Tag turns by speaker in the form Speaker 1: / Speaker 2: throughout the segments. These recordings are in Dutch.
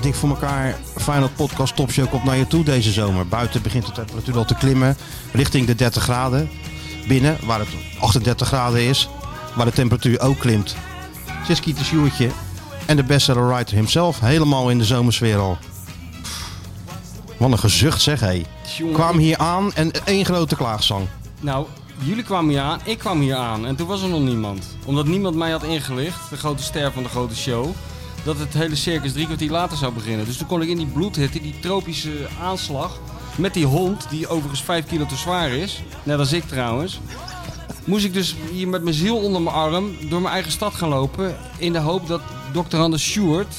Speaker 1: dik voor elkaar Final Podcast Topshow komt naar je toe deze zomer. Buiten begint de temperatuur al te klimmen richting de 30 graden. Binnen, waar het 38 graden is, waar de temperatuur ook klimt. Siski de Sjoertje en de bestseller writer himself helemaal in de zomersfeer al. Wat een gezucht zeg hé.
Speaker 2: Jongen,
Speaker 1: Kwam hier aan en één grote klaagzang.
Speaker 2: Nou, jullie kwamen hier aan, ik kwam hier aan en toen was er nog niemand. Omdat niemand mij had ingelicht, de grote ster van de grote show, dat het hele circus drie kwartier later zou beginnen. Dus toen kon ik in die bloedhitte, die tropische aanslag, met die hond, die overigens vijf kilo te zwaar is, net als ik trouwens, moest ik dus hier met mijn ziel onder mijn arm door mijn eigen stad gaan lopen in de hoop dat dokter Anders Stewart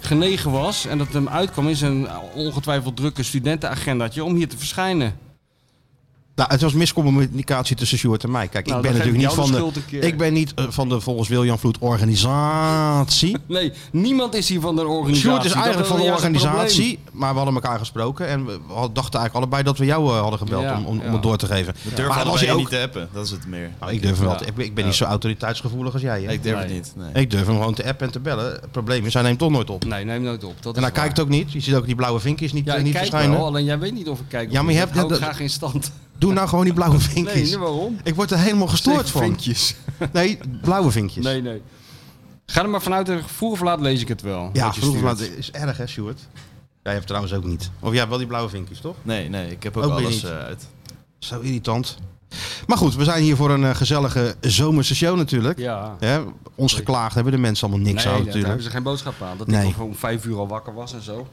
Speaker 2: genegen was en dat het hem uitkwam in zijn ongetwijfeld drukke studentenagendaatje om hier te verschijnen.
Speaker 1: Nou, het was miscommunicatie tussen Sjoerd en mij. Kijk,
Speaker 2: Nou,
Speaker 1: ik ben
Speaker 2: dan geef
Speaker 1: natuurlijk niet
Speaker 2: jou
Speaker 1: van
Speaker 2: de
Speaker 1: de.
Speaker 2: schuld een keer.
Speaker 1: Ik ben niet eh, van de volgens William Vloed organisatie.
Speaker 2: Nee, niemand is hier van de organisatie.
Speaker 1: Sjoerd is
Speaker 2: Dat
Speaker 1: eigenlijk
Speaker 2: is
Speaker 1: van de
Speaker 2: juist het
Speaker 1: organisatie, maar we hadden elkaar gesproken en we we had- dachten eigenlijk allebei dat we jou eh, hadden gebeld
Speaker 2: Ja,
Speaker 1: om, om, om
Speaker 2: ja.
Speaker 1: het door te geven.
Speaker 3: Dat
Speaker 1: Maar
Speaker 3: durf allebei
Speaker 1: als je ook-
Speaker 3: niet te appen, dat is het meer.
Speaker 1: Nou, ik durf hem wel. te-
Speaker 3: Ja.
Speaker 1: Ik ben, ik ben niet zo autoriteitsgevoelig als jij. Hè?
Speaker 3: Ah, Nee,
Speaker 1: Ik,
Speaker 3: ik durf
Speaker 2: Nee.
Speaker 3: het niet. Nee.
Speaker 1: durf hem gewoon te appen en te bellen. Het probleem is, hij neemt toch nooit op.
Speaker 2: probleem. Nee, neem nooit op. Dat
Speaker 1: En
Speaker 2: is
Speaker 1: hij
Speaker 2: waar.
Speaker 1: kijkt ook niet. Je ziet ook die blauwe vinkjes niet, eh,
Speaker 2: Ja, ik
Speaker 1: niet
Speaker 2: kijk
Speaker 1: verschijnen.
Speaker 2: wel, alleen jij weet niet of ik kijk. of
Speaker 1: Ja, maar je
Speaker 2: niet.
Speaker 1: hebt-
Speaker 2: Dat hou ik
Speaker 1: dat-
Speaker 2: graag in stand.
Speaker 1: Doe nou gewoon die blauwe
Speaker 2: Nee,
Speaker 1: vinkjes.
Speaker 2: nee, waarom?
Speaker 1: ik word er helemaal gestoord van.
Speaker 3: Vinkjes.
Speaker 1: Nee, blauwe vinkjes.
Speaker 2: Nee, nee. Ga er maar vanuit, eh, vroeg of laat lees ik het wel.
Speaker 1: Ja,
Speaker 2: wat je
Speaker 1: vroeg of
Speaker 2: stuurt.
Speaker 1: laat is erg hè, Sjoerd? Jij hebt trouwens ook niet. Of jij hebt wel die blauwe vinkjes, toch?
Speaker 3: Nee, nee, ik heb ook,
Speaker 1: Ook weer
Speaker 3: alles
Speaker 1: niet.
Speaker 3: eh, uit.
Speaker 1: Zo irritant. Maar goed, we zijn hier voor een eh, gezellige zomerse show natuurlijk.
Speaker 2: Ja.
Speaker 1: Hè, ons geklaagd hebben de mensen allemaal niks
Speaker 2: nee,
Speaker 1: aan
Speaker 2: daar hebben
Speaker 1: natuurlijk.
Speaker 2: ze geen boodschap aan. Dat
Speaker 1: Nee.
Speaker 2: ik nog om vijf uur al wakker was en zo.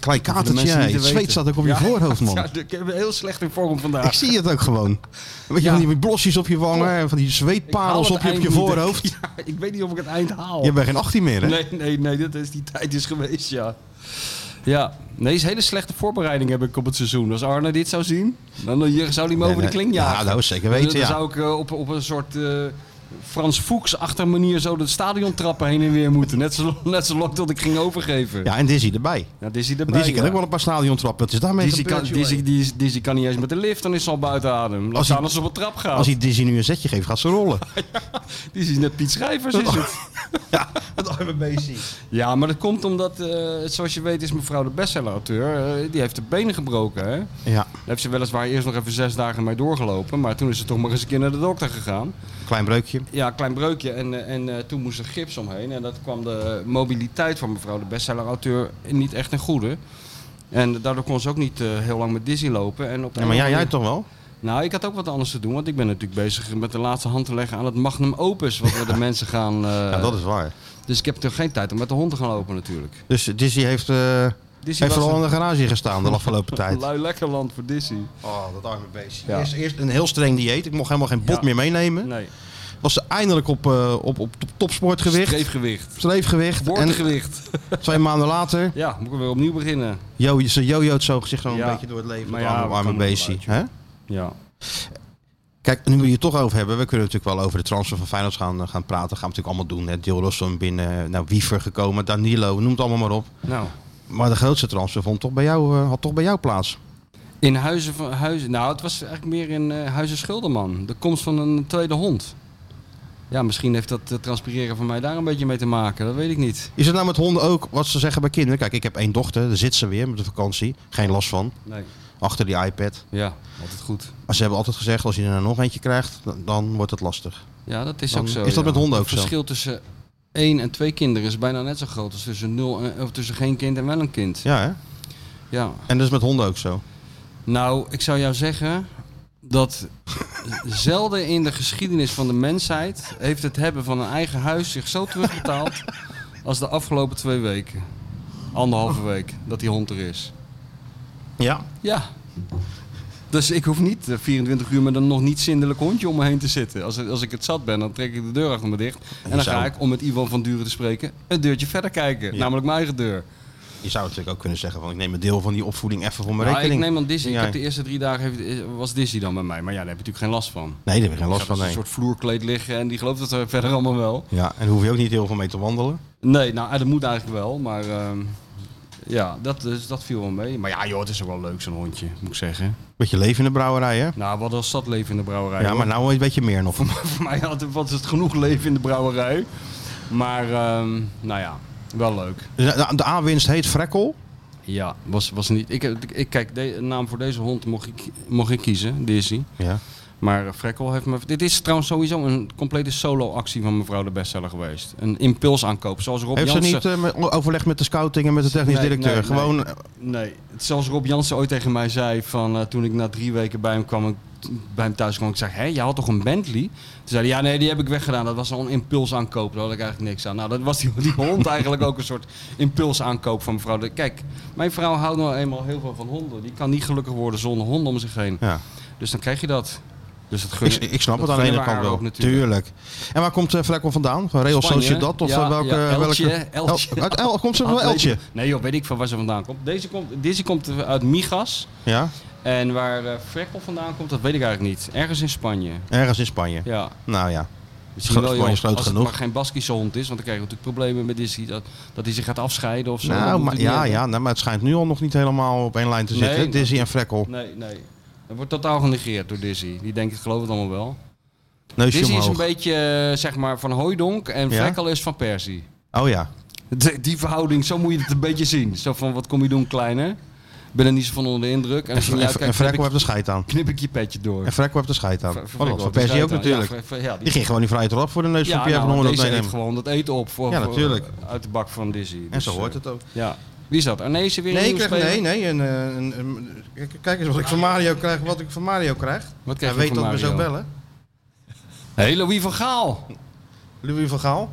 Speaker 1: Klein
Speaker 2: Hoeven de
Speaker 1: katertje,
Speaker 2: mensen
Speaker 1: hè.
Speaker 2: niet te
Speaker 1: het zweet
Speaker 2: weten.
Speaker 1: zat ook op je
Speaker 2: Ja.
Speaker 1: voorhoofd, man.
Speaker 2: Ja, ik heb een heel slecht in vorm
Speaker 1: Ik
Speaker 2: vandaag.
Speaker 1: zie het ook gewoon. Weet je,
Speaker 2: Ja.
Speaker 1: van die blosjes op je wangen en van die
Speaker 2: Ik haal
Speaker 1: zweetparels
Speaker 2: het
Speaker 1: op je, op
Speaker 2: eind
Speaker 1: je
Speaker 2: niet.
Speaker 1: voorhoofd.
Speaker 2: Ja, ik weet niet of ik het eind haal.
Speaker 1: Je bent geen 18 meer, hè?
Speaker 2: Nee, nee, nee, dat is die tijd is geweest, ja. Ja, nee, is een hele slechte voorbereiding heb ik op het seizoen. Als Arne dit zou zien, dan dan zou hij
Speaker 1: Nee,
Speaker 2: me over de
Speaker 1: nee.
Speaker 2: kling jagen.
Speaker 1: Ja, dat is zeker
Speaker 2: Dan
Speaker 1: weten, ja.
Speaker 2: zou ik eh, op, op een soort eh, Frans Fuchs-achtige manier zo de stadiontrappen heen en weer moeten. Net zo, net zo lang tot ik ging overgeven.
Speaker 1: Ja, en Dizzy erbij.
Speaker 2: Nou, Dizzy erbij.
Speaker 1: Dizzy kan
Speaker 2: ja.
Speaker 1: ook wel een paar stadiontrappen. Het is daarmee
Speaker 2: Dizzy
Speaker 1: gebeurd,
Speaker 2: kan,
Speaker 1: joh.
Speaker 2: Dizzy, Dizzy, Dizzy kan niet eens met de lift, dan is ze al buiten adem. Laat
Speaker 1: Als
Speaker 2: staan
Speaker 1: hij-
Speaker 2: als ze op een trap gaat.
Speaker 1: Als hij Dizzy nu een zetje geeft, gaat ze rollen.
Speaker 2: Dizzy is net Piet Schrijvers, is het.
Speaker 1: Het arme beestje.
Speaker 2: Ja, maar dat komt omdat, eh, zoals je weet, is mevrouw de bestseller-auteur. eh, die heeft de benen gebroken. Hè? Daar
Speaker 1: Ja,
Speaker 2: heeft ze weliswaar eerst nog even zes dagen mee doorgelopen. Maar toen is ze toch maar eens een keer naar de dokter gegaan.
Speaker 1: klein breukje.
Speaker 2: Ja, klein breukje. En, eh, en eh, toen moest er gips omheen. En dat kwam de mobiliteit van mevrouw de bestseller-auteur niet echt ten goede. En daardoor kon ze ook niet eh, heel lang met Disney lopen. En op
Speaker 1: Ja, maar jij, jij toch wel?
Speaker 2: Nou, ik had ook wat anders te doen. Want ik ben natuurlijk bezig met de laatste hand te leggen aan het magnum opus. Wat we de mensen gaan... eh,
Speaker 1: Ja, dat is waar.
Speaker 2: Dus ik heb toch geen tijd om met de hond te gaan lopen natuurlijk.
Speaker 1: Dus Dizzy heeft, eh,
Speaker 2: Disney
Speaker 1: heeft
Speaker 2: was
Speaker 1: vooral
Speaker 2: een-
Speaker 1: in de garage gestaan de afgelopen tijd.
Speaker 2: Lui lekker land voor Dizzy.
Speaker 1: Oh, dat arme beestje.
Speaker 2: Ja.
Speaker 1: Eerst, eerst een heel streng dieet. Ik mocht helemaal geen bot
Speaker 2: Ja.
Speaker 1: meer meenemen.
Speaker 2: Nee.
Speaker 1: Was ze eindelijk op, eh, op, op top- topsportgewicht.
Speaker 2: Streefgewicht.
Speaker 1: Streefgewicht. En
Speaker 2: Geboortegewicht.
Speaker 1: twee maanden later,
Speaker 2: Ja, moet ik weer opnieuw beginnen.
Speaker 1: jo, ze jojoot zo zich gewoon
Speaker 2: Ja.
Speaker 1: een beetje door het leven.
Speaker 2: Maar
Speaker 1: dat
Speaker 2: ja,
Speaker 1: arme,
Speaker 2: we
Speaker 1: arme
Speaker 2: komen
Speaker 1: beestje.
Speaker 2: eruit,
Speaker 1: hè?
Speaker 2: Ja.
Speaker 1: Kijk, nu we het toch over hebben. We kunnen natuurlijk wel over de transfer van Feyenoord gaan, eh, gaan praten. Gaan we natuurlijk allemaal doen. Hè. Deel Rossum binnen. Nou, Wiever gekomen. Danilo. Noem het allemaal maar op.
Speaker 2: Nou,
Speaker 1: Maar de grootste transfer vond toch bij jou, eh, had toch bij jou plaats.
Speaker 2: in Huizen van Huizen. Nou, het was eigenlijk meer in eh, Huizen Schilderman. De komst van een tweede hond. Ja, misschien heeft dat eh, transpireren van mij daar een beetje mee te maken. Dat weet ik niet.
Speaker 1: Is het nou met honden ook wat ze zeggen bij kinderen? Kijk, ik heb één dochter, daar zit ze weer met de vakantie. Geen last van.
Speaker 2: Nee.
Speaker 1: Achter die iPad.
Speaker 2: Ja, altijd goed.
Speaker 1: Maar ze hebben altijd gezegd, als je er nog eentje krijgt, dan, dan wordt het lastig.
Speaker 2: Ja, dat is
Speaker 1: Dan
Speaker 2: ook zo.
Speaker 1: is dat
Speaker 2: ja.
Speaker 1: met honden ook
Speaker 2: Het verschil tussen één en twee kinderen is bijna net zo groot als tussen, nul en, of tussen geen kind en wel een kind.
Speaker 1: Ja, hè?
Speaker 2: ja.
Speaker 1: En dat is met honden ook zo.
Speaker 2: Nou, ik zou jou zeggen dat zelden in de geschiedenis van de mensheid heeft het hebben van een eigen huis zich zo terugbetaald als de afgelopen twee weken. Anderhalve week dat die hond er is.
Speaker 1: Ja.
Speaker 2: Oh. Ja. Dus ik hoef niet eh, 24 uur met een nog niet zindelijk hondje om me heen te zitten. Als, als ik het zat ben, dan trek ik de deur achter me dicht. En dan
Speaker 1: zou-
Speaker 2: ga ik, om met Ivan van Duren te spreken, een deurtje verder kijken.
Speaker 1: Ja.
Speaker 2: Namelijk mijn eigen deur.
Speaker 1: Je zou natuurlijk ook kunnen zeggen van, ik neem een deel van die opvoeding even voor mijn
Speaker 2: Nou, ik
Speaker 1: rekening.
Speaker 2: neem aan Disney. Ik
Speaker 1: Ja.
Speaker 2: heb de eerste drie dagen heeft- eh, was Disney dan bij mij. Maar ja, daar heb je natuurlijk geen last van.
Speaker 1: Nee, daar heb ik geen last
Speaker 2: Gaat
Speaker 1: van.
Speaker 2: als dus een
Speaker 1: nee.
Speaker 2: soort vloerkleed liggen en die gelooft dat er verder allemaal wel.
Speaker 1: Ja, en daar hoef je ook niet heel veel mee te wandelen.
Speaker 2: Nee, nou dat moet eigenlijk wel, maar ehm, ja, dat, dus, dat viel wel mee. Maar ja joh, het is ook wel leuk zo'n hondje, moet ik zeggen.
Speaker 1: Beetje leven in de brouwerij, hè?
Speaker 2: Nou, wat als dat leven in de brouwerij.
Speaker 1: Ja, maar
Speaker 2: hoor.
Speaker 1: nou een beetje meer nog.
Speaker 2: Voor mij had het, was het genoeg leven in de brouwerij. Maar ehm, nou ja, Wel leuk.
Speaker 1: De, Dus, eh, de aanwinst heet Frekkel.
Speaker 2: Ja, was, was niet. Ik, heb- ik kijk, de naam voor deze hond mocht ik, mocht ik kiezen, Dizzy.
Speaker 1: Ja.
Speaker 2: Maar eh, Frekkel heeft me. Dit is trouwens sowieso een complete solo-actie van mevrouw de bestseller geweest. Een impulsaankoop. Zoals Rob
Speaker 1: Heeft ze
Speaker 2: Jansen.
Speaker 1: niet eh, met- overlegd met de scouting en met de technisch
Speaker 2: Nee,
Speaker 1: directeur?
Speaker 2: nee, nee.
Speaker 1: Gewoon,
Speaker 2: Nee, zoals Rob Jansen ooit tegen mij zei van eh, toen ik na drie weken bij hem kwam, ik, bij hem thuis kwam, ik zei, hé, je had toch een Bentley? Toen zei hij, ja nee, die heb ik weggedaan. Dat was al een impulsaankoop, daar had ik eigenlijk niks aan. Nou, dat was die, die hond eigenlijk ook een soort impulsaankoop van mevrouw. De, kijk, mijn vrouw houdt nou eenmaal heel veel van honden. Die kan niet gelukkig worden zonder honden om zich heen.
Speaker 1: ja.
Speaker 2: Dus dan krijg je dat. Dus dat
Speaker 1: ik,
Speaker 2: gun
Speaker 1: ik snap
Speaker 2: dat
Speaker 1: het aan de
Speaker 2: gunnen
Speaker 1: ene
Speaker 2: we
Speaker 1: kant
Speaker 2: haar
Speaker 1: wel.
Speaker 2: ook natuurlijk.
Speaker 1: Tuurlijk. En waar komt eh Frekkel vandaan? Van Real
Speaker 2: Spanje,
Speaker 1: Sociedad? Of
Speaker 2: ja,
Speaker 1: van welke,
Speaker 2: ja, Elche,
Speaker 1: welke-
Speaker 2: Elche.
Speaker 1: El- uit El- komt ze van Eltje?
Speaker 2: Nee joh, weet ik van waar ze vandaan komt. Deze komt, deze komt uit Migas.
Speaker 1: Ja,
Speaker 2: En waar eh Frekkel vandaan komt, dat weet ik eigenlijk niet. Ergens in Spanje.
Speaker 1: ergens in Spanje.
Speaker 2: Ja,
Speaker 1: Nou ja.
Speaker 2: misschien
Speaker 1: Groot-
Speaker 2: wel
Speaker 1: Spanje
Speaker 2: joh,
Speaker 1: is groot
Speaker 2: als
Speaker 1: genoeg.
Speaker 2: het maar geen Baskische hond is, want dan krijgen we natuurlijk problemen met Disney dat, dat hij zich gaat afscheiden of zo. Dat
Speaker 1: Nou,
Speaker 2: moet
Speaker 1: maar,
Speaker 2: hij niet
Speaker 1: ja,
Speaker 2: hebben.
Speaker 1: ja nou, maar het schijnt nu al nog niet helemaal op één lijn te
Speaker 2: Nee,
Speaker 1: zitten.
Speaker 2: nee.
Speaker 1: Dizzy en Frekkel.
Speaker 2: Nee, nee. Dat wordt totaal genegeerd door Disney. Die denkt, ik geloof het allemaal wel.
Speaker 1: Neusje
Speaker 2: Disney is
Speaker 1: omhoog.
Speaker 2: een beetje, eh, zeg maar, van Hooidonk en
Speaker 1: Ja?
Speaker 2: Frekkel is van Persie.
Speaker 1: Oh ja.
Speaker 2: De- die verhouding, zo moet je het een beetje zien. Zo van, wat kom je doen, kleiner? Ik ben er niet zo van onder de indruk. En
Speaker 1: En,
Speaker 2: als je
Speaker 1: en,
Speaker 2: uitkijkt,
Speaker 1: en Frekkel
Speaker 2: knip,
Speaker 1: heeft de scheid aan.
Speaker 2: ik, knip ik je petje door.
Speaker 1: En Frekkel heeft de scheid aan.
Speaker 2: Fre-
Speaker 1: Oh,
Speaker 2: Frekkel
Speaker 1: dat van
Speaker 2: heeft
Speaker 1: Persie ook
Speaker 2: schijt aan. Ja,
Speaker 1: natuurlijk.
Speaker 2: Fre- Fre- ja, die-
Speaker 1: Die ging gewoon die vrije trap voor de neus van
Speaker 2: Ja,
Speaker 1: Pierre
Speaker 2: nou,
Speaker 1: van
Speaker 2: deze
Speaker 1: Honderd
Speaker 2: heeft
Speaker 1: nemen.
Speaker 2: gewoon dat eten op voor,
Speaker 1: Ja,
Speaker 2: voor- eh,
Speaker 1: natuurlijk.
Speaker 2: uit de bak van Dizzy. Dus
Speaker 1: En zo hoort het ook.
Speaker 2: Ja. Wie is dat? Arnezen weer
Speaker 1: Nee,
Speaker 2: een
Speaker 1: ik
Speaker 2: nieuwe
Speaker 1: krijg, nee,
Speaker 2: speler?
Speaker 1: nee. Een, eh, een, een- kijk- kijk eens wat ik van Mario krijg. Wat ik van Mario krijg.
Speaker 2: Wat krijg
Speaker 1: Hij
Speaker 2: je
Speaker 1: weet
Speaker 2: van
Speaker 1: dat dus we
Speaker 2: Mario?
Speaker 1: zo bellen.
Speaker 2: Hé, Louis van Gaal.
Speaker 1: Louis van Gaal.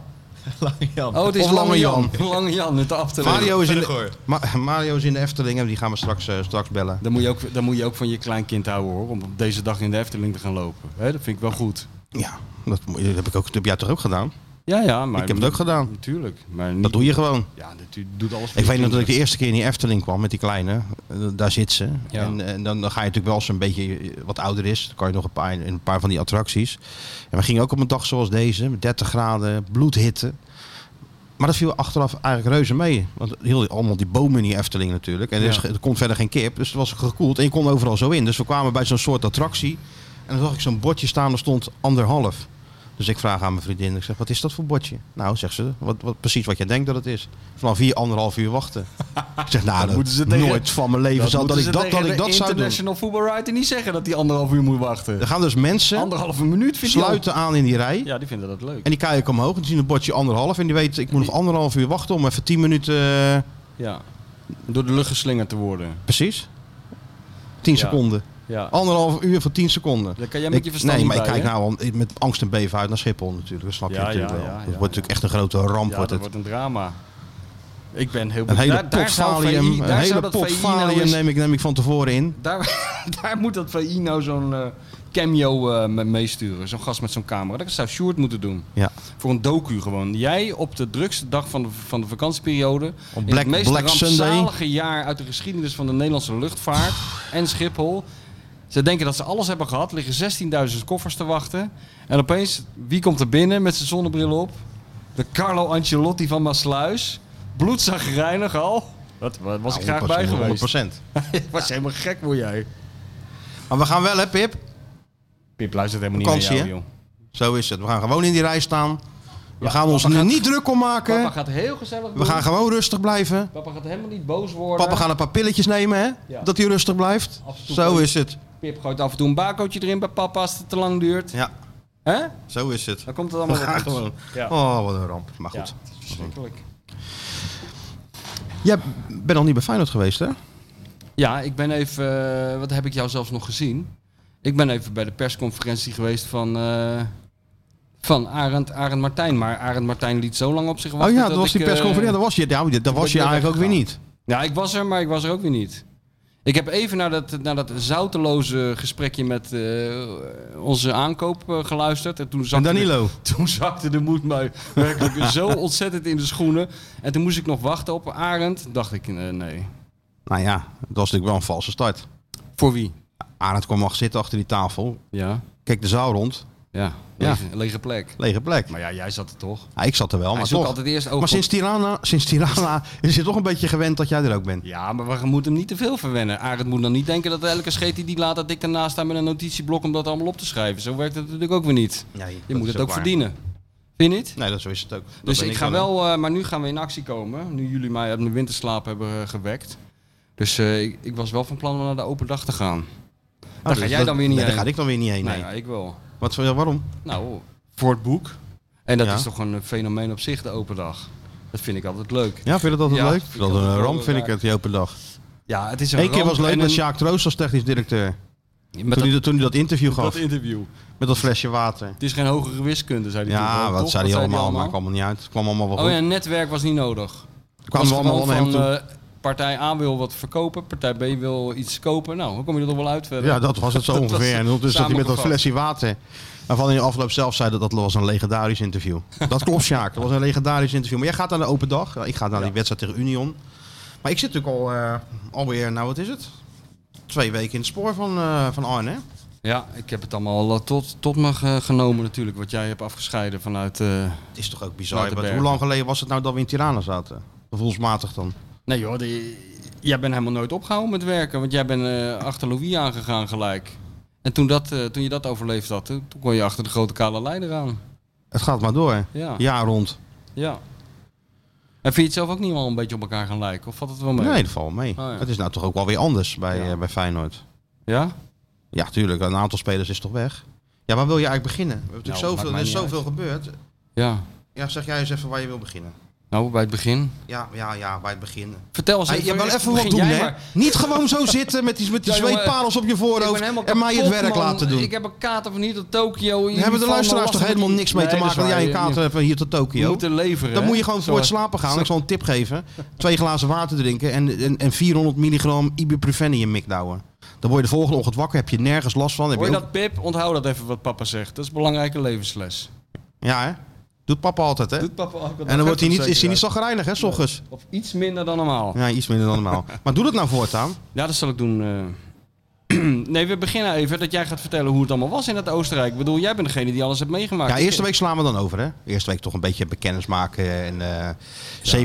Speaker 2: Oh, het is
Speaker 1: Of
Speaker 2: Lange
Speaker 1: Lange
Speaker 2: Jan. Lange Jan in de afdeling.
Speaker 1: Mario is, in de,
Speaker 3: Verder
Speaker 1: Ma- Mario is in de Efteling en die gaan we straks, eh, straks bellen.
Speaker 2: Dan moet, je ook, dan moet je ook van je kleinkind houden hoor, om op deze dag in de Efteling te gaan lopen. Hè, dat vind ik wel goed.
Speaker 1: Ja, dat, moet- dat heb, ik ook, dat heb jij toch ook gedaan?
Speaker 2: Ja, ja, maar...
Speaker 1: Ik heb het ook gedaan.
Speaker 2: Natuurlijk. Maar niet,
Speaker 1: Dat doe je gewoon.
Speaker 2: Ja, dat u- doet alles voor
Speaker 1: Ik
Speaker 2: je
Speaker 1: weet nog dat ik de
Speaker 2: kinderen.
Speaker 1: eerste keer in die Efteling kwam met die kleine. Eh, Daar zit ze.
Speaker 2: Ja.
Speaker 1: En, en dan, dan ga je natuurlijk wel als ze een beetje eh, wat ouder is. Dan kan je nog een paar, in een paar van die attracties. En we gingen ook op een dag zoals deze. Met 30 graden, bloedhitte. Maar dat viel achteraf eigenlijk reuze mee. Want heel die- allemaal die bomen in die Efteling natuurlijk. En er, is
Speaker 2: Ja.
Speaker 1: ge- er komt verder geen kip. Dus het was gekoeld. En je kon overal zo in. Dus we kwamen bij zo'n soort attractie. En dan zag ik zo'n bordje staan. Er stond anderhalf. Dus ik vraag aan mijn vriendin. Ik zeg, wat is dat voor bordje? Nou, zegt ze. Wat, wat, precies wat jij denkt dat het is. Vanaf hier anderhalf uur wachten. ik zeg, nou, dat
Speaker 2: moeten ze tegen-
Speaker 1: nooit van mijn leven zal dat
Speaker 2: moeten
Speaker 1: ik
Speaker 2: ze
Speaker 1: dat,
Speaker 2: tegen
Speaker 1: dat, ik
Speaker 2: de
Speaker 1: dat zou doen.
Speaker 2: International Football Writer niet zeggen dat die anderhalf uur moet wachten.
Speaker 1: Er gaan dus mensen
Speaker 2: Anderhalve minuut vind je
Speaker 1: sluiten aan in die rij.
Speaker 2: Ja, die vinden dat leuk.
Speaker 1: En die kijken omhoog en die zien een bordje anderhalf. En die weten, ik moet nog anderhalf uur wachten om even tien minuten... eh,
Speaker 2: Ja. Door de lucht geslingerd te worden.
Speaker 1: Precies. 10
Speaker 2: Ja.
Speaker 1: seconden.
Speaker 2: Ja.
Speaker 1: Anderhalf uur van 10 seconden.
Speaker 2: Daar kan jij met je
Speaker 1: Oh. Ik-
Speaker 2: verstand
Speaker 1: nee,
Speaker 2: niet
Speaker 1: maar ik
Speaker 2: bij,
Speaker 1: kijk
Speaker 2: hè?
Speaker 1: nou al met angst en beven uit naar Schiphol natuurlijk. Dat snap
Speaker 2: Ja,
Speaker 1: je natuurlijk
Speaker 2: ja,
Speaker 1: wel.
Speaker 2: ja,
Speaker 1: dat wordt
Speaker 2: ja, ja.
Speaker 1: natuurlijk echt een grote ramp.
Speaker 2: Ja,
Speaker 1: wordt
Speaker 2: dat
Speaker 1: het.
Speaker 2: wordt een drama. Ik ben heel
Speaker 1: Een hele
Speaker 2: Dus daar, daar
Speaker 1: pot
Speaker 2: zou
Speaker 1: valium,
Speaker 2: VI
Speaker 1: een
Speaker 2: daar zou
Speaker 1: hele
Speaker 2: dat
Speaker 1: pot
Speaker 2: VI nou
Speaker 1: valium
Speaker 2: eens-
Speaker 1: neem ik, neem ik van tevoren in.
Speaker 2: daar, daar moet dat VI nou zo'n eh, cameo eh, me- meesturen. Zo'n gast met zo'n camera. Dat zou Sjoerd moeten doen.
Speaker 1: Ja.
Speaker 2: Voor een docu gewoon. Jij op de drukste dag van de, van de vakantieperiode.
Speaker 1: Op
Speaker 2: in
Speaker 1: Black-
Speaker 2: het meest
Speaker 1: Black Sunday.
Speaker 2: rampzalige jaar uit de geschiedenis van de Nederlandse luchtvaart en Schiphol. Ze denken dat ze alles hebben gehad. Liggen 16.000 koffers te wachten. En opeens, wie komt er binnen met zijn zonnebril op? De Carlo Ancelotti van Maasluis. Bloedzagrijnig al. Dat wa- was ik graag bij geweest.
Speaker 1: 100%.
Speaker 2: Ik was helemaal gek voor jij.
Speaker 1: Maar we gaan wel hè Pip?
Speaker 2: Pip luistert helemaal niet
Speaker 1: Vakantie,
Speaker 2: naar jou,
Speaker 1: hè?
Speaker 2: joh.
Speaker 1: Zo is het. We gaan gewoon in die rij staan. We gaan ons
Speaker 2: papa
Speaker 1: nu
Speaker 2: gaat-
Speaker 1: niet druk om
Speaker 2: Papa
Speaker 1: maken.
Speaker 2: gaat heel gezellig
Speaker 1: We
Speaker 2: doen.
Speaker 1: gaan gewoon rustig blijven.
Speaker 2: Papa gaat helemaal niet boos worden.
Speaker 1: Papa gaat een paar pilletjes nemen hè.
Speaker 2: Ja.
Speaker 1: Dat hij rustig blijft.
Speaker 2: Af en toe
Speaker 1: Zo
Speaker 2: ook.
Speaker 1: is het.
Speaker 2: Pip gooit af en toe een bakootje erin bij papa als het te lang duurt.
Speaker 1: Ja,
Speaker 2: Hè?
Speaker 1: zo is het.
Speaker 2: Dan komt het
Speaker 1: We
Speaker 2: allemaal
Speaker 1: gaan
Speaker 2: goed.
Speaker 1: gewoon.
Speaker 2: Ja.
Speaker 1: Oh, wat een ramp. Maar
Speaker 2: Ja,
Speaker 1: goed.
Speaker 2: het is verschrikkelijk.
Speaker 1: Jij bent al niet bij Feyenoord geweest, hè? Oh
Speaker 2: Ja, ik ben even... eh, wat heb ik jou zelfs nog gezien? Ik ben even bij de persconferentie geweest van... eh, van Arend, Arend Martijn. Maar Arend Martijn liet zo lang op zich
Speaker 1: oh
Speaker 2: wachten
Speaker 1: ja, dat was
Speaker 2: ik,
Speaker 1: die
Speaker 2: eh,
Speaker 1: persconferentie. Dat was je, ja, dat was je
Speaker 2: ben
Speaker 1: eigenlijk ook weer niet.
Speaker 2: Ja, ik was er, maar ik was er ook weer niet. Ik heb even naar dat, naar dat zouteloze gesprekje met eh, onze aankoop eh, geluisterd. En toen
Speaker 1: En
Speaker 2: zakte, de,
Speaker 1: Danilo.
Speaker 2: toen zakte de moed mij werkelijk zo ontzettend in de schoenen. En toen moest ik nog wachten op Arend. Dacht ik, eh, nee.
Speaker 1: Nou ja, dat was natuurlijk wel een valse start.
Speaker 2: Voor wie?
Speaker 1: Arend kwam nog zitten achter die tafel.
Speaker 2: Ja,
Speaker 1: Keek de zaal rond.
Speaker 2: ja.
Speaker 1: Ja.
Speaker 2: Lege, lege plek.
Speaker 1: Lege plek.
Speaker 2: Maar ja, jij zat er toch?
Speaker 1: Ja, ik zat er wel,
Speaker 2: Hij
Speaker 1: maar
Speaker 2: zoekt
Speaker 1: toch.
Speaker 2: altijd eerst oog
Speaker 1: Maar
Speaker 2: op-
Speaker 1: sinds Tirana, sinds Tirana is het toch een beetje gewend dat jij er ook bent.
Speaker 2: Ja, maar we moeten hem niet te veel verwennen. Arend moet dan niet denken dat elke scheet die die laat, dat ik daarnaast sta met een notitieblok om dat allemaal op te schrijven. Zo werkt het natuurlijk ook weer niet.
Speaker 1: Nee,
Speaker 2: Je moet het ook verdienen. Vind je niet?
Speaker 1: Nee, dat zo is het ook. Dat
Speaker 2: Dus
Speaker 1: ben
Speaker 2: ik ga
Speaker 1: dan,
Speaker 2: wel, eh, maar nu gaan we in actie komen. Nu jullie mij uit mijn winterslaap hebben eh, gewekt. Dus eh, ik, ik was wel van plan om naar de open dag te gaan.
Speaker 1: hè.
Speaker 2: daar ga jij dan
Speaker 1: Nou, dus nee,
Speaker 2: weer niet heen.
Speaker 1: Daar ga ik dan weer niet heen.
Speaker 2: nou
Speaker 1: Nee.
Speaker 2: ja, ik wel.
Speaker 1: Wat, voor- waarom?
Speaker 2: Nou, voor het boek. En dat
Speaker 1: Ja.
Speaker 2: is toch een eh, fenomeen op zich, de open dag. Dat vind ik altijd leuk.
Speaker 1: Ja, vind je dat altijd
Speaker 2: Ja,
Speaker 1: leuk?
Speaker 2: vind ik
Speaker 1: Dat
Speaker 2: altijd
Speaker 1: een
Speaker 2: wel
Speaker 1: ramp, vind ik
Speaker 2: raar.
Speaker 1: het, die open dag.
Speaker 2: Ja, het is een
Speaker 1: Eén keer
Speaker 2: ramp
Speaker 1: was leuk
Speaker 2: en
Speaker 1: met
Speaker 2: een-
Speaker 1: Sjaak Troost als technisch directeur.
Speaker 2: met
Speaker 1: toen,
Speaker 2: dat,
Speaker 1: hij, toen hij dat interview
Speaker 2: dat
Speaker 1: gaf
Speaker 2: interview.
Speaker 1: met dat flesje water.
Speaker 2: Het is geen hogere wiskunde, zei hij toen
Speaker 1: Ja,
Speaker 2: wel,
Speaker 1: wat
Speaker 2: toch?
Speaker 1: zei hij allemaal? Maakt allemaal niet uit. Het kwam allemaal wel goed.
Speaker 2: Oh ja, netwerk was niet nodig.
Speaker 1: Het kwam
Speaker 2: was
Speaker 1: allemaal
Speaker 2: gewoon
Speaker 1: naar hem
Speaker 2: van,
Speaker 1: toe.
Speaker 2: eh, partij A wil wat verkopen, partij B wil iets kopen. Nou, dan kom je er toch wel uit verder.
Speaker 1: Ja, dat was het zo
Speaker 2: Dat was
Speaker 1: ongeveer. En dus dat hij met dat
Speaker 2: samengevat.
Speaker 1: flesje water. Waarvan hij in de afloop zelf zei dat dat was een legendarisch interview. Dat klopt, Sjaak. Dat was een legendarisch interview. Maar jij gaat naar de open dag. Ja, Ik ga naar die
Speaker 2: Ja.
Speaker 1: wedstrijd tegen Union. Maar ik zit natuurlijk al, eh, alweer, nou wat is het? Twee weken in het spoor van, eh, van Arne. hè?
Speaker 2: Ja, ik heb het allemaal eh, tot, tot me ge- genomen natuurlijk, wat jij hebt afgescheiden vanuit... eh,
Speaker 1: Het is toch ook bizar.
Speaker 2: Latenberg.
Speaker 1: want Hoe lang geleden was het nou dat we in Tirana zaten? Gevoelsmatig dan.
Speaker 2: Nee joh, die- jij bent helemaal nooit opgehouden met werken, want jij bent eh, achter Louis aangegaan gelijk. En toen, dat, eh, toen je dat overleefd had, toen, toen kon je achter de grote kale leider aan.
Speaker 1: Het gaat maar door.
Speaker 2: Ja, ja.
Speaker 1: Jaar rond.
Speaker 2: En vind je het zelf ook niet wel een beetje op elkaar gaan lijken? Of valt het wel mee?
Speaker 1: Nee, dat valt mee.
Speaker 2: Oh, ja.
Speaker 1: Het is nou toch ook wel weer anders bij,
Speaker 2: Ja.
Speaker 1: eh, bij Feyenoord.
Speaker 2: Ja?
Speaker 1: Ja, tuurlijk. Een aantal spelers is toch weg. Ja, waar wil je eigenlijk beginnen? We hebben natuurlijk
Speaker 2: Nou,
Speaker 1: zoveel, er
Speaker 2: maakt
Speaker 1: is
Speaker 2: mij niet
Speaker 1: zoveel gebeurd.
Speaker 2: Ja.
Speaker 1: Ja, zeg jij eens even waar je wil beginnen.
Speaker 2: Nou, bij het begin.
Speaker 1: Ja, ja, ja, bij het begin.
Speaker 2: Vertel eens
Speaker 1: Hey, je wil
Speaker 2: eerst
Speaker 1: even wat
Speaker 2: begin
Speaker 1: doen,
Speaker 2: jij
Speaker 1: hè?
Speaker 2: maar.
Speaker 1: Niet gewoon zo zitten met die, met die
Speaker 2: Ja, jongen,
Speaker 1: zweetparels op je
Speaker 2: Ik
Speaker 1: voorhoofd
Speaker 2: ben helemaal
Speaker 1: en mij het
Speaker 2: kapot,
Speaker 1: werk
Speaker 2: man.
Speaker 1: laten doen.
Speaker 2: Ik heb een kater van hier tot Tokio.
Speaker 1: Daar hebben de luisteraars toch helemaal niks mee te maken dat jij een kater hebt van hier tot
Speaker 2: Je
Speaker 1: Tokio?
Speaker 2: moet er leveren.
Speaker 1: Dan
Speaker 2: hè?
Speaker 1: moet je gewoon voor het slapen gaan. Ik zal een tip geven. Twee glazen water drinken en, en, en 400 milligram ibuprofen in je mik douwen. Dan word je de volgende ochtend wakker, heb je nergens last van. Heb
Speaker 2: Hoor
Speaker 1: je
Speaker 2: je
Speaker 1: ook-
Speaker 2: dat, Pip? Onthoud dat even wat papa zegt. Dat is een belangrijke levensles.
Speaker 1: Ja, hè? Doet papa altijd, hè?
Speaker 2: Doet papa ook
Speaker 1: en dan wordt hij niet, is hij niet zo gereinigd, hè, s ochtends?
Speaker 2: Of iets minder dan normaal.
Speaker 1: Ja, iets minder dan normaal. maar doe dat nou voortaan.
Speaker 2: Ja, dat zal ik doen. eh. nee, we beginnen even dat jij gaat vertellen hoe het allemaal was in het Oostenrijk. Ik bedoel, jij bent degene die alles hebt meegemaakt.
Speaker 1: Ja, eerste week slaan we dan over, hè? Eerste week toch een beetje bekennis maken en eh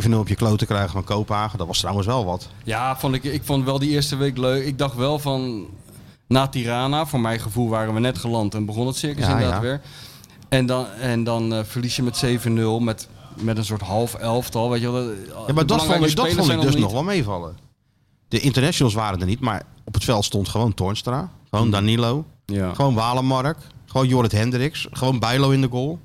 Speaker 1: 7-0 op je kloten krijgen van Kopenhagen. Dat was trouwens wel wat.
Speaker 2: Ja, vond ik, ik vond wel die eerste week leuk. Ik dacht wel van na Tirana, voor mijn gevoel waren we net geland en begon het circus
Speaker 1: Ja,
Speaker 2: inderdaad
Speaker 1: ja.
Speaker 2: weer. En dan, en dan eh, verlies je met 7-0 met, met een soort half elftal. Weet je wel, De-
Speaker 1: Ja,
Speaker 2: de
Speaker 1: maar dat vond,
Speaker 2: belangrijke
Speaker 1: ik, dat
Speaker 2: spelers
Speaker 1: vond
Speaker 2: zijn
Speaker 1: ik dus
Speaker 2: allemaal
Speaker 1: nog
Speaker 2: niet.
Speaker 1: wel meevallen. De internationals waren er niet, maar op het veld stond gewoon Toornstra, gewoon Danilo,
Speaker 2: Mm. Ja.
Speaker 1: gewoon Walemark, gewoon Jorrit Hendricks, gewoon Bijlo in de goal.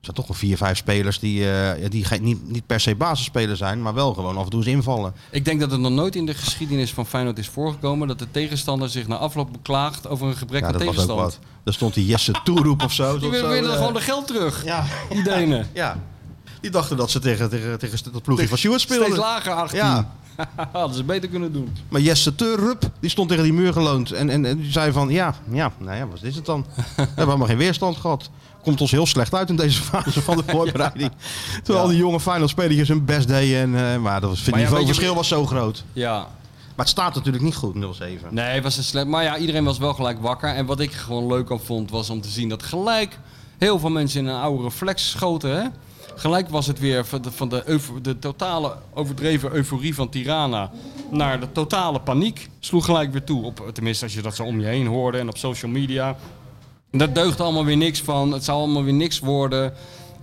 Speaker 1: Er zijn toch wel vier, vijf spelers die, eh, ja, die geen- niet, niet per se basisspeler zijn, maar wel gewoon af en toe eens invallen.
Speaker 2: Ik denk dat het nog nooit in de geschiedenis van Feyenoord is voorgekomen dat de tegenstander zich na afloop beklaagt over een gebrek
Speaker 1: Ja,
Speaker 2: aan
Speaker 1: dat was ook
Speaker 2: tegenstand.
Speaker 1: wat. Daar stond die Jesse Toeroep of zo.
Speaker 2: Die
Speaker 1: Of zo,
Speaker 2: willen willen
Speaker 1: eh,
Speaker 2: gewoon de geld terug,
Speaker 1: ja,
Speaker 2: die Denen.
Speaker 1: ja, die dachten dat ze tegen, tegen, tegen dat ploegje
Speaker 2: Tegen-
Speaker 1: van Sjoerd
Speaker 2: Steeds
Speaker 1: speelden.
Speaker 2: lager 18.
Speaker 1: Ja.
Speaker 2: Hadden ze beter kunnen doen.
Speaker 1: Maar Jesse Turrup, die stond tegen die muur geleund. En, en, en die zei van, ja, ja, nou ja, wat is het dan? We hebben helemaal geen weerstand gehad. Komt ons heel slecht uit in deze fase van de voorbereiding. Terwijl
Speaker 2: Ja.
Speaker 1: die jonge final spelers hun best deden. En, eh, maar dat was, het
Speaker 2: Maar ja,
Speaker 1: niveauverschil
Speaker 2: weet
Speaker 1: was zo groot.
Speaker 2: Ja,
Speaker 1: Maar het staat natuurlijk niet goed, 0-7.
Speaker 2: Nee, het was een slecht. Maar ja, iedereen was wel gelijk wakker. En wat ik gewoon leuk aan vond, was om te zien dat gelijk heel veel mensen in een oude reflex schoten. Hè? Gelijk was het weer van, de, van de, eufo- de totale overdreven euforie van Tirana naar de totale paniek. Sloeg gelijk weer toe. Op, tenminste, als je dat zo om je heen hoorde en op social media. Dat deugde allemaal weer niks van. Het zou allemaal weer niks worden.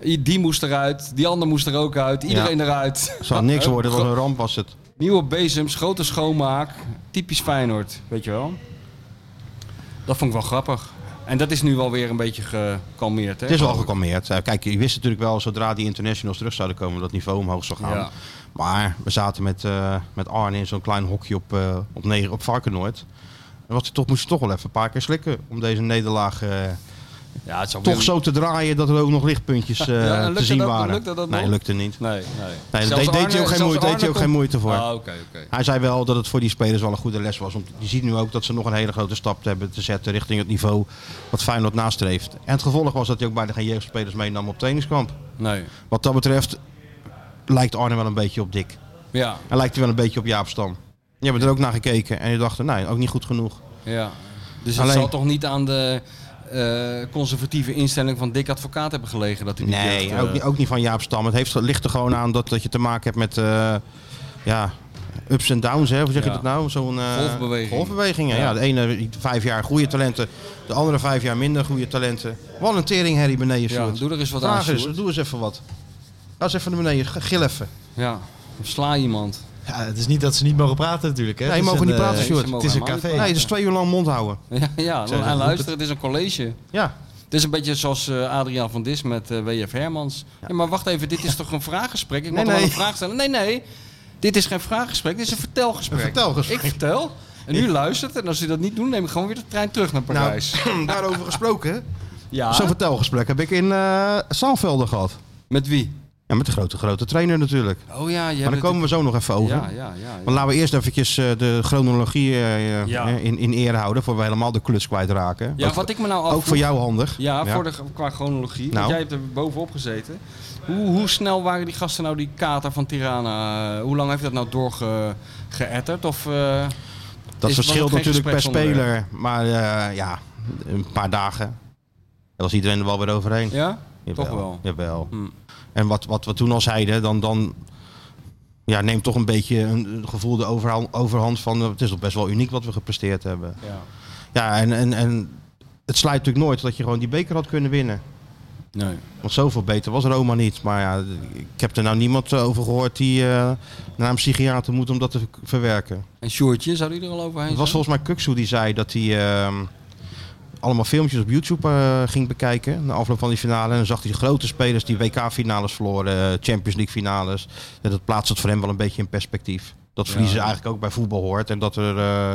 Speaker 2: I- Die moest eruit, die ander moest er ook uit, iedereen eruit.
Speaker 1: Het zou niks worden, wat een ramp was het.
Speaker 2: Nieuwe bezems, grote schoonmaak. Typisch Feyenoord, weet je wel. Dat vond ik wel grappig. En dat is nu wel weer een beetje gekalmeerd, hè?
Speaker 1: Het is wel gekalmeerd. Eh, Kijk, je wist natuurlijk wel, zodra die internationals terug zouden komen, dat het niveau omhoog zou gaan.
Speaker 2: Ja.
Speaker 1: Maar we zaten met, eh, met Arne in zo'n klein hokje op, eh op, negen, op Varkenoord. En wat, toch, moest je toch wel even een paar keer slikken om deze nederlaag... eh,
Speaker 2: Ja, het is
Speaker 1: toch zo te draaien dat er ook nog lichtpuntjes eh,
Speaker 2: Ja, en lukte
Speaker 1: te zien
Speaker 2: dat-
Speaker 1: waren.
Speaker 2: lukte dat
Speaker 1: nee,
Speaker 2: nog?
Speaker 1: lukte niet.
Speaker 2: Nee, nee.
Speaker 1: Nee, dat
Speaker 2: Zelfs
Speaker 1: deed, deed hij
Speaker 2: Arne-
Speaker 1: ook geen
Speaker 2: zelfs
Speaker 1: moeite, deed
Speaker 2: Arne
Speaker 1: hij ook geen
Speaker 2: kon-
Speaker 1: moeite voor.
Speaker 2: Ah, oké, oké.
Speaker 1: Hij zei wel dat het voor die spelers wel een goede les was. Want je ziet nu ook dat ze nog een hele grote stap te hebben te zetten richting het niveau wat Feyenoord nastreeft. En het gevolg was dat hij ook bijna geen jeugdspelers meenam op trainingskamp.
Speaker 2: Nee.
Speaker 1: Wat dat betreft lijkt Arne wel een beetje op Dick.
Speaker 2: Ja,
Speaker 1: En lijkt hij wel een beetje op Jaap Stam. Je hebt er ook naar gekeken en je dacht, nee, ook niet goed genoeg.
Speaker 2: ja. Dus
Speaker 1: Alleen-
Speaker 2: het zal toch niet aan de eh, conservatieve instelling van Dick Advocaat hebben gelegen dat hij die
Speaker 1: Nee,
Speaker 2: jeugd, eh,
Speaker 1: ook, niet, ook niet van Jaap Stam. Het heeft, ligt er gewoon aan dat, dat je te maken hebt met eh, ja, ups en downs, hè? hoe zeg je
Speaker 2: Ja.
Speaker 1: dat nou? Zo'n eh,
Speaker 2: Golfbeweging.
Speaker 1: golfbewegingen, ja.
Speaker 2: Ja.
Speaker 1: De ene vijf jaar goede talenten, de andere vijf jaar minder goede talenten. Wat een tering, Harry beneden,
Speaker 2: Ja,
Speaker 1: Sjoerd.
Speaker 2: doe er eens wat aan,
Speaker 1: Vraag eens,
Speaker 2: Sjoerd.
Speaker 1: doe eens even wat. Ga eens even naar beneden, g- gil even.
Speaker 2: Ja, of sla iemand.
Speaker 3: Ja, het is niet dat ze niet mogen praten natuurlijk. Hè?
Speaker 1: Nee,
Speaker 3: Het is
Speaker 1: mogen
Speaker 3: een,
Speaker 1: niet
Speaker 3: eh,
Speaker 1: praten,
Speaker 2: Sjoerd.
Speaker 3: Het is een
Speaker 2: Ze mogen
Speaker 3: café.
Speaker 2: helemaal
Speaker 1: Nee, dus twee uur lang mond houden.
Speaker 2: Ja, ja
Speaker 3: Zeg,
Speaker 2: dan, en
Speaker 3: roep
Speaker 2: luister, het is een college.
Speaker 1: Ja,
Speaker 2: Het is een beetje zoals eh, Adriaan van Dis met eh, WF Hermans. Ja. maar wacht even, dit is toch een vraaggesprek? Ik moet
Speaker 1: Nee,
Speaker 2: toch wel
Speaker 1: nee.
Speaker 2: een vraag stellen? Nee, nee. Dit is geen vraaggesprek, dit is een vertelgesprek.
Speaker 1: Een vertelgesprek.
Speaker 2: Ik vertel. En u luistert. En als u dat niet doet, neem ik gewoon weer de trein terug naar
Speaker 1: Nou,
Speaker 2: Parijs.
Speaker 1: daarover gesproken.
Speaker 2: ja.
Speaker 1: Zo'n vertelgesprek heb ik in eh Zaalvelden gehad.
Speaker 2: Met wie?
Speaker 1: Ja, met de grote, grote trainer natuurlijk.
Speaker 2: Oh ja, je
Speaker 1: Maar
Speaker 2: hebt
Speaker 1: daar komen we zo nog even
Speaker 2: het-
Speaker 1: over.
Speaker 2: Ja, ja, ja.
Speaker 1: Maar laten we eerst eventjes eh, de chronologie eh,
Speaker 2: Ja.
Speaker 1: eh, in, in ere houden, voor we helemaal de klus kwijtraken.
Speaker 2: Ja,
Speaker 1: ook,
Speaker 2: wat ik me nou
Speaker 1: ook
Speaker 2: afvroeg...
Speaker 1: voor jou handig.
Speaker 2: Ja, Voor de, qua chronologie.
Speaker 1: Nou.
Speaker 2: Want jij hebt er bovenop gezeten. Hoe, hoe snel waren die gasten nou die kater van Tirana? eh, Hoe lang heeft dat nou doorgeëtterd? Of... eh,
Speaker 1: Dat
Speaker 2: is- was
Speaker 1: verschilt
Speaker 2: ook geen
Speaker 1: natuurlijk per speler,
Speaker 2: gespreksonderwerp.
Speaker 1: maar eh, ja, een paar dagen. Daar was iedereen er wel weer overheen.
Speaker 2: ja?
Speaker 1: Jawel,
Speaker 2: toch wel.
Speaker 1: Jawel.
Speaker 2: Hmm.
Speaker 1: En wat, wat we toen al zeiden, dan, dan ja, neemt toch een beetje een, een gevoel de overhand, overhand van... eh, het is toch best wel uniek wat we gepresteerd hebben.
Speaker 2: Ja.
Speaker 1: Ja, en, en, en het sluit natuurlijk nooit dat je gewoon die beker had kunnen winnen.
Speaker 2: Nee.
Speaker 1: Want zoveel beter was Roma niet. Maar ja, ik heb er nou niemand eh, over gehoord die eh, naar een psychiater moet om dat te verwerken.
Speaker 2: En Sjoertje, zou die er al overheen
Speaker 1: Het was
Speaker 2: zijn?
Speaker 1: volgens mij Kuksu die zei dat hij ehm, allemaal filmpjes op YouTube eh, ging bekijken. Na afloop van die finale. En dan zag hij grote spelers die WK-finales verloren, eh, Champions League-finales. En dat plaatst het voor hem wel een beetje in perspectief. Dat
Speaker 2: Ja.
Speaker 1: verliezen eigenlijk ook bij voetbal hoort. En dat er eh,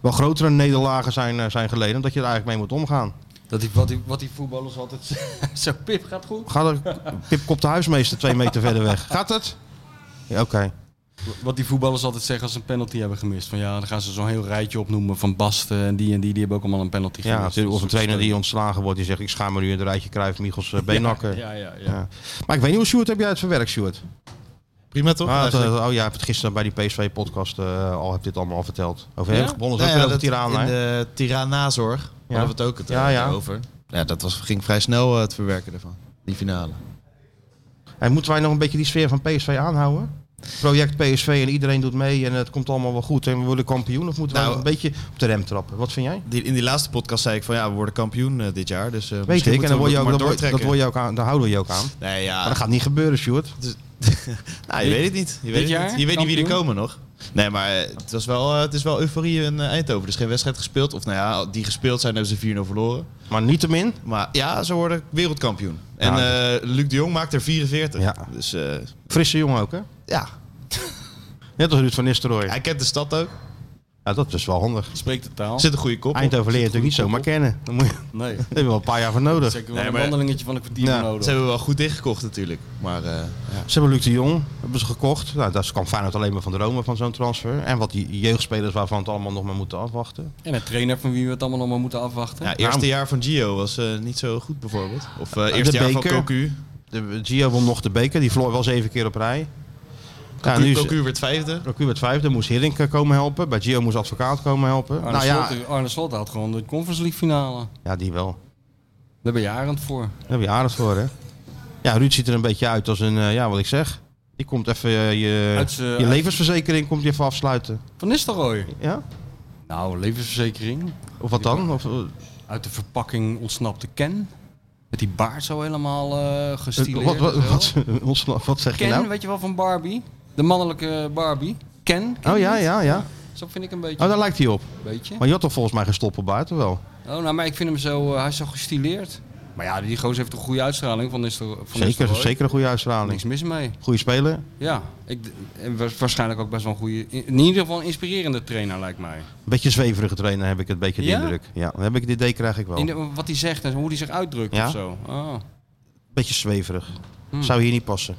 Speaker 1: wel grotere nederlagen zijn, eh, zijn geleden. En dat je er eigenlijk mee moet omgaan.
Speaker 2: Dat die, wat, die, wat die voetballers altijd zeggen. Zo, Pip, gaat goed.
Speaker 1: Gaat er Pipkop de huismeester twee meter verder weg? Gaat het? Ja, Oké.
Speaker 2: Wat die voetballers altijd zeggen als ze een penalty hebben gemist. Van ja, dan gaan ze zo'n heel rijtje opnoemen van Basten en die en die. Die hebben ook allemaal een penalty
Speaker 1: Ja,
Speaker 2: gemist.
Speaker 1: natuurlijk. Of een
Speaker 2: Dat is
Speaker 1: trainer die ontslagen wordt, die zegt: Ik schaam me nu in de rijtje Cruijff, Michels, eh, Beenhakker.
Speaker 2: Ja, ja, ja.
Speaker 1: Ja. Maar ik weet niet hoe, Sjoerd, heb jij het verwerkt, Sjoerd?
Speaker 3: Prima toch?
Speaker 1: Ah, dat,
Speaker 3: eigenlijk?
Speaker 1: eh, oh ja, het gisteren bij die PSV-podcast eh, al heb dit allemaal al verteld. Over
Speaker 2: Ja?
Speaker 1: hem gebonden,
Speaker 3: Nou
Speaker 1: ja,
Speaker 3: ja,
Speaker 1: over
Speaker 3: dat-
Speaker 1: Tiraan.
Speaker 3: In
Speaker 1: hè?
Speaker 3: de Tiranazorg ja. hadden we het ook het, eh,
Speaker 1: Ja, ja.
Speaker 3: over. Ja, dat was, ging vrij snel eh, het verwerken ervan, die finale.
Speaker 1: En moeten wij nog een beetje die sfeer van PSV aanhouden? Project PSV en iedereen doet mee en het komt allemaal wel goed en we worden kampioen. Of moeten wij
Speaker 3: Nou,
Speaker 1: nog een beetje op de rem trappen? Wat vind jij?
Speaker 3: Die, in die laatste podcast zei ik van ja, we worden kampioen eh, dit jaar. Dus, eh,
Speaker 1: Weet
Speaker 3: misschien
Speaker 1: ik, en dan
Speaker 3: moeten
Speaker 1: word
Speaker 3: we
Speaker 1: je ook,
Speaker 3: maar
Speaker 1: dan word- dat
Speaker 3: doortrekken.
Speaker 1: word je ook aan, daar houden we je ook aan.
Speaker 3: Nee, ja.
Speaker 1: Maar dat gaat niet gebeuren, Sjoerd.
Speaker 3: Dus- nou, je
Speaker 2: Dit-
Speaker 3: weet het niet. Je weet, het
Speaker 2: jaar?
Speaker 3: niet. Je weet niet wie er
Speaker 2: Kampioen?
Speaker 3: komen nog. Nee, maar eh, het, was wel, eh, het is wel euforie in eh, Eindhoven. Er is geen wedstrijd gespeeld. Of nou ja, die gespeeld zijn hebben ze 4-0 verloren.
Speaker 1: Maar niettemin,
Speaker 3: Maar ja, ze worden wereldkampioen. En
Speaker 1: Nou,
Speaker 3: eh, Luc de Jong maakt er 44.
Speaker 1: Ja.
Speaker 3: Dus eh,
Speaker 1: frisse jongen ook, hè?
Speaker 3: ja,
Speaker 1: Net als Ruud van Nistelrooy.
Speaker 3: hij kent de stad ook.
Speaker 1: Ja, dat is wel handig.
Speaker 2: Spreekt de taal?
Speaker 3: Zit een goede kop op.
Speaker 1: Eindhoven leer je
Speaker 3: Zit een
Speaker 1: natuurlijk niet
Speaker 3: goede
Speaker 1: zomaar
Speaker 3: kop op.
Speaker 1: kennen. Daar moet je- daar
Speaker 2: Nee.
Speaker 1: heb je wel een paar jaar voor nodig.
Speaker 2: Zeker wel
Speaker 3: Nee,
Speaker 2: een
Speaker 3: maar-
Speaker 2: wandelingetje van een kwartier
Speaker 1: Ja.
Speaker 2: nodig.
Speaker 3: Ze hebben wel goed ingekocht natuurlijk. Maar eh,
Speaker 1: Ze hebben Luc de Jong hebben ze gekocht. Nou, daar kwam Feyenoord alleen maar van dromen van zo'n transfer. En wat die jeugdspelers waarvan het allemaal nog maar moeten afwachten.
Speaker 2: En een trainer van wie we het allemaal nog maar moeten afwachten.
Speaker 3: ja, eerste jaar van Gio was eh, niet zo goed bijvoorbeeld. Of eh,
Speaker 1: de
Speaker 3: eerste jaar
Speaker 1: beker.
Speaker 3: van Cocu.
Speaker 1: De, Gio won nog de beker. Die verloor wel zeven keer op rij. Ja,
Speaker 3: Cocu,
Speaker 1: nu is
Speaker 3: Cocu werd vijfde.
Speaker 1: Cocu werd vijfde. Moest Hiddink komen helpen. Bij Gio moest advocaat komen helpen.
Speaker 2: Arne,
Speaker 1: nou ja,
Speaker 2: Slot, Arne Slot had gewoon de Conference League finale.
Speaker 1: ja, die wel.
Speaker 2: Daar ben je arend voor.
Speaker 1: Daar heb je aardig voor, hè? Ja, Ruud ziet er een beetje uit als een... eh, ja, wat ik zeg. Die komt even eh, je,
Speaker 2: Uit z'n-
Speaker 1: je
Speaker 2: uit-
Speaker 1: levensverzekering komt die even afsluiten.
Speaker 2: Van Nistelrooy.
Speaker 1: Ja?
Speaker 2: Nou, levensverzekering.
Speaker 1: Of wat dan? Of, eh,
Speaker 2: Uit de verpakking ontsnapte Ken. Met die baard zo helemaal eh gestileerd.
Speaker 1: wat, wat,
Speaker 2: en zo.
Speaker 1: wat, ontsla- wat zeg je
Speaker 2: Ken,
Speaker 1: nou?
Speaker 2: weet je wel, van Barbie. De mannelijke Barbie. Ken. ken
Speaker 1: Oh
Speaker 2: je
Speaker 1: ja,
Speaker 2: niet?
Speaker 1: ja, ja.
Speaker 2: Zo vind ik een beetje.
Speaker 1: Oh, daar lijkt hij op.
Speaker 2: beetje.
Speaker 1: Maar je had toch volgens mij gestoppeld buiten wel?
Speaker 2: Oh, nou, maar ik vind hem zo, eh, hij is zo gestileerd. Maar ja, die gozer heeft een goede uitstraling van Nistel- van
Speaker 1: Zeker,
Speaker 2: Nistelrooy.
Speaker 1: zeker een goede
Speaker 2: Niks
Speaker 1: uitstraling.
Speaker 2: mis mee.
Speaker 1: Goede speler.
Speaker 2: Ja, ik, d- en wa- waarschijnlijk ook best wel een goede, in in ieder geval een inspirerende trainer lijkt mij.
Speaker 1: Beetje zweverige trainer heb ik het een beetje de
Speaker 2: Ja?
Speaker 1: indruk. Ja, dan heb ik het idee krijg ik wel.
Speaker 2: In
Speaker 1: Een
Speaker 2: de- wat hij zegt en hoe hij zich uitdrukt
Speaker 1: Oh. Ja?
Speaker 2: of zo. Oh.
Speaker 1: beetje zweverig.
Speaker 2: Hmm.
Speaker 1: Zou hier niet passen.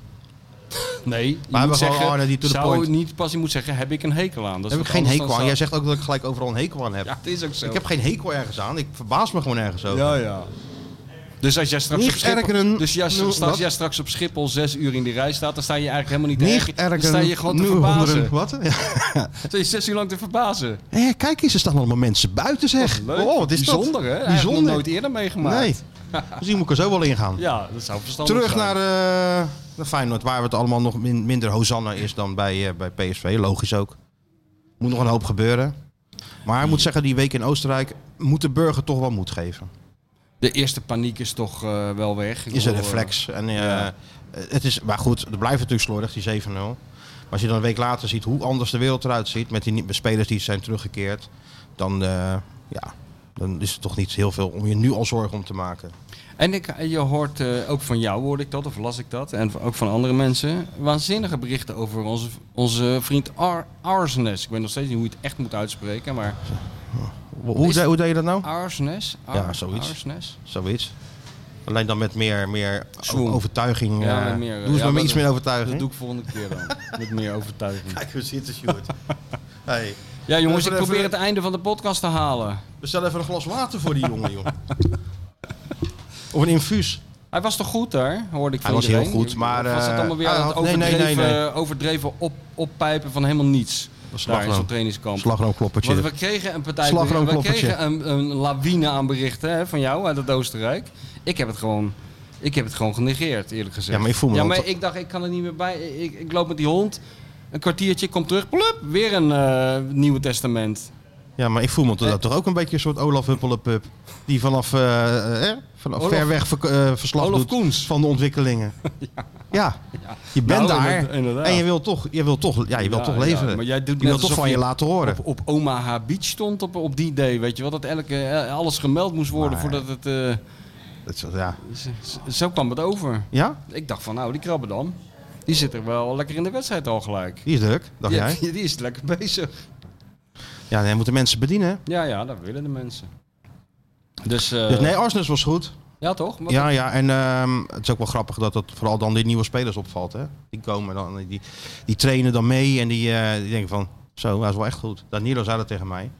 Speaker 2: Nee, je
Speaker 1: Maar we
Speaker 2: moet
Speaker 1: zeggen,
Speaker 2: zeggen,
Speaker 1: Arne, die to the
Speaker 2: zou
Speaker 1: point.
Speaker 2: niet pas, je moet zeggen, heb ik een hekel aan. Dat is
Speaker 1: heb ik
Speaker 2: wat
Speaker 1: geen
Speaker 2: anders
Speaker 1: hekel aan.
Speaker 2: dan
Speaker 1: Jij
Speaker 2: zou-
Speaker 1: zegt ook dat ik gelijk overal een hekel aan heb.
Speaker 2: Ja, het is ook zo.
Speaker 1: Ik heb geen hekel ergens aan. Ik verbaas me gewoon ergens over.
Speaker 2: Ja, ja. Dus als jij straks,
Speaker 1: Niet
Speaker 2: op Schiphol,
Speaker 1: ergeren.
Speaker 2: dus jij,
Speaker 1: Nul-
Speaker 2: straks,
Speaker 1: wat?
Speaker 2: jij straks op Schiphol zes uur in die rij staat, dan sta je eigenlijk helemaal niet
Speaker 1: Niet
Speaker 2: te ergeren. Dan sta je gewoon te verbazen.
Speaker 1: Wat? Ja.
Speaker 2: Sta je zes uur lang te verbazen.
Speaker 1: Hé, kijk eens, er staan allemaal mensen buiten zeg.
Speaker 2: Leuk.
Speaker 1: Oh, wat is
Speaker 2: Bijzonder,
Speaker 1: dat?
Speaker 2: hè? Hij heeft nog
Speaker 1: Bijzonder.
Speaker 2: nooit eerder meegemaakt.
Speaker 1: Nee. Misschien moet ik er zo wel in gaan.
Speaker 2: Ja, dat zou verstandig
Speaker 1: Terug naar
Speaker 2: zijn.
Speaker 1: eh, naar Feyenoord, waar het allemaal nog min- minder Hosanna is dan bij, eh, bij PSV. Logisch ook. Moet nog een hoop gebeuren. Maar ik moet zeggen, die week in Oostenrijk moet de burger toch wel moed geven.
Speaker 2: De eerste paniek is toch eh, wel weg. Ik
Speaker 1: is een
Speaker 2: bedoel, eh,
Speaker 1: reflex. En, eh,
Speaker 2: Ja.
Speaker 1: het is, maar goed, het blijft natuurlijk slordig, die 7-0. Maar als je dan een week later ziet hoe anders de wereld eruit ziet... met die nie- spelers die zijn teruggekeerd... dan, eh, ja, dan is er toch niet heel veel om je nu al zorgen om te maken.
Speaker 2: En ik, je hoort, eh, ook van jou hoorde ik dat, of las ik dat, en ook van andere mensen, waanzinnige berichten over onze, onze vriend Ar Arsenes. Ik weet nog steeds niet hoe je het echt moet uitspreken, maar
Speaker 1: Hoe, hoe,
Speaker 2: Is- Ah.
Speaker 1: de- hoe deed je dat nou?
Speaker 2: Arsenes? Ar-
Speaker 1: Ja, zoiets.
Speaker 2: Arsenes?
Speaker 1: Zoiets. Alleen dan met meer, meer o-
Speaker 2: Zwoem.
Speaker 1: overtuiging.
Speaker 2: Ja,
Speaker 1: eh,
Speaker 2: met meer, eh,
Speaker 1: Doe eens
Speaker 2: ja,
Speaker 1: maar
Speaker 2: dat-
Speaker 1: iets meer
Speaker 2: Dat
Speaker 1: overtuiging.
Speaker 2: doe ik volgende keer dan, met meer overtuiging.
Speaker 1: Kijk, we zitten, Sjoerd. hey,
Speaker 2: Ja jongens, ik
Speaker 1: Even-
Speaker 2: probeer
Speaker 1: even-
Speaker 2: het einde van de podcast te halen.
Speaker 1: bestel even een glas water voor die jongen, joh. Of een infuus.
Speaker 2: Hij was toch goed daar, hoorde ik van
Speaker 1: Hij was heel
Speaker 2: iedereen?
Speaker 1: goed, maar,
Speaker 2: Of was het
Speaker 1: eh,
Speaker 2: allemaal weer
Speaker 1: hij
Speaker 2: aan het
Speaker 1: had- nee,
Speaker 2: overdreven,
Speaker 1: nee, nee,
Speaker 2: overdreven op, oppijpen van helemaal niets? Daar in
Speaker 1: slagroom.
Speaker 2: zo'n trainingskamp.
Speaker 1: Slagroomkloppertje.
Speaker 2: Want we kregen een partij. We
Speaker 1: Slagroomkloppertje.
Speaker 2: kregen een, een lawine aan berichten hè, van jou uit het Oostenrijk. Ik heb het gewoon. Ik heb het gewoon genegeerd, eerlijk gezegd.
Speaker 1: Ja, maar ik voel me
Speaker 2: Ja,
Speaker 1: wel
Speaker 2: maar
Speaker 1: te-
Speaker 2: ik dacht, ik kan er niet meer bij. Ik, ik loop met die hond. Een kwartiertje, ik kom terug. Plup, weer een eh, Nieuwe Testament.
Speaker 1: Ja, maar ik voel me
Speaker 2: Eh.
Speaker 1: dat toch ook een beetje een soort Olaf Huppelenpup. Die vanaf, eh, eh, vanaf
Speaker 2: Olaf-
Speaker 1: ver weg verk- eh, verslag
Speaker 2: Olaf
Speaker 1: doet
Speaker 2: Koens.
Speaker 1: van de ontwikkelingen. ja. je bent
Speaker 2: Nou,
Speaker 1: daar
Speaker 2: inderdaad, inderdaad.
Speaker 1: en je wil toch, je wil toch, ja, je wil
Speaker 2: Ja,
Speaker 1: toch
Speaker 2: ja,
Speaker 1: leveren.
Speaker 2: maar jij doet
Speaker 1: je
Speaker 2: net
Speaker 1: wil toch
Speaker 2: alsof
Speaker 1: van je
Speaker 2: je
Speaker 1: laten horen.
Speaker 2: Op, op Omaha Beach stond op, op die day, weet je wel. Dat elke, eh, alles gemeld moest worden
Speaker 1: Maar-
Speaker 2: voordat het... eh,
Speaker 1: Dat is- ja.
Speaker 2: z- z- zo kwam het over.
Speaker 1: ja,
Speaker 2: Ik dacht van, nou, die krabben dan. Die zit er wel lekker in de wedstrijd al gelijk.
Speaker 1: die is druk, dacht
Speaker 2: Ja,
Speaker 1: jij.
Speaker 2: Die, die is lekker bezig.
Speaker 1: Ja, nee, moeten mensen bedienen.
Speaker 2: Ja, ja, dat willen de mensen. Dus, eh,
Speaker 1: Dus nee, Arsenal was goed.
Speaker 2: ja toch? Wat-
Speaker 1: Ja, ja, en ehm, het is ook wel grappig dat dat vooral dan die nieuwe spelers opvalt. Hè? Die komen dan, die, die trainen dan mee en die, eh, die denken van, zo, hij is wel echt goed. Danilo zei dat tegen mij.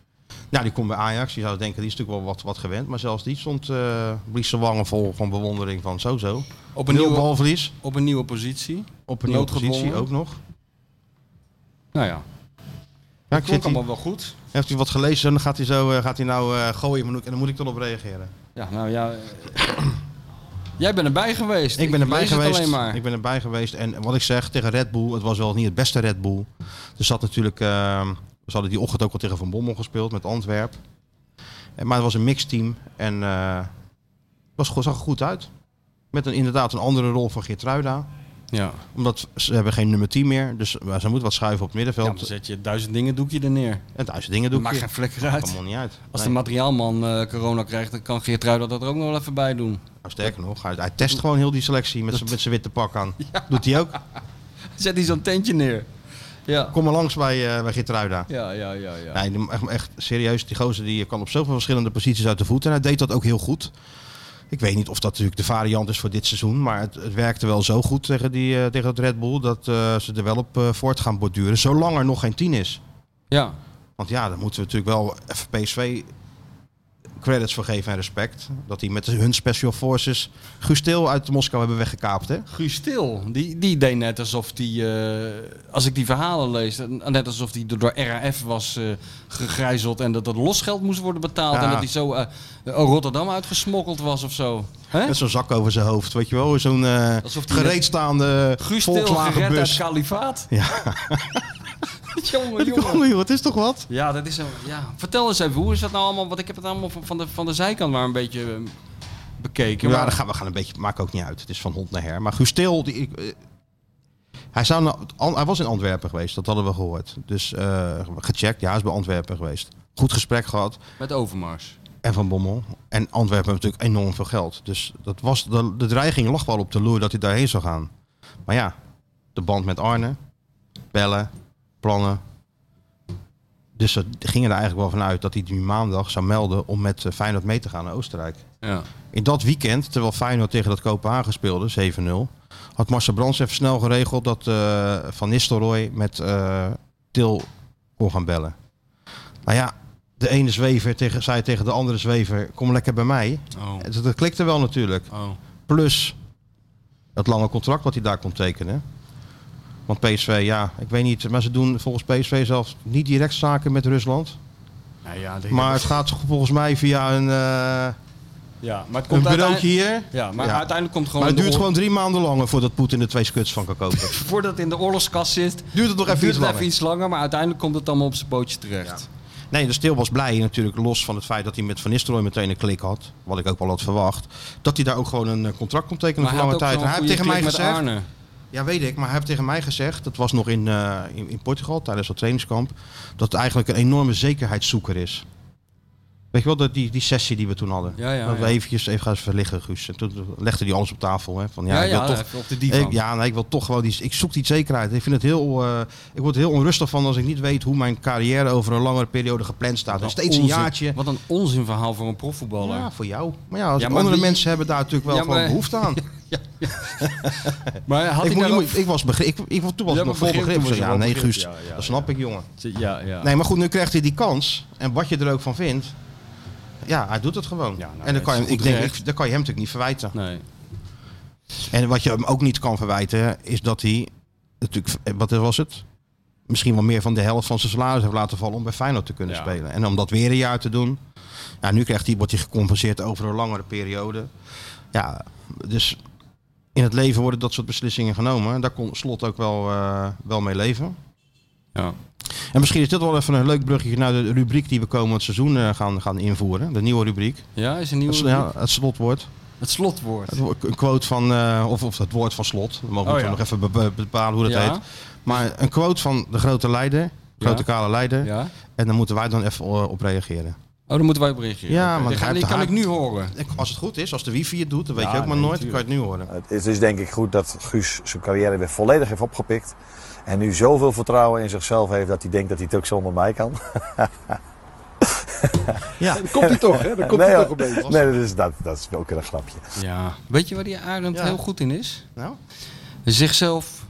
Speaker 1: Nou, die komt bij Ajax, die zou denken, die is natuurlijk wel wat, wat gewend. Maar zelfs die stond, eh blies zijn wangen vol van bewondering van, zo, zo.
Speaker 2: Op een,
Speaker 1: Nul
Speaker 2: nieuwe,
Speaker 1: balverlies,
Speaker 2: op een nieuwe positie.
Speaker 1: op een nieuwe
Speaker 2: Noodgedwongen.
Speaker 1: positie ook nog.
Speaker 2: Nou ja,
Speaker 1: Ja, ik
Speaker 2: dat klonk
Speaker 1: zit hier,
Speaker 2: allemaal wel goed.
Speaker 1: heeft hij wat gelezen en dan gaat hij, zo, eh, gaat hij nou eh, gooien maar dan- en dan moet ik dan op reageren.
Speaker 2: Ja, nou ja. eh, Jij bent erbij geweest.
Speaker 1: Ik ben erbij
Speaker 2: lees het
Speaker 1: geweest.
Speaker 2: alleen maar.
Speaker 1: Ik ben erbij geweest. En wat ik zeg tegen Red Bull, het was wel niet het beste Red Bull. Er zat natuurlijk. ehm, we hadden die ochtend ook al tegen Van Bommel gespeeld met Antwerp. En, maar het was een mixteam. En eh, het was, go- zag er goed uit. Met een, inderdaad een andere rol van Geertruida.
Speaker 2: Ja,
Speaker 1: Omdat ze hebben geen nummer 10 meer. Dus eh, ze moet wat schuiven op het
Speaker 2: ja dan
Speaker 1: middenveld.
Speaker 2: zet je duizend dingen doekje er neer.
Speaker 1: en duizend dingen doen.
Speaker 2: Maakt geen flikker
Speaker 1: Dat
Speaker 2: uit.
Speaker 1: allemaal niet uit.
Speaker 2: Als de
Speaker 1: Nee.
Speaker 2: materiaalman eh, corona krijgt, dan kan Geertruida dat er ook nog wel even bij doen.
Speaker 1: Nou, sterker nog, hij, hij test gewoon heel die selectie met zijn met zijn witte pak aan. Doet hij ook.
Speaker 2: Zet hij zo'n tentje neer. Ja,
Speaker 1: Kom maar langs bij, eh bij Geertruida.
Speaker 2: ja, ja, ja. ja.
Speaker 1: Ja, die- echt, echt serieus, die gozer die kan op zoveel verschillende posities uit de voet. En hij deed dat ook heel goed. Ik weet niet of dat natuurlijk de variant is voor dit seizoen. Maar het, het werkte wel zo goed tegen, die, eh, tegen het Red Bull dat eh, ze er wel op eh, voort gaan borduren. Zolang er nog geen 10 is.
Speaker 2: ja.
Speaker 1: Want ja, dan moeten we natuurlijk wel even PSV credits voor geven en respect. Dat die met hun special forces Gusteel uit Moskou hebben weggekaapt. Hè?
Speaker 2: Guus Stil, die, die deed net alsof die, eh, als ik die verhalen lees, eh, net alsof die door RAF was eh, gegrijzeld en dat dat losgeld moest worden betaald
Speaker 1: Ja.
Speaker 2: en dat hij zo eh, Rotterdam uitgesmokkeld was of zo. Hè?
Speaker 1: Met zo'n zak over zijn hoofd, weet je wel. Zo'n eh
Speaker 2: Alsof die eh,
Speaker 1: gereedstaande
Speaker 2: Guus Stil gered uit
Speaker 1: Volkswagenbus.
Speaker 2: kalifaat.
Speaker 1: Ja.
Speaker 2: jongen,
Speaker 1: Kom,
Speaker 2: jongen.
Speaker 1: joh, het is toch wat?
Speaker 2: Ja, dat is een, ja. Vertel eens even, hoe is dat nou allemaal? Want ik heb het allemaal van, van de, van de zijkant maar een beetje eh, bekeken.
Speaker 1: Ja,
Speaker 2: maar-
Speaker 1: dan gaan we gaan een beetje. Maakt ook niet uit. Het is van hond naar her. Maar Gustil, die, ik, eh, hij, zou naar- An- hij was in Antwerpen geweest. Dat hadden we gehoord. Dus eh, gecheckt. Ja, hij is bij Antwerpen geweest. Goed gesprek gehad.
Speaker 2: Met Overmars.
Speaker 1: En van Bommel. En Antwerpen heeft natuurlijk enorm veel geld. Dus dat was, de, de dreiging lag wel op de loer dat hij daarheen zou gaan. Maar ja, de band met Arne. Bellen. Plannen. Dus ze gingen er eigenlijk wel vanuit dat hij nu maandag zou melden om met eh, Feyenoord mee te gaan naar Oostenrijk.
Speaker 2: Ja.
Speaker 1: In dat weekend, terwijl Feyenoord tegen dat Kopenhagen speelde, 7-0, had Marcel Brands even snel geregeld dat eh, Van Nistelrooy met eh, Til kon gaan bellen. Nou ja, de ene zwever tegen, zei tegen de andere zwever, kom lekker bij mij.
Speaker 2: Oh.
Speaker 1: Dat, dat klikte wel natuurlijk.
Speaker 2: Oh.
Speaker 1: Plus dat lange contract wat hij daar kon tekenen. Want PSV, ja, ik weet niet, maar ze doen volgens PSV zelfs niet direct zaken met Rusland.
Speaker 2: Nou ja, ik denk
Speaker 1: Maar
Speaker 2: dat-
Speaker 1: het gaat volgens mij via een, eh,
Speaker 2: Ja, maar het
Speaker 1: Een
Speaker 2: komt
Speaker 1: bureautje
Speaker 2: uiteindelijk...
Speaker 1: hier.
Speaker 2: Ja, maar
Speaker 1: Ja.
Speaker 2: uiteindelijk komt gewoon...
Speaker 1: Maar het
Speaker 2: in de
Speaker 1: duurt
Speaker 2: oor-
Speaker 1: gewoon drie maanden langer voordat Poetin er twee skuts van kan kopen.
Speaker 2: Voordat het in de oorlogskast zit,
Speaker 1: Duurt het nog even
Speaker 2: duurt
Speaker 1: iets
Speaker 2: het
Speaker 1: langer.
Speaker 2: even iets langer. Maar uiteindelijk komt het allemaal op zijn pootje terecht.
Speaker 1: Nee, de Stil was blij natuurlijk, los van het feit dat hij met Van Nistelrooy meteen een klik had. Wat ik ook wel had verwacht. Dat hij daar ook gewoon een eh, contract kon tekenen
Speaker 2: Maar
Speaker 1: voor
Speaker 2: hij had
Speaker 1: lange
Speaker 2: ook
Speaker 1: tijd.
Speaker 2: wel
Speaker 1: En
Speaker 2: een
Speaker 1: hij heeft
Speaker 2: goede
Speaker 1: tegen mij
Speaker 2: klik met
Speaker 1: gezegd...
Speaker 2: Arne.
Speaker 1: Ja, weet ik. Maar hij heeft tegen mij gezegd, dat was nog in, eh, in, in Portugal tijdens dat trainingskamp, dat het eigenlijk een enorme zekerheidszoeker is. Weet je wel, dat, die, die sessie die we toen hadden.
Speaker 2: Ja, ja,
Speaker 1: dat we
Speaker 2: ja.
Speaker 1: eventjes even gaan verliggen, Guus. En toen legde hij alles op tafel. Hè, van, ja,
Speaker 2: Ja,
Speaker 1: ik wil
Speaker 2: ja,
Speaker 1: toch,
Speaker 2: even op de divan.
Speaker 1: ik, ja, nee, ik wil toch gewoon die. Ik zoek die zekerheid. Ik vind het heel. eh, ik word er heel onrustig van als ik niet weet hoe mijn carrière over een langere periode gepland staat.
Speaker 2: Wat
Speaker 1: En
Speaker 2: een
Speaker 1: steeds een
Speaker 2: onzin-
Speaker 1: jaartje.
Speaker 2: Wat een onzinverhaal voor een profvoetballer.
Speaker 1: Ja, voor jou. Maar ja, als
Speaker 2: Ja,
Speaker 1: ik-
Speaker 2: maar
Speaker 1: andere
Speaker 2: wie-
Speaker 1: mensen hebben daar natuurlijk wel
Speaker 2: Ja,
Speaker 1: gewoon
Speaker 2: maar-
Speaker 1: behoefte aan.
Speaker 2: Maar had
Speaker 1: ik,
Speaker 2: ik,
Speaker 1: moet,
Speaker 2: daar
Speaker 1: je
Speaker 2: ook-
Speaker 1: moet- ik was begrip. Ik, ik, toen was
Speaker 2: Ja,
Speaker 1: ik nog
Speaker 2: maar
Speaker 1: vol
Speaker 2: begrip,
Speaker 1: begrip.
Speaker 2: toen
Speaker 1: Zo,
Speaker 2: was je
Speaker 1: ja,
Speaker 2: wel
Speaker 1: nee,
Speaker 2: begrip.
Speaker 1: Guus.
Speaker 2: Ja, ja,
Speaker 1: dat snap ik, jongen.
Speaker 2: Ja, ja.
Speaker 1: Nee, maar goed, nu krijgt hij die kans. En wat je er ook van vindt. Ja, hij doet het gewoon.
Speaker 2: Ja, nou,
Speaker 1: en dan
Speaker 2: dat
Speaker 1: kan, je,
Speaker 2: is goed
Speaker 1: ik denk,
Speaker 2: recht.
Speaker 1: ik, dan kan je hem natuurlijk niet verwijten.
Speaker 2: Nee.
Speaker 1: En wat je hem ook niet kan verwijten, is dat hij natuurlijk, eh, wat was het? Misschien wel meer van de helft van zijn salaris heeft laten vallen om bij Feyenoord te kunnen
Speaker 2: Ja.
Speaker 1: spelen. En om dat weer een jaar te doen. Ja, nu krijgt hij, wordt hij gecompenseerd over een langere periode. Ja, dus in het leven worden dat soort beslissingen genomen. Daar kon Slot ook wel, eh, wel mee leven.
Speaker 2: Ja.
Speaker 1: En misschien is dit wel even een leuk bruggetje naar de rubriek die we komend seizoen eh, gaan, gaan invoeren. De nieuwe rubriek.
Speaker 2: ja, is een
Speaker 1: Het,
Speaker 2: nieuwe...
Speaker 1: ja, het slotwoord.
Speaker 2: Het slotwoord.
Speaker 1: Het wo- Een quote van, eh, of, of het woord van slot. We mogen
Speaker 2: Oh,
Speaker 1: natuurlijk
Speaker 2: ja.
Speaker 1: nog even be- be- bepalen hoe dat
Speaker 2: Ja.
Speaker 1: heet. Maar een quote van de grote leider, grote
Speaker 2: Ja.
Speaker 1: kale leider.
Speaker 2: Ja.
Speaker 1: En dan moeten wij dan even eh, op reageren.
Speaker 2: Oh, dan moeten wij op reageren.
Speaker 1: Ja,
Speaker 2: Oké,
Speaker 1: maar
Speaker 2: die
Speaker 1: hij
Speaker 2: kan, die
Speaker 1: heeft
Speaker 2: kan
Speaker 1: de
Speaker 2: ik nu horen.
Speaker 1: En Als het goed is, als de wifi het doet, dan weet
Speaker 4: Ja,
Speaker 1: je ook maar
Speaker 4: nee,
Speaker 1: nooit. Dan kan je het nu horen.
Speaker 4: Het is dus denk ik goed dat Guus zijn carrière weer volledig heeft opgepikt. En nu zoveel vertrouwen in zichzelf heeft dat hij denkt dat hij het ook zonder mij kan.
Speaker 1: Ja.
Speaker 5: Dan komt hij toch, hè? Dan komt hij
Speaker 4: nee,
Speaker 5: toch een beetje.
Speaker 4: nee dat, is, dat, dat is ook weer een grapje.
Speaker 2: Ja. Weet je waar die Arend
Speaker 1: Ja.
Speaker 2: heel goed in is?
Speaker 1: Nou,
Speaker 2: Zichzelf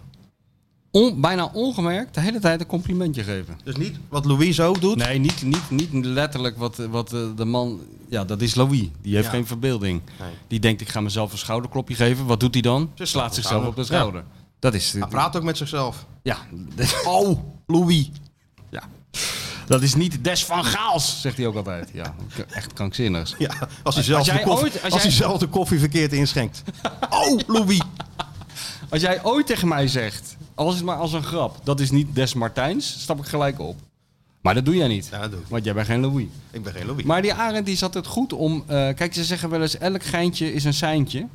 Speaker 2: on- bijna ongemerkt de hele tijd een complimentje geven.
Speaker 1: dus niet wat Louise ook doet.
Speaker 2: Nee, niet, niet, niet letterlijk wat, eh, wat eh, de man... Ja, dat is Louis. Die heeft
Speaker 1: Ja.
Speaker 2: geen verbeelding.
Speaker 1: Nee.
Speaker 2: Die denkt, ik ga mezelf een schouderklopje geven. Wat doet hij dan?
Speaker 1: Ze
Speaker 2: Ze
Speaker 1: slaat
Speaker 2: slaat zichzelf op de
Speaker 1: schouder. Ah,
Speaker 2: schouder. Dat is...
Speaker 1: Hij praat ook met zichzelf.
Speaker 2: Ja. Oh, Louis. Ja. Dat is niet Des van Gaals, zegt hij ook altijd. Ja, echt krankzinnig.
Speaker 1: Ja, als hij zelf,
Speaker 2: jij
Speaker 1: de, koffie,
Speaker 2: ooit- als
Speaker 1: als
Speaker 2: jij-
Speaker 1: hij zelf de koffie verkeerd inschenkt. Oh, Louis.
Speaker 2: Als jij ooit tegen mij zegt, al is het maar als een grap, dat is niet Des Martijns, stap ik gelijk op. Maar dat doe jij niet,
Speaker 1: Ja, dat doe ik.
Speaker 2: want jij bent geen Louis.
Speaker 1: Ik ben geen Louis.
Speaker 2: Maar die Arend die zat het goed om... eh, kijk, ze zeggen wel eens, elk geintje is een seintje.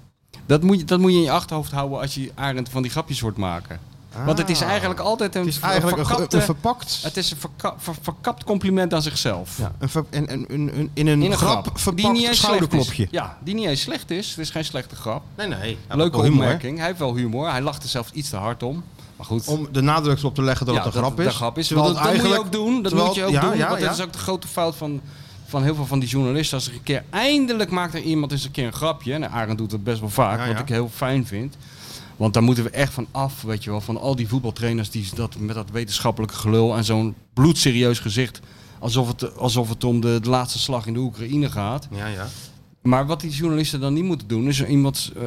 Speaker 2: Dat moet, je, dat moet je in je achterhoofd houden als je Arend van die grapjes hoort maken. Want het is eigenlijk altijd een,
Speaker 1: Ah. het is
Speaker 2: ver-
Speaker 1: eigenlijk een, ge-
Speaker 2: verkapte-
Speaker 1: een verpakt.
Speaker 2: het is een verka- ver- verkapt compliment aan zichzelf.
Speaker 1: Ja, een ver- en, en, een- een- in een,
Speaker 2: In een grap,
Speaker 1: grap, verpakt schouderklopje.
Speaker 2: slecht is. Ja, die niet eens slecht is. Het is geen slechte grap.
Speaker 1: Nee, nee.
Speaker 2: Leuke
Speaker 1: humor.
Speaker 2: opmerking. Hij heeft wel humor. Hij lacht er zelfs iets te hard om. Maar goed.
Speaker 1: Om de nadruk erop te leggen dat het een grap is.
Speaker 2: De grap is.
Speaker 1: Terwijl
Speaker 2: Want dat,
Speaker 1: het
Speaker 2: dat moet je ook
Speaker 1: eigenlijk-
Speaker 2: doen. Dat
Speaker 1: terwijl-
Speaker 2: moet je ook
Speaker 1: ja,
Speaker 2: doen.
Speaker 1: ja,
Speaker 2: want
Speaker 1: ja.
Speaker 2: dat is ook de grote fout van, van heel veel van die journalisten. Als er een keer eindelijk maakt er iemand eens een keer een grapje. En Arend doet dat best wel vaak,
Speaker 1: Ja, ja.
Speaker 2: wat ik heel fijn vind. Want daar moeten we echt van af, weet je wel. Van al die voetbaltrainers die dat met dat wetenschappelijke gelul en zo'n bloedserieus gezicht. Alsof het, alsof het om de, de laatste slag in de Oekraïne gaat.
Speaker 1: Ja, ja.
Speaker 2: Maar wat die journalisten dan niet moeten doen, is iemand eh,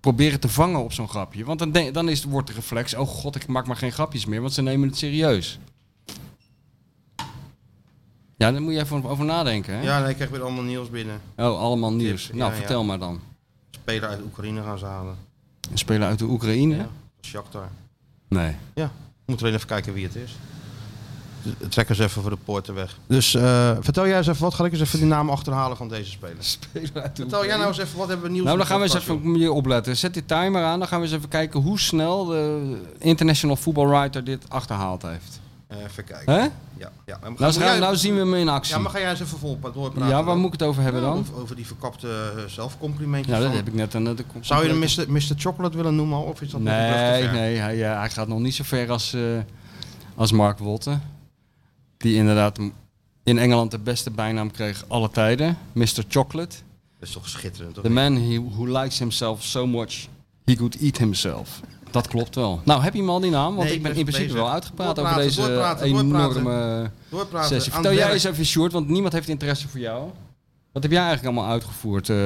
Speaker 2: proberen te vangen op zo'n grapje. Want dan, denk- dan is, wordt de reflex, oh god, ik maak maar geen grapjes meer, want ze nemen het serieus. Ja, daar moet je even over nadenken. Hè?
Speaker 1: Ja, nee, ik krijg weer allemaal nieuws binnen.
Speaker 2: Oh, allemaal nieuws.
Speaker 1: Tips,
Speaker 2: nou,
Speaker 1: ja,
Speaker 2: vertel
Speaker 1: ja.
Speaker 2: maar dan.
Speaker 1: Speler uit Oekraïne gaan ze halen.
Speaker 2: Een speler uit de Oekraïne?
Speaker 1: Ja. Shakhtar.
Speaker 2: Nee.
Speaker 1: Ja. Moeten we even kijken wie het is. Trek eens even voor de poorten weg. Dus eh, vertel jij eens even wat. Ga ik eens even de naam achterhalen van deze speler.
Speaker 2: Speler uit de
Speaker 1: Vertel jij nou eens even wat hebben we nieuws.
Speaker 2: Nou,
Speaker 1: in
Speaker 2: dan
Speaker 1: de
Speaker 2: gaan we eens
Speaker 1: podcast,
Speaker 2: even meer opletten. Zet die timer aan, dan gaan we eens even kijken hoe snel de International Football Writer dit achterhaald heeft.
Speaker 1: joh? Eh, Even kijken.
Speaker 2: Hè?
Speaker 1: Ja. ja. Maar
Speaker 2: Nou,
Speaker 1: ga-
Speaker 2: gaan-
Speaker 1: jij-
Speaker 2: nou zien we hem in actie.
Speaker 1: Ja, maar ga jij eens even vol doorpraten.
Speaker 2: Ja, waar
Speaker 1: dan?
Speaker 2: moet ik het over hebben
Speaker 1: Ja,
Speaker 2: dan?
Speaker 1: Over, over die verkapte eh, zelfcomplimentjes.
Speaker 2: Ja, Nou, dat
Speaker 1: van-
Speaker 2: heb ik net aan de kom-
Speaker 1: Zou je hem Mr. Mr. Chocolate willen noemen? Of is dat nog een brug te
Speaker 2: Nee,
Speaker 1: ver?
Speaker 2: nee hij, eh, hij gaat nog niet zo ver als, eh, als Mark Wotten. Die inderdaad m- in Engeland de beste bijnaam kreeg alle tijden. Mr. Chocolate.
Speaker 1: Dat is toch schitterend, toch?
Speaker 2: The man he- who likes himself so much, he could eat himself. Dat klopt wel. Nou, heb je hem al die naam? Want
Speaker 1: Nee,
Speaker 2: ik
Speaker 1: ik
Speaker 2: ben
Speaker 1: ben
Speaker 2: in principe
Speaker 1: bezig.
Speaker 2: wel uitgepraat over
Speaker 1: Doorpraten,
Speaker 2: deze
Speaker 1: doorpraten, doorpraten.
Speaker 2: enorme
Speaker 1: Doorpraten.
Speaker 2: sessie.
Speaker 1: aan
Speaker 2: Vertel jij
Speaker 1: het
Speaker 2: eens even short, want niemand heeft interesse voor jou. Wat heb jij eigenlijk allemaal uitgevoerd? eh?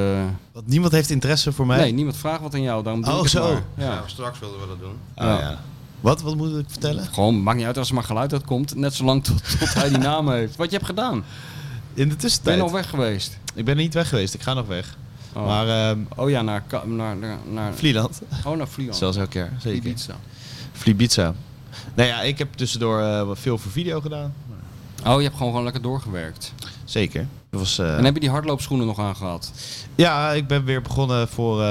Speaker 3: Want niemand heeft interesse voor mij.
Speaker 2: nee, niemand vraagt wat aan jou. Daarom doe
Speaker 3: Oh,
Speaker 2: ik het
Speaker 3: zo.
Speaker 2: maar.
Speaker 1: werk.
Speaker 2: Ja.
Speaker 1: Ja, straks wilden we dat doen.
Speaker 3: Oh, ja. Wat? Wat moet ik vertellen?
Speaker 2: Gewoon, maakt niet uit als er maar geluid uit komt. Net zolang tot, tot hij die naam heeft. Wat je hebt gedaan.
Speaker 3: In de
Speaker 2: Ben
Speaker 3: tussentijd.
Speaker 2: je al weg geweest?
Speaker 3: Ik Ik ben er niet weg geweest. Ik ga nog weg.
Speaker 2: Oh,
Speaker 3: Maar ehm,
Speaker 2: oh ja, naar, Ka- naar, naar, naar,
Speaker 3: Vlieland.
Speaker 2: oh, naar Vlieland.
Speaker 3: Zelfs elke keer. Zeker.
Speaker 2: Ibiza.
Speaker 3: Vliebiza. Nou ja, ik heb tussendoor eh, wat veel voor video gedaan.
Speaker 2: Oh, je hebt gewoon, gewoon lekker doorgewerkt.
Speaker 3: Zeker. Dat was, eh,
Speaker 2: En heb je die hardloopschoenen nog aangehad?
Speaker 3: Ja, ik ben weer begonnen voor eh,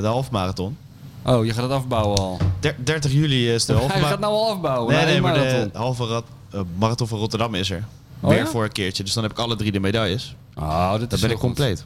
Speaker 3: de halfmarathon.
Speaker 2: Oh, je gaat het afbouwen al.
Speaker 3: Der- 30 juli is de
Speaker 2: Hij gaat
Speaker 3: halfmarathon.
Speaker 2: het nou al afbouwen.
Speaker 3: Nee,
Speaker 2: na
Speaker 3: nee,
Speaker 2: één
Speaker 3: maar de
Speaker 2: marathon.
Speaker 3: halve rat- eh, marathon van Rotterdam is er.
Speaker 2: Oh,
Speaker 3: Weer
Speaker 2: ja?
Speaker 3: voor een keertje. Dus dan heb ik alle drie de medailles.
Speaker 2: Oh, dit is
Speaker 3: Dan ben
Speaker 2: heel
Speaker 3: ik
Speaker 2: goed.
Speaker 3: compleet.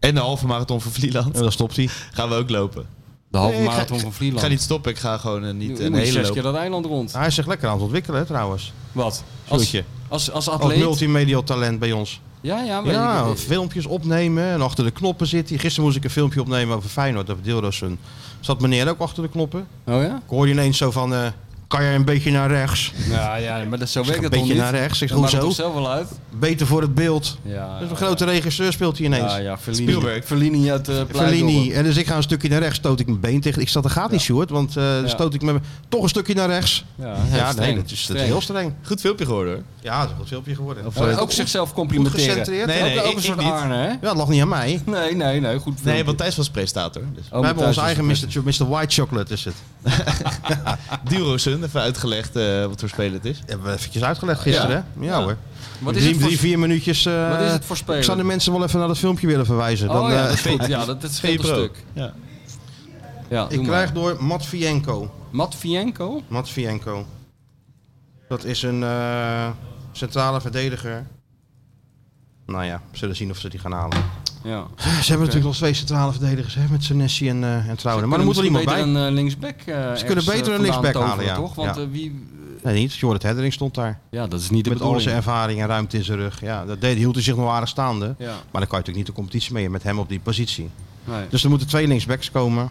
Speaker 3: En de halve marathon van Vlieland.
Speaker 1: En dan stopt hij.
Speaker 3: Gaan we ook lopen.
Speaker 2: De halve
Speaker 3: Nee, ik ga-
Speaker 2: marathon van
Speaker 3: Ik
Speaker 2: Vlieland.
Speaker 3: ga niet stoppen. Ik ga gewoon eh,
Speaker 2: Nu- nu
Speaker 3: niet een
Speaker 2: moet je zes
Speaker 3: hele
Speaker 2: keer
Speaker 3: loop. Ah,
Speaker 2: dat eiland rond.
Speaker 1: Hij is zich lekker aan het ontwikkelen hè, trouwens.
Speaker 2: Wat? Als,
Speaker 3: Zoetje. Oh,
Speaker 2: als, als
Speaker 1: Als
Speaker 2: atleet?
Speaker 1: multimedial talent bij ons.
Speaker 2: ja, ja, maar
Speaker 1: Ja,
Speaker 2: ik-
Speaker 1: filmpjes opnemen en achter de knoppen zit hij. Gisteren moest ik een filmpje opnemen over Feyenoord, over Dilrosun. Zat meneer ook achter de knoppen.
Speaker 2: Oh ja?
Speaker 1: Ik hoorde ineens zo van, eh, kan je een beetje naar rechts?
Speaker 2: Ja, ja, maar dat, zo werkt
Speaker 1: Een
Speaker 2: dat toch
Speaker 1: beetje
Speaker 2: niet?
Speaker 1: naar rechts. Ik
Speaker 2: Dat
Speaker 1: zeg,
Speaker 2: maakt het
Speaker 1: hoezo?
Speaker 2: toch zelf wel uit?
Speaker 1: Beter voor het beeld.
Speaker 2: Ja,
Speaker 1: Dus een grote regisseur speelt hij ineens.
Speaker 2: Ja, ja, Fellini.
Speaker 3: Spielberg.
Speaker 2: Fellini uit eh
Speaker 1: Fellini.
Speaker 2: Blijdorp.
Speaker 1: En dus ik ga een stukje naar rechts, stoot ik mijn been tegen. Ik zat, dat gaat niet, Sjoerd, want eh, dan
Speaker 2: Ja.
Speaker 1: stoot ik me toch een stukje naar rechts.
Speaker 2: Ja,
Speaker 1: Ja, nee,
Speaker 2: streng,
Speaker 1: dat is, dat is
Speaker 2: streng.
Speaker 1: heel streng.
Speaker 3: Goed filmpje geworden hoor.
Speaker 1: Ja, dat is een goed filmpje geworden.
Speaker 3: Of,
Speaker 2: Ja,
Speaker 3: eh,
Speaker 2: ook zichzelf
Speaker 1: Goed
Speaker 2: complimenteren.
Speaker 1: gecentreerd.
Speaker 3: Nee,
Speaker 1: hè?
Speaker 2: Ook-
Speaker 3: nee,
Speaker 2: ook,
Speaker 3: ik-
Speaker 2: een
Speaker 3: ik
Speaker 2: soort
Speaker 3: niet.
Speaker 2: Arne, hè?
Speaker 1: Ja, dat lag niet aan mij.
Speaker 2: Nee, nee, nee, goed
Speaker 3: Nee,
Speaker 2: filmpje.
Speaker 3: want Thijs was presentator. Dus.
Speaker 1: We
Speaker 2: Oh, maar
Speaker 1: hebben
Speaker 2: Thijs
Speaker 1: ons
Speaker 2: is
Speaker 1: eigen
Speaker 2: het
Speaker 1: Mr. Cho- Mr. White Chocolate is het.
Speaker 3: Dielroosun, Nou, even uitgelegd eh, wat voor spel het is.
Speaker 1: Hebben we eventjes uitgelegd gisteren, hè? Ja,
Speaker 3: Ja.
Speaker 1: hoor.
Speaker 2: best. Wat is
Speaker 1: drie,
Speaker 2: het voor...
Speaker 1: drie, vier minuutjes. eh,
Speaker 2: Wat is het voor spelen?
Speaker 1: Ik zou de mensen wel even naar dat filmpje willen verwijzen. Dan,
Speaker 2: oh ja,
Speaker 1: eh,
Speaker 2: dat is goed. Ja, dat, dat scheelt een
Speaker 3: Vibro.
Speaker 2: stuk.
Speaker 3: Ja.
Speaker 2: Ja,
Speaker 1: ik krijg door Matvienko.
Speaker 2: Matvienko?
Speaker 1: Matvienko. Dat is een eh, centrale verdediger. Nou ja, we zullen zien of ze die gaan halen.
Speaker 2: Ja.
Speaker 1: Ze hebben natuurlijk nog twee centrale verdedigers hè, met Senesi en, eh en Trouwen. Maar er moet er iemand bij.
Speaker 2: Een eh, linksback. eh,
Speaker 1: kunnen beter
Speaker 2: ergens, eh,
Speaker 1: een
Speaker 2: vandaan
Speaker 1: linksback
Speaker 2: toveren,
Speaker 1: halen, ja.
Speaker 2: Toch? Want
Speaker 1: Ja.
Speaker 2: eh, wie...
Speaker 1: Nee, niet. Jorrit Heddering stond daar.
Speaker 2: Ja, dat is niet de
Speaker 1: met al
Speaker 2: bedoeling.
Speaker 1: zijn ervaring en ruimte in zijn rug. Ja, dat deed, hield hij zich nog aardig staande.
Speaker 2: Ja,
Speaker 1: Maar dan kan je natuurlijk niet de competitie mee met hem op die positie.
Speaker 2: nee.
Speaker 1: Dus er moeten twee linksbacks komen.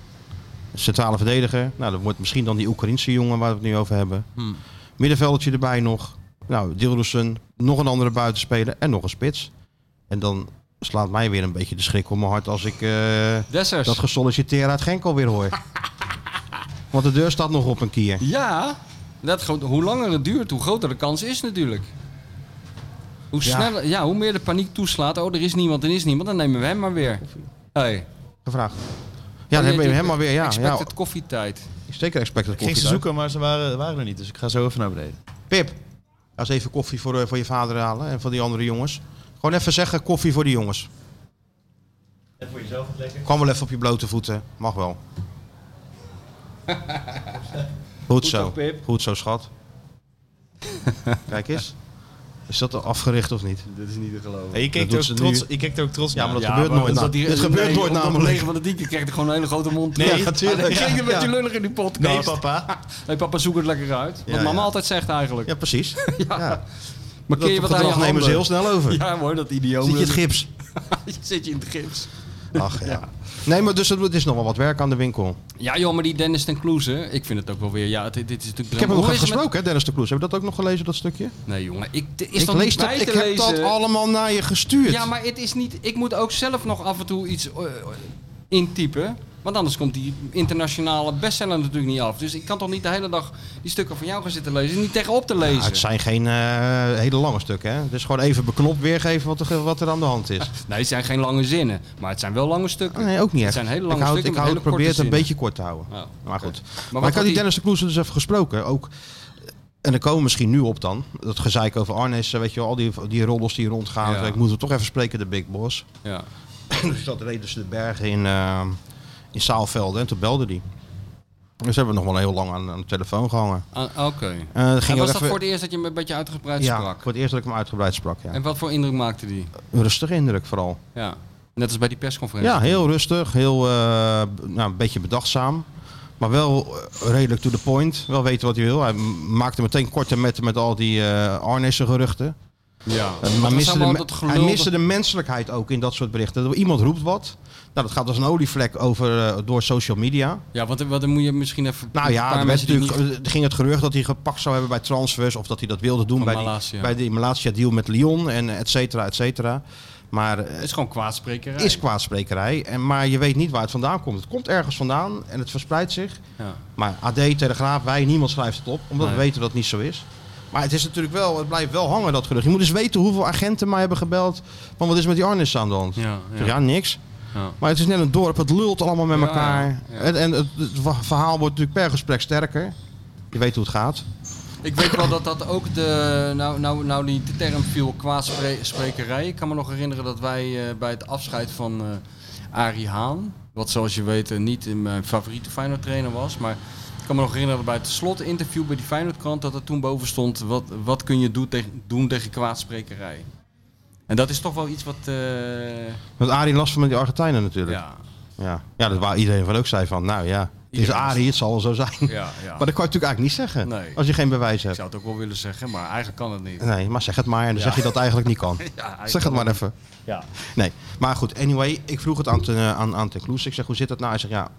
Speaker 1: Een Centrale verdediger. Nou, dat wordt misschien dan die Oekraïnse jongen waar we het nu over hebben.
Speaker 2: Hmm.
Speaker 1: Middenveldertje erbij nog. Nou, Dilrussen, nog een andere buitenspeler en nog een spits. En dan slaat mij weer een beetje de schrik om mijn hart als ik eh,
Speaker 2: Dessers.
Speaker 1: dat gesolliciteerd uit Genk alweer hoor. Want de deur staat nog op een kier.
Speaker 2: Ja, dat, gewoon- hoe langer het duurt, hoe groter de kans is natuurlijk. Hoe,
Speaker 1: Ja.
Speaker 2: sneller, ja, hoe meer de paniek toeslaat, oh er is niemand, er is niemand, dan nemen we hem maar weer. Hey.
Speaker 1: Gevraagd. Oh, Ja, dan hebben we hem maar weer. Ja, ja
Speaker 2: Expected koffietijd.
Speaker 1: zeker expected
Speaker 3: Ik ging ze
Speaker 1: koffie.
Speaker 3: zoeken, maar ze waren, waren er niet. Dus ik ga zo even naar beneden.
Speaker 1: Pip, ga eens even koffie voor, eh, voor je vader halen en voor die andere jongens. Gewoon even zeggen koffie voor die jongens.
Speaker 3: En voor jezelf het lekker.
Speaker 1: Kwam wel even op je blote voeten. Mag wel. Goed zo.
Speaker 2: toch, Pip?
Speaker 1: Goed zo, schat. Kijk eens. Is dat al afgericht of niet?
Speaker 2: Dit is niet te geloven.
Speaker 3: je, kijkt
Speaker 1: Dat doet
Speaker 3: ook
Speaker 1: ze
Speaker 3: trots,
Speaker 1: nu.
Speaker 3: je kijkt er ook trots
Speaker 1: Ja, maar
Speaker 3: naar.
Speaker 1: dat gebeurt nooit. na- Het gebeurt nooit namelijk.
Speaker 2: van de dieke krijgt er gewoon een hele grote mond.
Speaker 1: Nee,
Speaker 2: Ja,
Speaker 1: natuurlijk.
Speaker 2: Hij kijkt een
Speaker 1: Ja.
Speaker 2: beetje lullig in die podcast.
Speaker 3: Nee, papa.
Speaker 2: Hey, papa, zoek het lekker uit. Wat
Speaker 1: Ja,
Speaker 2: mama
Speaker 1: ja.
Speaker 2: altijd zegt eigenlijk.
Speaker 1: Ja, precies. ja.
Speaker 2: maar kun je
Speaker 1: dat
Speaker 2: wat aan je
Speaker 1: gedrag nemen
Speaker 2: handen?
Speaker 1: ze heel snel over.
Speaker 2: Ja hoor, dat idioot.
Speaker 1: Zit je in het gips?
Speaker 2: Zit je in het gips.
Speaker 1: Ach ja. Nee, maar dus het, het is nog wel wat werk aan de winkel.
Speaker 2: Ja joh, maar die Dennis ten Kloeze, ik vind het ook wel weer... Ja, dit, dit is natuurlijk...
Speaker 1: Ik heb hem nog even
Speaker 2: Hoe is het met-
Speaker 1: gesproken, hè, Dennis de Kloes. Heb je dat ook nog gelezen, dat stukje?
Speaker 2: Nee jongen, ik, er is
Speaker 1: ik
Speaker 2: dat
Speaker 1: lees
Speaker 2: niet bij
Speaker 1: dat, ik
Speaker 2: te
Speaker 1: heb dat
Speaker 2: lezen?
Speaker 1: allemaal naar je gestuurd.
Speaker 2: Ja, maar het is niet... Ik moet ook zelf nog af en toe iets eh, intypen. Want anders komt die internationale bestseller natuurlijk niet af. Dus ik kan toch niet de hele dag die stukken van jou gaan zitten lezen. en Niet tegenop te
Speaker 1: Ja,
Speaker 2: lezen.
Speaker 1: Ah, het zijn geen eh, hele lange stukken, hè? Dus gewoon even beknopt weergeven wat er, wat er aan de hand is.
Speaker 2: Nee, het zijn geen lange zinnen. Maar het zijn wel lange stukken.
Speaker 1: Nee, ook niet echt.
Speaker 2: Het zijn hele lange
Speaker 1: ik houd,
Speaker 2: stukken
Speaker 1: ik
Speaker 2: met
Speaker 1: houd,
Speaker 2: hele
Speaker 1: probeer het
Speaker 2: korte
Speaker 1: een
Speaker 2: zinnen.
Speaker 1: beetje kort te houden.
Speaker 2: Oh,
Speaker 1: Maar
Speaker 2: oké.
Speaker 1: goed.
Speaker 2: Maar
Speaker 1: Maar,
Speaker 2: wat
Speaker 1: ik had die
Speaker 2: had
Speaker 1: Dennis de Kloes dus even gesproken. Ook, en daar komen we misschien nu op dan. Dat gezeik over Arnes, eh, weet je wel, al die, die roddels die rondgaan.
Speaker 2: Ja.
Speaker 1: Ik moet hem toch even spreken, de Big Boss.
Speaker 2: Ja.
Speaker 1: dus dat reden dus de bergen in, eh in Saalvelden en toen belde die. Dus hebben we nog wel heel lang aan, aan de telefoon gehangen.
Speaker 2: Ah, Oké.
Speaker 1: Eh, ging
Speaker 2: En
Speaker 1: ook
Speaker 2: was dat
Speaker 1: even-
Speaker 2: voor het eerst dat je hem een beetje uitgebreid
Speaker 1: ja,
Speaker 2: sprak?
Speaker 1: voor het eerst dat ik hem uitgebreid sprak. Ja.
Speaker 2: En wat voor indruk maakte die?
Speaker 1: Een rustige indruk vooral.
Speaker 2: Ja. Net als bij die persconferentie.
Speaker 1: Ja, heel rustig, heel eh, b- nou, een beetje bedachtzaam. Maar wel eh, redelijk to the point. Wel weten wat hij wil. Hij m- maakte meteen korte metten met al die eh Arnissen geruchten.
Speaker 2: Ja.
Speaker 1: Eh, maar
Speaker 2: dat
Speaker 1: miste de,
Speaker 2: allemaal
Speaker 1: me-
Speaker 2: dat
Speaker 1: hij
Speaker 2: gelul
Speaker 1: miste de menselijkheid ook in dat soort berichten. Dat Iemand roept wat. Nou, dat gaat als een olievlek over, eh, door social media.
Speaker 2: Ja, want want dan moet je misschien even.
Speaker 1: Nou
Speaker 2: een
Speaker 1: ja,
Speaker 2: paar
Speaker 1: er, werd
Speaker 2: mensen die
Speaker 1: natuurlijk, er ging het gerucht dat hij gepakt zou hebben bij transfers. Of dat hij dat wilde doen
Speaker 2: Van
Speaker 1: bij die,
Speaker 2: Malasia.
Speaker 1: bij die Malasia deal met Lyon. En eh, et cetera, et cetera. Maar eh,
Speaker 2: niet- is gewoon kwaadsprekerij.
Speaker 1: is kwaadsprekerij. En, maar je weet niet waar het vandaan komt. Het komt ergens vandaan en het verspreidt zich.
Speaker 2: Ja.
Speaker 1: Maar AD, Telegraaf, wij, niemand schrijft het op. Omdat
Speaker 2: Nee.
Speaker 1: we weten dat het niet zo is. Maar het is natuurlijk wel, het blijft wel hangen dat gerucht. Je moet eens weten hoeveel agenten mij hebben gebeld. Van wat is met die Arnis aan de hand?
Speaker 2: Ja,
Speaker 1: Ik
Speaker 2: ja.
Speaker 1: zeg, ja, niks.
Speaker 2: Ja.
Speaker 1: Maar het is net een dorp, het lult allemaal met
Speaker 2: Ja,
Speaker 1: elkaar.
Speaker 2: ja, ja.
Speaker 1: En, en het, het wa- verhaal wordt natuurlijk per gesprek sterker. Je weet hoe het gaat.
Speaker 2: Ik weet wel dat dat ook de. Nou, nou, nou die term viel qua spre- sprekerij. Ik kan me nog herinneren dat wij eh, bij het afscheid van eh Arie Haan. Wat zoals je weet eh, niet in mijn favoriete Feyenoord trainer was. Maar ik kan me nog herinneren dat bij het slotinterview bij die Feyenoord krant. dat er toen boven stond. Wat, wat kun je doen, tegen doen tegen kwaadsprekerij? En dat is toch wel iets wat. eh,
Speaker 1: Want Arie last van met die Argentijnen natuurlijk.
Speaker 2: ja,
Speaker 1: Ja, ja. dat waar iedereen van ook zei van, nou ja, het is
Speaker 2: Iedereen
Speaker 1: Arie, het zal wel zo zijn.
Speaker 2: ja, ja.
Speaker 1: Maar dat kan je natuurlijk eigenlijk niet zeggen.
Speaker 2: Nee.
Speaker 1: Als je geen bewijs
Speaker 2: Ik
Speaker 1: hebt.
Speaker 2: zou het ook wel willen zeggen, maar eigenlijk kan het niet.
Speaker 1: Nee, maar zeg het maar. En dan
Speaker 2: Ja.
Speaker 1: zeg je dat eigenlijk niet kan.
Speaker 2: Ja, eigenlijk
Speaker 1: Zeg het maar even.
Speaker 2: Ja.
Speaker 1: Nee, maar goed. Anyway, ik vroeg het aan, ten, eh, aan, aan ten Kloes. Ik zeg, hoe zit dat nou? Hij zegt, ja,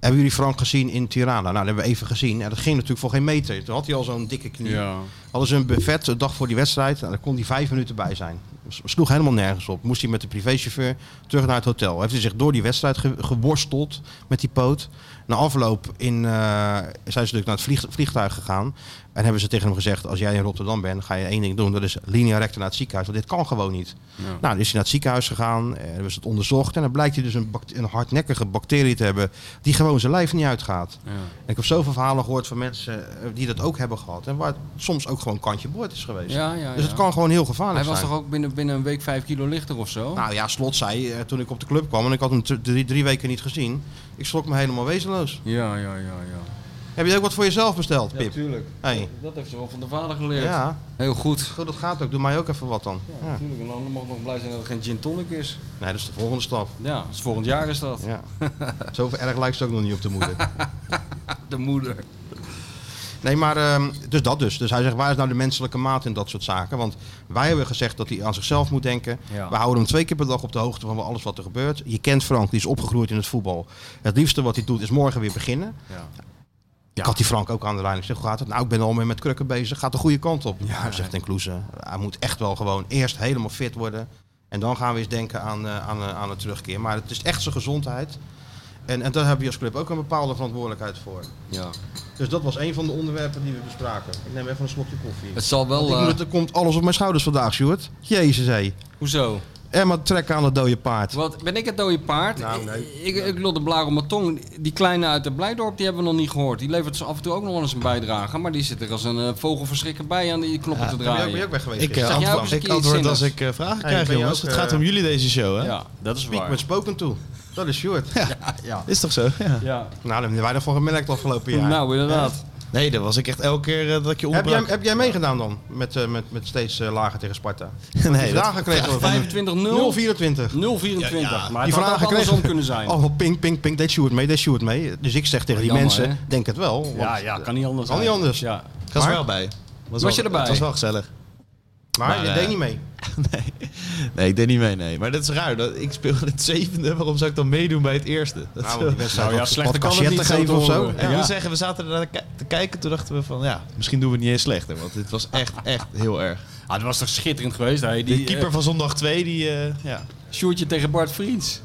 Speaker 1: hebben jullie Frank gezien in Tirana? Nou, dat hebben we even gezien. En dat ging natuurlijk voor geen meter. Toen had hij al zo'n dikke knie.
Speaker 2: Ja.
Speaker 1: Hadden ze een buffet de dag voor die wedstrijd. En daar kon hij vijf minuten bij zijn. S- Sloeg helemaal nergens op. Moest hij met de privéchauffeur terug naar het hotel. Heeft hij zich door die wedstrijd ge- geworsteld met die poot. Na afloop in, eh, zijn ze natuurlijk naar het vlieg- vliegtuig gegaan. En hebben ze tegen hem gezegd, als jij in Rotterdam bent, ga je één ding doen. Dat is linea recta naar het ziekenhuis. Want dit kan gewoon niet. Nou, dan is hij naar het ziekenhuis gegaan. eh, hebben ze het onderzocht. En dan blijkt hij dus een, bact- een hardnekkige bacterie te hebben. Die gewoon zijn lijf niet uitgaat.
Speaker 2: Ja.
Speaker 1: En ik heb zoveel verhalen gehoord van mensen eh, die dat ook hebben gehad. En waar het soms ook gewoon kantje boord is geweest.
Speaker 2: Ja, ja,
Speaker 1: Dus het
Speaker 2: ja.
Speaker 1: kan gewoon heel gevaarlijk
Speaker 2: Hij
Speaker 1: zijn.
Speaker 2: was toch ook binnen, binnen een week vijf kilo lichter of zo?
Speaker 1: Nou ja, Slot zei eh, toen ik op de club kwam en ik had hem t- drie, drie weken niet gezien. Ik schrok me helemaal wezenloos.
Speaker 2: Ja, ja, ja, ja.
Speaker 1: Heb je ook wat voor jezelf besteld, Pip?
Speaker 2: natuurlijk.
Speaker 1: Hey.
Speaker 2: Dat heeft ze wel van de vader geleerd.
Speaker 1: Ja,
Speaker 2: Heel goed.
Speaker 1: goed, dat gaat ook. Doe mij ook even wat dan.
Speaker 2: Ja,
Speaker 1: Ja.
Speaker 2: natuurlijk. En dan mag ik nog blij zijn dat het geen gin tonic is.
Speaker 1: Nee, dat is de volgende stap.
Speaker 2: Ja, dus volgend jaar is dat.
Speaker 1: Ja. Zoveel erg lijkt ze ook nog niet op de moeder.
Speaker 2: De moeder.
Speaker 1: Nee, maar ehm, dus dat dus. Dus hij zegt, waar is nou de menselijke maat in dat soort zaken? Want wij hebben gezegd dat hij aan zichzelf moet denken.
Speaker 2: Ja.
Speaker 1: We houden hem twee keer per dag op de hoogte van alles wat er gebeurt. Je kent Frank, die is opgegroeid in het voetbal. Het liefste wat hij doet is morgen weer beginnen.
Speaker 2: Ja.
Speaker 1: Ik had die Frank ook aan de lijn. Ik zeg, hoe gaat het? Nou, ik ben al mee met krukken bezig. Gaat de goede kant op. Ja, zegt Den Kloeze. Hij moet echt wel gewoon eerst helemaal fit worden. En dan gaan we eens denken aan, eh, aan, eh, aan een terugkeer. Maar het is echt zijn gezondheid. En, en daar heb je als club ook een bepaalde verantwoordelijkheid voor.
Speaker 2: ja.
Speaker 1: Dus dat was een van de onderwerpen die we bespraken. Ik neem even een slokje koffie.
Speaker 2: Het zal
Speaker 1: Want ik
Speaker 2: wel... eh,
Speaker 1: moet het- er komt alles op mijn schouders vandaag, Sjoerd. Jezus, hé.
Speaker 2: Hoezo?
Speaker 1: Emma trekken aan het dode paard.
Speaker 2: Wat, ben ik het dode paard?
Speaker 1: Nou, nee.
Speaker 2: Ik, ik, ik lul de blaar op mijn tong. Die kleine uit het Blijdorp, die hebben we nog niet gehoord. Die levert zo af en toe ook nog wel eens een bijdrage. Maar die zit er als een eh, vogel verschrikken bij aan die knoppen te
Speaker 1: Ben je ook,
Speaker 2: draaien.
Speaker 1: ben je ook weg geweest?
Speaker 3: Ik,
Speaker 1: gisteren?
Speaker 2: jij
Speaker 3: eh,
Speaker 2: ook eens
Speaker 3: antwoord-
Speaker 2: een
Speaker 3: ik
Speaker 2: keer
Speaker 3: antwoord
Speaker 2: iets
Speaker 3: als
Speaker 2: zinnigs?
Speaker 3: ik eh, vragen
Speaker 1: ben
Speaker 3: krijg,
Speaker 1: je
Speaker 3: jongens.
Speaker 1: ook,
Speaker 3: Het
Speaker 1: eh,
Speaker 3: gaat om jullie deze show, hè?
Speaker 2: Ja, dat is
Speaker 1: Piek
Speaker 2: waar.
Speaker 1: met spoken toe. Dat is Sjoerd.
Speaker 3: Is toch zo? Ja.
Speaker 2: Ja.
Speaker 1: Nou, daar hebben wij ervan gemerkt afgelopen jaar.
Speaker 2: Nou, inderdaad.
Speaker 3: Nee, dat was ik echt elke keer eh, dat ik je
Speaker 1: heb, jij,
Speaker 3: onderbrak.
Speaker 1: heb jij meegedaan dan? Met, eh, met, met steeds eh, lager tegen Sparta?
Speaker 3: Nee,
Speaker 1: Die
Speaker 3: dat-
Speaker 1: vragen kregen we van
Speaker 2: 25-0.
Speaker 1: 024.
Speaker 2: 024. Maar
Speaker 1: Die
Speaker 2: Nou, het had
Speaker 1: vragen
Speaker 2: ook andersom
Speaker 1: kregen
Speaker 2: kunnen zijn. Oh,
Speaker 1: Oh, ping, ping, ping. Deed Sjoerd mee, deed Sjoerd mee. Dus ik zeg tegen die
Speaker 2: Jammer,
Speaker 1: mensen,
Speaker 2: hè?
Speaker 1: denk het wel. want-
Speaker 2: ja, ja, kan niet anders.
Speaker 1: Kan niet
Speaker 2: eigenlijk.
Speaker 1: anders.
Speaker 2: Ja.
Speaker 3: ik was er
Speaker 1: Maar-
Speaker 3: wel bij.
Speaker 2: Was
Speaker 3: Was, wel-
Speaker 2: je erbij?
Speaker 3: Het was wel gezellig.
Speaker 1: Maar,
Speaker 3: Maar,
Speaker 1: je
Speaker 3: eh,
Speaker 1: deed niet mee.
Speaker 3: Nee, ik deed niet mee, nee. Maar dat is raar. Dat, ik speel in het zevende, waarom zou ik dan meedoen bij het eerste? Dat is
Speaker 1: Nou,
Speaker 3: wel-
Speaker 1: want die wedstrijd
Speaker 2: Nou ja,
Speaker 1: had-
Speaker 2: slechter
Speaker 1: had
Speaker 2: kan het
Speaker 1: cachet te
Speaker 2: niet zo
Speaker 1: geven of zo.
Speaker 2: horen.
Speaker 3: En ik
Speaker 2: Ja.
Speaker 3: moet zeggen, we zaten er naar te ki- te kijken. Toen dachten we van, ja, misschien doen we het niet eens slechter. Want dit was echt, echt heel erg.
Speaker 2: Ah, dat was toch schitterend geweest. Hey,
Speaker 3: De
Speaker 2: die
Speaker 3: keeper van zondag 2, die, eh, ja.
Speaker 2: eh, Sjoerdje tegen Bart Vriends.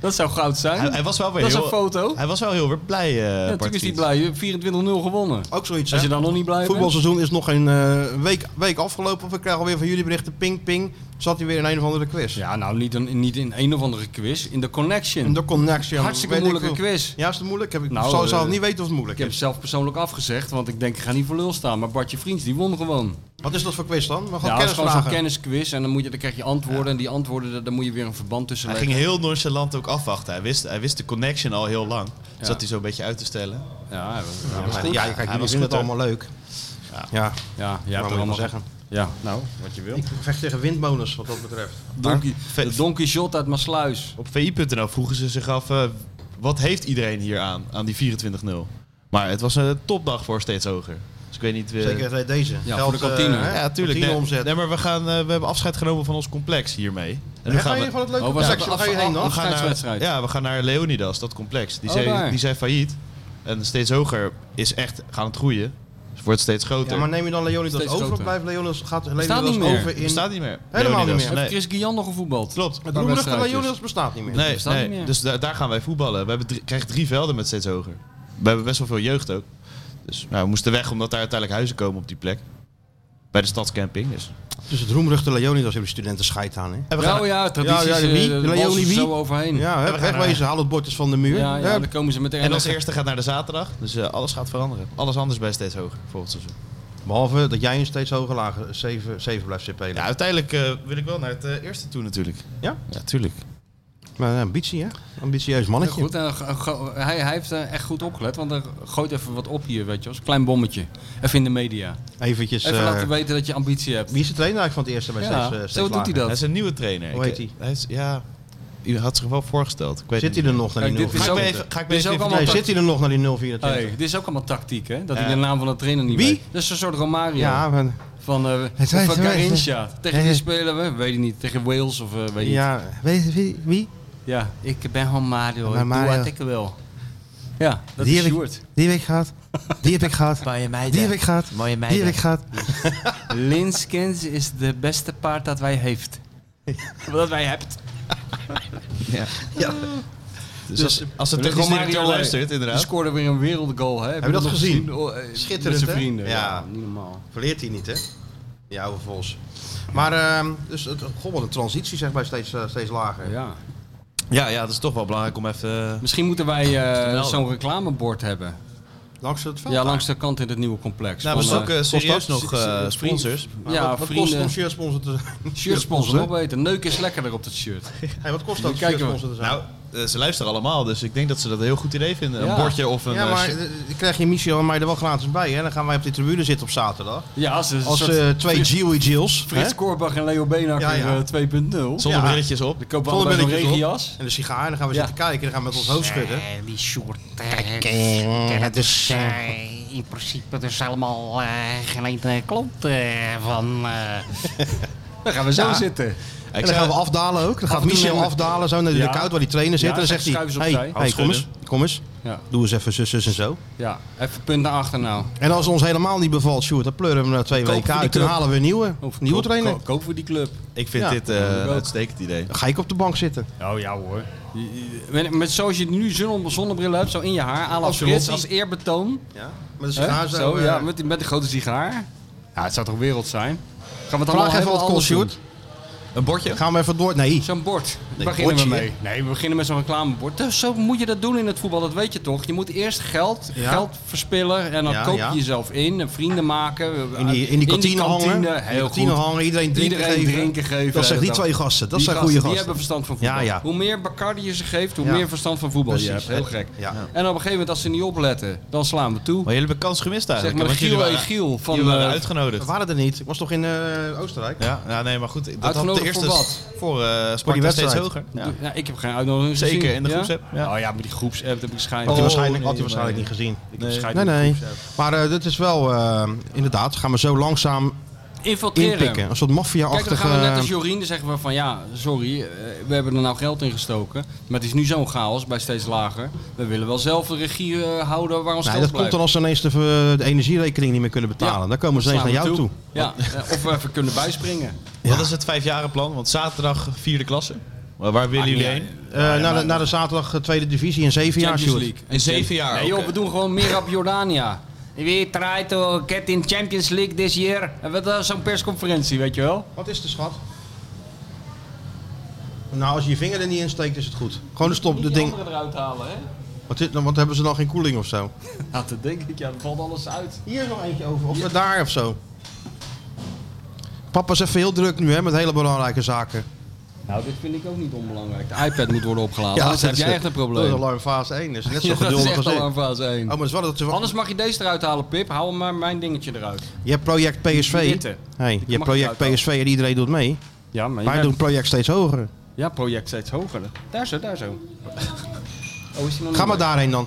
Speaker 2: Dat zou goud zijn.
Speaker 3: hij, hij was wel weer
Speaker 2: dat is
Speaker 3: heel... eh,
Speaker 2: een foto.
Speaker 3: Hij was wel heel weer blij, eh
Speaker 2: Ja,
Speaker 3: Bart
Speaker 2: natuurlijk is hij
Speaker 3: Fiets.
Speaker 2: blij. 24-0 gewonnen.
Speaker 1: Ook zoiets,
Speaker 2: Als
Speaker 1: hè?
Speaker 2: je dan nog niet blij
Speaker 1: Het
Speaker 2: bent.
Speaker 1: voetbalseizoen is nog een eh, week, week afgelopen. We krijgen alweer van jullie berichten. Ping, ping. Zat hij weer in een of andere quiz.
Speaker 2: Ja, nou niet, een, niet in een of andere quiz. In de Connection.
Speaker 1: En de connection.
Speaker 2: Hartstikke
Speaker 1: weet ik
Speaker 2: moeilijke
Speaker 1: veel.
Speaker 2: quiz.
Speaker 1: Ja, is het moeilijk? Heb ik
Speaker 2: Nou,
Speaker 1: zou,
Speaker 2: eh,
Speaker 1: zou het niet weten of het moeilijk
Speaker 2: Ik heb
Speaker 1: is.
Speaker 2: het zelf persoonlijk afgezegd, want ik denk ik ga niet voor lul staan. Maar Bartje Vriends, die won gewoon.
Speaker 1: Wat is dat voor quiz dan? We gaan
Speaker 2: Ja, dat is gewoon zo'n
Speaker 1: kennisvragen.
Speaker 2: kennisquiz en dan, moet je, dan krijg je antwoorden. En die antwoorden, daar- daar moet je weer een verband tussen
Speaker 3: Hij
Speaker 2: leggen.
Speaker 3: ging heel nonchalant ook afwachten. Hij wist, hij wist de connection al heel lang. Zat hij zo'n beetje uit te stellen.
Speaker 2: Ja, hij was-
Speaker 1: Ja,
Speaker 2: ja,
Speaker 1: maar- ja, kijk,
Speaker 3: Hij
Speaker 1: jullie
Speaker 3: was
Speaker 1: vinden het
Speaker 3: goed,
Speaker 1: allemaal leuk. Ja, ja
Speaker 2: ja, jij
Speaker 1: dat
Speaker 2: hebt er
Speaker 1: moet ik wel
Speaker 2: allemaal
Speaker 1: zeggen.
Speaker 2: Ja, nou, wat je wil.
Speaker 1: Ik vecht tegen windmolens wat dat betreft.
Speaker 2: Donkey,
Speaker 3: Ve-
Speaker 2: de Donkey Shot uit Maasluis.
Speaker 3: Op vi.nl vroegen ze zich af, eh, wat heeft iedereen hier aan, aan die 24-0? Maar het was een topdag voor steeds hoger. Dus ik weet niet... eh,
Speaker 1: Zeker deze.
Speaker 2: Ja,
Speaker 1: Geld,
Speaker 2: voor de kantine.
Speaker 1: eh, hè?
Speaker 3: Ja, tuurlijk.
Speaker 1: Kantine
Speaker 3: Nee,
Speaker 1: omzet.
Speaker 3: nee, maar we, gaan, eh, we hebben afscheid genomen van ons complex hiermee. En
Speaker 1: Hè, ga je van het leuke
Speaker 2: Oh, was
Speaker 1: complex?
Speaker 2: dat
Speaker 1: Waar ga je
Speaker 2: af-
Speaker 1: heen dan?
Speaker 2: af-
Speaker 3: We gaan naar,
Speaker 2: Afscheidswedstrijd.
Speaker 3: ja, we gaan naar Leonidas, dat complex. Die,
Speaker 2: Oh,
Speaker 3: zijn,
Speaker 2: daar.
Speaker 3: die zijn failliet. En steeds hoger is echt gaan het groeien. Dus het wordt steeds groter.
Speaker 1: Ja, maar neem je dan Leonidas
Speaker 2: Steeds
Speaker 1: over? Of
Speaker 2: groter.
Speaker 1: blijft Leonidas, gaat
Speaker 2: Bestaat
Speaker 1: Leonidas
Speaker 2: niet meer.
Speaker 1: over in...
Speaker 3: bestaat niet meer.
Speaker 1: Helemaal niet meer.
Speaker 2: Heeft
Speaker 3: Nee.
Speaker 2: Chris Guillaume nog gevoetbald?
Speaker 3: Klopt.
Speaker 1: Het
Speaker 2: Een paar
Speaker 1: roemruchte
Speaker 2: wedstrijdjes.
Speaker 1: Leonidas bestaat niet meer.
Speaker 3: Nee,
Speaker 2: bestaat
Speaker 3: nee.
Speaker 2: niet meer.
Speaker 3: dus daar, daar gaan wij voetballen. We hebben drie, krijgen drie velden met steeds hoger. We hebben best wel veel jeugd ook. Dus nou, we moesten weg omdat daar uiteindelijk huizen komen op die plek. bij de stadscamping. Dus.
Speaker 1: Dus het roemruchte Leonidas hebben de studenten scheid aan. Hè?
Speaker 3: En we gaan,
Speaker 2: Nou ja, tradities,
Speaker 1: Ja, eh,
Speaker 2: ja,
Speaker 1: ja, wie? Leonie wie?
Speaker 2: zo overheen. Ja,
Speaker 1: Ja, hè,
Speaker 3: we gaan
Speaker 1: wegwezen, haal het bord eens van de muur.
Speaker 2: ja,
Speaker 1: Ja,
Speaker 2: dan komen ze meteen.
Speaker 3: en als eerste gaat naar de zaterdag. Dus eh, alles gaat veranderen. Alles anders bij steeds hoger volgend seizoen.
Speaker 1: Behalve dat jij een steeds hoger lager 7, 7 blijft spelen.
Speaker 3: Ja, uiteindelijk eh, wil ik wel naar het eh, eerste toe natuurlijk.
Speaker 1: Ja?
Speaker 3: Ja, tuurlijk.
Speaker 1: Maar een ambitie, hè? Ambitieus
Speaker 2: Ja,
Speaker 1: mannetje.
Speaker 2: goed, en go- go- hij, hij heeft eh, echt goed opgelet, want er gooit even wat op hier, weet je wel. Een klein bommetje. Even in de media.
Speaker 1: Eventjes.
Speaker 2: Even
Speaker 1: eh,
Speaker 2: laten weten dat je ambitie hebt.
Speaker 1: wie is de trainer eigenlijk van het eerste bij
Speaker 2: Ja,
Speaker 1: steeds, eh, steeds
Speaker 2: zo doet hij
Speaker 1: lager?
Speaker 2: dat.
Speaker 3: Hij is een nieuwe trainer.
Speaker 1: Hoe heet
Speaker 3: Ik- eh,
Speaker 1: hij?
Speaker 3: is, ja, u had zich wel voorgesteld. Ik weet
Speaker 1: Zit hij er nog naar die
Speaker 2: Kijk, dit
Speaker 1: 0
Speaker 2: is
Speaker 3: Ga ik
Speaker 2: Zo-
Speaker 3: me even, ga ik me
Speaker 2: Dit is
Speaker 3: even
Speaker 2: ook allemaal
Speaker 1: Nee,
Speaker 2: tak-
Speaker 1: zit hij er nog naar die 024?
Speaker 2: Hey, dit is ook allemaal tactiek, hè? Dat
Speaker 3: Ja.
Speaker 2: hij de naam van de trainer niet
Speaker 1: Wie?
Speaker 2: weet. Dat is een soort Romario.
Speaker 1: Ja, maar-
Speaker 2: Van, eh
Speaker 1: Het
Speaker 2: van
Speaker 1: weet- het weet-
Speaker 2: Garincha. Tegen
Speaker 1: Eh.
Speaker 2: wie spelen we? Weet ik niet. Tegen Wales of eh, weet ik niet.
Speaker 1: ja, weet je wie? wie?
Speaker 2: Ja, ik ben gewoon Mario.
Speaker 1: Maar Mario-
Speaker 2: ik wil. Ja, dat
Speaker 1: die,
Speaker 2: is
Speaker 1: heb
Speaker 2: Sjoerd.
Speaker 1: ik, die heb ik gehad. Die heb ik gehad.
Speaker 2: Mooie meiden.
Speaker 1: Die heb ik gehad.
Speaker 2: Mooie
Speaker 1: Die heb ik gehad.
Speaker 2: Linskens is de beste paard dat wij heeft. dat wij hebt.
Speaker 3: Dus als, als de
Speaker 2: Dus
Speaker 3: technisch
Speaker 2: Romario,
Speaker 3: directeur
Speaker 2: eh,
Speaker 3: luistert,
Speaker 2: Die
Speaker 3: inderdaad.
Speaker 2: scoorde weer een wereldgoal, hè? Heb
Speaker 1: je dat
Speaker 2: nog
Speaker 1: gezien?
Speaker 2: Oh, eh,
Speaker 1: Schitterend,
Speaker 2: Met zijn
Speaker 1: hè?
Speaker 2: vrienden. Ja.
Speaker 1: Ja.
Speaker 2: niet normaal.
Speaker 1: Verleert hij niet, hè? Die oude vos. Maar, ehm, dus het, goh, wat een transitie zeg maar, steeds, eh, steeds lager.
Speaker 2: Ja.
Speaker 3: Ja, ja, dat is toch wel belangrijk om even...
Speaker 2: Misschien moeten wij eh,
Speaker 3: melden.
Speaker 2: zo'n reclamebord hebben.
Speaker 1: Langs het veld.
Speaker 2: Ja, langs de kant in het nieuwe complex.
Speaker 3: Nou, we
Speaker 2: Van, eh,
Speaker 3: zoeken serieus
Speaker 1: kost dat-
Speaker 3: nog eh, sponsors.
Speaker 1: Maar
Speaker 2: ja,
Speaker 1: wat, wat kost het
Speaker 2: vrienden.
Speaker 1: om shirtsponsor te zijn?
Speaker 2: Shirtsponsor, nog beter. Neuk is lekkerder op dat shirt.
Speaker 1: Hey, wat kost dat om
Speaker 2: Nu kijken we.
Speaker 1: shirtsponsor te zijn?
Speaker 3: Nou, eh, ze luisteren allemaal, dus ik denk dat ze dat een heel goed idee vinden. Een
Speaker 2: Ja.
Speaker 3: bordje of een...
Speaker 1: ja,
Speaker 3: eh,
Speaker 1: maar
Speaker 3: shit.
Speaker 1: eh, dan krijg je Michel en mij er wel gratis bij. Hè? Dan gaan wij op die tribune zitten op zaterdag.
Speaker 2: Ja, als een
Speaker 1: Als
Speaker 2: soort
Speaker 1: eh, twee
Speaker 2: Frits-
Speaker 1: Gioe Jills.
Speaker 2: Frits Korbach en Leo Beenhakker
Speaker 1: Ja, ja.
Speaker 2: eh, 2.0.
Speaker 3: zonder
Speaker 1: ja.
Speaker 3: brilletjes op.
Speaker 2: Ik koop
Speaker 1: Zonder
Speaker 2: allebei een
Speaker 1: billetjes op.
Speaker 2: regenjas.
Speaker 1: En de sigaar. En dan gaan we
Speaker 2: Ja.
Speaker 1: zitten kijken. En dan gaan we met ons hoofd schudden.
Speaker 5: Eh, die Sjoerd. Kijk, dat is eh, in principe dus allemaal eh geen enkele klont eh, van... eh,
Speaker 2: Dan gaan we zo
Speaker 1: Ja.
Speaker 2: zitten.
Speaker 1: En
Speaker 3: Ik
Speaker 1: dan gaan
Speaker 3: zei,
Speaker 1: we afdalen ook. Dan gaat
Speaker 2: en toe
Speaker 1: Michel
Speaker 2: nemen we-
Speaker 1: afdalen zo naar de
Speaker 2: Ja.
Speaker 1: koud waar die trainer zit.
Speaker 2: Ja,
Speaker 1: en dan zegt hij,
Speaker 2: schuif eens
Speaker 1: hey,
Speaker 2: opzij.
Speaker 1: hey, kom eens,
Speaker 3: Handschudden.
Speaker 1: kom eens.
Speaker 2: Ja,
Speaker 1: Doe eens even zus, zus en zo.
Speaker 2: ja. even punt naar achter nou.
Speaker 1: En als het ons helemaal niet bevalt, Sjoerd, dan pleuren we hem na twee
Speaker 2: Koop
Speaker 1: weken
Speaker 2: voor die
Speaker 1: uit. Dan
Speaker 2: club.
Speaker 1: halen we een nieuwe,
Speaker 2: Of
Speaker 1: nieuwe
Speaker 2: koop-
Speaker 1: trainer.
Speaker 2: ko- Koop voor die club.
Speaker 3: ik vind
Speaker 1: Ja.
Speaker 3: dit eh,
Speaker 2: ik
Speaker 3: een
Speaker 2: ook.
Speaker 3: uitstekend idee.
Speaker 1: Dan ga ik op de bank zitten.
Speaker 2: Oh ja hoor. Met, met zoals je nu zon, zonnebril hebt, zo in je haar, à la
Speaker 1: Als
Speaker 2: Frits,
Speaker 1: Lotti.
Speaker 2: als eerbetoon.
Speaker 1: Ja, met een
Speaker 2: Hè?
Speaker 1: sigaar zo.
Speaker 2: Zo,
Speaker 1: eh.
Speaker 2: ja, met, die- met de grote sigaar. Ja, het zou toch wereld zijn? Gaan we het allemaal
Speaker 1: Vraag even
Speaker 2: helemaal
Speaker 1: wat het kost,
Speaker 2: anders Ah, doen?
Speaker 1: Sjoerd.
Speaker 3: Een bordje?
Speaker 1: Gaan we even door? Nee.
Speaker 2: Zo'n bord. Daar beginnen we
Speaker 1: bordje,
Speaker 2: mee. Nee, we beginnen met zo'n reclamebord. Dus zo moet je dat doen in het voetbal, dat weet je toch? Je moet eerst geld,
Speaker 1: Ja.
Speaker 2: geld verspillen en dan
Speaker 1: Ja,
Speaker 2: koop je
Speaker 1: ja.
Speaker 2: jezelf in en vrienden maken.
Speaker 1: In die, in die kantine hangen.
Speaker 2: kantine,
Speaker 1: In die
Speaker 2: Heel
Speaker 1: kantine
Speaker 2: goed.
Speaker 1: hangen. Iedereen drinken
Speaker 2: Iedereen
Speaker 1: geven.
Speaker 2: drinken geven.
Speaker 1: Dat zijn die
Speaker 2: Dat-
Speaker 1: twee gasten. Dat
Speaker 2: Die
Speaker 1: zijn goede
Speaker 2: Die
Speaker 1: gasten.
Speaker 2: hebben verstand van voetbal.
Speaker 1: Ja, ja.
Speaker 2: Hoe meer Bacardi je ze geeft, hoe
Speaker 1: Ja.
Speaker 2: meer verstand van voetbal je hebt.
Speaker 1: Precies.
Speaker 2: Heel gek.
Speaker 1: Ja. Oh
Speaker 2: En op een gegeven moment, als ze niet opletten, dan slaan we toe.
Speaker 3: Maar jullie hebben kans gemist
Speaker 2: Zeg
Speaker 3: eigenlijk.
Speaker 2: maar
Speaker 3: want
Speaker 2: Giel
Speaker 3: jullie
Speaker 2: en
Speaker 3: waren-
Speaker 2: Giel van...
Speaker 3: jullie waren
Speaker 2: eh,
Speaker 1: We
Speaker 3: uitgenodigd.
Speaker 1: waren er niet. Ik was toch in eh, Oostenrijk?
Speaker 3: Ja, ja, nee, maar goed. Dat had de
Speaker 2: Uitgenodigd
Speaker 3: eerste
Speaker 2: voor
Speaker 3: s- Voor eh
Speaker 1: Voor die
Speaker 3: Sparta
Speaker 1: wedstrijd.
Speaker 3: steeds hoger. Ja.
Speaker 2: ja, ik heb geen uitnodiging
Speaker 3: Zeker,
Speaker 2: gezien.
Speaker 3: in de
Speaker 2: Ja?
Speaker 3: groepsapp, ja.
Speaker 2: Oh ja, maar die groepsapp heb ik
Speaker 1: Had
Speaker 2: schijnbaar.
Speaker 1: hij
Speaker 3: Oh,
Speaker 1: waarschijnlijk,
Speaker 3: nee,
Speaker 1: had hij waarschijnlijk niet gezien.
Speaker 2: waarschijnlijk
Speaker 1: Nee, nee. Maar eh dit is wel, eh, inderdaad, gaan we zo langzaam inpikken.
Speaker 2: Infiltreren.
Speaker 1: Een soort
Speaker 2: Kijk, dan
Speaker 1: maffia-achtige... eh,
Speaker 2: gaan we net als Jorien dan zeggen we van ja, sorry, eh, we hebben er nou geld in gestoken. Maar het is nu zo'n chaos bij steeds lager. We willen wel zelf de regie eh, houden waar ons
Speaker 1: Nee,
Speaker 2: geld
Speaker 1: dat komt
Speaker 2: blijft.
Speaker 1: dan als ze ineens de, eh, de energierekening niet meer kunnen betalen.
Speaker 2: Ja.
Speaker 1: dan komen ze
Speaker 2: Dan
Speaker 1: ineens
Speaker 2: slaan
Speaker 1: naar jou
Speaker 2: we
Speaker 1: toe.
Speaker 2: Ja, eh, of we even kunnen bijspringen.
Speaker 3: Wat is het vijfjarenplan? Want zaterdag vierde klasse. Maar waar willen jullie heen?
Speaker 1: Eh, naar, de, naar de zaterdag eh, tweede divisie in zeven jaar,
Speaker 2: Champions
Speaker 1: Sjoerd.
Speaker 2: League.
Speaker 3: In zeven jaar.
Speaker 2: Nee joh,
Speaker 3: oké.
Speaker 2: we doen gewoon meer op Jordania. We try to get in Champions League this year. En wat eh, zo'n persconferentie, weet je wel?
Speaker 1: Wat is de schat? Nou, als je je vinger er niet in steekt, is het goed. Gewoon de stop, de
Speaker 2: Die
Speaker 1: ding.
Speaker 2: anderen eruit halen, hè?
Speaker 1: Wat, is, wat hebben ze dan geen koeling of zo?
Speaker 2: Nou, dat denk ik, ja, dan valt alles uit.
Speaker 1: Hier is nog eentje over. Of daar of zo. Papa is even heel druk nu, hè, met hele belangrijke zaken.
Speaker 2: Nou, dit vind ik ook niet onbelangrijk. De iPad moet worden opgeladen, anders heb jij echt een
Speaker 1: Dat is
Speaker 2: probleem.
Speaker 1: alarm fase 1, dus net zo
Speaker 2: Ja, dat is
Speaker 1: geduldig
Speaker 2: echt
Speaker 1: als
Speaker 2: al
Speaker 1: ik.
Speaker 2: aan
Speaker 1: Oh,
Speaker 2: fase 1.
Speaker 1: maar het is wel dat ze...
Speaker 2: Anders mag je deze eruit halen, Pip. Hou maar mijn dingetje eruit.
Speaker 1: Je hebt project
Speaker 2: Die
Speaker 1: PSV.
Speaker 2: witte.
Speaker 1: Hey, je hebt
Speaker 2: mag
Speaker 1: project
Speaker 2: ik eruit
Speaker 1: PSV en iedereen doet mee.
Speaker 2: Ja, maar
Speaker 1: Wij doen project steeds hoger.
Speaker 2: Ja, project steeds hoger. Daar zo, daar zo. Oh, is die nog
Speaker 1: Ga
Speaker 2: niet
Speaker 1: maar
Speaker 2: bij?
Speaker 1: daarheen dan.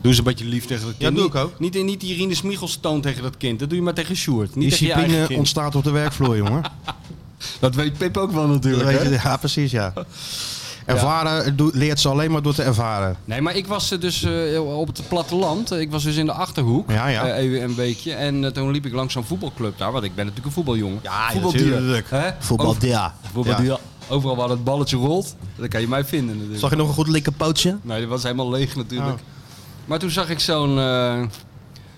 Speaker 2: Doe eens een beetje lief tegen dat kind.
Speaker 1: doe
Speaker 2: Niet-
Speaker 1: ik ook.
Speaker 2: Niet, in- niet die Rine Smiegels toon tegen dat kind. Dat doe je maar tegen Sjoerd. Niet tegen je eigen
Speaker 1: Discipline
Speaker 2: kind.
Speaker 1: ontstaat op de werkvloer, jongen.
Speaker 2: Dat weet Pip ook wel
Speaker 1: Dat
Speaker 2: natuurlijk.
Speaker 1: weet
Speaker 2: hè?
Speaker 1: je, ja, precies, ja. Ervaren doet- leert ze alleen maar door te ervaren.
Speaker 2: Nee, maar ik was eh, dus eh, op het platteland. Ik was dus in de Achterhoek.
Speaker 1: Ja, ja.
Speaker 2: eh, even een weekje. En eh, toen liep ik langs zo'n voetbalclub daar. Want ik ben natuurlijk een voetbaljongen.
Speaker 1: Ja,
Speaker 2: Voetbaldier.
Speaker 1: natuurlijk.
Speaker 2: Hè? Over-
Speaker 1: ja.
Speaker 2: voetbaldier. Overal waar het balletje rolt, dan kan je mij vinden natuurlijk.
Speaker 1: Zag je nog een goed likkenpootje?
Speaker 2: Nee, dat was helemaal leeg natuurlijk.
Speaker 1: Oh.
Speaker 2: Maar toen zag ik zo'n eh,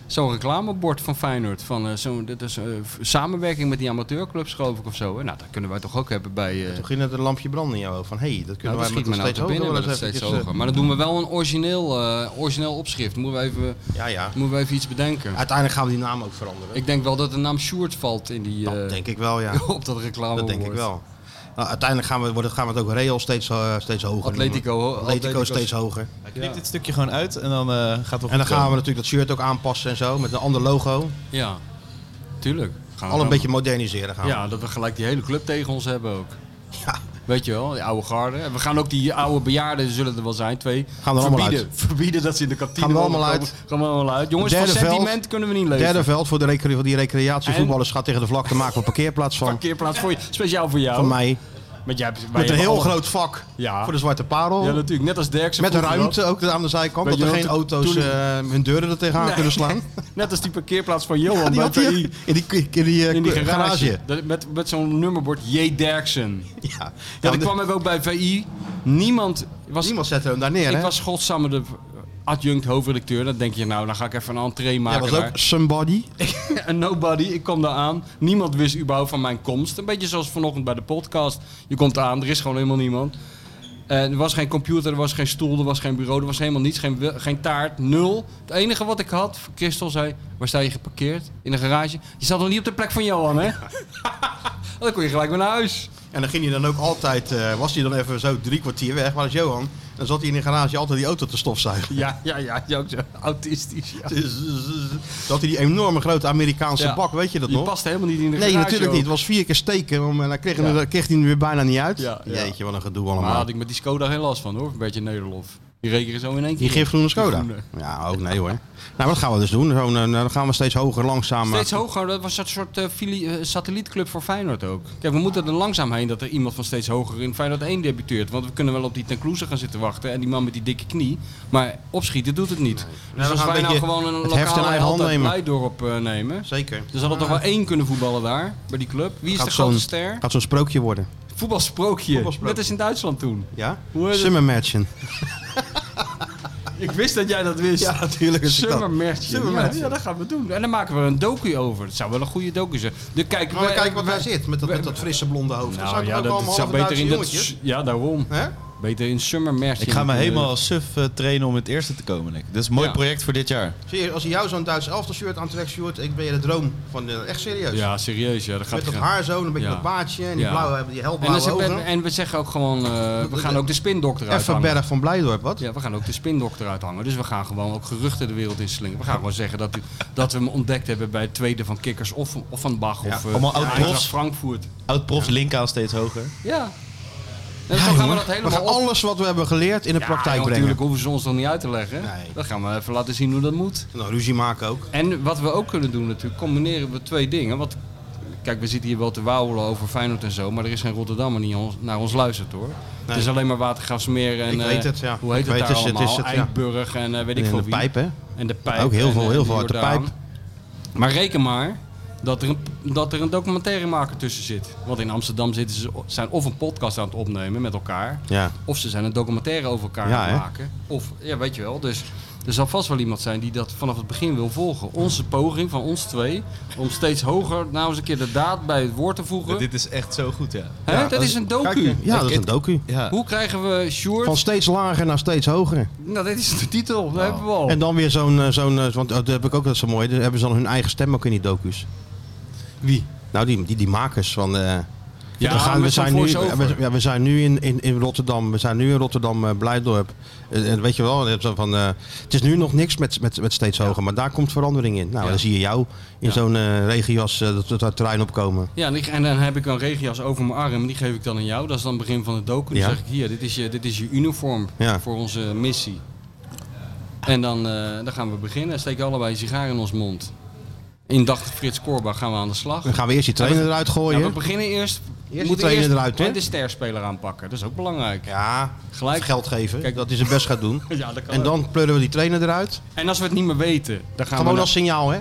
Speaker 2: zo'n reclamebord van Feyenoord. Van, eh, zo'n dit is, eh, v- samenwerking met die amateurclubs, geloof ik, of zo. hè. Nou, dat kunnen wij toch ook hebben bij... eh,
Speaker 1: Toen ging het een lampje branden in jou ook. Van, hé, hey, dat
Speaker 2: nou,
Speaker 1: kunnen
Speaker 2: dat
Speaker 1: wij met nog
Speaker 2: schiet me nou
Speaker 1: steeds
Speaker 2: te
Speaker 1: hoger.
Speaker 2: binnen
Speaker 1: wel
Speaker 2: met dat
Speaker 1: eens
Speaker 2: steeds
Speaker 1: eventjes, eh,
Speaker 2: hoger. Maar dan doen we wel een origineel, eh, origineel opschrift. Moeten we, even,
Speaker 1: Ja, eh, ja.
Speaker 2: moeten we even iets bedenken.
Speaker 1: Uiteindelijk gaan we die naam ook veranderen.
Speaker 2: Ik denk wel dat de naam Sjoerd valt in die, eh,
Speaker 1: dat denk ik wel, ja.
Speaker 2: op dat reclamebord.
Speaker 1: Dat denk ik wel. Nou, uiteindelijk gaan we, worden, gaan we het ook Real steeds, eh, steeds hoger
Speaker 2: Atletico,
Speaker 1: noemen.
Speaker 2: ho-
Speaker 1: Atletico
Speaker 2: Atletico's-
Speaker 1: steeds hoger.
Speaker 3: Hij knipt dit stukje gewoon uit en dan eh, gaat het
Speaker 1: En dan gaan we natuurlijk dat shirt ook aanpassen en zo. Met een ander logo.
Speaker 2: Ja, tuurlijk. Gaan we
Speaker 1: Al een
Speaker 2: Oh, dan-
Speaker 1: beetje moderniseren gaan we.
Speaker 2: Ja, dat we gelijk die hele club tegen ons hebben ook.
Speaker 1: Ja.
Speaker 2: Weet je wel, die oude garde. En we gaan ook die oude bejaarden, zullen er wel zijn, twee.
Speaker 1: Gaan we er allemaal
Speaker 2: verbieden, verbieden dat ze in de kantine
Speaker 1: Gaan we
Speaker 2: mogen
Speaker 1: allemaal
Speaker 2: komen. Gaan we allemaal uit. Jongens,
Speaker 1: Derde
Speaker 2: van
Speaker 1: veld.
Speaker 2: sentiment kunnen we niet leven.
Speaker 1: Derde veld voor de recre- voor die recreatievoetballers gaat tegen de vlakte maken we een parkeerplaats van.
Speaker 2: Parkeerplaats voor je, speciaal voor jou.
Speaker 1: Van mij.
Speaker 2: Met, jij, hebt- wij
Speaker 1: Met een
Speaker 2: hebben
Speaker 1: heel
Speaker 2: alle-
Speaker 1: groot vak
Speaker 2: Ja.
Speaker 1: voor de Zwarte Parel.
Speaker 2: Ja, natuurlijk. Net als Derksen.
Speaker 1: Met een
Speaker 2: vroeger
Speaker 1: ruimte ook aan de zijkant.
Speaker 2: Weet
Speaker 1: Dat
Speaker 2: je
Speaker 1: er
Speaker 2: nog,
Speaker 1: geen
Speaker 2: toen-
Speaker 1: auto's
Speaker 2: toen-
Speaker 1: eh, hun deuren er tegenaan
Speaker 2: Nee.
Speaker 1: kunnen slaan.
Speaker 2: al. Net als die parkeerplaats van Johan.
Speaker 1: die had
Speaker 2: bij
Speaker 1: hij
Speaker 2: PI.
Speaker 1: in die, in die, eh,
Speaker 2: In die
Speaker 1: garage.
Speaker 2: garage. Dat- Met, met zo'n nummerbord J. Derksen.
Speaker 1: Ja,
Speaker 2: Ja,
Speaker 1: ja
Speaker 2: dat kwam ik ook bij VI. Niemand was
Speaker 1: niemand zette hem daar neer.
Speaker 2: Ik
Speaker 1: hè?
Speaker 2: was godsamme de adjunct hoofdredacteur. Dan denk je, nou, dan ga ik even een entree
Speaker 1: Jij
Speaker 2: maken.
Speaker 1: was ook somebody.
Speaker 2: daar. Een nobody. Ik kwam daar aan. Niemand wist überhaupt van mijn komst. Een beetje zoals vanochtend bij de podcast. Je komt aan, er is gewoon helemaal niemand. Eh, er was geen computer, er was geen stoel, er was geen bureau, er was helemaal niets. Geen, wil- geen taart, nul. Het enige wat ik had, Christel zei, waar sta je geparkeerd? In een garage. Je zat nog niet op de plek van Johan, hè? dan kon je gelijk weer naar huis.
Speaker 1: En dan ging hij dan ook altijd, eh, was hij dan even zo drie kwartier weg, waar is Johan? Dan zat hij in de garage altijd die auto te stofzuigen. Dus,
Speaker 2: Ja, ja, ja. ja ook zo autistisch, ja.
Speaker 1: eh, Dat hij die enorme grote Amerikaanse
Speaker 2: Ja.
Speaker 1: bak, weet je dat
Speaker 2: Je
Speaker 1: nog?
Speaker 2: past helemaal niet in de
Speaker 1: nee,
Speaker 2: garage.
Speaker 1: natuurlijk
Speaker 2: ook.
Speaker 1: niet. Het was vier keer steken om- en dan kreeg, hij
Speaker 2: Ja.
Speaker 1: hem- kreeg hij hem weer bijna niet uit.
Speaker 2: Ja, ja.
Speaker 1: Jeetje, wat een gedoe
Speaker 2: Maar
Speaker 1: allemaal.
Speaker 2: had ik met die Skoda geen last van hoor, een beetje Nederlof. Die rekenen zo in één
Speaker 1: Die
Speaker 2: keer.
Speaker 1: gifgroene Skoda.
Speaker 2: groene.
Speaker 1: Ja, ook nee hoor. Nou, maar dat gaan we dus doen. Zo, eh, dan gaan we steeds hoger, langzaam. eh,
Speaker 2: Steeds hoger, dat was een soort eh, fili- eh, satellietclub voor Feyenoord ook. Kijk, we moeten er langzaam heen dat er iemand van steeds hoger in Feyenoord 1 debuteert. Want we kunnen wel op die Ten Kloeze gaan zitten wachten en die man met die dikke knie. Maar opschieten doet het niet. Dus
Speaker 1: we
Speaker 2: als
Speaker 1: gaan
Speaker 2: wij
Speaker 1: een
Speaker 2: nou
Speaker 1: beetje
Speaker 2: gewoon een
Speaker 1: het heft in
Speaker 2: lokale
Speaker 1: eigen hand
Speaker 2: held uit
Speaker 1: nemen.
Speaker 2: Blijdorp eh, nemen.
Speaker 1: Zeker.
Speaker 2: Dus hadden er toch wel één kunnen voetballen daar, bij die club. Wie is de grote
Speaker 1: zo'n-
Speaker 2: ster?
Speaker 1: gaat zo'n sprookje worden.
Speaker 2: Voetbalsprookje.
Speaker 1: Voetbalsprookje.
Speaker 2: Dat is in Duitsland toen.
Speaker 1: Ja?
Speaker 2: Hoe heet het?
Speaker 1: Summer Matchen.
Speaker 2: Ik wist dat jij dat wist.
Speaker 1: Ja, natuurlijk is het dat.
Speaker 2: Summer Matchen. Ja,
Speaker 1: Summermatchen.
Speaker 2: ja, dat gaan we doen. En dan maken we een docu over. Dat zou wel een goede docu zijn. De kijk,
Speaker 1: Maar kijk wat daar zit, met dat, met dat frisse blonde hoofd.
Speaker 2: Nou,
Speaker 1: zou toch
Speaker 2: ja,
Speaker 1: ook
Speaker 2: dat,
Speaker 1: allemaal
Speaker 2: zou
Speaker 1: halve
Speaker 2: beter in
Speaker 1: Duitse
Speaker 2: dat.
Speaker 1: jongetjes?
Speaker 2: Ja, daarom.
Speaker 1: Hè?
Speaker 2: Beter in Summer Matchen.
Speaker 3: Ik ga me
Speaker 2: Eh,
Speaker 3: helemaal suf eh, trainen om het eerste te komen, Nick. Dat is een mooi
Speaker 2: Ja.
Speaker 3: project voor dit jaar.
Speaker 1: Zie je, als hij jou zo'n Duits elftal shirt aantrekt, Sjoerd, ik ben je de droom van de, echt serieus.
Speaker 2: Ja, serieus. Ja, dat gaat
Speaker 1: Met dat
Speaker 2: gaan.
Speaker 1: haar zo, een beetje
Speaker 2: Ja.
Speaker 1: dat baardje en die
Speaker 2: Ja.
Speaker 1: blauwe, die
Speaker 2: en, dan
Speaker 1: helblauwe
Speaker 2: zeg-
Speaker 1: ogen.
Speaker 2: en, en we zeggen ook gewoon, eh, we gaan ook de spindokter uithangen.
Speaker 1: Even Berg van Blijdorp, wat?
Speaker 2: Ja, we gaan ook de spindokter uithangen. Dus we gaan gewoon ook geruchten de wereld in slingen. We gaan gewoon zeggen dat, dat we hem ontdekt hebben bij het tweede van Kikkers of, of van Bach.
Speaker 1: Ja,
Speaker 2: of eh,
Speaker 3: allemaal oud
Speaker 2: Eintracht
Speaker 3: profs.
Speaker 2: Frankfurt.
Speaker 3: Oud-profs Linka steeds hoger.
Speaker 2: Ja. En zo gaan we dat
Speaker 1: We gaan
Speaker 2: helemaal op.
Speaker 1: alles wat we hebben geleerd in de praktijk
Speaker 2: joh,
Speaker 1: brengen.
Speaker 2: natuurlijk hoeven ze ons dan niet uit te leggen.
Speaker 1: Nee.
Speaker 2: Dat gaan we even laten zien hoe dat moet.
Speaker 1: En dan Nou, ruzie maken ook.
Speaker 2: En wat we ook kunnen doen natuurlijk, combineren we twee dingen. Want kijk, we zitten hier wel te wauwelen over Feyenoord en zo, maar er is geen Rotterdammer die ons, naar ons luistert hoor. Het is alleen maar Watergraafsmeer en
Speaker 1: Ik
Speaker 2: eh,
Speaker 1: weet het, ja.
Speaker 2: hoe heet
Speaker 1: Ik
Speaker 2: het
Speaker 1: weet
Speaker 2: daar
Speaker 1: het, het
Speaker 2: allemaal?
Speaker 1: is het, ja.
Speaker 2: Eindburg en eh, weet ik
Speaker 1: En
Speaker 2: veel
Speaker 1: de
Speaker 2: wie.
Speaker 1: pijp, hè?
Speaker 2: En de pijp.
Speaker 1: Ook heel
Speaker 2: en,
Speaker 1: veel-
Speaker 2: eh,
Speaker 1: heel veel uit de
Speaker 2: Jordaan.
Speaker 1: pijp.
Speaker 2: Maar reken maar dat er, een, dat er een documentairemaker tussen zit. Want in Amsterdam zitten ze, zijn of een podcast aan het opnemen met elkaar,
Speaker 1: Ja.
Speaker 2: of ze zijn een documentaire over elkaar
Speaker 1: Ja,
Speaker 2: aan het
Speaker 1: hè?
Speaker 2: maken. Of, ja, weet je wel. Dus er zal vast wel iemand zijn die dat vanaf het begin wil volgen. Onze poging van ons twee om steeds hoger nou eens een keer de daad bij het woord te voegen.
Speaker 3: Dit is echt zo goed, ja.
Speaker 2: Hè, dat, is een docu.
Speaker 1: Ja, dat is een docu.
Speaker 3: Ja.
Speaker 2: Hoe krijgen we Sjoerd?
Speaker 1: Van steeds lager naar steeds hoger.
Speaker 2: Nou, dit is de titel. Dat hebben we al.
Speaker 1: En dan weer zo'n, eh, zo'n eh, want eh, dat heb ik ook dat zo mooi, daar hebben ze dan hun eigen stem ook in die docu's. Wie? Nou, die, die, die makers van... eh,
Speaker 2: ja,
Speaker 1: we, gaan, we,
Speaker 2: met zo'n
Speaker 1: zijn nu,
Speaker 2: voice-over.
Speaker 1: we, ja, we zijn nu in, in, in Rotterdam, we zijn nu in Rotterdam, eh, Blijdorp. Eh, eh, weet je wel, eh, zo van, eh, het is nu nog niks met, met, met steeds hoger, maar daar komt verandering in. Nou, dan zie je jou in
Speaker 2: Ja.
Speaker 1: zo'n eh regenjas eh, dat, dat, dat terrein opkomen.
Speaker 2: Ja, en ik- en dan heb ik een regenjas over mijn arm. Die geef ik dan aan jou. Dat is dan het begin van de docu. Dan
Speaker 1: Ja.
Speaker 2: zeg ik, hier, dit is je, dit is je uniform
Speaker 1: Ja.
Speaker 2: voor onze missie. En dan, eh, dan gaan we beginnen. Steken allebei een sigaar in ons mond. Indachtig Frits Korba gaan we aan de slag.
Speaker 1: Dan gaan we eerst die trainer eruit
Speaker 2: Ja,
Speaker 1: gooien.
Speaker 2: we beginnen eerst...
Speaker 1: die
Speaker 2: we moeten
Speaker 1: trainer
Speaker 2: eerst
Speaker 1: eruit, hè?
Speaker 2: en de sterspeler aanpakken. Dat is ook belangrijk.
Speaker 1: Ja,
Speaker 2: Gelijk.
Speaker 1: geld geven,
Speaker 2: Kijk.
Speaker 1: dat hij zijn best gaat doen.
Speaker 2: Ja, dat kan
Speaker 1: En
Speaker 2: ook.
Speaker 1: dan pleuren we die trainer eruit.
Speaker 2: En als we het niet meer weten, dan gaan
Speaker 1: Gewoon
Speaker 2: we...
Speaker 1: als signaal, hè?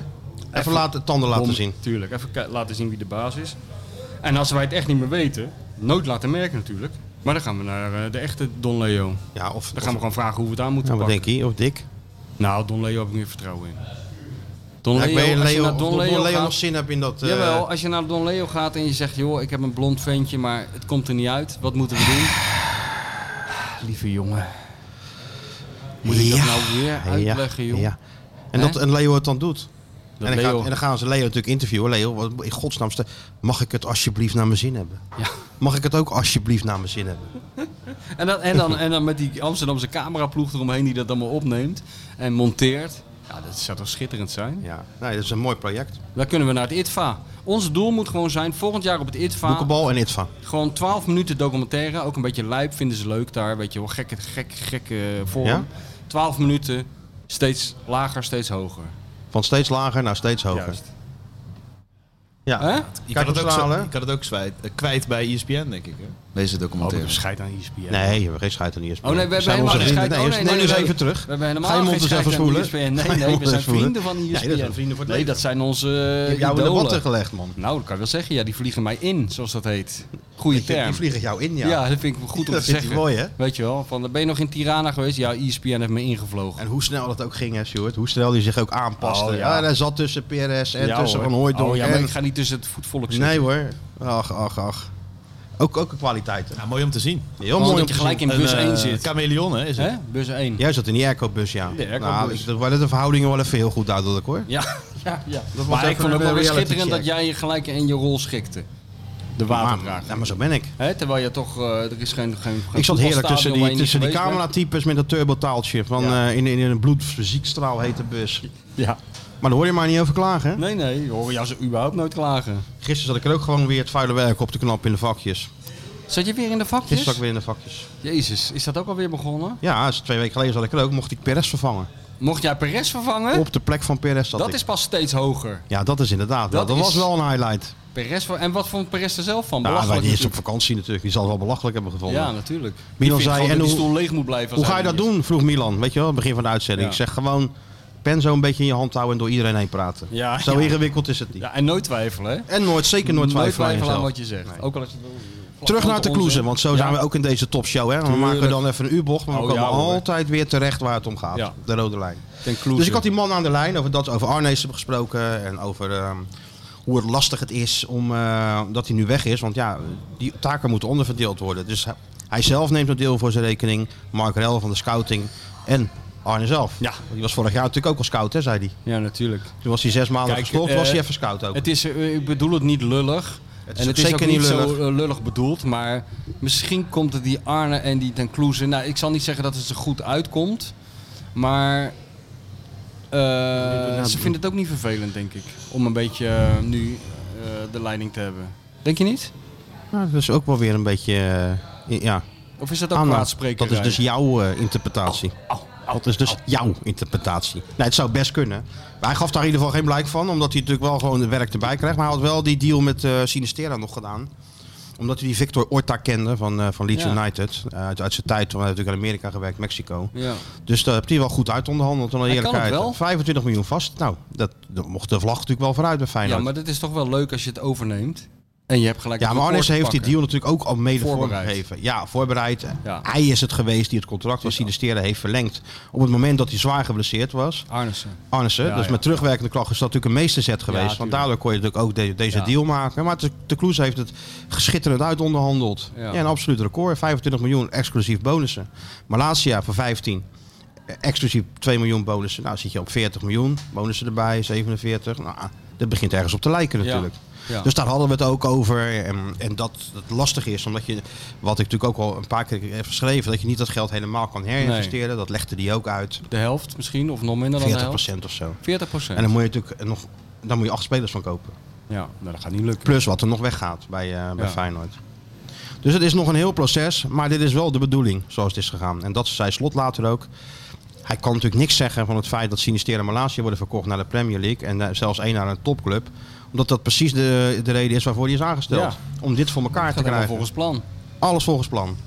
Speaker 1: Even laten, tanden laten
Speaker 2: Om-
Speaker 1: zien.
Speaker 2: Tuurlijk, even ki- laten zien wie de baas is. En als wij het echt niet meer weten, nooit laten merken natuurlijk. Maar dan gaan we naar eh, de echte Don Leo.
Speaker 1: Ja, of,
Speaker 2: Dan gaan we
Speaker 1: of- Nou,
Speaker 2: gewoon vragen hoe we het aan moeten
Speaker 1: ja, wat
Speaker 2: pakken.
Speaker 1: denk je? Of Dick?
Speaker 2: Nou, Don Leo heb ik meer vertrouwen in. Don
Speaker 1: Ja, ik weet
Speaker 2: Leo, als je
Speaker 1: Leo,
Speaker 2: naar
Speaker 1: of
Speaker 2: Don Leo
Speaker 1: Don Leo nog
Speaker 2: gaat...
Speaker 1: zin hebt in dat... eh,
Speaker 2: Jawel, als je naar Don Leo gaat en je zegt... joh, ik heb een blond ventje, maar het komt er niet uit. Wat moeten we doen? Lieve jongen. Moet ik
Speaker 1: Ja.
Speaker 2: dat nou weer uitleggen, joh?
Speaker 1: Ja. En,
Speaker 2: Hè?
Speaker 1: dat, en Leo het dan doet.
Speaker 2: Dat
Speaker 1: en, dan
Speaker 2: Leo-
Speaker 1: Gaat, en dan gaan ze Leo natuurlijk interviewen. Leo, wat, in godsnaam, ste- mag ik het alsjeblieft naar mijn zin hebben?
Speaker 2: Ja.
Speaker 1: Mag ik het ook alsjeblieft naar mijn zin hebben?
Speaker 2: En dan, en, dan, en dan met die Amsterdamse cameraploeg eromheen die dat allemaal opneemt en monteert. Ja, dat zou toch schitterend zijn?
Speaker 1: Ja, nee, dat is een mooi project.
Speaker 2: Dan kunnen we naar het ITVA. Ons doel moet gewoon zijn, volgend jaar op het ITVA,
Speaker 1: Boekenbal en Itva.
Speaker 2: gewoon 12 minuten documentaire. Ook een beetje lijp vinden ze leuk daar, weet je wel, gekke, gek, gekke vorm.
Speaker 1: Ja?
Speaker 2: 12 minuten, steeds lager, steeds hoger.
Speaker 1: Van steeds lager naar steeds hoger.
Speaker 2: Juist.
Speaker 1: Ja.
Speaker 2: Hè?
Speaker 3: Je kan,
Speaker 1: Kijk,
Speaker 3: het ook, zo-
Speaker 1: verhalen.
Speaker 3: je kan het ook zwijt- eh, kwijt bij ESPN, denk ik. Hè? Oh, Deze documentaire.
Speaker 2: Scheid aan ESPN.
Speaker 1: Nee, we hebben geen scheid aan ESPN.
Speaker 2: Oh nee, we hebben helemaal geen scheid.
Speaker 1: Nee,
Speaker 2: Oh,
Speaker 1: nee,
Speaker 2: nee,
Speaker 1: neem
Speaker 2: nee,
Speaker 1: eens
Speaker 2: nee.
Speaker 1: even terug.
Speaker 2: We hebben helemaal
Speaker 1: Ga je
Speaker 2: geen
Speaker 1: mond eens
Speaker 2: scheid
Speaker 1: even
Speaker 2: aan E
Speaker 1: spoelen.
Speaker 2: ESPN.
Speaker 1: Ga je
Speaker 2: Nee, nee,
Speaker 1: mond
Speaker 2: we
Speaker 1: eens
Speaker 2: zijn
Speaker 1: spoelen.
Speaker 2: vrienden van E ESPN.
Speaker 1: Nee, dat zijn vrienden voor het
Speaker 2: Nee,
Speaker 1: leven.
Speaker 2: dat zijn onze
Speaker 1: Je
Speaker 2: eh,
Speaker 1: hebt jou in de
Speaker 2: idolen.
Speaker 1: watten gelegd, man.
Speaker 2: Nou, dat kan ik wel zeggen. Ja, die vliegen mij in, zoals dat heet. Goeie term.
Speaker 1: Die vliegen jou in,
Speaker 2: ja. dat vind ik wel goed om
Speaker 1: Dat
Speaker 2: te
Speaker 1: vindt
Speaker 2: zeggen.
Speaker 1: hij mooi, hè?
Speaker 2: Weet je wel, van, ben je nog in Tirana geweest? Ja, E ESPN heeft me ingevlogen.
Speaker 1: En hoe snel dat ook ging, hè, Stuart? Hoe snel die zich ook aanpaste.
Speaker 2: Oh, ja.
Speaker 1: ja. hij zat tussen PRS en
Speaker 2: Ja,
Speaker 1: tussen
Speaker 2: hoor.
Speaker 1: Van Hooijdonk.
Speaker 2: Oh, ja, maar
Speaker 1: en...
Speaker 2: ik ga niet tussen het voetvolk zitten.
Speaker 1: Nee hoor. Ach, ach, ach. Ook, ook een kwaliteit.
Speaker 3: Ja, mooi om te zien.
Speaker 1: Heel
Speaker 2: Want
Speaker 1: mooi om
Speaker 2: dat
Speaker 1: te
Speaker 2: je gelijk
Speaker 1: zien.
Speaker 2: in bus
Speaker 3: Een, eh,
Speaker 2: 1 zit.
Speaker 3: Chameleon, hè, is het?
Speaker 2: Hè? Bus 1.
Speaker 1: Jij zat in die airco-bus, ja.
Speaker 2: De airco-bus.
Speaker 1: Nou, ik- dat waren de verhoudingen wel even heel goed duidelijk, hoor.
Speaker 2: Ja, ja, ja.
Speaker 1: was
Speaker 2: maar
Speaker 1: even
Speaker 2: ik vond het
Speaker 1: een
Speaker 2: ook wel weer
Speaker 1: reality
Speaker 2: schitterend
Speaker 1: check.
Speaker 2: dat jij je gelijk in je rol schikte. De
Speaker 1: Maar,
Speaker 2: waterdrager.
Speaker 1: ja, maar zo ben ik.
Speaker 2: Hè, terwijl je toch, eh, er is geen, geen, geen
Speaker 1: Ik zat heerlijk tussen
Speaker 2: voetbalstadion waar
Speaker 1: die,
Speaker 2: je
Speaker 1: tussen die
Speaker 2: niet geweest
Speaker 1: cameratypes met dat turbotaaltje. Van,
Speaker 2: Ja.
Speaker 1: eh, in, in een bloedziekstraal heet de bus.
Speaker 2: bent. Ja.
Speaker 1: Maar daar hoor je maar niet over klagen. hè?
Speaker 2: Nee, nee, je hoor jou ze überhaupt nooit klagen.
Speaker 1: Gisteren zat ik er ook gewoon weer het vuile werk op te knappen in de vakjes.
Speaker 2: Zat je weer in de vakjes?
Speaker 1: Gisteren zat ik weer in de vakjes.
Speaker 2: Jezus, is dat ook alweer begonnen?
Speaker 1: Ja, dus twee weken geleden zat ik er ook. Mocht ik Perez vervangen.
Speaker 2: Mocht jij Perez vervangen?
Speaker 1: Op de plek van Perez zat
Speaker 2: dat
Speaker 1: ik.
Speaker 2: is pas steeds hoger.
Speaker 1: Ja, dat is inderdaad. wel-
Speaker 2: Dat
Speaker 1: Dat,
Speaker 2: is-
Speaker 1: was wel een highlight.
Speaker 2: Perez, ver- en wat vond Perez er zelf van?
Speaker 1: Ja, wij
Speaker 2: Belachelijk
Speaker 1: die is op
Speaker 2: natuurlijk.
Speaker 1: vakantie natuurlijk. Die zal het wel belachelijk hebben gevonden.
Speaker 2: Ja, natuurlijk. Die
Speaker 1: Milan
Speaker 2: vindt
Speaker 1: zei,
Speaker 2: gewoon
Speaker 1: en
Speaker 2: dat die
Speaker 1: hoe-
Speaker 2: stoel leeg moet blijven. als
Speaker 1: Hoe ga
Speaker 2: hij
Speaker 1: je dat
Speaker 2: er niet
Speaker 1: doen? Vroeg Milan. Weet je wel, aan het begin van de uitzending.
Speaker 2: Ja.
Speaker 1: Ik zeg gewoon pen zo een beetje in je hand houden en door iedereen heen praten.
Speaker 2: Ja,
Speaker 1: zo
Speaker 2: ja.
Speaker 1: ingewikkeld is het
Speaker 2: is.
Speaker 1: niet.
Speaker 2: Ja, en nooit twijfelen, hè?
Speaker 1: En nooit, zeker nooit twijfelen aan
Speaker 2: aan
Speaker 1: jezelf.
Speaker 2: wat je zegt. Ook al is het wel-
Speaker 1: Terug naar
Speaker 2: Onze-
Speaker 1: de kloezen, want zo
Speaker 2: Ja.
Speaker 1: zijn we ook in deze topshow. Hè? We
Speaker 2: Tuurlijk.
Speaker 1: maken dan even een U-bocht, maar we
Speaker 2: Oh,
Speaker 1: komen
Speaker 2: ja, hoor.
Speaker 1: altijd weer terecht waar het om gaat.
Speaker 2: Ja.
Speaker 1: De rode lijn.
Speaker 2: Ten kloeze.
Speaker 1: Dus ik had die man aan de lijn, over, dat, over Arnees hebben gesproken en over ehm, hoe het lastig het is om, eh, dat hij nu weg is. Want ja, die taken moeten onderverdeeld worden. Dus hij, hij zelf neemt een deel voor zijn rekening, Mark Rel van de scouting en Arne zelf.
Speaker 2: Ja.
Speaker 1: Die was vorig jaar natuurlijk ook al scout, hè, zei hij.
Speaker 2: Ja, natuurlijk.
Speaker 1: Toen was hij zes maanden
Speaker 2: Kijk,
Speaker 1: gestopt,
Speaker 2: eh,
Speaker 1: was hij even scout ook.
Speaker 2: Het is, eh, ik bedoel het niet lullig.
Speaker 1: Het is
Speaker 2: en
Speaker 1: ook
Speaker 2: het is
Speaker 1: zeker
Speaker 2: ook niet
Speaker 1: niet lullig.
Speaker 2: zo eh, lullig bedoeld, maar misschien komt het die Arne en die Ten Kloeze. Nou, ik zal niet zeggen dat het er goed uitkomt, maar eh, ze vinden het ook niet vervelend, denk ik, om een beetje eh, nu eh, de leiding te hebben. Denk je niet?
Speaker 1: Nou, dat is ook wel weer een beetje... eh, ja,
Speaker 2: Of is dat ook
Speaker 1: Anna,
Speaker 2: kwaadsprekerij?
Speaker 1: Dat is dus jouw eh, interpretatie. dat is dus jouw interpretatie. Nee, het zou best kunnen. Maar hij gaf daar in ieder geval geen blijk van, omdat hij natuurlijk wel gewoon het werk erbij krijgt. Maar hij had wel die deal met eh Sinistera nog gedaan. Omdat hij die Victor Orta kende van, eh, van Leeds
Speaker 2: Ja.
Speaker 1: United. Eh, uit, uit zijn tijd, want hij had natuurlijk in Amerika gewerkt, Mexico.
Speaker 2: Ja.
Speaker 1: Dus daar heeft hij wel goed uit onderhandeld. En
Speaker 2: Hij kan
Speaker 1: eerlijkheid,
Speaker 2: het wel.
Speaker 1: 25 miljoen vast. Nou, dat, dat mocht de vlag natuurlijk wel vooruit bij Feyenoord.
Speaker 2: ja, maar dat is toch wel leuk als je het overneemt en je hebt gelijk
Speaker 1: Ja,
Speaker 2: het
Speaker 1: maar
Speaker 2: record
Speaker 1: Arnes
Speaker 2: te
Speaker 1: heeft die
Speaker 2: pakken.
Speaker 1: deal natuurlijk ook al mede
Speaker 2: Voorbereid.
Speaker 1: vormgegeven. Ja, voorbereid.
Speaker 2: Ja.
Speaker 1: Hij is het geweest die het contract van Sinistera heeft verlengd. Op het moment dat hij zwaar geblesseerd was.
Speaker 2: Arnesen.
Speaker 1: Arnesen,
Speaker 2: Ja,
Speaker 1: dus
Speaker 2: ja.
Speaker 1: met terugwerkende kracht is dat natuurlijk een meesterzet geweest. want
Speaker 2: tuurlijk.
Speaker 1: daardoor kon je natuurlijk ook de- deze
Speaker 2: Ja.
Speaker 1: deal maken. Maar de, de Kloes heeft het geschitterend uit onderhandeld.
Speaker 2: Ja.
Speaker 1: Ja. een absoluut record. 25 miljoen exclusief bonussen. Malasia voor 15. Eh, Exclusief 2 miljoen bonussen. Nou zit je op 40 miljoen. Bonussen erbij, 47. Nou, dat begint ergens op te lijken natuurlijk.
Speaker 2: Ja.
Speaker 1: Dus daar hadden we het ook over. En, en dat het lastig is, omdat je, wat ik natuurlijk ook al een paar keer heb geschreven, dat je niet dat geld helemaal kan herinvesteren. Dat legde die ook uit.
Speaker 2: De helft misschien, of nog minder
Speaker 1: 40%
Speaker 2: dan nou? de helft.
Speaker 1: of zo.
Speaker 2: 40 procent.
Speaker 1: En dan moet je natuurlijk nog, dan moet je acht spelers van kopen.
Speaker 2: Ja, nou, dat gaat niet lukken.
Speaker 1: Plus wat er nog weggaat bij, eh bij
Speaker 2: Ja.
Speaker 1: Feyenoord. Dus het is nog een heel proces, maar dit is wel de bedoeling zoals het is gegaan. En dat zei Slot later ook. Hij kan natuurlijk niks zeggen van het feit dat Sinistera en Malasia worden verkocht naar de Premier League. En eh, zelfs één naar een topclub. Omdat dat precies de, de reden is waarvoor hij is aangesteld.
Speaker 2: Ja.
Speaker 1: Om dit voor elkaar
Speaker 2: Het
Speaker 1: te
Speaker 2: gaat helemaal
Speaker 1: krijgen.
Speaker 2: volgens plan.
Speaker 1: Alles volgens plan.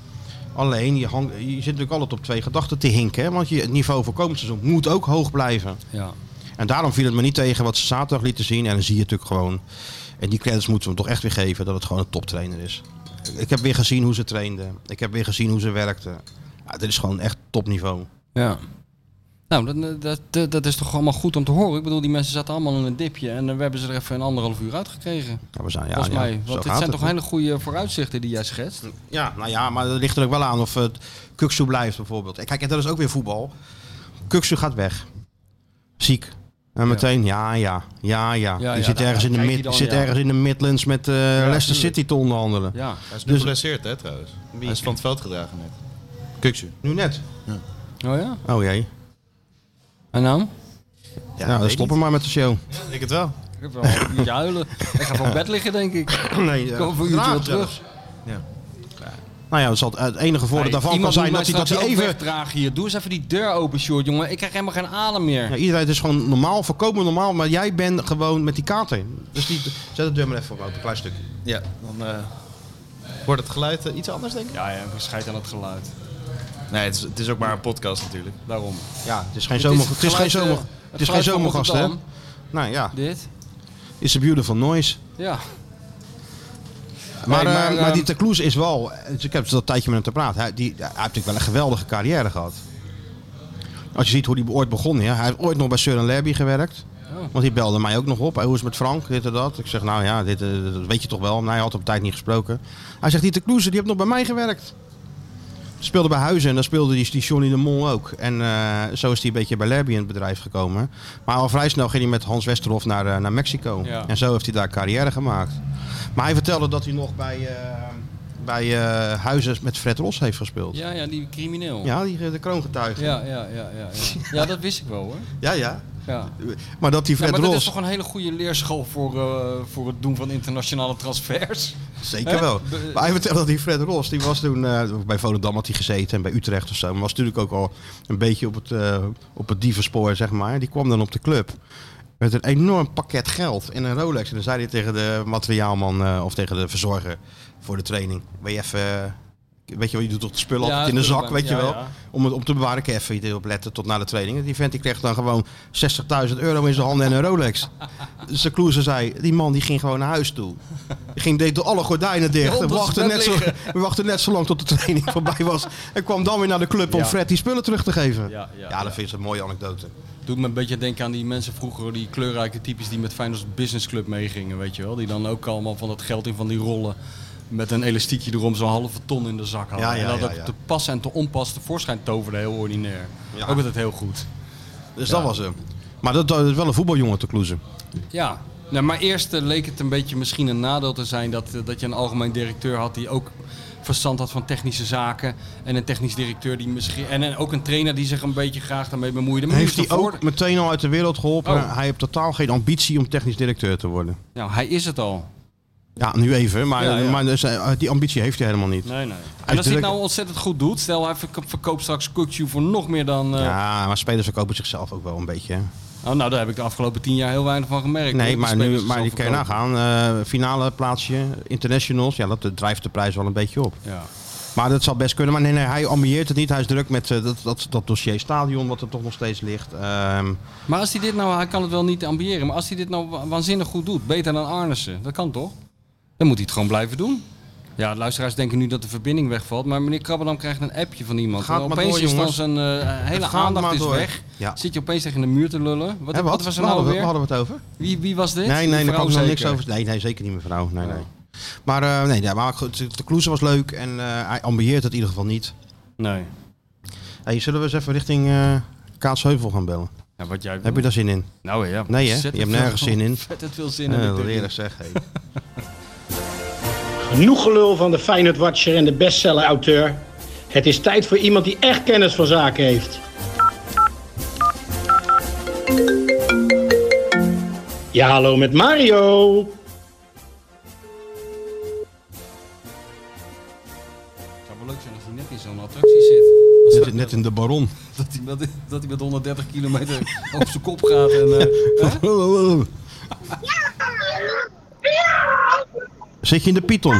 Speaker 1: Alleen, je, hangt- je zit natuurlijk altijd op twee gedachten te hinken. hè, Want je, het niveau voor komend seizoen moet ook hoog blijven.
Speaker 2: Ja.
Speaker 1: En daarom viel het me niet tegen wat ze zaterdag lieten zien. En dan zie je natuurlijk gewoon. En die credits moeten we hem toch echt weer geven dat het gewoon een toptrainer is. Ik heb weer gezien hoe ze trainde. Ik heb weer gezien hoe ze werkte. Ja, dit is gewoon echt topniveau.
Speaker 2: ja. Nou, dat, dat, dat, dat is toch allemaal goed om te horen. Ik bedoel, die mensen zaten allemaal in een dipje en eh, we hebben ze er even een anderhalf uur uitgekregen.
Speaker 1: Ja, we zijn, ja,
Speaker 2: volgens
Speaker 1: ja,
Speaker 2: mij.
Speaker 1: zo
Speaker 2: Want dit
Speaker 1: gaat
Speaker 2: zijn
Speaker 1: het.
Speaker 2: toch hele goede vooruitzichten die jij schetst.
Speaker 1: Ja, nou ja, maar dat ligt er ook wel aan of het Kuksu blijft bijvoorbeeld. En Kijk, en dat is ook weer voetbal. Kuksu gaat weg. Ziek. En meteen, ja, ja, ja, ja.
Speaker 2: Ja,
Speaker 1: die
Speaker 2: ja,
Speaker 1: zit,
Speaker 2: daar-
Speaker 1: ergens,
Speaker 2: daar
Speaker 1: in de
Speaker 2: kijk je
Speaker 1: mid,
Speaker 2: dan,
Speaker 1: zit
Speaker 2: ja.
Speaker 1: ergens in de Midlands met eh, Leicester
Speaker 2: tuurlijk.
Speaker 1: City te onderhandelen.
Speaker 2: Ja,
Speaker 3: Hij is nu
Speaker 1: Dus-
Speaker 3: geblesseerd, hè, trouwens. Hij is van het veld gedragen net. Kukje.
Speaker 1: Nu net.
Speaker 2: oh ja.
Speaker 1: Oh jee.
Speaker 2: En dan?
Speaker 1: Ja, dan Nou, stoppen maar met de show.
Speaker 3: Ik het wel.
Speaker 2: Ik heb wel een uurtje huilen. Ik ga van bed liggen, denk ik. Ik
Speaker 1: nee, eh,
Speaker 2: kom over een uurtje
Speaker 1: dragen
Speaker 2: wel terug.
Speaker 1: zelfs. Nou ja, dat zal, het enige voordeel daarvan kan
Speaker 2: iemand
Speaker 1: zijn dat
Speaker 2: moet
Speaker 1: hij
Speaker 2: mij
Speaker 1: dat hij
Speaker 2: straks ook
Speaker 1: even...
Speaker 2: wegdragen hier. Doe eens even die deur open, short, jongen. Ik krijg helemaal geen adem meer.
Speaker 1: Ja, iedereen het is gewoon normaal, voorkomen normaal, maar jij bent gewoon met die kaart heen. Dus die, zet de deur maar even op, een klein stukje.
Speaker 3: Ja, dan eh, wordt het geluid eh, iets anders, denk ik.
Speaker 2: Ja, ja, scheid aan het geluid.
Speaker 3: Nee, het is, het is ook maar een podcast natuurlijk.
Speaker 2: Daarom.
Speaker 1: Ja, het is geen zomer, het is geen
Speaker 2: geluid,
Speaker 1: zomer,
Speaker 2: eh,
Speaker 1: het is geen
Speaker 2: geluid van
Speaker 1: zomergast, hè?
Speaker 2: Rotterdam.
Speaker 1: Nou ja,
Speaker 2: Dit?
Speaker 1: is a beautiful noise.
Speaker 2: Ja.
Speaker 1: Maar,
Speaker 2: Nee,
Speaker 1: eh,
Speaker 2: maar,
Speaker 1: maar,
Speaker 2: eh,
Speaker 1: die Tecloes is wel, dus ik heb het al een tijdje met hem te praten, hij, die, hij heeft natuurlijk wel een geweldige carrière gehad. Als je ziet hoe hij ooit begon, ja. hij heeft ooit nog bij Søren Lerby gewerkt. Want die belde mij ook nog op. Hey, hoe is het met Frank? Dit en dat. Ik zeg, nou ja, dit, eh, dat weet je toch wel. Nou, hij had op tijd niet gesproken. Hij zegt, die Tecloes, die heeft nog bij mij gewerkt. Speelde bij Huizen en daar speelde die, die Johnny de Mol ook. En eh, zo is hij een beetje bij Lerby in het bedrijf gekomen. Maar al vrij snel ging hij met Hans Westerhof naar, eh, naar Mexico.
Speaker 2: Ja.
Speaker 1: En zo heeft hij daar carrière gemaakt. Maar hij vertelde dat hij nog bij, eh, bij eh, Huizen met Fred Ros heeft gespeeld. Ja,
Speaker 2: Ja, ja, die crimineel.
Speaker 1: die, de kroongetuige. Ja.
Speaker 2: Ja, ja, ja, ja, ja. Ja, dat wist ik wel hoor.
Speaker 1: ja,
Speaker 2: Ja.
Speaker 1: Maar dat die
Speaker 2: Ja,
Speaker 1: Fred
Speaker 2: maar dat is
Speaker 1: Ros...
Speaker 2: toch een hele goede leerschool voor, eh, voor het doen van internationale transfers?
Speaker 1: Zeker
Speaker 2: Hè?
Speaker 1: wel.
Speaker 2: Be-
Speaker 1: Maar hij vertelde dat die Fred Ros, die was toen eh, bij Volendam had hij gezeten en bij Utrecht of zo. Maar was natuurlijk ook al een beetje op het, eh op het dievenspoor, zeg maar. Die kwam dan op de club met een enorm pakket geld en een Rolex. En dan zei hij tegen de materiaalman eh, of tegen de verzorger voor de training. Wil je even... eh, Weet je wel, je doet toch de spullen altijd in de zak, weet je
Speaker 2: Ja,
Speaker 1: wel.
Speaker 2: ja.
Speaker 1: Om het om te bewaren, ik kan even hier op letten tot na de training. En Die vent die kreeg dan gewoon 60.000 euro in zijn handen en een Rolex. Secluze zei, die man die ging gewoon naar huis toe. Die ging, deed door alle gordijnen dicht.
Speaker 2: Ja,
Speaker 1: en
Speaker 2: op
Speaker 1: we,
Speaker 2: ons
Speaker 1: wachten
Speaker 2: bed
Speaker 1: net zo,
Speaker 2: liggen.
Speaker 1: we wachten net zo lang tot de training voorbij was. En kwam dan weer naar de club om
Speaker 2: Ja.
Speaker 1: Fred die spullen terug te geven. Ja,
Speaker 2: Ja, ja,
Speaker 1: dat
Speaker 2: ja.
Speaker 1: vind ik een mooie anekdote.
Speaker 2: Doet me een beetje denken aan die mensen vroeger, die kleurrijke types die met Feyenoord Business Club meegingen, weet je wel. Die dan ook allemaal van dat geld in van die rollen met een elastiekje erom zo'n halve ton in de zak hadden.
Speaker 1: Ja, ja,
Speaker 2: en dat
Speaker 1: ja,
Speaker 2: het
Speaker 1: ja.
Speaker 2: te pas en te onpas tevoorschijn toverde, heel ordinair.
Speaker 1: Ja.
Speaker 2: Ook altijd heel goed.
Speaker 1: Dus dat was hem. Maar dat, dat is wel een voetbaljongen te kloezen.
Speaker 2: Ja, nou, maar eerst eh, leek het een beetje misschien een nadeel te zijn dat, eh, dat je een algemeen directeur had die ook verstand had van technische zaken. En een technisch directeur die misschien. En een- ook een trainer die zich een beetje graag daarmee bemoeide. Maar nu
Speaker 1: Heeft
Speaker 2: is
Speaker 1: hij
Speaker 2: de voor-
Speaker 1: ook meteen al uit de wereld geholpen.
Speaker 2: Oh.
Speaker 1: Hij heeft totaal geen ambitie om technisch directeur te worden.
Speaker 2: Nou, hij is het al.
Speaker 1: Ja, nu even. Maar,
Speaker 2: Ja, ja.
Speaker 1: maar dus, eh, die ambitie heeft hij helemaal niet.
Speaker 2: Nee, nee. En als hij
Speaker 1: Uitdrukken.
Speaker 2: het nou ontzettend goed doet, stel hij verko- verkoopt straks Kukju voor nog meer dan. eh,
Speaker 1: Ja, maar spelers verkopen zichzelf ook wel een beetje. hè.
Speaker 2: oh, nou, daar heb ik de afgelopen tien jaar heel weinig van gemerkt.
Speaker 1: Nee,
Speaker 2: hoor.
Speaker 1: maar,
Speaker 2: Spelers
Speaker 1: nu, maar die
Speaker 2: zelf
Speaker 1: kan je
Speaker 2: verkopen.
Speaker 1: nagaan. Eh, finale plaatsje, internationals. Ja, dat eh, drijft de prijs wel een beetje op.
Speaker 2: Ja.
Speaker 1: Maar dat zal best kunnen. Maar nee, nee hij ambieert het niet. Hij is druk met eh, dat, dat, dat dossier stadion, wat er toch nog steeds ligt. Ehm,
Speaker 2: Maar als hij dit nou, hij kan het wel niet ambiëren, maar als hij dit nou wa- waanzinnig goed doet, beter dan Arnissen, dat kan toch? Dan moet hij het gewoon blijven doen. Ja, de luisteraars denken nu dat de verbinding wegvalt, maar meneer Krabbendam krijgt een appje van iemand.
Speaker 1: Gaat
Speaker 2: En
Speaker 1: maar
Speaker 2: opeens
Speaker 1: door,
Speaker 2: is dan
Speaker 1: jongens.
Speaker 2: zijn eh, hele
Speaker 1: gaat maar
Speaker 2: aandacht is
Speaker 1: door.
Speaker 2: weg.
Speaker 1: Ja.
Speaker 2: Zit je opeens tegen de muur te lullen? Wat,
Speaker 1: hè,
Speaker 2: wat
Speaker 1: wat?
Speaker 2: was er
Speaker 1: Waar hadden, we,
Speaker 2: nou alweer?
Speaker 1: waar hadden we het over?
Speaker 2: Wie, wie was dit?
Speaker 1: Nee,
Speaker 2: Die
Speaker 1: nee, daar
Speaker 2: vrouw
Speaker 1: kan ik nog niks
Speaker 2: zeker. Oh.
Speaker 1: over. Nee, nee, zeker niet mevrouw. Nee,
Speaker 2: Ja.
Speaker 1: nee. Maar, eh, nee, ja, maar goed, de Kloeze was leuk en eh, hij ambieert het in ieder geval niet.
Speaker 2: Nee.
Speaker 1: Hey, zullen we eens even richting eh Kaatsheuvel gaan bellen?
Speaker 2: Ja, wat jij
Speaker 1: Heb je daar zin in?
Speaker 2: Nou ja.
Speaker 1: Nee, hè?
Speaker 2: zet
Speaker 1: Je
Speaker 2: het
Speaker 1: hebt nergens
Speaker 2: wel.
Speaker 1: zin in.
Speaker 2: Vet het veel zin in.
Speaker 1: Eh,
Speaker 2: heb ik
Speaker 1: dat
Speaker 2: erin.
Speaker 1: eerlijk zeg. hey.
Speaker 6: Genoeg gelul van de Feyenoord Watcher en de bestseller auteur. Het is tijd voor iemand die echt kennis van zaken heeft. Ja, hallo met Mario.
Speaker 2: Het zou wel leuk zijn als hij net in zo'n attractie zit. Als
Speaker 1: Net,
Speaker 2: hij-
Speaker 1: net in de baron.
Speaker 2: dat, hij met, dat hij met 130 kilometer op zijn kop gaat. En, eh, hè?
Speaker 1: Zit je in de Python?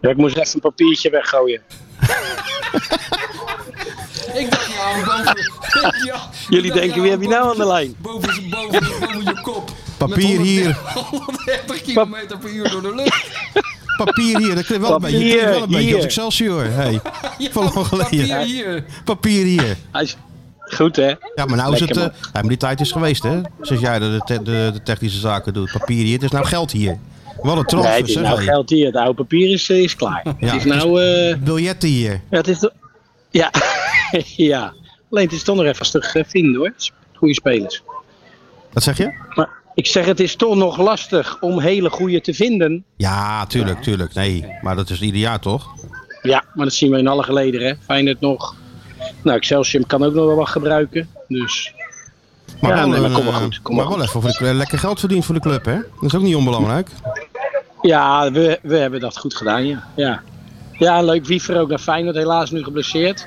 Speaker 6: Ja, ik moest even een papiertje weggooien.
Speaker 2: Ik dacht, ja, boven, ja,
Speaker 7: Jullie
Speaker 2: ik dacht,
Speaker 7: denken,
Speaker 2: ja,
Speaker 7: wie heb je nou aan de lijn?
Speaker 2: Boven, zijn- boven, boven je kop.
Speaker 1: Papier
Speaker 2: Met
Speaker 1: hier.
Speaker 2: 130 130 kilometer per uur door de lucht.
Speaker 1: Papier hier, dat klinkt wel een beetje,
Speaker 7: Papier
Speaker 1: klinkt wel een beetje
Speaker 7: hier.
Speaker 1: als Excelsior. Hey, van lang geleden.
Speaker 2: Papier hier.
Speaker 1: Papier hier.
Speaker 7: Hij is, Goed, hè?
Speaker 6: Oh,
Speaker 1: Ja, maar nou is het...
Speaker 7: Lekker,
Speaker 1: eh, ja, maar die tijd is geweest, hè? Sinds jij de, de, de, de technische zaken doet. Papier hier, het is nou geld hier. Wat een
Speaker 7: Nee,
Speaker 1: transfer,
Speaker 7: het is
Speaker 1: zeg.
Speaker 7: nou
Speaker 1: hé.
Speaker 7: geld hier. Het oude papier is, eh, is klaar.
Speaker 1: Ja.
Speaker 7: het is nou... eh,
Speaker 1: Biljetten hier.
Speaker 7: ja, het is toch- ja. ja. Alleen het is toch nog even lastig eh, vinden, hoor. Goede spelers.
Speaker 1: Wat zeg je?
Speaker 7: Maar ik zeg, het is toch nog lastig om hele goede te vinden.
Speaker 1: Ja, tuurlijk, tuurlijk. Nee, maar dat is ieder jaar toch?
Speaker 7: Ja, maar dat zien we in alle geleden, hè. Feyenoord nog. Nou, Excelsium kan ook nog wel wat gebruiken. Dus Ja, nee, maar kom maar
Speaker 1: eh,
Speaker 7: goed, kom
Speaker 1: maar
Speaker 7: maar
Speaker 1: wel even voor de, cl- lekker geld verdiend voor de club, hè? Dat is ook niet onbelangrijk.
Speaker 7: ja, we, we hebben dat goed gedaan, ja. Ja, ja leuk. Wiever ook naar Feyenoord. Helaas nu geblesseerd.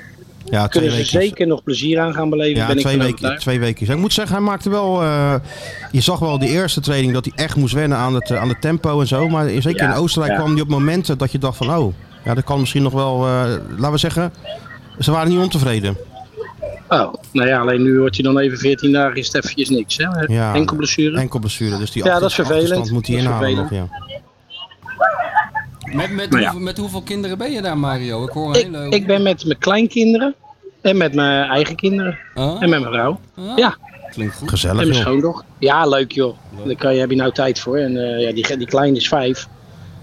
Speaker 1: Ja, twee
Speaker 7: Kunnen ze
Speaker 1: weken.
Speaker 7: zeker nog plezier aan gaan beleven,
Speaker 1: Ja,
Speaker 7: ben ik
Speaker 1: twee
Speaker 7: van
Speaker 1: weken,
Speaker 7: overtuigd.
Speaker 1: twee weken. Ik moet zeggen, hij maakte wel. eh, je zag wel de eerste training dat hij echt moest wennen aan het, eh, aan het tempo en zo. Maar zeker
Speaker 7: Ja,
Speaker 1: in Oostenrijk
Speaker 7: ja.
Speaker 1: kwam hij op momenten dat je dacht van oh, ja, dat kan misschien nog wel. eh, laten we zeggen, ze waren niet ontevreden.
Speaker 7: Oh, nou ja, alleen nu wordt hij dan even 14 dagen is het eventjes niks, hè.
Speaker 1: Ja.
Speaker 7: Enkel blessure.
Speaker 1: Enkel blessure. Dus die
Speaker 7: Ja,
Speaker 1: achter-
Speaker 7: dat is vervelend.
Speaker 1: achterstand moet hij
Speaker 7: Dat is
Speaker 1: inhalen nog.
Speaker 7: vervelend.
Speaker 1: Ja.
Speaker 2: Met, met,
Speaker 7: Maar ja.
Speaker 2: hoeveel, met hoeveel kinderen ben je daar, Mario? Ik hoor een
Speaker 7: Ik,
Speaker 2: hele...
Speaker 7: ik ben met mijn kleinkinderen en met mijn eigen kinderen
Speaker 2: Ah,
Speaker 7: en met mijn vrouw
Speaker 2: ah,
Speaker 7: ja.
Speaker 2: Klinkt goed.
Speaker 7: en
Speaker 1: Gezellig
Speaker 7: mijn
Speaker 1: joh.
Speaker 7: schoondochter. Ja, leuk joh. Daar kan je, heb je nou tijd voor. En eh, ja, die, die kleine is vijf.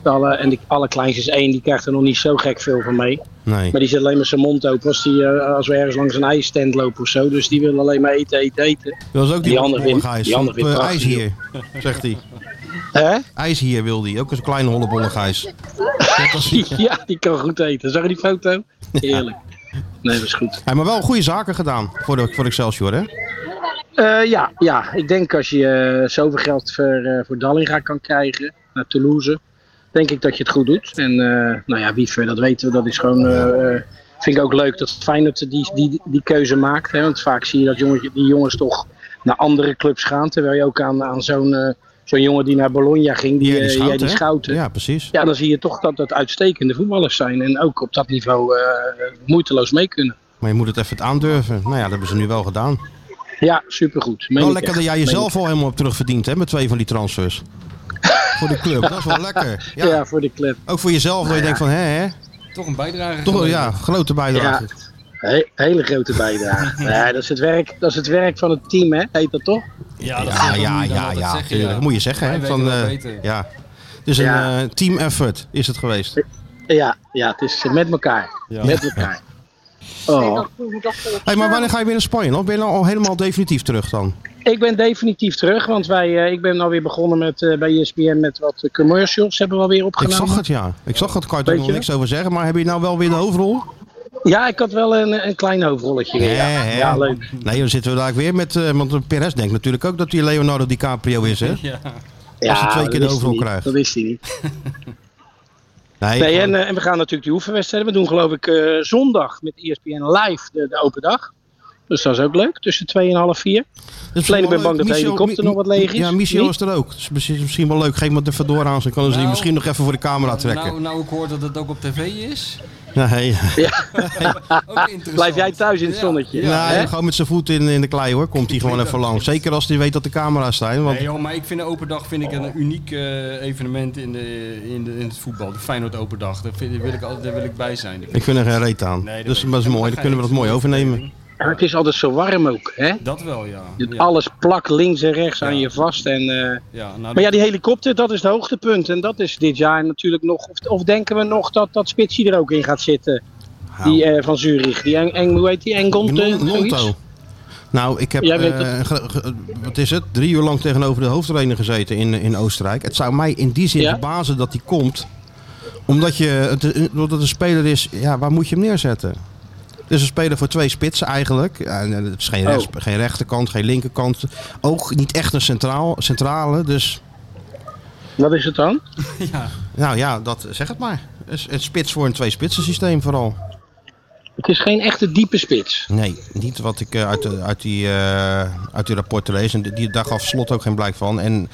Speaker 7: Alle, en die allerkleinste is één, die krijgt er nog niet zo gek veel van mee.
Speaker 1: Nee.
Speaker 7: Maar die zit alleen maar zijn mond open als, die, eh, als we ergens langs een ijsstand lopen of zo. Dus die wil alleen maar eten, eten, eten.
Speaker 1: Dat was ook die,
Speaker 7: die andere
Speaker 1: hollebolle
Speaker 7: wint-
Speaker 1: gijs.
Speaker 7: die andere
Speaker 1: Van,
Speaker 7: wint
Speaker 1: eh, ijs
Speaker 7: prachtig,
Speaker 1: hier, zegt hij.
Speaker 7: Hè?
Speaker 1: IJs hier wil hij. Ook eens een kleine hollebolle gijs.
Speaker 7: Ja, die kan goed eten. Zag je die foto? Heerlijk. Nee, dat is goed.
Speaker 1: Hij maar wel goede zaken gedaan voor, de, voor Excelsior, hè?
Speaker 7: Eh, ja, ja, ik denk als je eh, zoveel geld voor, eh voor Dallinga kan krijgen naar Toulouse, denk ik dat je het goed doet. En eh, nou ja, Wiever, dat weten we, dat is gewoon. eh, eh, vind ik ook leuk dat Feyenoord die, die, die keuze maakt. Hè? Want vaak zie je dat jongetje, die jongens toch naar andere clubs gaan. Terwijl je ook aan, aan zo'n eh, zo'n jongen die naar Bologna ging, die,
Speaker 1: Ja,
Speaker 7: eh, ja, die,
Speaker 1: Schouten, hè?
Speaker 7: Schouten. Ja.
Speaker 1: Ja, precies.
Speaker 7: dan zie je toch dat dat uitstekende voetballers zijn. En ook op dat niveau eh, moeiteloos mee kunnen.
Speaker 1: Maar je moet het even aandurven. Nou ja, dat hebben ze nu wel gedaan.
Speaker 7: Ja, supergoed. Meen
Speaker 1: Wel
Speaker 7: ik
Speaker 1: lekker
Speaker 7: echt.
Speaker 1: dat jij
Speaker 7: Meen ik
Speaker 1: jezelf al helemaal hebt terugverdiend hè, met twee van die transfers. voor de club, dat is wel lekker. Ja,
Speaker 7: Ja, voor de club.
Speaker 1: Ook voor jezelf, dat je denkt van hè, hè.
Speaker 2: Toch een bijdrage.
Speaker 1: Toch wel,
Speaker 2: geleverd.
Speaker 1: ja, grote bijdrage.
Speaker 7: He- hele grote bijdrage. ja, dat, is het werk, dat is het werk van het team, hè? Heet dat toch?
Speaker 1: Ja,
Speaker 2: dat
Speaker 1: ja,
Speaker 2: zeggen we
Speaker 1: ja,
Speaker 2: nu dan,
Speaker 1: ja,
Speaker 2: dat
Speaker 1: ja,
Speaker 2: zeggen,
Speaker 1: tuurlijk.
Speaker 2: ja.
Speaker 1: Dat moet je zeggen, hè.
Speaker 2: Wij
Speaker 1: Van,
Speaker 2: weten wel
Speaker 1: eh,
Speaker 2: beter.
Speaker 1: ja. Dus een
Speaker 7: Ja.
Speaker 1: eh, team effort is het geweest.
Speaker 7: Ja, ja het is met elkaar. Met elkaar. Oh.
Speaker 1: Hey, maar wanneer ga je weer naar Spanje? Of ben je nou al helemaal definitief terug dan?
Speaker 7: Ik ben definitief terug, want wij, eh, ik ben alweer begonnen met, eh, bij ESPN met wat eh, commercials. Hebben we alweer
Speaker 1: Ik
Speaker 7: opgenomen.
Speaker 1: zag het, ja. Ik zag het, kan je er
Speaker 7: Weet
Speaker 1: nog
Speaker 7: je?
Speaker 1: niks over zeggen. Maar heb je nou wel weer de hoofdrol?
Speaker 7: Ja, ik had wel een, een klein hoofdrolletje weer. Ja,
Speaker 1: Ja, ja.
Speaker 7: ja leuk.
Speaker 1: Nee, dan zitten we daar weer met... eh, want Perez denkt natuurlijk ook dat hij Leonardo DiCaprio is, hè?
Speaker 2: Ja.
Speaker 7: Ja,
Speaker 1: Als je twee
Speaker 7: dat
Speaker 1: keer de
Speaker 7: wist hij
Speaker 1: overal
Speaker 7: niet.
Speaker 1: krijgt.
Speaker 7: Dat wist hij niet.
Speaker 1: Nee,
Speaker 7: Nee,
Speaker 1: gewoon-
Speaker 7: en, eh, en we gaan natuurlijk die oefenwedstrijden. We doen geloof ik eh, zondag met ESPN live de, de open dag. Dus dat is ook leuk. Tussen 2 en half 4.
Speaker 1: Dus
Speaker 7: Alleen,
Speaker 1: wel
Speaker 7: ik ben bang
Speaker 1: leuk.
Speaker 7: dat de
Speaker 1: Michel-
Speaker 7: helikopter
Speaker 1: Mi-
Speaker 7: nog wat leeg is.
Speaker 1: Ja, Michel
Speaker 7: Wie?
Speaker 1: is er ook. Dus misschien, misschien wel leuk. Geef me de verdoor aan. Dan kunnen ze die
Speaker 2: Nou.
Speaker 1: misschien nog even voor de camera trekken.
Speaker 2: Nou, nou, ik hoor dat het ook op tv is.
Speaker 1: nee.
Speaker 2: Ook interessant.
Speaker 7: Blijf jij thuis in het
Speaker 2: Ja.
Speaker 7: zonnetje.
Speaker 1: nou,
Speaker 7: hè?
Speaker 1: gewoon met zijn voet in, in de klei hoor. Komt hij gewoon even langs. Zeker als hij weet dat de camera's zijn. Want
Speaker 2: Nee joh, maar ik vind de Open Dag vind ik een uniek eh, evenement in, de, in, de, in het voetbal. De Feyenoord Open Dag, daar, vind- daar wil, ik, al- daar wil ik bij zijn.
Speaker 1: ik vind er geen reet aan.
Speaker 2: Nee, dat
Speaker 1: dus
Speaker 2: weet
Speaker 1: dat is
Speaker 2: ik.
Speaker 1: mooi. Dan kunnen we dat mooi overnemen.
Speaker 7: Maar het is altijd zo warm ook, hè?
Speaker 2: Dat wel, ja.
Speaker 7: Dat
Speaker 2: ja.
Speaker 7: Alles plakt links en rechts aan
Speaker 2: Ja.
Speaker 7: je vast. En, eh,
Speaker 2: ja, nou,
Speaker 7: maar ja, die helikopter, dat is het hoogtepunt. En dat is dit jaar natuurlijk nog... Of, of denken we nog dat, dat Spitsie er ook in gaat zitten?
Speaker 1: Nou.
Speaker 7: Die eh, van Zurich. Die Eng, Eng, hoe heet die? Engonte?
Speaker 1: Non- Nonto.
Speaker 7: zoiets?
Speaker 1: Nou, ik heb,
Speaker 7: Jij weet
Speaker 1: eh, ge- ge- wat is het, drie uur lang tegenover de hoofdtrainer gezeten in, in Oostenrijk. Het zou mij in die zin
Speaker 7: Ja?
Speaker 1: verbazen dat hij komt. Omdat je, het, eh, omdat het een speler is, ja, waar moet je hem neerzetten? Het is een speler voor twee spitsen eigenlijk. Ja, en eh, het is geen,
Speaker 7: Oh.
Speaker 1: rechts- geen rechterkant, geen linkerkant. Ook niet echt een centraal, centrale. Dus
Speaker 7: Wat is het dan?
Speaker 1: nou ja, dat, zeg het maar. Het, het spits voor een twee spitsen systeem vooral.
Speaker 7: Het is geen echte diepe spits.
Speaker 1: Nee, niet wat ik eh, uit, de- uit, die, eh, uit die rapporten lees. En die- die, daar gaf Slot ook geen blijk van. En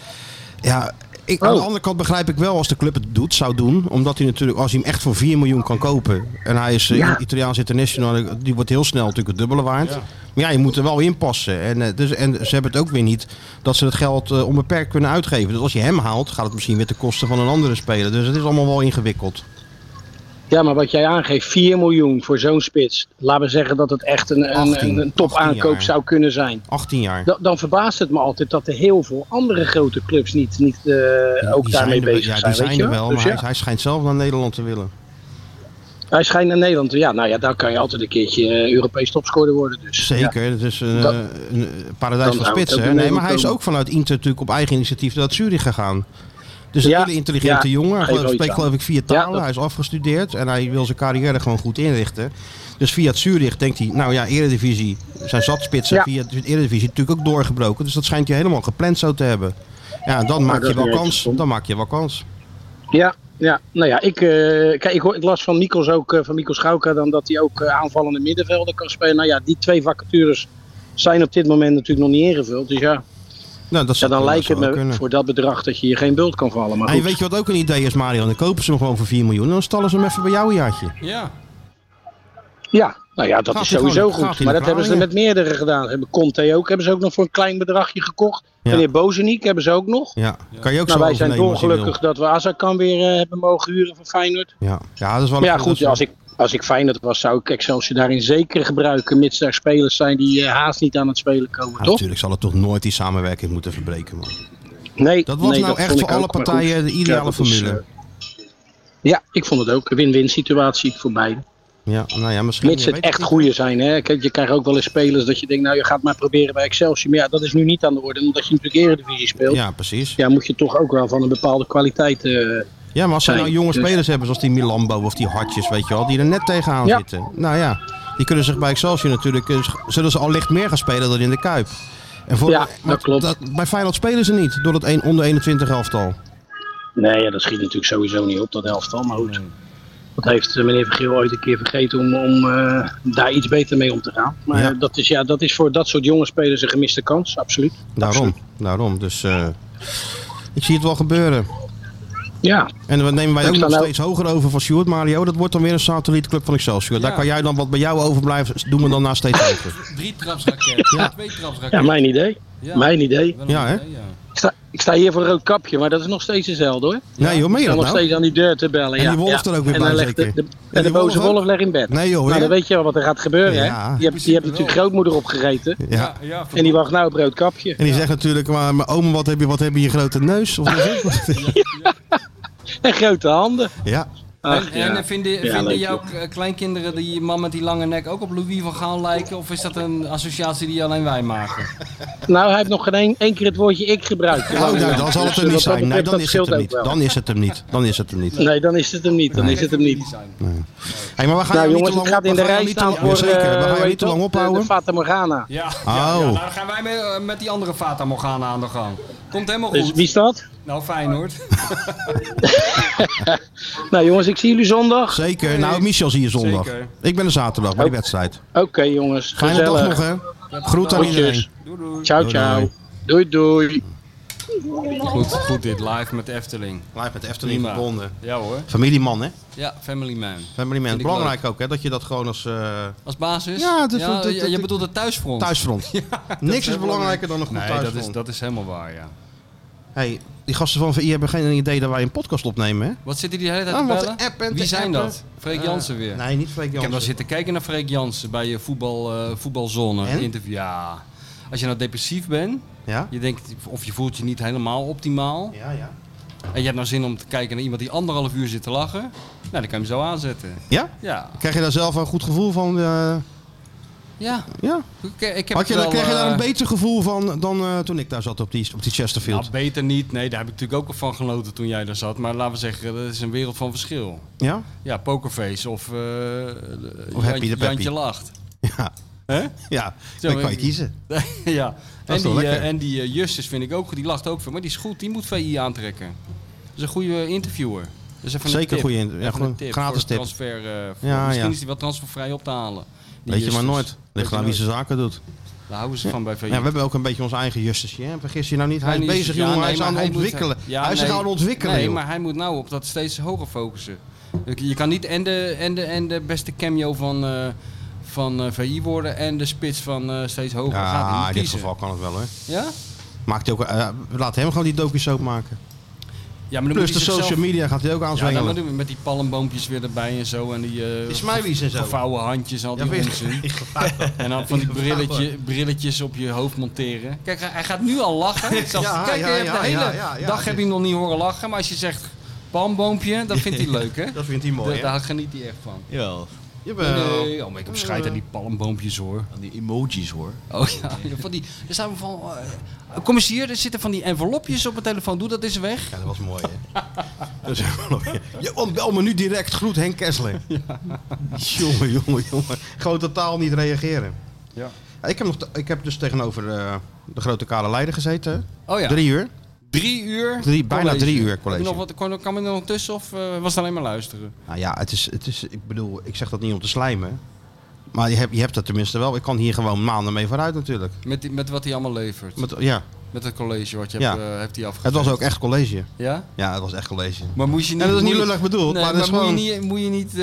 Speaker 1: ja, ik, aan de
Speaker 7: Oh.
Speaker 1: andere kant begrijp ik wel als de club het doet, zou doen. Omdat hij natuurlijk, als hij hem echt voor 4 miljoen kan kopen. En hij is eh,
Speaker 7: Ja.
Speaker 1: Italiaans international, die wordt heel snel natuurlijk het dubbele waard. Maar ja, je moet er wel in passen. En, eh, dus, en ze hebben het ook weer niet dat ze het geld eh, onbeperkt kunnen uitgeven. Dus als je hem haalt, gaat het misschien weer ten koste van een andere speler. Dus het is allemaal wel ingewikkeld.
Speaker 7: Ja, maar wat jij aangeeft, 4 miljoen voor zo'n spits. Laten we zeggen dat het echt een, een,
Speaker 1: 18,
Speaker 7: een, een topaankoop
Speaker 1: 18 jaar.
Speaker 7: zou kunnen zijn.
Speaker 1: 18 jaar.
Speaker 7: Da- dan verbaast het me altijd dat er heel veel andere grote clubs niet, niet eh,
Speaker 1: Die-
Speaker 7: ook
Speaker 1: die
Speaker 7: daarmee
Speaker 1: zijn er,
Speaker 7: bezig
Speaker 1: ja, die
Speaker 7: zijn. weet
Speaker 1: zijn
Speaker 7: je
Speaker 1: er wel,
Speaker 7: Dus
Speaker 1: maar
Speaker 7: ja.
Speaker 1: hij, hij schijnt zelf naar Nederland te willen.
Speaker 7: Hij schijnt naar Nederland. Ja, nou ja, daar kan je altijd een keertje eh, Europees topscorer worden. Dus, ja.
Speaker 1: Zeker, het is een,
Speaker 7: Dat-
Speaker 1: eh, een paradijs
Speaker 7: Dan
Speaker 1: van
Speaker 7: houdt
Speaker 1: spitsen.
Speaker 7: ook
Speaker 1: hè. Nee, maar
Speaker 7: een Nederland
Speaker 1: hij is
Speaker 7: komen.
Speaker 1: ook vanuit Inter natuurlijk op eigen initiatief naar Zurich gegaan. Dus een
Speaker 7: Ja,
Speaker 1: hele intelligente
Speaker 7: ja,
Speaker 1: jongen. Hij
Speaker 7: geef wel
Speaker 1: geloof-
Speaker 7: iets
Speaker 1: spreekt
Speaker 7: aan.
Speaker 1: geloof ik vier
Speaker 7: Ja,
Speaker 1: talen.
Speaker 7: dat-
Speaker 1: Hij is afgestudeerd en hij wil zijn carrière gewoon goed inrichten. Dus via het Zurich denkt hij, nou ja, Eredivisie. Zijn zatspitsen
Speaker 7: Ja.
Speaker 1: via de Eredivisie natuurlijk ook doorgebroken. Dus dat schijnt hij helemaal gepland zo te hebben. Ja, en dan maak
Speaker 7: dat
Speaker 1: je wel
Speaker 7: is
Speaker 1: kans.
Speaker 7: stom.
Speaker 1: Dan maak je wel kans.
Speaker 7: Ja, ja, nou ja, ik, eh, kijk, ik, hoor, ik las van Mikkels ook, eh, van Mikkels Gauka dan dat hij ook eh, aanvallende middenvelden kan spelen. Nou ja, die twee vacatures zijn op dit moment natuurlijk nog niet ingevuld. Dus ja,
Speaker 1: Nou, dat
Speaker 7: ja
Speaker 1: zou
Speaker 7: dan
Speaker 1: dat
Speaker 7: lijkt het
Speaker 1: zou
Speaker 7: me
Speaker 1: wel kunnen.
Speaker 7: voor dat bedrag dat je hier geen bult kan vallen. Maar
Speaker 1: En
Speaker 7: goed,
Speaker 1: weet je wat ook een idee is, Mario? Dan kopen ze hem gewoon voor 4 miljoen. En dan stallen ze hem even bij jou een jaartje.
Speaker 2: Ja.
Speaker 7: ja, nou ja, dat
Speaker 1: Gaat
Speaker 7: is
Speaker 1: hij
Speaker 7: sowieso
Speaker 1: gewoon- gaat
Speaker 7: goed.
Speaker 1: hij
Speaker 7: Maar
Speaker 1: de
Speaker 7: dat hebben ze met
Speaker 1: Kralingen?
Speaker 7: meerdere gedaan. Ze hebben Conte ook, hebben ze ook nog voor een klein bedragje gekocht.
Speaker 1: Ja.
Speaker 7: Meneer Bozeniek hebben ze ook nog.
Speaker 1: Ja, kan je ook
Speaker 7: Nou,
Speaker 1: zo
Speaker 7: wij zijn
Speaker 1: overnemen als je wil.
Speaker 7: dolgelukkig dat we Azarkan weer eh, hebben mogen huren van Feyenoord.
Speaker 1: Ja, ja dat is wel
Speaker 7: Maar ja,
Speaker 1: een- dat
Speaker 7: goed,
Speaker 1: is-
Speaker 7: als ik, als ik Feyenoord was, zou ik Excelsior daarin zeker gebruiken. Mits daar spelers zijn die eh, haast niet aan het spelen komen,
Speaker 1: Ja,
Speaker 7: toch?
Speaker 1: Ah, natuurlijk zal het toch nooit die samenwerking moeten verbreken. Man.
Speaker 7: Nee,
Speaker 1: Dat was
Speaker 7: nee,
Speaker 1: nou
Speaker 7: vond
Speaker 1: echt voor
Speaker 7: ik ook,
Speaker 1: alle
Speaker 7: maar goed.
Speaker 1: partijen de
Speaker 7: Ja,
Speaker 1: ideale
Speaker 7: dat is,
Speaker 1: formule.
Speaker 7: eh, ja, ik vond het ook. Een win-win situatie voor beiden.
Speaker 1: ja, nou ja, misschien.
Speaker 7: Mits
Speaker 1: je
Speaker 7: het
Speaker 1: weet
Speaker 7: echt
Speaker 1: niet.
Speaker 7: goede zijn. Hè? Kijk, je krijgt ook wel eens spelers dat je denkt, nou je gaat maar proberen bij Excelsior. Maar ja, dat is nu niet aan de orde. Omdat je natuurlijk Eredivisie speelt. Ja.
Speaker 1: Ja, precies.
Speaker 7: moet je toch ook wel van een bepaalde kwaliteit... eh,
Speaker 1: Ja, maar als ze
Speaker 7: Nee,
Speaker 1: nou jonge
Speaker 7: dus-
Speaker 1: spelers hebben, zoals die Milambo of die Hartjes, weet je wel, die er net tegenaan
Speaker 7: Ja.
Speaker 1: zitten. Nou ja, die kunnen zich bij Excelsior natuurlijk, eh, sch- zullen ze al licht meer gaan spelen dan in de Kuip. En voor,
Speaker 7: Ja, dat
Speaker 1: want
Speaker 7: klopt.
Speaker 1: bij Feyenoord spelen ze niet, door dat een, onder 21 elftal.
Speaker 7: Nee, ja, dat schiet natuurlijk sowieso niet op, dat elftal. Maar goed, dat heeft eh, meneer Vergeel ooit een keer vergeten om, om eh, daar iets beter mee om te gaan. Maar
Speaker 1: Ja.
Speaker 7: eh, dat, is, ja, dat is voor dat soort jonge spelers een gemiste kans, absoluut.
Speaker 1: Daarom,
Speaker 7: Absoluut.
Speaker 1: daarom. Dus eh, ik zie het wel gebeuren.
Speaker 7: Ja,
Speaker 1: En dan nemen wij
Speaker 7: Ik
Speaker 1: ook
Speaker 7: sta
Speaker 1: nog
Speaker 7: nou-
Speaker 1: steeds hoger over van Sjoerd, Mario. Dat wordt dan weer een satellietclub van Excelsior. Daar
Speaker 2: Ja.
Speaker 1: kan jij dan wat bij jou overblijft, doen we dan naast steeds hoger.
Speaker 2: Drie trapsraket. Ja. Twee trapsraket.
Speaker 7: ja mijn idee.
Speaker 2: Ja.
Speaker 7: Mijn idee.
Speaker 2: Wel een
Speaker 1: Ja, hè?
Speaker 2: idee, ja.
Speaker 7: Ik sta, ik sta hier voor een rood kapje, maar dat is nog steeds dezelfde hoor.
Speaker 1: Nee joh, meen
Speaker 7: Ik
Speaker 1: je
Speaker 7: sta
Speaker 1: dat
Speaker 7: nog
Speaker 1: nou?
Speaker 7: steeds aan die deur te bellen.
Speaker 1: En
Speaker 7: ja,
Speaker 1: die wolf
Speaker 7: ja.
Speaker 1: er ook weer
Speaker 7: en
Speaker 1: bij,
Speaker 7: dan legt
Speaker 1: zeker?
Speaker 7: De, de, en de
Speaker 1: die
Speaker 7: boze
Speaker 1: wolf ook?
Speaker 7: wolf leg in bed.
Speaker 1: Nee joh,
Speaker 7: nou, dan
Speaker 1: hè?
Speaker 7: weet je wel wat er gaat gebeuren, hè?
Speaker 1: Ja.
Speaker 7: Die hebt, die hebt natuurlijk grootmoeder opgegeten.
Speaker 1: Ja.
Speaker 2: Ja, ja,
Speaker 7: En die wacht nou op rood kapje.
Speaker 1: En die zegt natuurlijk, maar mijn oom, wat heb je, wat heb je, je grote neus? Of wat is het?
Speaker 7: En grote handen.
Speaker 1: ja.
Speaker 7: Ach,
Speaker 2: en
Speaker 7: ja.
Speaker 2: en vinden, vinden
Speaker 7: leuk,
Speaker 2: jouw k- kleinkinderen die man met die lange nek ook op Louis van Gaal lijken? Of is dat een associatie die alleen wij maken?
Speaker 7: Nou, hij heeft nog geen één, één keer het woordje ik gebruikt.
Speaker 1: Oh, nou, dan zal het er
Speaker 7: Dus
Speaker 1: niet
Speaker 7: wat dat
Speaker 1: zijn. Nee,
Speaker 7: betreft,
Speaker 1: dan
Speaker 7: dat
Speaker 1: is het
Speaker 7: scheelt
Speaker 1: hem
Speaker 7: ook
Speaker 1: niet.
Speaker 7: wel.
Speaker 1: Dan is het hem niet. Dan is het hem niet.
Speaker 7: Nee, dan is het hem niet. Dan is het hem niet.
Speaker 1: Hé, maar we gaan jou
Speaker 7: Nou
Speaker 1: niet
Speaker 7: jongens,
Speaker 1: te
Speaker 7: het
Speaker 1: lang
Speaker 7: gaat
Speaker 1: op-
Speaker 7: in
Speaker 1: we
Speaker 7: de
Speaker 1: gaan jou
Speaker 7: rij
Speaker 1: niet te lang-
Speaker 7: staan voor
Speaker 1: Ja, Zeker,
Speaker 7: eh,
Speaker 1: we gaan
Speaker 7: weet
Speaker 1: je niet te
Speaker 7: toch,
Speaker 1: lang
Speaker 7: de- de
Speaker 1: ophouden.
Speaker 7: Fata Morgana.
Speaker 2: Ja, oh.
Speaker 1: Oh.
Speaker 2: dan gaan wij mee, eh, met die andere Fata Morgana aan de gang. Komt helemaal
Speaker 7: Dus
Speaker 2: goed.
Speaker 7: wie staat?
Speaker 2: Nou, Feyenoord.
Speaker 7: Nou jongens, ik zie jullie zondag.
Speaker 1: Zeker. Nou, Michel zie je zondag.
Speaker 2: Zeker.
Speaker 1: Ik ben er zaterdag bij de wedstrijd.
Speaker 7: Oké jongens,
Speaker 1: Fijne dag nog,
Speaker 7: gezellig.
Speaker 1: hè? Groet aan iedereen.
Speaker 7: Groetjes.
Speaker 2: Doei, doei.
Speaker 7: Ciao,
Speaker 1: Doei, doei.
Speaker 7: ciao. Doei, doei.
Speaker 2: Goed, goed dit, live met Efteling.
Speaker 1: Live met Efteling
Speaker 2: Prima.
Speaker 1: verbonden.
Speaker 2: Ja hoor.
Speaker 1: Familieman, hè?
Speaker 2: Ja, Family Man.
Speaker 1: Family man.
Speaker 2: Vind ik
Speaker 1: Belangrijk ook, hè? Dat je dat gewoon als eh,
Speaker 2: Als basis?
Speaker 1: Ja, het is- het-
Speaker 2: je-
Speaker 1: het-
Speaker 2: je,
Speaker 1: het-
Speaker 2: bedoelt het thuisfront?
Speaker 1: thuisfront. Niks is belangrijker dan een goed
Speaker 2: nee,
Speaker 1: thuisfront.
Speaker 2: dat is, dat is helemaal waar, ja.
Speaker 1: Hey, die gasten van VI hebben geen idee dat wij een podcast opnemen, hè?
Speaker 2: Wat zitten die de hele tijd
Speaker 1: Ah,
Speaker 2: te
Speaker 1: wat
Speaker 2: bellen?
Speaker 1: te appen,
Speaker 2: Wie
Speaker 1: te
Speaker 2: zijn
Speaker 1: appen.
Speaker 2: dat? Freek Jansen weer.
Speaker 1: Nee, niet Freek
Speaker 2: Ik heb wel
Speaker 1: Jansen.
Speaker 2: zitten kijken naar Freek Jansen bij je voetbal, eh, voetbalzone
Speaker 1: En?
Speaker 2: interview. Ja, als je nou depressief bent,
Speaker 1: Ja?
Speaker 2: je denkt, of je voelt je niet helemaal optimaal.
Speaker 1: Ja, ja.
Speaker 2: En je hebt nou zin om te kijken naar iemand die anderhalf uur zit te lachen. Nou, dan kan je hem zo aanzetten.
Speaker 1: Ja?
Speaker 2: Ja,
Speaker 1: Krijg je daar zelf een goed gevoel van? eh,
Speaker 2: ja.
Speaker 1: ja.
Speaker 2: Ik, eh, ik heb
Speaker 1: Had je,
Speaker 2: het
Speaker 1: daar-
Speaker 2: wel,
Speaker 1: krijg je daar een
Speaker 2: eh,
Speaker 1: beter gevoel van dan eh, toen ik daar zat op die, op die Chesterfield?
Speaker 2: Nou, beter niet. Nee, daar heb ik natuurlijk ook al van genoten toen jij daar zat. Maar laten we zeggen, dat is een wereld van verschil.
Speaker 1: ja?
Speaker 2: Ja, Pokerface of, eh
Speaker 1: Of Happy
Speaker 2: Jantje-
Speaker 1: de Peppy.
Speaker 2: Jantje Lacht.
Speaker 1: Ja.
Speaker 2: Hè?
Speaker 1: Ja,
Speaker 2: Zo, eh,
Speaker 1: dan kan je
Speaker 2: ik-
Speaker 1: kiezen.
Speaker 2: ja.
Speaker 1: Dat
Speaker 2: En
Speaker 1: is wel
Speaker 2: die, eh,
Speaker 1: lekker.
Speaker 2: en die eh, Justus vind ik ook goed. Die lacht ook veel. Maar die is goed. Die moet VI aantrekken. Dat is een goede interviewer. Dat is even
Speaker 1: Zeker een
Speaker 2: een tip.
Speaker 1: goede in- ja,
Speaker 2: Even
Speaker 1: gewoon
Speaker 2: een tip
Speaker 1: gratis
Speaker 2: voor het
Speaker 1: tip.
Speaker 2: Transfer, eh, voor-
Speaker 1: Ja,
Speaker 2: misschien
Speaker 1: ja.
Speaker 2: is die wel transfervrij op te halen. die
Speaker 1: Weet je maar
Speaker 2: Justus.
Speaker 1: nooit.
Speaker 2: Weet
Speaker 1: Ligt
Speaker 2: je
Speaker 1: aan wie
Speaker 2: nooit.
Speaker 1: zijn zaken doet.
Speaker 2: Daar houden ze van bij VI.
Speaker 1: Ja, we hebben ook een beetje ons eigen Justusje. hè? Vergis je nou niet. Hij is
Speaker 2: Ja, niet-
Speaker 1: bezig,
Speaker 2: ja,
Speaker 1: jongen.
Speaker 2: nee,
Speaker 1: hij is
Speaker 2: maar
Speaker 1: aan het
Speaker 2: moet-
Speaker 1: ontwikkelen.
Speaker 2: ja,
Speaker 1: hij is zich
Speaker 2: nee.
Speaker 1: aan het ontwikkelen,
Speaker 2: Nee,
Speaker 1: joh.
Speaker 2: maar hij moet nou op dat steeds hoger focussen. Je je kan niet en de, en de, en de beste cameo van, eh, van eh, VI worden en de spits van eh, steeds hoger.
Speaker 1: Ja,
Speaker 2: Gaat hij niet
Speaker 1: in dit
Speaker 2: kiezen.
Speaker 1: geval kan het wel, hè.
Speaker 2: Ja?
Speaker 1: Maakt hij ook, eh, laat hem gewoon die docu-soap maken.
Speaker 2: Ja, maar dan
Speaker 1: Plus
Speaker 2: moet
Speaker 1: de
Speaker 2: hij zichzelf-
Speaker 1: social media gaat hij ook
Speaker 2: Ja, dan
Speaker 1: aanzwengelen.
Speaker 2: moet hij met die palmboompjes weer erbij en zo. En die eh,
Speaker 1: Ismaïlis en zo.
Speaker 2: gevouwen handjes en al die
Speaker 1: Ja, weer-
Speaker 2: onzin. En dan van die brilletje, brilletjes op je hoofd monteren. Kijk, hij hij gaat nu al lachen. Ik zag-
Speaker 1: Ja,
Speaker 2: Kijk,
Speaker 1: ja,
Speaker 2: je hebt
Speaker 1: ja,
Speaker 2: de hele
Speaker 1: ja, ja, ja.
Speaker 2: dag heb je hem nog niet horen lachen. Maar als je zegt palmboompje, dan vindt hij leuk, hè?
Speaker 1: Dat vindt hij
Speaker 2: Da-
Speaker 1: mooi. hè? Eh,
Speaker 2: daar geniet hij echt van.
Speaker 3: Jawel.
Speaker 1: Jawel.
Speaker 2: Nee, oh, maar ik heb scheid aan die palmboompjes, hoor.
Speaker 3: Aan die emojis hoor.
Speaker 2: Oh ja, van die, er staan van... eh, kom eens hier, er zitten van die envelopjes op mijn telefoon. Doe dat eens weg.
Speaker 1: Ja, dat was mooi, hè? dat is echt mooi. Je ontbel me nu direct. Groet Henk Kessler. Jongen, jongen, jongen. Gewoon totaal niet reageren.
Speaker 2: Ja.
Speaker 1: Ja, ik, heb nog, te- ik heb dus tegenover eh, de grote kale leider gezeten. hè?
Speaker 2: Oh ja,
Speaker 1: Drie uur.
Speaker 2: drie uur
Speaker 1: Drie- bijna
Speaker 2: college.
Speaker 1: drie uur
Speaker 2: Heb je
Speaker 1: college.
Speaker 2: Nog wat, kon, kwam ik er nog tussen of eh, was het alleen maar luisteren?
Speaker 1: Nou ja, het is, het is, ik bedoel, ik zeg dat niet om te slijmen. Maar je hebt, je hebt dat tenminste wel. Ik kan hier gewoon maanden mee vooruit natuurlijk.
Speaker 2: Met, die- met wat hij allemaal levert. Met,
Speaker 1: Met, ja,
Speaker 2: het college wat je
Speaker 1: Ja.
Speaker 2: hebt, eh, hebt
Speaker 1: het
Speaker 2: hij afgegeven.
Speaker 1: was ook echt college.
Speaker 2: Ja?
Speaker 1: Ja, het was echt college.
Speaker 2: Maar moest je niet...
Speaker 1: En dat is niet
Speaker 2: moet je-
Speaker 1: lullig bedoeld,
Speaker 2: Nee,
Speaker 1: maar dat is
Speaker 2: moet je
Speaker 1: gewoon...
Speaker 2: niet, moet je niet eh,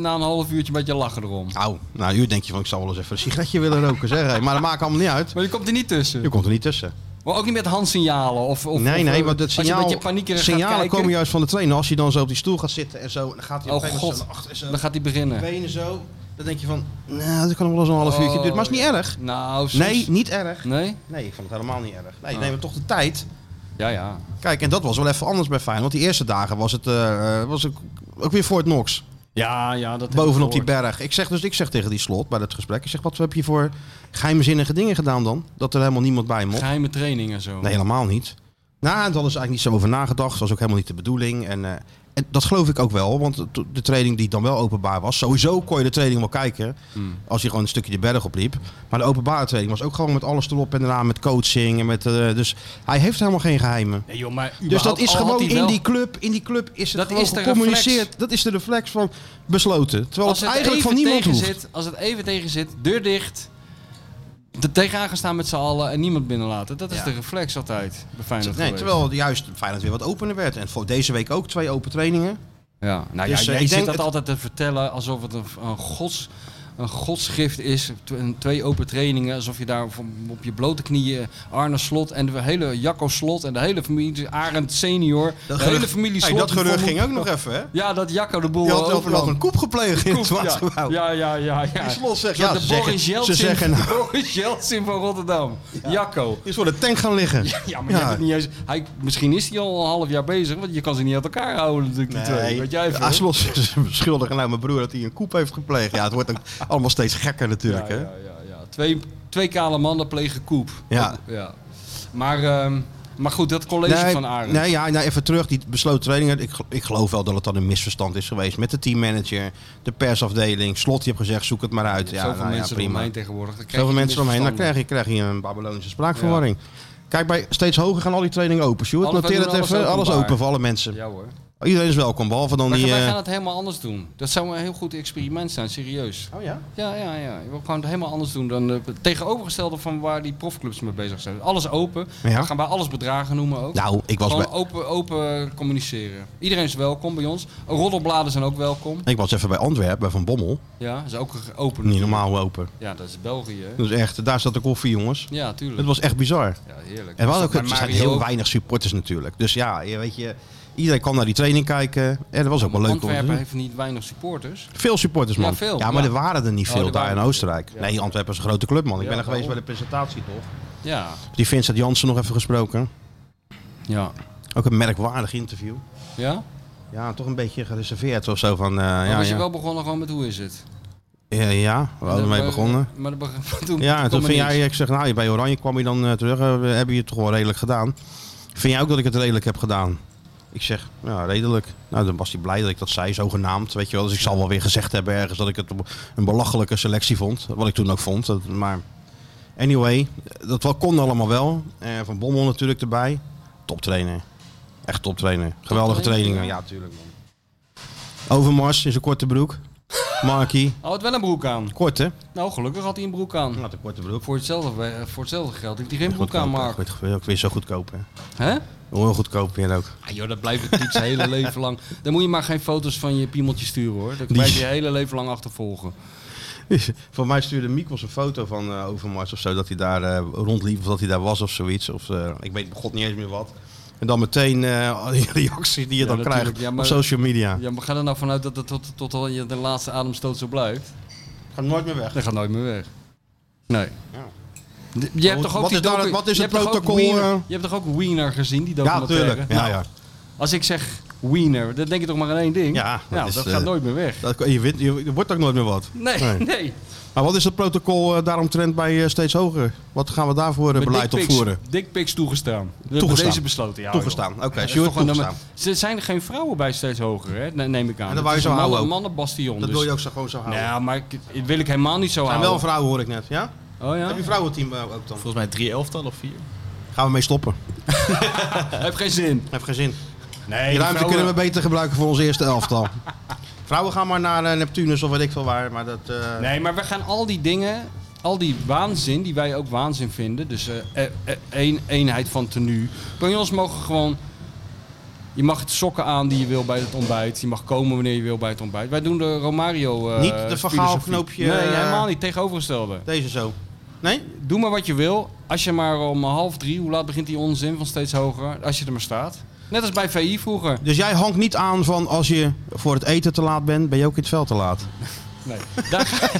Speaker 2: na een half uurtje een beetje lachen erom.
Speaker 1: Au, nou, u denk je van, ik zou wel eens even een sigaretje willen roken, zeg. hé. Maar dat maakt allemaal niet uit.
Speaker 2: Maar je komt er niet tussen.
Speaker 1: Je komt er niet tussen.
Speaker 2: Maar ook niet met handsignalen of... of
Speaker 1: nee,
Speaker 2: of,
Speaker 1: nee,
Speaker 2: eh,
Speaker 1: want het signaal,
Speaker 2: Als je een beetje paniekerig gaat
Speaker 1: signalen
Speaker 2: kijken,
Speaker 1: komen juist van de trainer. Als hij dan zo op die stoel gaat zitten en zo, dan gaat hij op
Speaker 2: Oh,
Speaker 1: een gegeven moment zo
Speaker 2: God.
Speaker 1: naar achter
Speaker 2: dan gaat hij beginnen.
Speaker 1: zijn benen zo. Dan denk je van, nou, dat kan wel eens een half uurtje
Speaker 2: Oh,
Speaker 1: duren. Maar het is niet erg.
Speaker 2: Nou, soms-
Speaker 1: Nee, niet erg.
Speaker 2: Nee?
Speaker 1: Nee, ik vond het helemaal niet erg. Nee,
Speaker 2: Ah.
Speaker 1: neem toch de tijd.
Speaker 2: Ja, ja.
Speaker 1: Kijk, en dat was wel even anders bij Feyenoord. Want die eerste dagen was het eh, was ook, ook weer Fort Knox.
Speaker 2: Ja, Ah, ja, dat
Speaker 1: Bovenop die berg. Ik zeg dus ik zeg tegen die slot bij dat gesprek. Ik zeg, wat heb je voor geheimzinnige dingen gedaan dan? Dat er helemaal niemand bij mocht.
Speaker 2: Geheime training en zo.
Speaker 1: Nee, helemaal niet. Nou, daar hadden ze eigenlijk niet zo over nagedacht. Dat was ook helemaal niet de bedoeling. En, eh, en dat geloof ik ook wel. Want de- de training die dan wel openbaar was... Sowieso kon je de training wel kijken. Als je gewoon een stukje de berg opliep. Maar de openbare training was ook gewoon met alles erop en eraan. Met coaching. En met, eh, dus hij heeft helemaal geen geheimen.
Speaker 2: Nee, joh, maar
Speaker 1: Dus dat
Speaker 2: überhaupt
Speaker 1: is
Speaker 2: al had
Speaker 1: gewoon
Speaker 2: hij
Speaker 1: in
Speaker 2: wel-
Speaker 1: die club, in die club is het
Speaker 2: Dat
Speaker 1: gewoon
Speaker 2: is de
Speaker 1: gecommuniceerd.
Speaker 2: reflex.
Speaker 1: Dat is de reflex van besloten. Terwijl
Speaker 2: Als
Speaker 1: het
Speaker 2: het
Speaker 1: eigenlijk
Speaker 2: even
Speaker 1: van niemand
Speaker 2: tegen
Speaker 1: hoeft.
Speaker 2: zit, als het even tegen zit, deur dicht. Er tegenaan gaan staan met z'n allen en niemand binnenlaten. Dat is
Speaker 1: Ja.
Speaker 2: de reflex altijd bij Feyenoord
Speaker 1: Nee,
Speaker 2: geweest.
Speaker 1: terwijl juist Feyenoord weer wat opener werd. En voor deze week ook twee open trainingen.
Speaker 2: Ja, nou
Speaker 1: Dus,
Speaker 2: ja,
Speaker 1: eh,
Speaker 2: jij
Speaker 1: ik
Speaker 2: zit
Speaker 1: denk
Speaker 2: dat
Speaker 1: het-
Speaker 2: altijd te vertellen alsof het een, een, gods, een godsgift is. Tw- een- Twee open trainingen, alsof je daar op, op je blote knieën Arne Slot en de hele Jacco Slot en de hele familie Arend Senior.
Speaker 1: Dat
Speaker 2: de
Speaker 1: gerucht-
Speaker 2: hele familie
Speaker 1: Hey,
Speaker 2: Slot. Oh,
Speaker 1: dat
Speaker 2: die
Speaker 1: gerucht
Speaker 2: voor-
Speaker 1: ging ook nog even, hè?
Speaker 2: Ja, dat Jacco de boel
Speaker 1: Je had, had,
Speaker 2: overnam.
Speaker 1: een koep gepleegd in het
Speaker 2: oh, ja.
Speaker 1: Zwartgebouw.
Speaker 2: ja, ja, ja. ja.
Speaker 1: Die slot zegt,
Speaker 2: Ja,
Speaker 1: ja,
Speaker 2: de
Speaker 1: ze zeggen,
Speaker 2: Boris
Speaker 1: ze
Speaker 2: Jeltsin,
Speaker 1: zeggen
Speaker 2: de
Speaker 1: nou,
Speaker 2: Boris Jeltsin van Rotterdam. Jacco.
Speaker 1: is voor de tank gaan liggen.
Speaker 2: Ja, maar je hebt het niet eens, hij, misschien is hij al een half jaar bezig, want je kan ze niet uit elkaar houden natuurlijk, die twee. Wat jij vindt.
Speaker 1: Aslot ze beschuldigen nou mijn broer dat hij een koep heeft gepleegd. Ja, het wordt ook allemaal steeds gekker
Speaker 2: ja,
Speaker 1: natuurlijk,
Speaker 2: ja,
Speaker 1: hè?
Speaker 2: ja, ja. Twee, twee kale mannen plegen koep.
Speaker 1: Ja.
Speaker 2: ja. Maar, ehm, maar goed, dat college van Arend.
Speaker 1: Nee, ja, nou, even terug. Die besloten trainingen. Ik, gel- ik geloof wel dat het dan een misverstand is geweest. Met de teammanager, de persafdeling. Slot, je hebt gezegd, zoek het maar uit. Ja,
Speaker 2: Zoveel
Speaker 1: nou ja,
Speaker 2: mensen
Speaker 1: prima.
Speaker 2: eromheen tegenwoordig. dan krijg
Speaker 1: Zoveel
Speaker 2: je
Speaker 1: mensen eromheen. Dan krijg
Speaker 2: misverstanden.
Speaker 1: je, krijg je een Babylonische spraakverwarring. Kijk, bij steeds hoger gaan al die trainingen open. Sjoerd,
Speaker 2: Alle- we
Speaker 1: noteer
Speaker 2: doen
Speaker 1: het
Speaker 2: alles
Speaker 1: even. Alles
Speaker 2: openbaar.
Speaker 1: open voor alle mensen.
Speaker 2: Ja hoor.
Speaker 1: Iedereen is welkom, behalve dan
Speaker 2: Maar
Speaker 1: die...
Speaker 2: wij
Speaker 1: eh,
Speaker 2: gaan het helemaal anders doen. Dat zou een heel goed experiment zijn, serieus.
Speaker 1: Oh ja?
Speaker 2: Ja, ja, ja. Je wil gewoon het helemaal anders doen dan het tegenovergestelde van waar die profclubs mee bezig zijn. Alles open.
Speaker 1: Ja.
Speaker 2: We gaan bij alles bedragen noemen ook.
Speaker 1: Nou, ik was,
Speaker 2: Gewoon
Speaker 1: bij,
Speaker 2: open, open communiceren. Iedereen is welkom bij ons. Roddelbladen zijn ook welkom.
Speaker 1: ik was even bij Antwerpen, bij Van Bommel.
Speaker 2: Ja, is ook ge- open.
Speaker 1: Niet normaal hoe open.
Speaker 2: Ja, dat is België. hè?
Speaker 1: Dus echt, daar zat de koffie, jongens.
Speaker 2: Ja,
Speaker 1: Het
Speaker 2: tuurlijk.
Speaker 1: was echt bizar.
Speaker 2: Ja, heerlijk.
Speaker 1: En we hadden ook,
Speaker 2: Dat
Speaker 1: er
Speaker 2: bij
Speaker 1: zijn
Speaker 2: Mario
Speaker 1: heel
Speaker 2: ook.
Speaker 1: weinig supporters natuurlijk. Dus ja, je weet je, iedereen kan naar die training kijken. En dat was ook wel leuk om te
Speaker 2: Antwerpen
Speaker 1: doen.
Speaker 2: heeft niet weinig supporters.
Speaker 1: Veel supporters, man.
Speaker 2: Ja, veel,
Speaker 1: maar
Speaker 2: ja.
Speaker 1: er waren er niet
Speaker 2: Oh,
Speaker 1: veel
Speaker 2: er
Speaker 1: daar
Speaker 2: waren
Speaker 1: in
Speaker 2: er-
Speaker 1: Oostenrijk.
Speaker 2: ja.
Speaker 1: Nee, Antwerpen is een grote club, man. Ik
Speaker 2: Ja,
Speaker 1: ben er geweest bij de
Speaker 2: daarom.
Speaker 1: presentatie, toch?
Speaker 2: Ja,
Speaker 1: Die Vincent Jansen nog even gesproken.
Speaker 2: ja.
Speaker 1: Ook een merkwaardig interview.
Speaker 2: Ja? Maar
Speaker 1: Ja, toch een beetje gereserveerd of zo van... eh, ja,
Speaker 2: Oh, was
Speaker 1: ja.
Speaker 2: je wel begonnen gewoon met hoe is het?
Speaker 1: ja, ja, we hadden mee
Speaker 2: Maar-
Speaker 1: begonnen.
Speaker 2: Maar dan beg- toen
Speaker 1: Ja, en
Speaker 2: kwam
Speaker 1: toen
Speaker 2: er
Speaker 1: vind
Speaker 2: niks.
Speaker 1: jij, ik zeg, nou, je bij Oranje kwam je dan eh, terug, eh, we hebben je het toch wel redelijk gedaan. Vind jij ook dat ik het redelijk heb gedaan? Ik zeg, ja, redelijk. Nou, dan was hij blij dat ik dat zei, zogenaamd, weet je wel. Dus ik zal wel weer gezegd hebben ergens dat ik het een belachelijke selectie vond, wat ik toen ook vond. Dat- Maar anyway, dat wel, kon allemaal wel. Eh, van Bommel natuurlijk erbij. Toptrainer. Echt toptrainer. Geweldige
Speaker 2: Toptrainer,
Speaker 1: trainingen. Ja, tuurlijk man. Overmars in zijn korte broek. Markie,
Speaker 2: Hij Oh, had wel een broek aan.
Speaker 1: kort hè?
Speaker 2: Nou, gelukkig had hij een broek aan.
Speaker 1: Nou, de korte broek.
Speaker 2: Voor hetzelfde, we- voor hetzelfde geld heeft hij geen broek aan,
Speaker 1: Goedkoop,
Speaker 2: Mark.
Speaker 1: hè. Goed- Ook weer zo goedkoop, hè?
Speaker 2: Hè?
Speaker 1: Heel goedkoop weer ook.
Speaker 2: Ah joh, dat blijft natuurlijk zijn hele leven lang. Dan moet je maar geen foto's van je piemeltje sturen hoor. Dat
Speaker 1: Die-
Speaker 2: blijf je je hele leven lang achtervolgen.
Speaker 1: Voor mij stuurde Mikkels een foto van eh, Overmars of zo, dat hij daar eh, rondliep of dat hij daar was of zoiets. Of, eh, ik weet god niet eens meer wat. En dan meteen eh, al die reactie die je dan
Speaker 2: natuurlijk.
Speaker 1: krijgt
Speaker 2: Ja, maar-
Speaker 1: op social media.
Speaker 2: Ja, maar ga er nou vanuit dat het tot, tot al je de laatste ademstoot zo blijft.
Speaker 1: Gaat nooit meer weg.
Speaker 2: Dat gaat nooit meer weg. Nee. De- Je
Speaker 1: Wat-
Speaker 2: hebt toch ook
Speaker 1: wat
Speaker 2: die
Speaker 1: is daar-
Speaker 2: docu-
Speaker 1: wat is
Speaker 2: je
Speaker 1: het
Speaker 2: hebt toch ook
Speaker 1: protocol,
Speaker 2: Wiener-
Speaker 1: eh?
Speaker 2: Je hebt toch ook Wiener gezien, die
Speaker 1: Ja,
Speaker 2: documentaire? Nou,
Speaker 1: tuurlijk. Ja, ja.
Speaker 2: Als ik zeg Wiener, dan denk je toch maar aan één ding?
Speaker 1: Ja, dat
Speaker 2: dat,
Speaker 1: is,
Speaker 2: dat
Speaker 1: eh,
Speaker 2: gaat nooit meer weg.
Speaker 1: Dat, je, wint, je, je wordt ook nooit meer wat.
Speaker 2: Nee,
Speaker 1: Nee.
Speaker 2: nee.
Speaker 1: Maar wat is het protocol eh, daaromtrend bij eh, Steeds Hoger? Wat gaan we daarvoor eh,
Speaker 2: Met
Speaker 1: beleid
Speaker 2: dickpics-
Speaker 1: opvoeren?
Speaker 2: Dickpics toegestaan. We hebben
Speaker 1: Toegestaan.
Speaker 2: deze besloten, ja. joh.
Speaker 1: Toegestaan. Oké,
Speaker 2: Dat is
Speaker 1: Sjoerd,
Speaker 2: toch een
Speaker 1: toegestaan.
Speaker 2: nummer- Ze zijn er geen vrouwen bij steeds hoger, hè? Ne- neem ik aan.
Speaker 1: En dat
Speaker 2: Het
Speaker 1: wou je
Speaker 2: is
Speaker 1: zo
Speaker 2: een
Speaker 1: houden
Speaker 2: mannen-
Speaker 1: ook.
Speaker 2: mannenbastion.
Speaker 1: Dat
Speaker 2: dus-
Speaker 1: wil je ook zo gewoon zo houden.
Speaker 2: Nou, maar ik, dat wil ik helemaal niet zo
Speaker 1: Er zijn
Speaker 2: houden.
Speaker 1: wel vrouwen, hoor ik net. Ja?
Speaker 2: Oh ja?
Speaker 1: Heb je vrouwenteam eh, ook dan?
Speaker 3: Volgens mij drie elftal of vier.
Speaker 1: Gaan we mee stoppen.
Speaker 2: Heb geen zin.
Speaker 1: Heeft geen zin.
Speaker 2: Nee,
Speaker 1: Die
Speaker 2: die
Speaker 1: ruimte
Speaker 2: vrouwen-
Speaker 1: kunnen we beter gebruiken voor ons eerste elftal. Vrouwen gaan maar naar eh, Neptunus of weet ik veel waar. Maar dat, eh,
Speaker 2: Nee, maar we gaan al die dingen, al die waanzin die wij ook waanzin vinden, dus eh eh, eh, één eenheid van tenue. Jongens mogen gewoon. Je mag het sokken aan die je wil bij het ontbijt. Je mag komen wanneer je wil bij het ontbijt. Wij doen de Romario. eh,
Speaker 1: Niet de Van Gaal
Speaker 2: filosofie.
Speaker 1: knoopje,
Speaker 2: Nee,
Speaker 1: eh,
Speaker 2: helemaal niet. Tegenovergestelde.
Speaker 1: Deze zo. Nee?
Speaker 2: Doe maar wat je wil. Als je maar om half drie, hoe laat begint die onzin van steeds hoger? Als je er maar staat. Net als bij VI vroeger.
Speaker 1: Dus jij hangt niet aan van als je voor het eten te laat bent, ben je ook in het veld te laat.
Speaker 2: Nee. Daar, ga-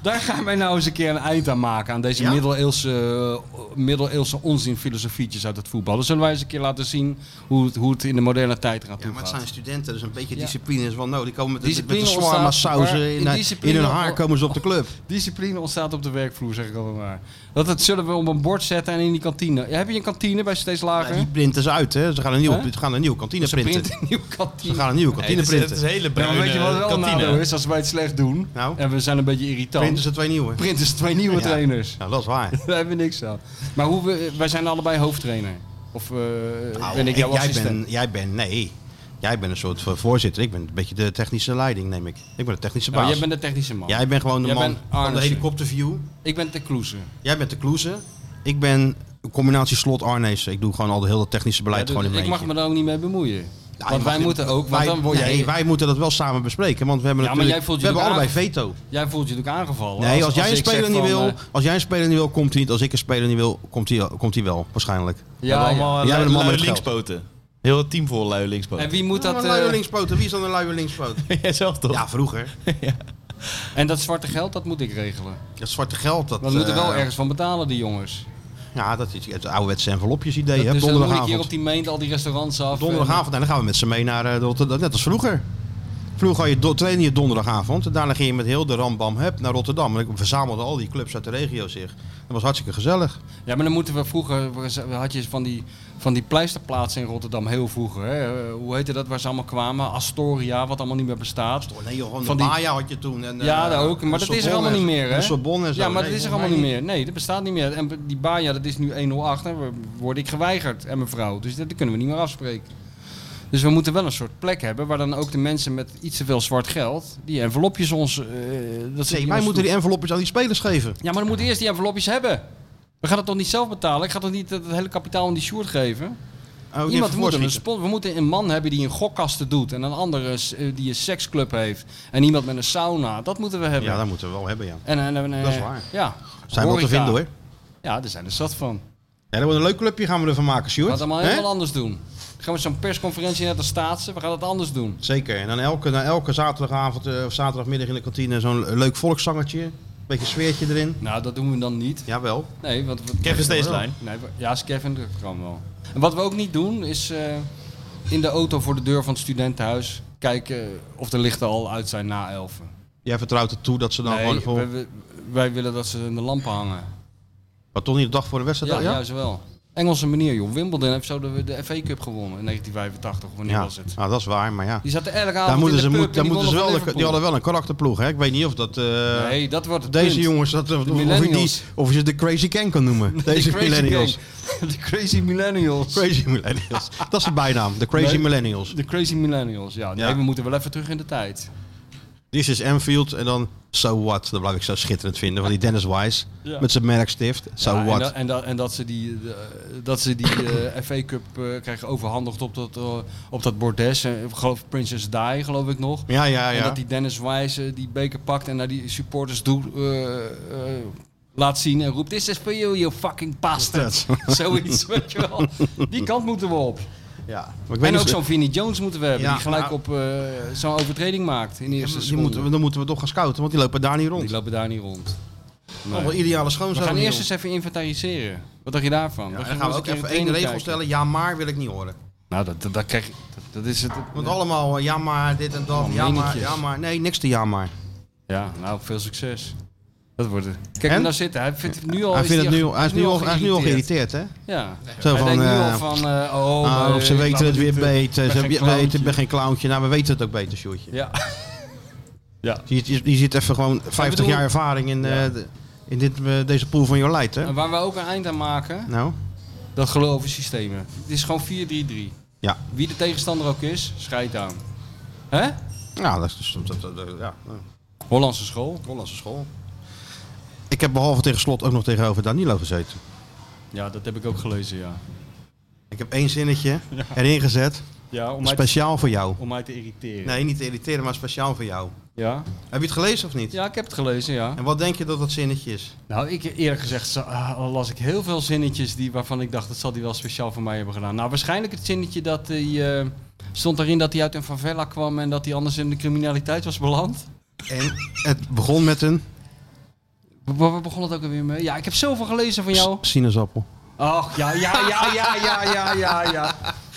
Speaker 2: daar gaan wij nou eens een keer een eind aan maken. Aan deze
Speaker 1: Ja?
Speaker 2: middeleeuwse, eh, middeleeuwse onzinfilosofietjes uit het voetbal. Dan zullen wij eens een keer laten zien hoe het, hoe het in de moderne tijd eraan toe gaat.
Speaker 1: studenten, dus een beetje
Speaker 2: Ja.
Speaker 1: discipline is wel nodig. Die komen met,
Speaker 2: Discipline ontstaat, maar in discipline ont-
Speaker 1: ze op de club.
Speaker 2: Discipline ontstaat op de werkvloer, zeg ik altijd maar. Dat het zullen we op een bord zetten en in die kantine. Heb je een kantine bij steeds lager?
Speaker 1: die printen ze uit, hè? Ze gaan een nieuwe,
Speaker 2: Hè?
Speaker 1: ze gaan een nieuwe kantine
Speaker 2: Ze
Speaker 1: printen.
Speaker 2: printen een nieuwe
Speaker 1: Ze
Speaker 2: kantine.
Speaker 1: gaan een nieuwe
Speaker 3: Nee,
Speaker 1: kantine
Speaker 3: het, is, het
Speaker 1: printen.
Speaker 3: is een hele
Speaker 2: Ja, maar
Speaker 3: bruine
Speaker 2: weet je wat wel een eh,
Speaker 3: kantine.
Speaker 2: nadeel is als wij het slecht doen?
Speaker 1: Nou?
Speaker 2: En we zijn een beetje irritant.
Speaker 1: Printen ze twee nieuwe.
Speaker 2: Printen ze twee nieuwe
Speaker 1: Ja.
Speaker 2: trainers.
Speaker 1: Ja, dat is waar.
Speaker 2: Daar hebben we niks aan. Maar hoe we, eh, wij zijn allebei hoofdtrainer. Of eh,
Speaker 1: Nou,
Speaker 2: ben ik jouw
Speaker 1: ik- jij
Speaker 2: assistent?
Speaker 1: bent, jij bent, nee. Jij bent een soort van voorzitter. Ik ben een beetje de technische leiding, neem ik. Ik ben de technische baas.
Speaker 2: Nou, jij bent de technische man.
Speaker 1: Jij bent gewoon de
Speaker 2: Jij
Speaker 1: man
Speaker 2: bent
Speaker 1: van de
Speaker 2: Arnissen.
Speaker 1: helikopterview.
Speaker 2: Ik ben de kloeze.
Speaker 1: Jij bent de kloeze. Ik ben een combinatie slot Arnees. Ik doe gewoon al de hele technische beleid
Speaker 2: Ja, dus
Speaker 1: gewoon in
Speaker 2: ik
Speaker 1: mijn
Speaker 2: mag
Speaker 1: eentje.
Speaker 2: me daar ook niet mee bemoeien.
Speaker 1: Ja, je
Speaker 2: want
Speaker 1: mag
Speaker 2: wij
Speaker 1: niet-
Speaker 2: moeten ook, want
Speaker 1: wij,
Speaker 2: dan word
Speaker 1: nee,
Speaker 2: jij...
Speaker 1: wij moeten dat wel samen bespreken, want we hebben
Speaker 2: Ja, maar
Speaker 1: natuurlijk,
Speaker 2: jij voelt
Speaker 1: we hebben allebei
Speaker 2: natuurlijk
Speaker 1: veto.
Speaker 2: Jij voelt je natuurlijk aangevallen.
Speaker 1: Nee, als, jij een
Speaker 2: ik zeg
Speaker 1: speler niet
Speaker 2: van,
Speaker 1: wil,
Speaker 2: eh,
Speaker 1: als jij een speler niet wil, komt hij niet. Als ik een speler niet wil, komt hij, komt hij wel, waarschijnlijk.
Speaker 3: We hebben
Speaker 2: ja, ja.
Speaker 3: allemaal
Speaker 1: Jij bent
Speaker 3: lui,
Speaker 1: de man
Speaker 3: lui
Speaker 1: met het geld.
Speaker 3: linkspoten. Heel het team vol lui linkspoten.
Speaker 2: En wie moet dat... eh,
Speaker 1: linkspoot? Wie is dan een luie linkspoot?
Speaker 3: Jijzelf toch?
Speaker 1: Ja, vroeger.
Speaker 2: en dat zwarte geld, dat moet ik regelen.
Speaker 1: Dat zwarte geld. Dat,
Speaker 2: Want we moeten
Speaker 1: eh,
Speaker 2: wel ergens van betalen, die jongens.
Speaker 1: Ja, dat is het ouderwetse envelopjes idee.
Speaker 2: Dat-
Speaker 1: hè,
Speaker 2: dus dan moet ik hier
Speaker 1: donderdagavond.
Speaker 2: op die meent al die restaurants af.
Speaker 1: Donderdagavond. En dan gaan we met ze mee naar eh, de Rotterdam. Net als vroeger. Vroeger had je do- trainen je donderdagavond. En daarna ging je met heel de rambam heb naar Rotterdam. En ik verzamelde al die clubs uit de regio zich. Dat was hartstikke gezellig.
Speaker 2: Ja, maar dan moeten we vroeger, had je van die, van die pleisterplaatsen in Rotterdam heel vroeger. Hè? Eh, Hoe heette dat waar ze allemaal kwamen? Astoria, wat allemaal niet meer bestaat.
Speaker 1: Nee joh,
Speaker 2: Oh, Van die-
Speaker 1: Maya had je toen. En,
Speaker 2: Ja,
Speaker 1: eh,
Speaker 2: daar ook. Maar dat is er
Speaker 1: Sorbonne
Speaker 2: allemaal niet
Speaker 1: en-
Speaker 2: meer, hè?
Speaker 1: en Sorbonne en zo.
Speaker 2: Ja, maar
Speaker 1: Nee,
Speaker 2: dat is er
Speaker 1: volgens
Speaker 2: allemaal
Speaker 1: mij
Speaker 2: niet meer. Nee, dat bestaat niet meer. En die Baja, dat is nu 108. Hè? Word ik geweigerd en mevrouw. Dus dat, dat kunnen we niet meer afspreken. Dus we moeten wel een soort plek hebben waar dan ook de mensen met iets te veel zwart geld, die envelopjes ons... eh, dat ze
Speaker 1: Nee,
Speaker 2: ons
Speaker 1: wij moeten
Speaker 2: toe-
Speaker 1: die envelopjes aan die spelers geven.
Speaker 2: Ja, maar dan moeten we eerst die envelopjes hebben. We gaan het toch niet zelf betalen? Ik ga toch niet het hele kapitaal aan die Sjoerd geven?
Speaker 1: Oh, die
Speaker 2: Iemand
Speaker 1: even
Speaker 2: moet een
Speaker 1: voorschieten.
Speaker 2: spon- we moeten een man hebben die een gokkasten doet. En een andere s- eh, die een seksclub heeft. En iemand met een sauna. Dat moeten we hebben.
Speaker 1: Ja, dat moeten we wel hebben, ja.
Speaker 2: en, en, en, eh,
Speaker 1: dat is waar.
Speaker 2: Ja.
Speaker 1: Zijn we wel te
Speaker 2: Horeca.
Speaker 1: vinden, hoor.
Speaker 2: Ja, daar zijn er zat van.
Speaker 1: Ja, dat wordt een leuk clubje. Gaan we ervan maken, Sjoerd.
Speaker 2: Laten we het allemaal
Speaker 1: Hè?
Speaker 2: helemaal anders doen. Dan gaan we zo'n persconferentie net als staatsen. We gaan het anders doen.
Speaker 1: Zeker. En dan elke, dan elke zaterdagavond eh, of zaterdagmiddag in de kantine zo'n leuk volkszangertje. Beetje sfeertje erin.
Speaker 2: Nou, dat doen we dan niet.
Speaker 1: Jawel.
Speaker 2: Nee, want... we-
Speaker 3: Kevin Steeslijn.
Speaker 2: Nee, we- ja, is Kevin, dat kan wel. En wat we ook niet doen, is eh, in de auto voor de deur van het studentenhuis kijken of de lichten al uit zijn na elfen.
Speaker 1: Jij vertrouwt het toe dat ze dan Nou, gewoon...
Speaker 2: nee,
Speaker 1: Voor...
Speaker 2: we- we- wij willen dat ze in de lampen hangen.
Speaker 1: Maar toch niet de dag voor de wedstrijd?
Speaker 2: Ja,
Speaker 1: al, Ja,
Speaker 2: juist wel. Engelse manier, joh. Wimbledon heeft zo de, de FA Cup gewonnen in 1985, of wanneer
Speaker 1: Ja.
Speaker 2: was het?
Speaker 1: Nou, dat is waar, maar ja.
Speaker 2: Die zaten elke avond
Speaker 1: Daar
Speaker 2: in
Speaker 1: moeten
Speaker 2: de
Speaker 1: ze,
Speaker 2: pub
Speaker 1: moet,
Speaker 2: en
Speaker 1: daar
Speaker 2: die
Speaker 1: moeten ze wel
Speaker 2: wonnen
Speaker 1: de,
Speaker 2: van
Speaker 1: die hadden
Speaker 2: Liverpool.
Speaker 1: wel een karakterploeg, hè? Ik weet niet of dat... eh,
Speaker 2: Nee, dat wordt het
Speaker 1: Deze
Speaker 2: punt.
Speaker 1: jongens, dat, of, of, je die,
Speaker 2: millennials.
Speaker 1: of je ze de Crazy Ken kan noemen. Deze
Speaker 2: De crazy
Speaker 1: millennials.
Speaker 2: gang. De crazy millennials.
Speaker 1: Crazy millennials. dat is de bijnaam, de Crazy
Speaker 2: Nee.
Speaker 1: millennials.
Speaker 2: De crazy millennials, ja. Nee,
Speaker 1: Ja.
Speaker 2: we moeten wel even terug in de tijd.
Speaker 1: This is Enfield en dan So What. Dat blijf ik zo schitterend vinden van die Dennis Wise.
Speaker 2: Ja.
Speaker 1: Met zijn merkstift. So
Speaker 2: Ja, Ah, en,
Speaker 1: What.
Speaker 2: dat- en, dat- en dat ze die, eh, dat ze die eh, FA Cup eh, krijgen overhandigd op dat, eh, op dat bordes. eh, Ik geloof Princess Di, geloof ik nog.
Speaker 1: Ja, ja, ja.
Speaker 2: En dat die Dennis Wijs eh, die beker pakt en naar die supporters doet, eh, eh, laat zien en roept... This is for you, you fucking bastard. Zoiets, weet je wel. Die kant moeten we op.
Speaker 1: Ja. Maar ik
Speaker 2: En
Speaker 1: niet
Speaker 2: ook
Speaker 1: of-
Speaker 2: zo'n Vinnie Jones moeten we hebben.
Speaker 1: Ja,
Speaker 2: die gelijk
Speaker 1: nou-
Speaker 2: op eh, zo'n overtreding maakt in de eerste
Speaker 1: Die
Speaker 2: seconde.
Speaker 1: moeten, we- dan moeten we toch gaan scouten, want die lopen daar niet rond.
Speaker 2: Die lopen daar niet rond. Nee.
Speaker 1: Allemaal ideale
Speaker 2: We
Speaker 1: schoonzoon.
Speaker 2: gaan
Speaker 1: hier,
Speaker 2: eerst eens
Speaker 1: joh.
Speaker 2: even inventariseren. Wat dacht je daarvan?
Speaker 1: Ja, dan gaan we ook even één regel stellen. Ja, maar wil ik niet horen.
Speaker 2: Nou, dat, dat, dat krijg je- dat, dat is het.
Speaker 1: Want allemaal eh, ja, maar dit en dat.
Speaker 2: Oh,
Speaker 1: Ja, maar,
Speaker 2: minnetjes.
Speaker 1: ja, maar. Nee, niks te ja, maar.
Speaker 2: Ja, nou, veel succes. Dat wordt het. Kijk
Speaker 1: En?
Speaker 2: hem nou zitten. Hij vindt het nu
Speaker 1: hij,
Speaker 2: al... Oh, is
Speaker 1: vindt het
Speaker 2: al-
Speaker 1: nu, hij, is nu al, hij is nu al geïrriteerd, hè?
Speaker 2: Ja.
Speaker 1: Zo
Speaker 2: hij
Speaker 1: van,
Speaker 2: denkt nu al
Speaker 1: eh,
Speaker 2: van... eh,
Speaker 1: Ah,
Speaker 2: oh, maar
Speaker 1: of ze
Speaker 2: ik
Speaker 1: weten
Speaker 2: laat
Speaker 1: het weer
Speaker 2: niet, eh,
Speaker 1: beter.
Speaker 2: ben
Speaker 1: Ze
Speaker 2: geen
Speaker 1: weten, ik
Speaker 2: clowntje.
Speaker 1: ben geen clowntje. Nou, we weten het ook beter, Sjoerdje.
Speaker 2: Ja.
Speaker 1: Die, die, die zit even gewoon 50
Speaker 2: bedoel-
Speaker 1: jaar ervaring in, eh, de- in dit, eh, deze pool van jouw leid, hè?
Speaker 2: En waar we ook een eind aan maken,
Speaker 1: Nou,
Speaker 2: dat geloven systemen. Het is gewoon 4-3-3.
Speaker 1: Ja.
Speaker 2: Wie de tegenstander ook is, schijt aan. Hè?
Speaker 1: ja, dat is dus... dat- dat- dat- ja.
Speaker 2: Hollandse school.
Speaker 1: Hollandse school. Ik heb behalve tegen slot ook nog tegenover Danilo gezeten.
Speaker 2: Ja, dat heb ik ook gelezen, ja.
Speaker 1: Ik heb één zinnetje erin gezet.
Speaker 2: Ja, om mij, te,
Speaker 1: Speciaal voor jou.
Speaker 2: om mij te irriteren.
Speaker 1: Nee, niet te irriteren, maar speciaal voor jou.
Speaker 2: Ja?
Speaker 1: Heb je het gelezen of niet?
Speaker 2: ja, ik heb het gelezen, ja.
Speaker 1: En wat denk je dat dat zinnetje is?
Speaker 2: Nou, ik, eerlijk gezegd zo- ah, las ik heel veel zinnetjes die, waarvan ik dacht dat zal hij wel speciaal voor mij hebben gedaan. Nou, waarschijnlijk het zinnetje dat hij eh, stond daarin dat hij uit een favela kwam en dat hij anders in de criminaliteit was beland.
Speaker 1: En het begon met een
Speaker 2: Waar- Waar begon het ook alweer mee? Ja, ik heb zoveel gelezen van jou.
Speaker 1: sinaasappel.
Speaker 2: Ach, ja, ja, ja, ja, ja, ja, ja, ja.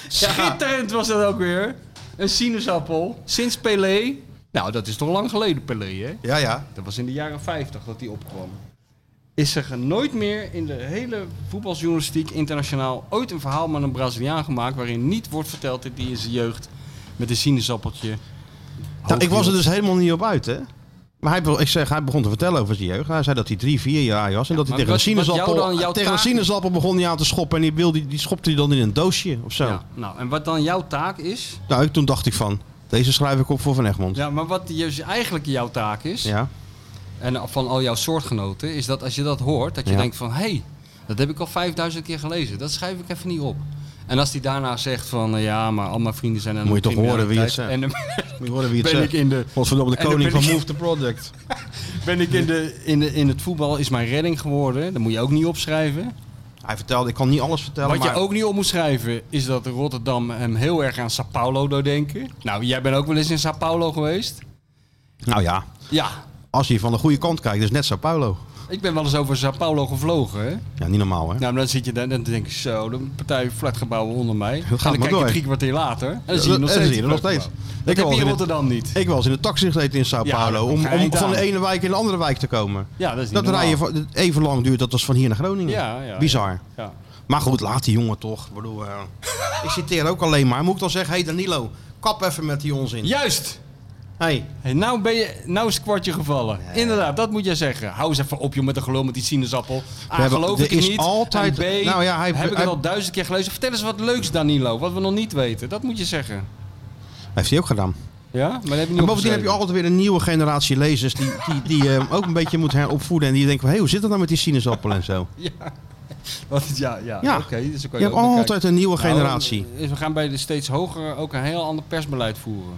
Speaker 2: Schitterend was dat ook weer. Een sinaasappel. Sinds Pelé. Nou, dat is toch lang geleden, Pelé, hè?
Speaker 1: Ja, ja.
Speaker 2: Dat was in de jaren 50 dat hij opkwam. Is er nooit meer in de hele voetbaljournalistiek internationaal ooit een verhaal met een Braziliaan gemaakt waarin niet wordt verteld dat hij in zijn jeugd met een sinaasappeltje.
Speaker 1: Nou, ik was er
Speaker 2: hoog
Speaker 1: dus helemaal niet op uit, hè? Maar hij, be- ik zeg, hij begon te vertellen over zijn jeugd. Hij zei dat hij drie, vier jaar was. En dat hij
Speaker 2: maar
Speaker 1: tegen, een
Speaker 2: wat- wat jou
Speaker 1: sinaasappel,
Speaker 2: dan- jouw
Speaker 1: tegen een
Speaker 2: taak-
Speaker 1: sinaasappel begon hij aan te schoppen. En die, wilde, die schopte hij dan in een doosje of zo.
Speaker 2: hield. Ja, nou, en wat dan jouw taak is.
Speaker 1: Nou, ik- toen dacht ik van, deze schrijf ik op voor Van Egmond.
Speaker 2: Ja, maar wat je- dus eigenlijk jouw taak is.
Speaker 1: Ja.
Speaker 2: En van al jouw soortgenoten. Is dat als je dat hoort, dat je
Speaker 1: Ja.
Speaker 2: denkt van hé, hey, dat heb ik al 5000 keer gelezen. Dat schrijf ik even niet op. En als die daarna zegt van eh, ja, maar al mijn vrienden zijn aan
Speaker 1: Moet je
Speaker 2: de
Speaker 1: toch horen wie het
Speaker 2: criminaliteit. En dan-
Speaker 1: Moet je horen wie het
Speaker 2: Ben
Speaker 1: zegt.
Speaker 2: ik in de
Speaker 1: Godverdomme, de
Speaker 2: En dan
Speaker 1: koning
Speaker 2: ben
Speaker 1: van
Speaker 2: ik-
Speaker 1: Move the Product.
Speaker 2: Ben ik in, de, Dus in, de, in het voetbal is mijn redding geworden. Dat moet je ook niet opschrijven.
Speaker 1: Hij vertelde, ik kan niet alles vertellen,
Speaker 2: Wat je
Speaker 1: maar...
Speaker 2: ook niet op moet schrijven is dat Rotterdam hem heel erg aan Sao Paulo doet denken. Nou, jij bent ook wel eens in Sao Paulo geweest.
Speaker 1: Nou ja,
Speaker 2: Ja,
Speaker 1: als je van de goede kant kijkt, dus net Sao Paulo.
Speaker 2: ik ben wel eens over Sao Paulo gevlogen. Hè?
Speaker 1: Ja, niet normaal, hè?
Speaker 2: Nou, maar dan zit je daar en dan denk je zo, de partij flatgebouwen onder mij. en
Speaker 1: maar
Speaker 2: dan kijk
Speaker 1: door.
Speaker 2: je drie kwartier later en dan
Speaker 1: Ja,
Speaker 2: zie je nog
Speaker 1: dat- dat
Speaker 2: steeds.
Speaker 1: zie je nog steeds.
Speaker 2: flatgebouwen.
Speaker 1: Ik
Speaker 2: Dat heb
Speaker 1: was
Speaker 2: je in
Speaker 1: in het-
Speaker 2: Rotterdam niet.
Speaker 1: Ik was in de taxi gezeten in Sao
Speaker 2: Ja,
Speaker 1: Paulo.
Speaker 2: dat
Speaker 1: Om,
Speaker 2: ga je
Speaker 1: om
Speaker 2: niet
Speaker 1: van de
Speaker 2: aan.
Speaker 1: ene wijk in de andere wijk te komen.
Speaker 2: Ja, dat is niet
Speaker 1: Dat
Speaker 2: normaal.
Speaker 1: rijden van- even lang duurt dat als van hier naar Groningen.
Speaker 2: Ja, ja,
Speaker 1: Bizar.
Speaker 2: Ja.
Speaker 1: Maar goed, laat die jongen toch. Ik, bedoel, eh, ik citeer ook alleen maar. Moet ik dan zeggen, hey Danilo, kap even met die onzin.
Speaker 2: Juist!
Speaker 1: Hey,
Speaker 2: Hey, nou, ben je, nou is het kwartje gevallen. Inderdaad, dat moet jij zeggen. Hou eens even op, joh, met de gelul met die sinaasappel. A,
Speaker 1: hebben-
Speaker 2: geloof
Speaker 1: er
Speaker 2: ik het
Speaker 1: is
Speaker 2: niet.
Speaker 1: altijd-
Speaker 2: En B,
Speaker 1: nou ja, hij-
Speaker 2: heb ik
Speaker 1: hij-
Speaker 2: het al duizend keer gelezen. Vertel eens wat leuks, Danilo, wat we nog niet weten. Dat moet je zeggen.
Speaker 1: heeft hij ook gedaan.
Speaker 2: Ja? Maar dat heb je niet
Speaker 1: En bovendien heb je
Speaker 2: opgeschreven.
Speaker 1: altijd weer een nieuwe generatie lezers die, die, die eh, ook een beetje moet heropvoeden. En die denken van, hé, hoe zit dat nou met die sinaasappel en zo?
Speaker 2: Wat- ja, ja,
Speaker 1: Ja.
Speaker 2: oké. dus dan kan
Speaker 1: Je hebt
Speaker 2: ook naar kijken.
Speaker 1: altijd een nieuwe
Speaker 2: Nou,
Speaker 1: generatie.
Speaker 2: is- we gaan bij de steeds hoger ook een heel ander persbeleid voeren.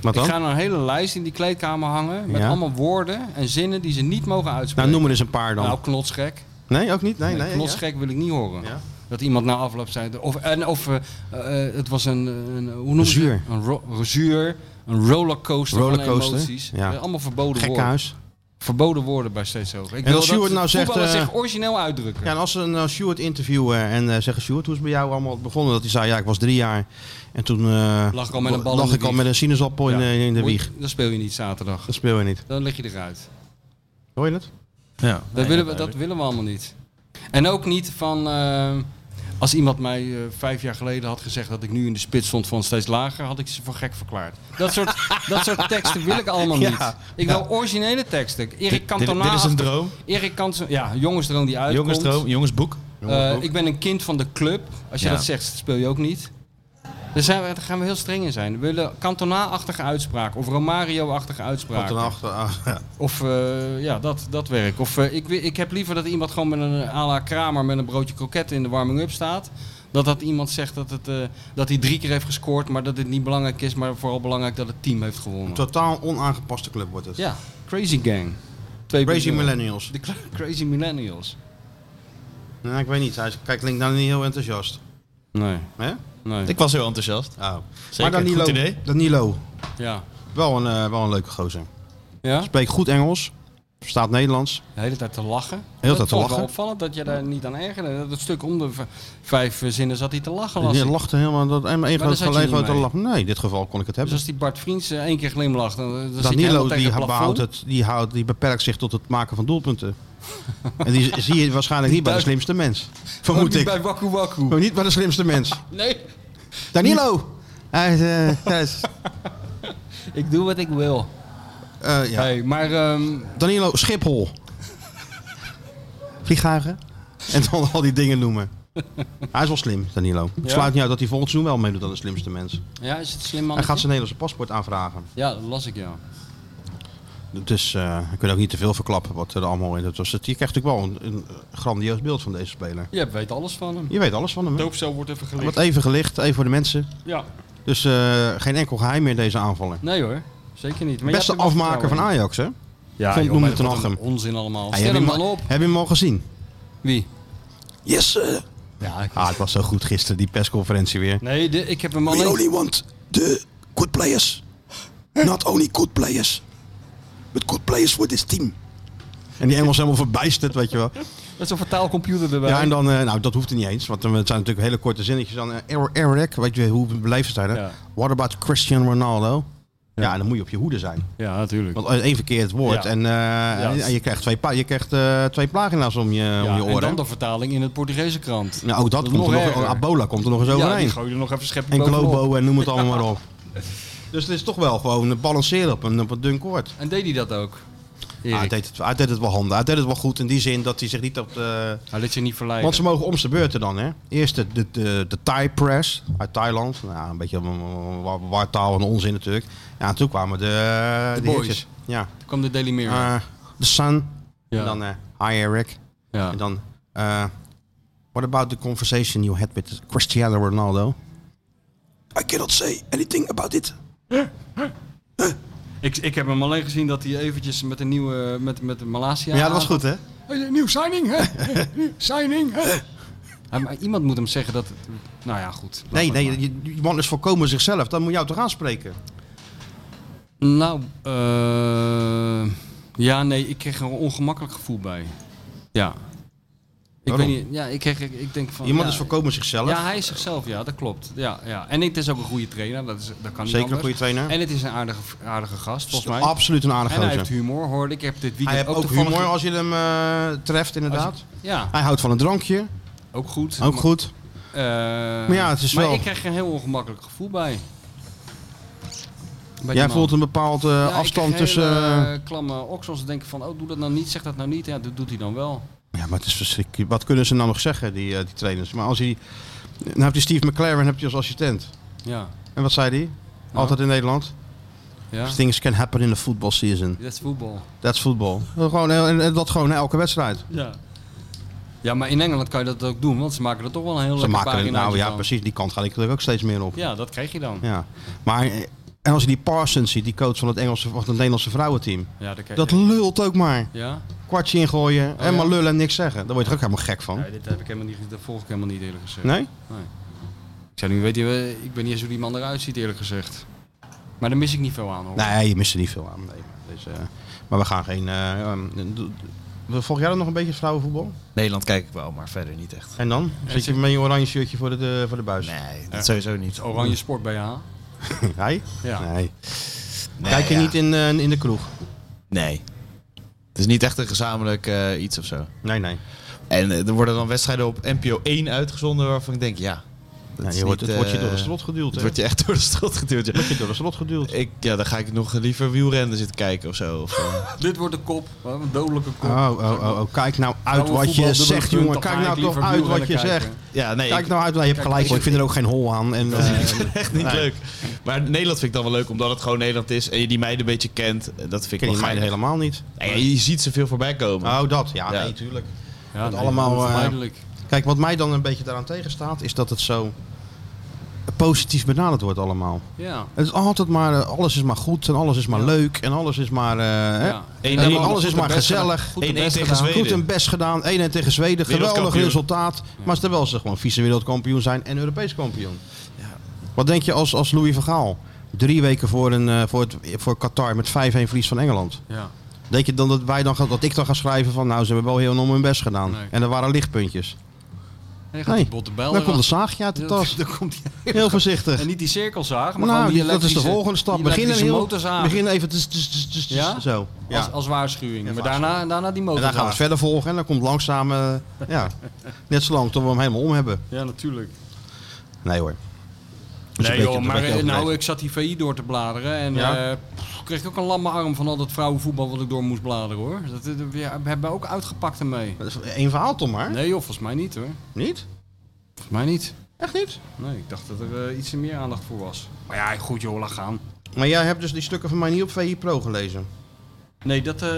Speaker 1: Wat
Speaker 2: Ik
Speaker 1: dan?
Speaker 2: ga nou een hele lijst in die kleedkamer hangen met
Speaker 1: Ja.
Speaker 2: allemaal woorden en zinnen die ze niet mogen
Speaker 1: Nou,
Speaker 2: uitspreken.
Speaker 1: noem er eens een paar dan.
Speaker 2: Nou, knotsgek.
Speaker 1: nee, ook niet? Nee, nee. ja.
Speaker 2: Knotsgek wil ik niet horen.
Speaker 1: Ja.
Speaker 2: Dat iemand na afloop zei. Of, en, of eh, eh, het was een. een hoe noem je
Speaker 1: Zuur.
Speaker 2: het? Een ro- zuur. Een rollercoaster,
Speaker 1: Rollercoaster,
Speaker 2: van emoties.
Speaker 1: ja.
Speaker 2: Eh, Allemaal verboden woorden.
Speaker 1: Gekkenhuis.
Speaker 2: Verboden woorden bij steeds hoger. Ik
Speaker 1: En
Speaker 2: wil
Speaker 1: als Stuart
Speaker 2: dat
Speaker 1: nou zegt,
Speaker 2: voetballers
Speaker 1: eh,
Speaker 2: zich origineel uitdrukken.
Speaker 1: Ja, en als ze een eh, Stuart interviewen en eh, zeggen, Stuart, hoe is het bij jou allemaal begonnen? Dat hij zei, ja, ik was drie jaar en toen eh,
Speaker 2: Lag ik al met een bal
Speaker 1: lag
Speaker 2: in de
Speaker 1: ik al
Speaker 2: wieg.
Speaker 1: met een sinaasappel in,
Speaker 2: Ja.
Speaker 1: eh, in de
Speaker 2: Moet-
Speaker 1: wieg.
Speaker 2: Dan speel je niet zaterdag.
Speaker 1: Dat speel je niet.
Speaker 2: Dan lig je eruit.
Speaker 1: Hoor je het?
Speaker 3: Ja,
Speaker 2: Dat, willen, we, dat willen we allemaal niet. En ook niet van. eh, als iemand mij eh, vijf jaar geleden had gezegd dat ik nu in de spits stond van steeds lager, had ik ze voor gek verklaard. Dat soort, dat soort teksten wil ik allemaal niet.
Speaker 1: Ja,
Speaker 2: ik wil originele teksten. Erik
Speaker 3: dit,
Speaker 2: Cantona.
Speaker 3: dit is een
Speaker 2: achter-
Speaker 3: droom.
Speaker 2: Erik Cantona. Ja, jongensdroom die uitkomt.
Speaker 3: Jongensdroom, jongensboek.
Speaker 2: Eh, ik ben een kind van de club. Als je
Speaker 3: Ja.
Speaker 2: dat zegt, speel je ook niet. Daar, zijn we, daar gaan we heel streng in zijn. We willen Cantona-achtige uitspraken of Romario-achtige uitspraken.
Speaker 1: Komt dan achter. ah, ja.
Speaker 2: Of eh, ja, dat, dat werk. Of eh, ik, wi- ik heb liever dat iemand gewoon met een à la Kramer met een broodje kroket in de warming-up staat. Dat dat iemand zegt dat, het, eh, dat hij drie keer heeft gescoord, maar dat dit niet belangrijk is. Maar vooral belangrijk dat het team heeft gewonnen.
Speaker 1: Totaal onaangepaste club wordt het.
Speaker 2: Ja, crazy gang. 2.0.
Speaker 1: Crazy Millennials.
Speaker 2: De cra- Crazy Millennials.
Speaker 1: Nou, ik weet niet. Hij is- kijk, klinkt dan niet heel enthousiast.
Speaker 2: Nee,
Speaker 1: Hè?
Speaker 2: nee.
Speaker 3: Ik was heel enthousiast.
Speaker 1: Oh.
Speaker 3: Nou, Zeker,
Speaker 1: maar Danilo,
Speaker 3: goed idee.
Speaker 1: Danilo,
Speaker 2: Ja.
Speaker 1: wel een, eh, wel een leuke gozer.
Speaker 2: Ja?
Speaker 1: Spreekt goed Engels, verstaat Nederlands.
Speaker 2: De hele tijd te lachen.
Speaker 1: tijd te
Speaker 2: dat vond ik
Speaker 1: lachen.
Speaker 2: wel opvallend dat je daar niet aan ergerde. Dat het stuk om de v- vijf eh, zinnen zat hij te lachen. Las
Speaker 1: Die
Speaker 2: ik.
Speaker 1: lachte helemaal dat en één
Speaker 2: daar
Speaker 1: groot
Speaker 2: zat je niet
Speaker 1: collega te
Speaker 2: mee.
Speaker 1: lachen. Nee, in dit geval kon ik het
Speaker 2: Dus
Speaker 1: hebben.
Speaker 2: als die Bart Vriends eh, één keer glimlacht, dan, dan zit je helemaal
Speaker 1: Danilo
Speaker 2: tegen
Speaker 1: die behoudt
Speaker 2: het plafond.
Speaker 1: het, die, houdt, die beperkt zich tot het maken van doelpunten. en die z- zie je waarschijnlijk niet bij de
Speaker 2: duik-
Speaker 1: slimste mens.
Speaker 2: Ook
Speaker 1: Vermoed
Speaker 2: niet
Speaker 1: ik.
Speaker 2: bij Waku Waku.
Speaker 1: Maar niet bij de slimste mens.
Speaker 2: Nee,
Speaker 1: Danilo! Hij is, eh, hij is,
Speaker 2: ik doe wat ik wil.
Speaker 1: eh, ja.
Speaker 2: Hey, maar ehm,
Speaker 1: Danilo Schiphol. Vliegtuigen. En dan al die dingen noemen. Hij is wel slim, Danilo. Ik
Speaker 2: Ja?
Speaker 1: sluit niet uit dat hij volgend seizoen wel meedoet aan de slimste mens.
Speaker 2: ja, is het slim man?
Speaker 1: Hij gaat zijn Nederlandse paspoort aanvragen.
Speaker 2: Ja, dat las ik ja.
Speaker 1: Dus eh ik kan ook niet te veel verklappen wat er allemaal in het was. Je krijgt natuurlijk wel een, een grandioos beeld van deze speler.
Speaker 2: Je weet alles van hem.
Speaker 1: Je weet alles van hem. hè?
Speaker 2: Doopcel wordt even
Speaker 1: Hij
Speaker 2: gelicht.
Speaker 1: wordt even gelicht, even voor de mensen.
Speaker 2: Ja.
Speaker 1: Dus eh, geen enkel geheim meer deze aanvallen.
Speaker 2: Nee hoor, zeker niet. Maar
Speaker 1: Beste afmaker van
Speaker 2: aan.
Speaker 1: Ajax, hè?
Speaker 2: Ja,
Speaker 1: Vond
Speaker 2: joh, maar
Speaker 1: Bloemen
Speaker 2: wat
Speaker 1: ten
Speaker 2: een
Speaker 1: Hagem.
Speaker 2: Onzin allemaal.
Speaker 1: heb,
Speaker 2: Stel
Speaker 1: je
Speaker 2: hem
Speaker 1: hem
Speaker 2: dan
Speaker 1: al,
Speaker 2: op.
Speaker 1: heb je hem al gezien?
Speaker 2: Wie?
Speaker 1: Yes! sir.
Speaker 2: Ja, ik-
Speaker 1: Ah, het was zo goed gisteren, die persconferentie weer.
Speaker 2: Nee, de- ik heb hem alleen...
Speaker 1: want the good players. Not only good players. But good players for this team. En die Engels helemaal verbijsterd, weet je wel.
Speaker 2: Dat is een vertaalcomputer erbij.
Speaker 1: Ja, en dan, eh, nou, dat hoeft er niet eens. Want eh, het zijn natuurlijk hele korte zinnetjes. Dan, eh, Er- Eric, weet je hoe beleefd ze zijn, hè?
Speaker 2: Ja.
Speaker 1: What about Cristiano Ronaldo? Ja. dan moet je op je hoede zijn.
Speaker 2: Ja, natuurlijk.
Speaker 1: Want één verkeerd woord
Speaker 2: Ja.
Speaker 1: en, eh, en-
Speaker 2: dat-
Speaker 1: en je krijgt twee, pa- je krijgt, eh, twee pagina's om je, om
Speaker 2: Ja,
Speaker 1: je
Speaker 2: en
Speaker 1: oren.
Speaker 2: dan de vertaling in het Portugese krant.
Speaker 1: nou, ook dat,
Speaker 2: Dat
Speaker 1: komt er
Speaker 2: nog
Speaker 1: nog,
Speaker 2: erger.
Speaker 1: Abola komt er nog eens
Speaker 2: ja,
Speaker 1: overheen.
Speaker 2: die gooi je er nog even scheppen
Speaker 1: En
Speaker 2: bovenop.
Speaker 1: Globo en noem het allemaal maar op. Dus het is toch wel gewoon balanceren op een, op een dun koord.
Speaker 2: En deed hij dat ook?
Speaker 1: Ah, hij,
Speaker 2: Erik.
Speaker 1: deed het, hij deed het wel handig. Hij deed het wel goed in die zin dat hij zich niet op de...
Speaker 2: Hij liet je niet verleiden.
Speaker 1: Want ze mogen om zijn beurten dan, hè? Eerst de, de, de, de Thai press uit Thailand. Nou, een beetje wartaal en onzin natuurlijk. Ja, en toen kwamen de... De
Speaker 2: boys.
Speaker 1: Ja.
Speaker 2: Toen kwam de Daily Mirror.
Speaker 1: Eh, the Sun.
Speaker 2: Ja.
Speaker 1: En dan eh Hi Eric.
Speaker 2: ja.
Speaker 1: En dan... eh, what about the conversation you had with Cristiano Ronaldo? I cannot say anything about it.
Speaker 2: ik, ik heb hem alleen gezien dat hij eventjes met een nieuwe... Met, met de Malasia...
Speaker 1: Ja, dat was goed, hè?
Speaker 2: Hey, nieuw signing, hè? Nieuw signing, hè? Ja, maar iemand moet hem zeggen dat... het- Nou ja, goed. Laat
Speaker 1: Nee,
Speaker 2: maar
Speaker 1: nee, je, je man is volkomen zichzelf. Dan moet jou toch aanspreken?
Speaker 2: Nou, eh, ja, nee, ik kreeg er een ongemakkelijk gevoel bij. Ja. Ik
Speaker 1: Waarom?
Speaker 2: weet niet, ja, ik, kreeg, ik, ik denk van...
Speaker 1: Iemand
Speaker 2: Oh, ja,
Speaker 1: is volkomen zichzelf.
Speaker 2: Ja, hij is zichzelf, ja, dat klopt. Ja, ja. En het is ook een goede trainer, dat, is, dat kan niet
Speaker 1: Zeker een
Speaker 2: anders.
Speaker 1: goede trainer.
Speaker 2: En het is een aardige, aardige gast, volgens mij.
Speaker 1: Absoluut een aardige
Speaker 2: en hij
Speaker 1: gozer.
Speaker 2: heeft humor, hoorde ik. Ik heb dit weekend
Speaker 1: Hij heeft ook
Speaker 2: toevallig-
Speaker 1: humor als je hem eh, treft, inderdaad.
Speaker 2: Als je- Ja,
Speaker 1: Hij houdt van een drankje,
Speaker 2: ook goed.
Speaker 1: ook goed.
Speaker 2: Eh,
Speaker 1: Maar ja, het is
Speaker 2: maar
Speaker 1: wel-
Speaker 2: ik kreeg er een heel ongemakkelijk gevoel bij. Bij die
Speaker 1: Jij
Speaker 2: man.
Speaker 1: voelt een bepaald eh,
Speaker 2: Ja,
Speaker 1: afstand
Speaker 2: ik kreeg
Speaker 1: tussen...
Speaker 2: Hele, eh, klamme oksels denken van, oh, doe dat nou niet, zeg dat nou niet. Ja, dat doet hij dan wel.
Speaker 1: Ja, maar het is verschrikkelijk. Wat kunnen ze nou nog zeggen, die, eh, die trainers? Maar als hij... Nou heb je Steve McLaren heb je als assistent.
Speaker 2: Ja.
Speaker 1: En wat zei hij? Altijd in Nederland.
Speaker 2: ja.
Speaker 1: Things can happen in the football season.
Speaker 2: Dat is voetbal.
Speaker 1: That's football. Gewoon, eh, en- en dat gewoon na elke wedstrijd.
Speaker 2: Ja. Ja, maar in Engeland kan je dat ook doen, want ze maken er toch wel een heel
Speaker 1: Ze
Speaker 2: lekker
Speaker 1: maken het,
Speaker 2: paginaatje
Speaker 1: nou ja,
Speaker 2: van.
Speaker 1: precies. Die kant ga ik er ook steeds meer op.
Speaker 2: Ja, dat krijg je dan.
Speaker 1: Ja. Maar eh, en als je die Parsons ziet, die coach van het, Engelse, van het Nederlandse vrouwenteam.
Speaker 2: Ja, dat krijg
Speaker 1: Dat
Speaker 2: je.
Speaker 1: lult ook maar.
Speaker 2: Ja?
Speaker 1: Kwartje ingooien en
Speaker 2: ja?
Speaker 1: maar lullen en niks zeggen. Daar word je er ook helemaal gek van.
Speaker 2: Nee, dit heb ik helemaal niet, dat volg ik helemaal niet eerlijk gezegd.
Speaker 1: Nee?
Speaker 2: Ik zou nu weten, eh, ik ben niet eens hoe die man eruit ziet eerlijk gezegd. Maar daar mis ik niet veel aan hoor.
Speaker 1: Nee, je mist er niet veel aan. Nee. Dus, eh, maar we gaan geen... eh, ehm, do- do- Volg jij dan nog een beetje vrouwenvoetbal?
Speaker 3: Nederland kijk ik wel, maar verder niet echt.
Speaker 1: En dan? Zit je met je oranje shirtje voor de, de- voor de buis?
Speaker 3: Nee, dat sowieso niet.
Speaker 2: Oranje sport bij haar.
Speaker 1: Hij?
Speaker 2: Ja.
Speaker 1: Nee.
Speaker 3: Nee,
Speaker 1: Kijk je
Speaker 3: ja.
Speaker 1: niet in, eh, in de kroeg?
Speaker 3: Nee. Het is niet echt een gezamenlijk eh, iets of zo.
Speaker 1: Nee, nee.
Speaker 3: En eh, er worden dan wedstrijden op NPO 1 uitgezonden waarvan ik denk, ja,
Speaker 1: nee
Speaker 3: is
Speaker 1: je wordt,
Speaker 3: niet,
Speaker 1: het wordt je
Speaker 3: eh,
Speaker 1: door de strot geduwd.
Speaker 3: het
Speaker 1: hè?
Speaker 3: wordt je echt door de strot geduwd. ja.
Speaker 1: Word je door de strot geduwd.
Speaker 3: Ik, ja, dan ga ik nog liever wielrennen zitten kijken of zo. Of, eh,
Speaker 2: Dit wordt de kop, wat een dodelijke kop.
Speaker 1: Oh, oh, oh, oh, kijk nou uit
Speaker 2: Vrouwenvoetbal,
Speaker 1: wat je
Speaker 2: dubbele
Speaker 1: zegt,
Speaker 2: punt,
Speaker 1: jongen.
Speaker 2: dan
Speaker 1: Kijk
Speaker 2: ga ik
Speaker 1: nou toch
Speaker 2: liever
Speaker 1: uit wat je
Speaker 2: wielrennen
Speaker 1: zegt.
Speaker 2: kijken.
Speaker 3: ja, nee,
Speaker 1: Kijk
Speaker 3: ik-
Speaker 1: nou uit, nou, je hebt gelijk hoor. Ik vind er ook geen hol aan. En, eh,
Speaker 3: echt niet leuk. Maar Nederland vind ik dan wel leuk, omdat het gewoon Nederland is en je die meiden een beetje kent. En Dat
Speaker 1: ken die
Speaker 3: vind ik wel
Speaker 1: meiden
Speaker 3: geinig.
Speaker 1: helemaal niet.
Speaker 3: Nee, je ziet ze veel voorbij komen.
Speaker 1: Oh, dat. Ja,
Speaker 3: Ja.
Speaker 1: nee, tuurlijk.
Speaker 2: Ja,
Speaker 1: allemaal, eh,
Speaker 2: onvermijdelijk.
Speaker 1: Kijk, wat mij dan een beetje daaraan tegenstaat, is dat het zo positief benaderd wordt allemaal.
Speaker 2: Ja.
Speaker 1: Het is altijd maar, eh, alles is maar goed en alles is maar leuk en alles is maar, eh, hè?
Speaker 2: ja.
Speaker 3: Eén
Speaker 1: En
Speaker 3: één-
Speaker 1: alles is
Speaker 3: goed
Speaker 1: maar
Speaker 3: de best
Speaker 1: gezellig.
Speaker 3: gedaan. Goed de
Speaker 2: 1-1
Speaker 3: best
Speaker 2: tegen
Speaker 3: tegen Zweden.
Speaker 1: Goed en best gedaan. 1 en tegen Zweden. Geweldig
Speaker 3: Wereldkampioen.
Speaker 1: resultaat. Maar terwijl ze gewoon vieze wereldkampioen zijn en Europees kampioen. Wat denk je als, als Louis van Gaal? Drie weken voor, een, eh, voor, het, voor Qatar met 5-1 verlies van Engeland.
Speaker 2: Ja.
Speaker 1: Denk je dan dat, wij dan gaan, dat ik dan ga schrijven van nou ze hebben wel heel enorm hun best gedaan.
Speaker 2: Nee.
Speaker 1: En er waren lichtpuntjes.
Speaker 2: Nee, gaat
Speaker 1: Nee,
Speaker 2: die botte bijl
Speaker 1: dan komt
Speaker 3: eh,
Speaker 1: een
Speaker 2: eraf.
Speaker 1: zaagje uit de tas.
Speaker 2: Dan komt die-
Speaker 1: Heel voorzichtig.
Speaker 2: En niet die cirkelzaag, maar
Speaker 1: Nou,
Speaker 2: gewoon die
Speaker 1: dat is de
Speaker 2: elektrische-
Speaker 1: volgende stap.
Speaker 2: die
Speaker 1: Begin, een
Speaker 2: elektrische
Speaker 1: heel,
Speaker 2: motorzaag.
Speaker 1: begin even ts- ts- ts- ts- ts-
Speaker 2: Ja?
Speaker 1: zo. Ja.
Speaker 2: Als, als waarschuwing.
Speaker 1: Ja,
Speaker 2: maar
Speaker 1: waarschuwing.
Speaker 2: daarna, daarna die
Speaker 1: en
Speaker 2: motorzaag.
Speaker 1: dan gaan we het verder volgen en dan komt langzaam, eh, ja, net zolang tot we hem helemaal om hebben.
Speaker 2: Ja, natuurlijk.
Speaker 1: Nee hoor.
Speaker 2: Nee
Speaker 1: beetje-
Speaker 2: joh,
Speaker 1: dat is
Speaker 2: maar
Speaker 1: een beetje
Speaker 2: eh, nou,
Speaker 1: overdreven.
Speaker 2: ik zat die VI door te bladeren en
Speaker 1: Ja?
Speaker 2: eh, pff, kreeg ik ook een lamme arm van al dat vrouwenvoetbal wat ik door moest bladeren hoor. Dat, dat, we hebben we ook uitgepakt ermee.
Speaker 1: Dat is één verhaal toch maar?
Speaker 2: Nee joh, volgens mij niet hoor.
Speaker 1: Niet?
Speaker 2: Volgens mij niet.
Speaker 1: Echt niet?
Speaker 2: Nee, ik dacht dat er eh, iets meer aandacht voor was. Maar ja, goed joh, laat gaan.
Speaker 1: Maar jij hebt dus die stukken van mij niet op VI Pro gelezen.
Speaker 2: Nee, dat eh,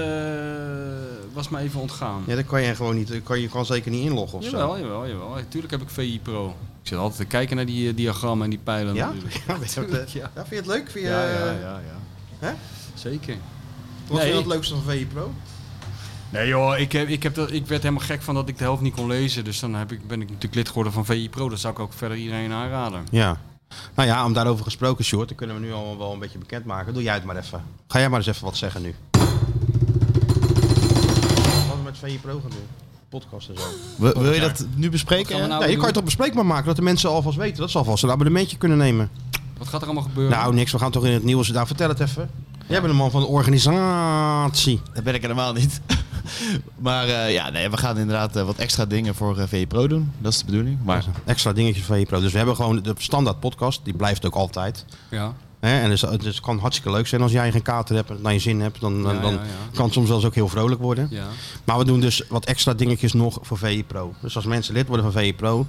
Speaker 2: was me even ontgaan.
Speaker 1: Ja, dat kan je gewoon niet. daar Kan je kan zeker niet inloggen of zo.
Speaker 2: Jawel, jawel, jawel. Ja, Tuurlijk heb ik VI Pro. Ik zit altijd te kijken naar die eh, diagrammen en die pijlen
Speaker 1: Ja?
Speaker 2: natuurlijk.
Speaker 1: Ja, weet je wat, eh, ja, vind je het leuk? Vind je,
Speaker 2: Ja, ja,
Speaker 1: eh,
Speaker 2: ja. ja.
Speaker 1: Hè?
Speaker 2: Zeker.
Speaker 1: Wat
Speaker 2: Nee.
Speaker 1: vind je het leukste van VI Pro?
Speaker 2: Nee joh, ik, heb, ik, heb dat, ik werd helemaal gek van dat ik de helft niet kon lezen. Dus dan heb ik, ben ik natuurlijk lid geworden van VI Pro. Dat zou ik ook verder iedereen aanraden.
Speaker 1: Ja. Nou ja, om daarover gesproken, Short, dat kunnen we nu allemaal wel een beetje bekendmaken. Doe jij het maar even. Ga jij maar eens even wat zeggen nu. Wat we met VI Pro gaan doen. Podcast en zo.
Speaker 3: Wil, wil je dat nu bespreken?
Speaker 2: Gaan we nou
Speaker 1: nee, je kan
Speaker 2: doen?
Speaker 1: het toch bespreekbaar maken dat de mensen alvast weten dat ze alvast een abonnementje kunnen nemen.
Speaker 2: Wat gaat er allemaal gebeuren?
Speaker 1: Nou, niks. We gaan toch in het nieuws. Nou, vertel het even. Jij bent een man van de organisatie.
Speaker 3: Dat ben ik helemaal niet. maar eh, ja, nee, we gaan inderdaad eh, wat extra dingen voor eh, VE Pro doen. Dat is de bedoeling. Maar
Speaker 1: Extra dingetjes van je pro. Dus we hebben gewoon de standaard podcast. Die blijft ook altijd.
Speaker 2: ja.
Speaker 1: Hè? En dus, het is- kan hartstikke leuk zijn als jij geen kater hebt en het naar je zin hebt. Dan, dan,
Speaker 2: Ja,
Speaker 1: dan
Speaker 2: ja, ja.
Speaker 1: kan het soms zelfs ook heel vrolijk worden.
Speaker 2: ja.
Speaker 1: Maar we doen dus wat extra dingetjes nog voor VE Pro. Dus als mensen lid worden van VE Pro,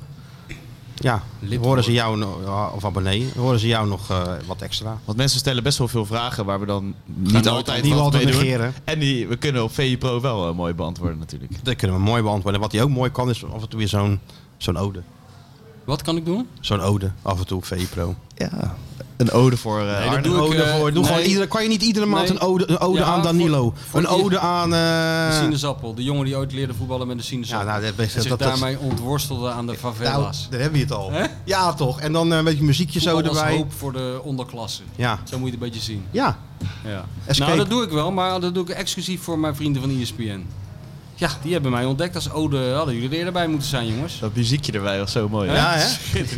Speaker 1: ja, horen ze jou, no- ja, of abonnee, horen ze jou nog eh, wat extra.
Speaker 3: want mensen stellen best wel veel vragen waar we dan
Speaker 1: nooit-
Speaker 3: niet altijd
Speaker 1: die we
Speaker 3: wat
Speaker 1: altijd
Speaker 3: mee doen.
Speaker 1: negeren.
Speaker 3: En die, we kunnen op VE Pro wel eh, mooi beantwoorden natuurlijk.
Speaker 1: Dat kunnen we mooi beantwoorden. Wat hij ook mooi kan is af en toe weer zo'n zo'n ode.
Speaker 2: Wat kan ik doen?
Speaker 1: Zo'n ode, af en toe op VE Pro.
Speaker 3: Ja, een ode voor eh,
Speaker 2: dat
Speaker 3: Arne.
Speaker 2: doe ik,
Speaker 1: Ode
Speaker 2: eh,
Speaker 1: voor, doe
Speaker 2: nee.
Speaker 1: gewoon iedere, kan je niet iedere maand
Speaker 2: Nee.
Speaker 1: een ode, een ode
Speaker 2: Ja,
Speaker 1: aan
Speaker 2: voor-
Speaker 1: Danilo?
Speaker 2: voor
Speaker 1: een
Speaker 2: ieder-
Speaker 1: ode aan...
Speaker 2: De
Speaker 1: eh,
Speaker 2: sinaasappel. De jongen die ooit leerde voetballen met de sinaasappel.
Speaker 1: Ja, nou, dat-
Speaker 2: en zich
Speaker 1: dat- dat-
Speaker 2: daarmee ontworstelde aan de
Speaker 1: nou,
Speaker 2: favelas.
Speaker 1: daar hebben we het al.
Speaker 2: Hè?
Speaker 1: Ja, toch. En dan eh, een beetje muziekje zo
Speaker 2: Voetbal als
Speaker 1: erbij.
Speaker 2: hoop voor de onderklasse.
Speaker 1: Ja,
Speaker 2: Zo moet je het een beetje zien.
Speaker 1: ja.
Speaker 2: Ja.
Speaker 1: Escape.
Speaker 2: Nou, dat doe ik wel, maar dat doe ik exclusief voor mijn vrienden van E ESPN. Ja, die hebben mij ontdekt als ode. Hadden jullie er eerder bij moeten zijn, jongens.
Speaker 3: Dat muziekje erbij was zo mooi.
Speaker 1: ja hè?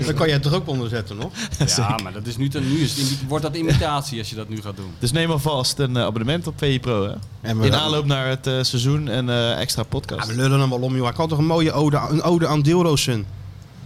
Speaker 1: Dan kan jij het er ook onder zetten, nog.
Speaker 2: Ja, maar dat is nu, te, nu is het imi- wordt dat imitatie als je dat nu gaat doen.
Speaker 3: Dus neem alvast een eh, abonnement op VE Pro. Hè?
Speaker 1: En
Speaker 3: In aanloop naar het eh, seizoen en eh, extra podcast.
Speaker 1: Ja, we lullen hem wel om, joh. Ik had toch een mooie ode, een ode aan Dilrosun.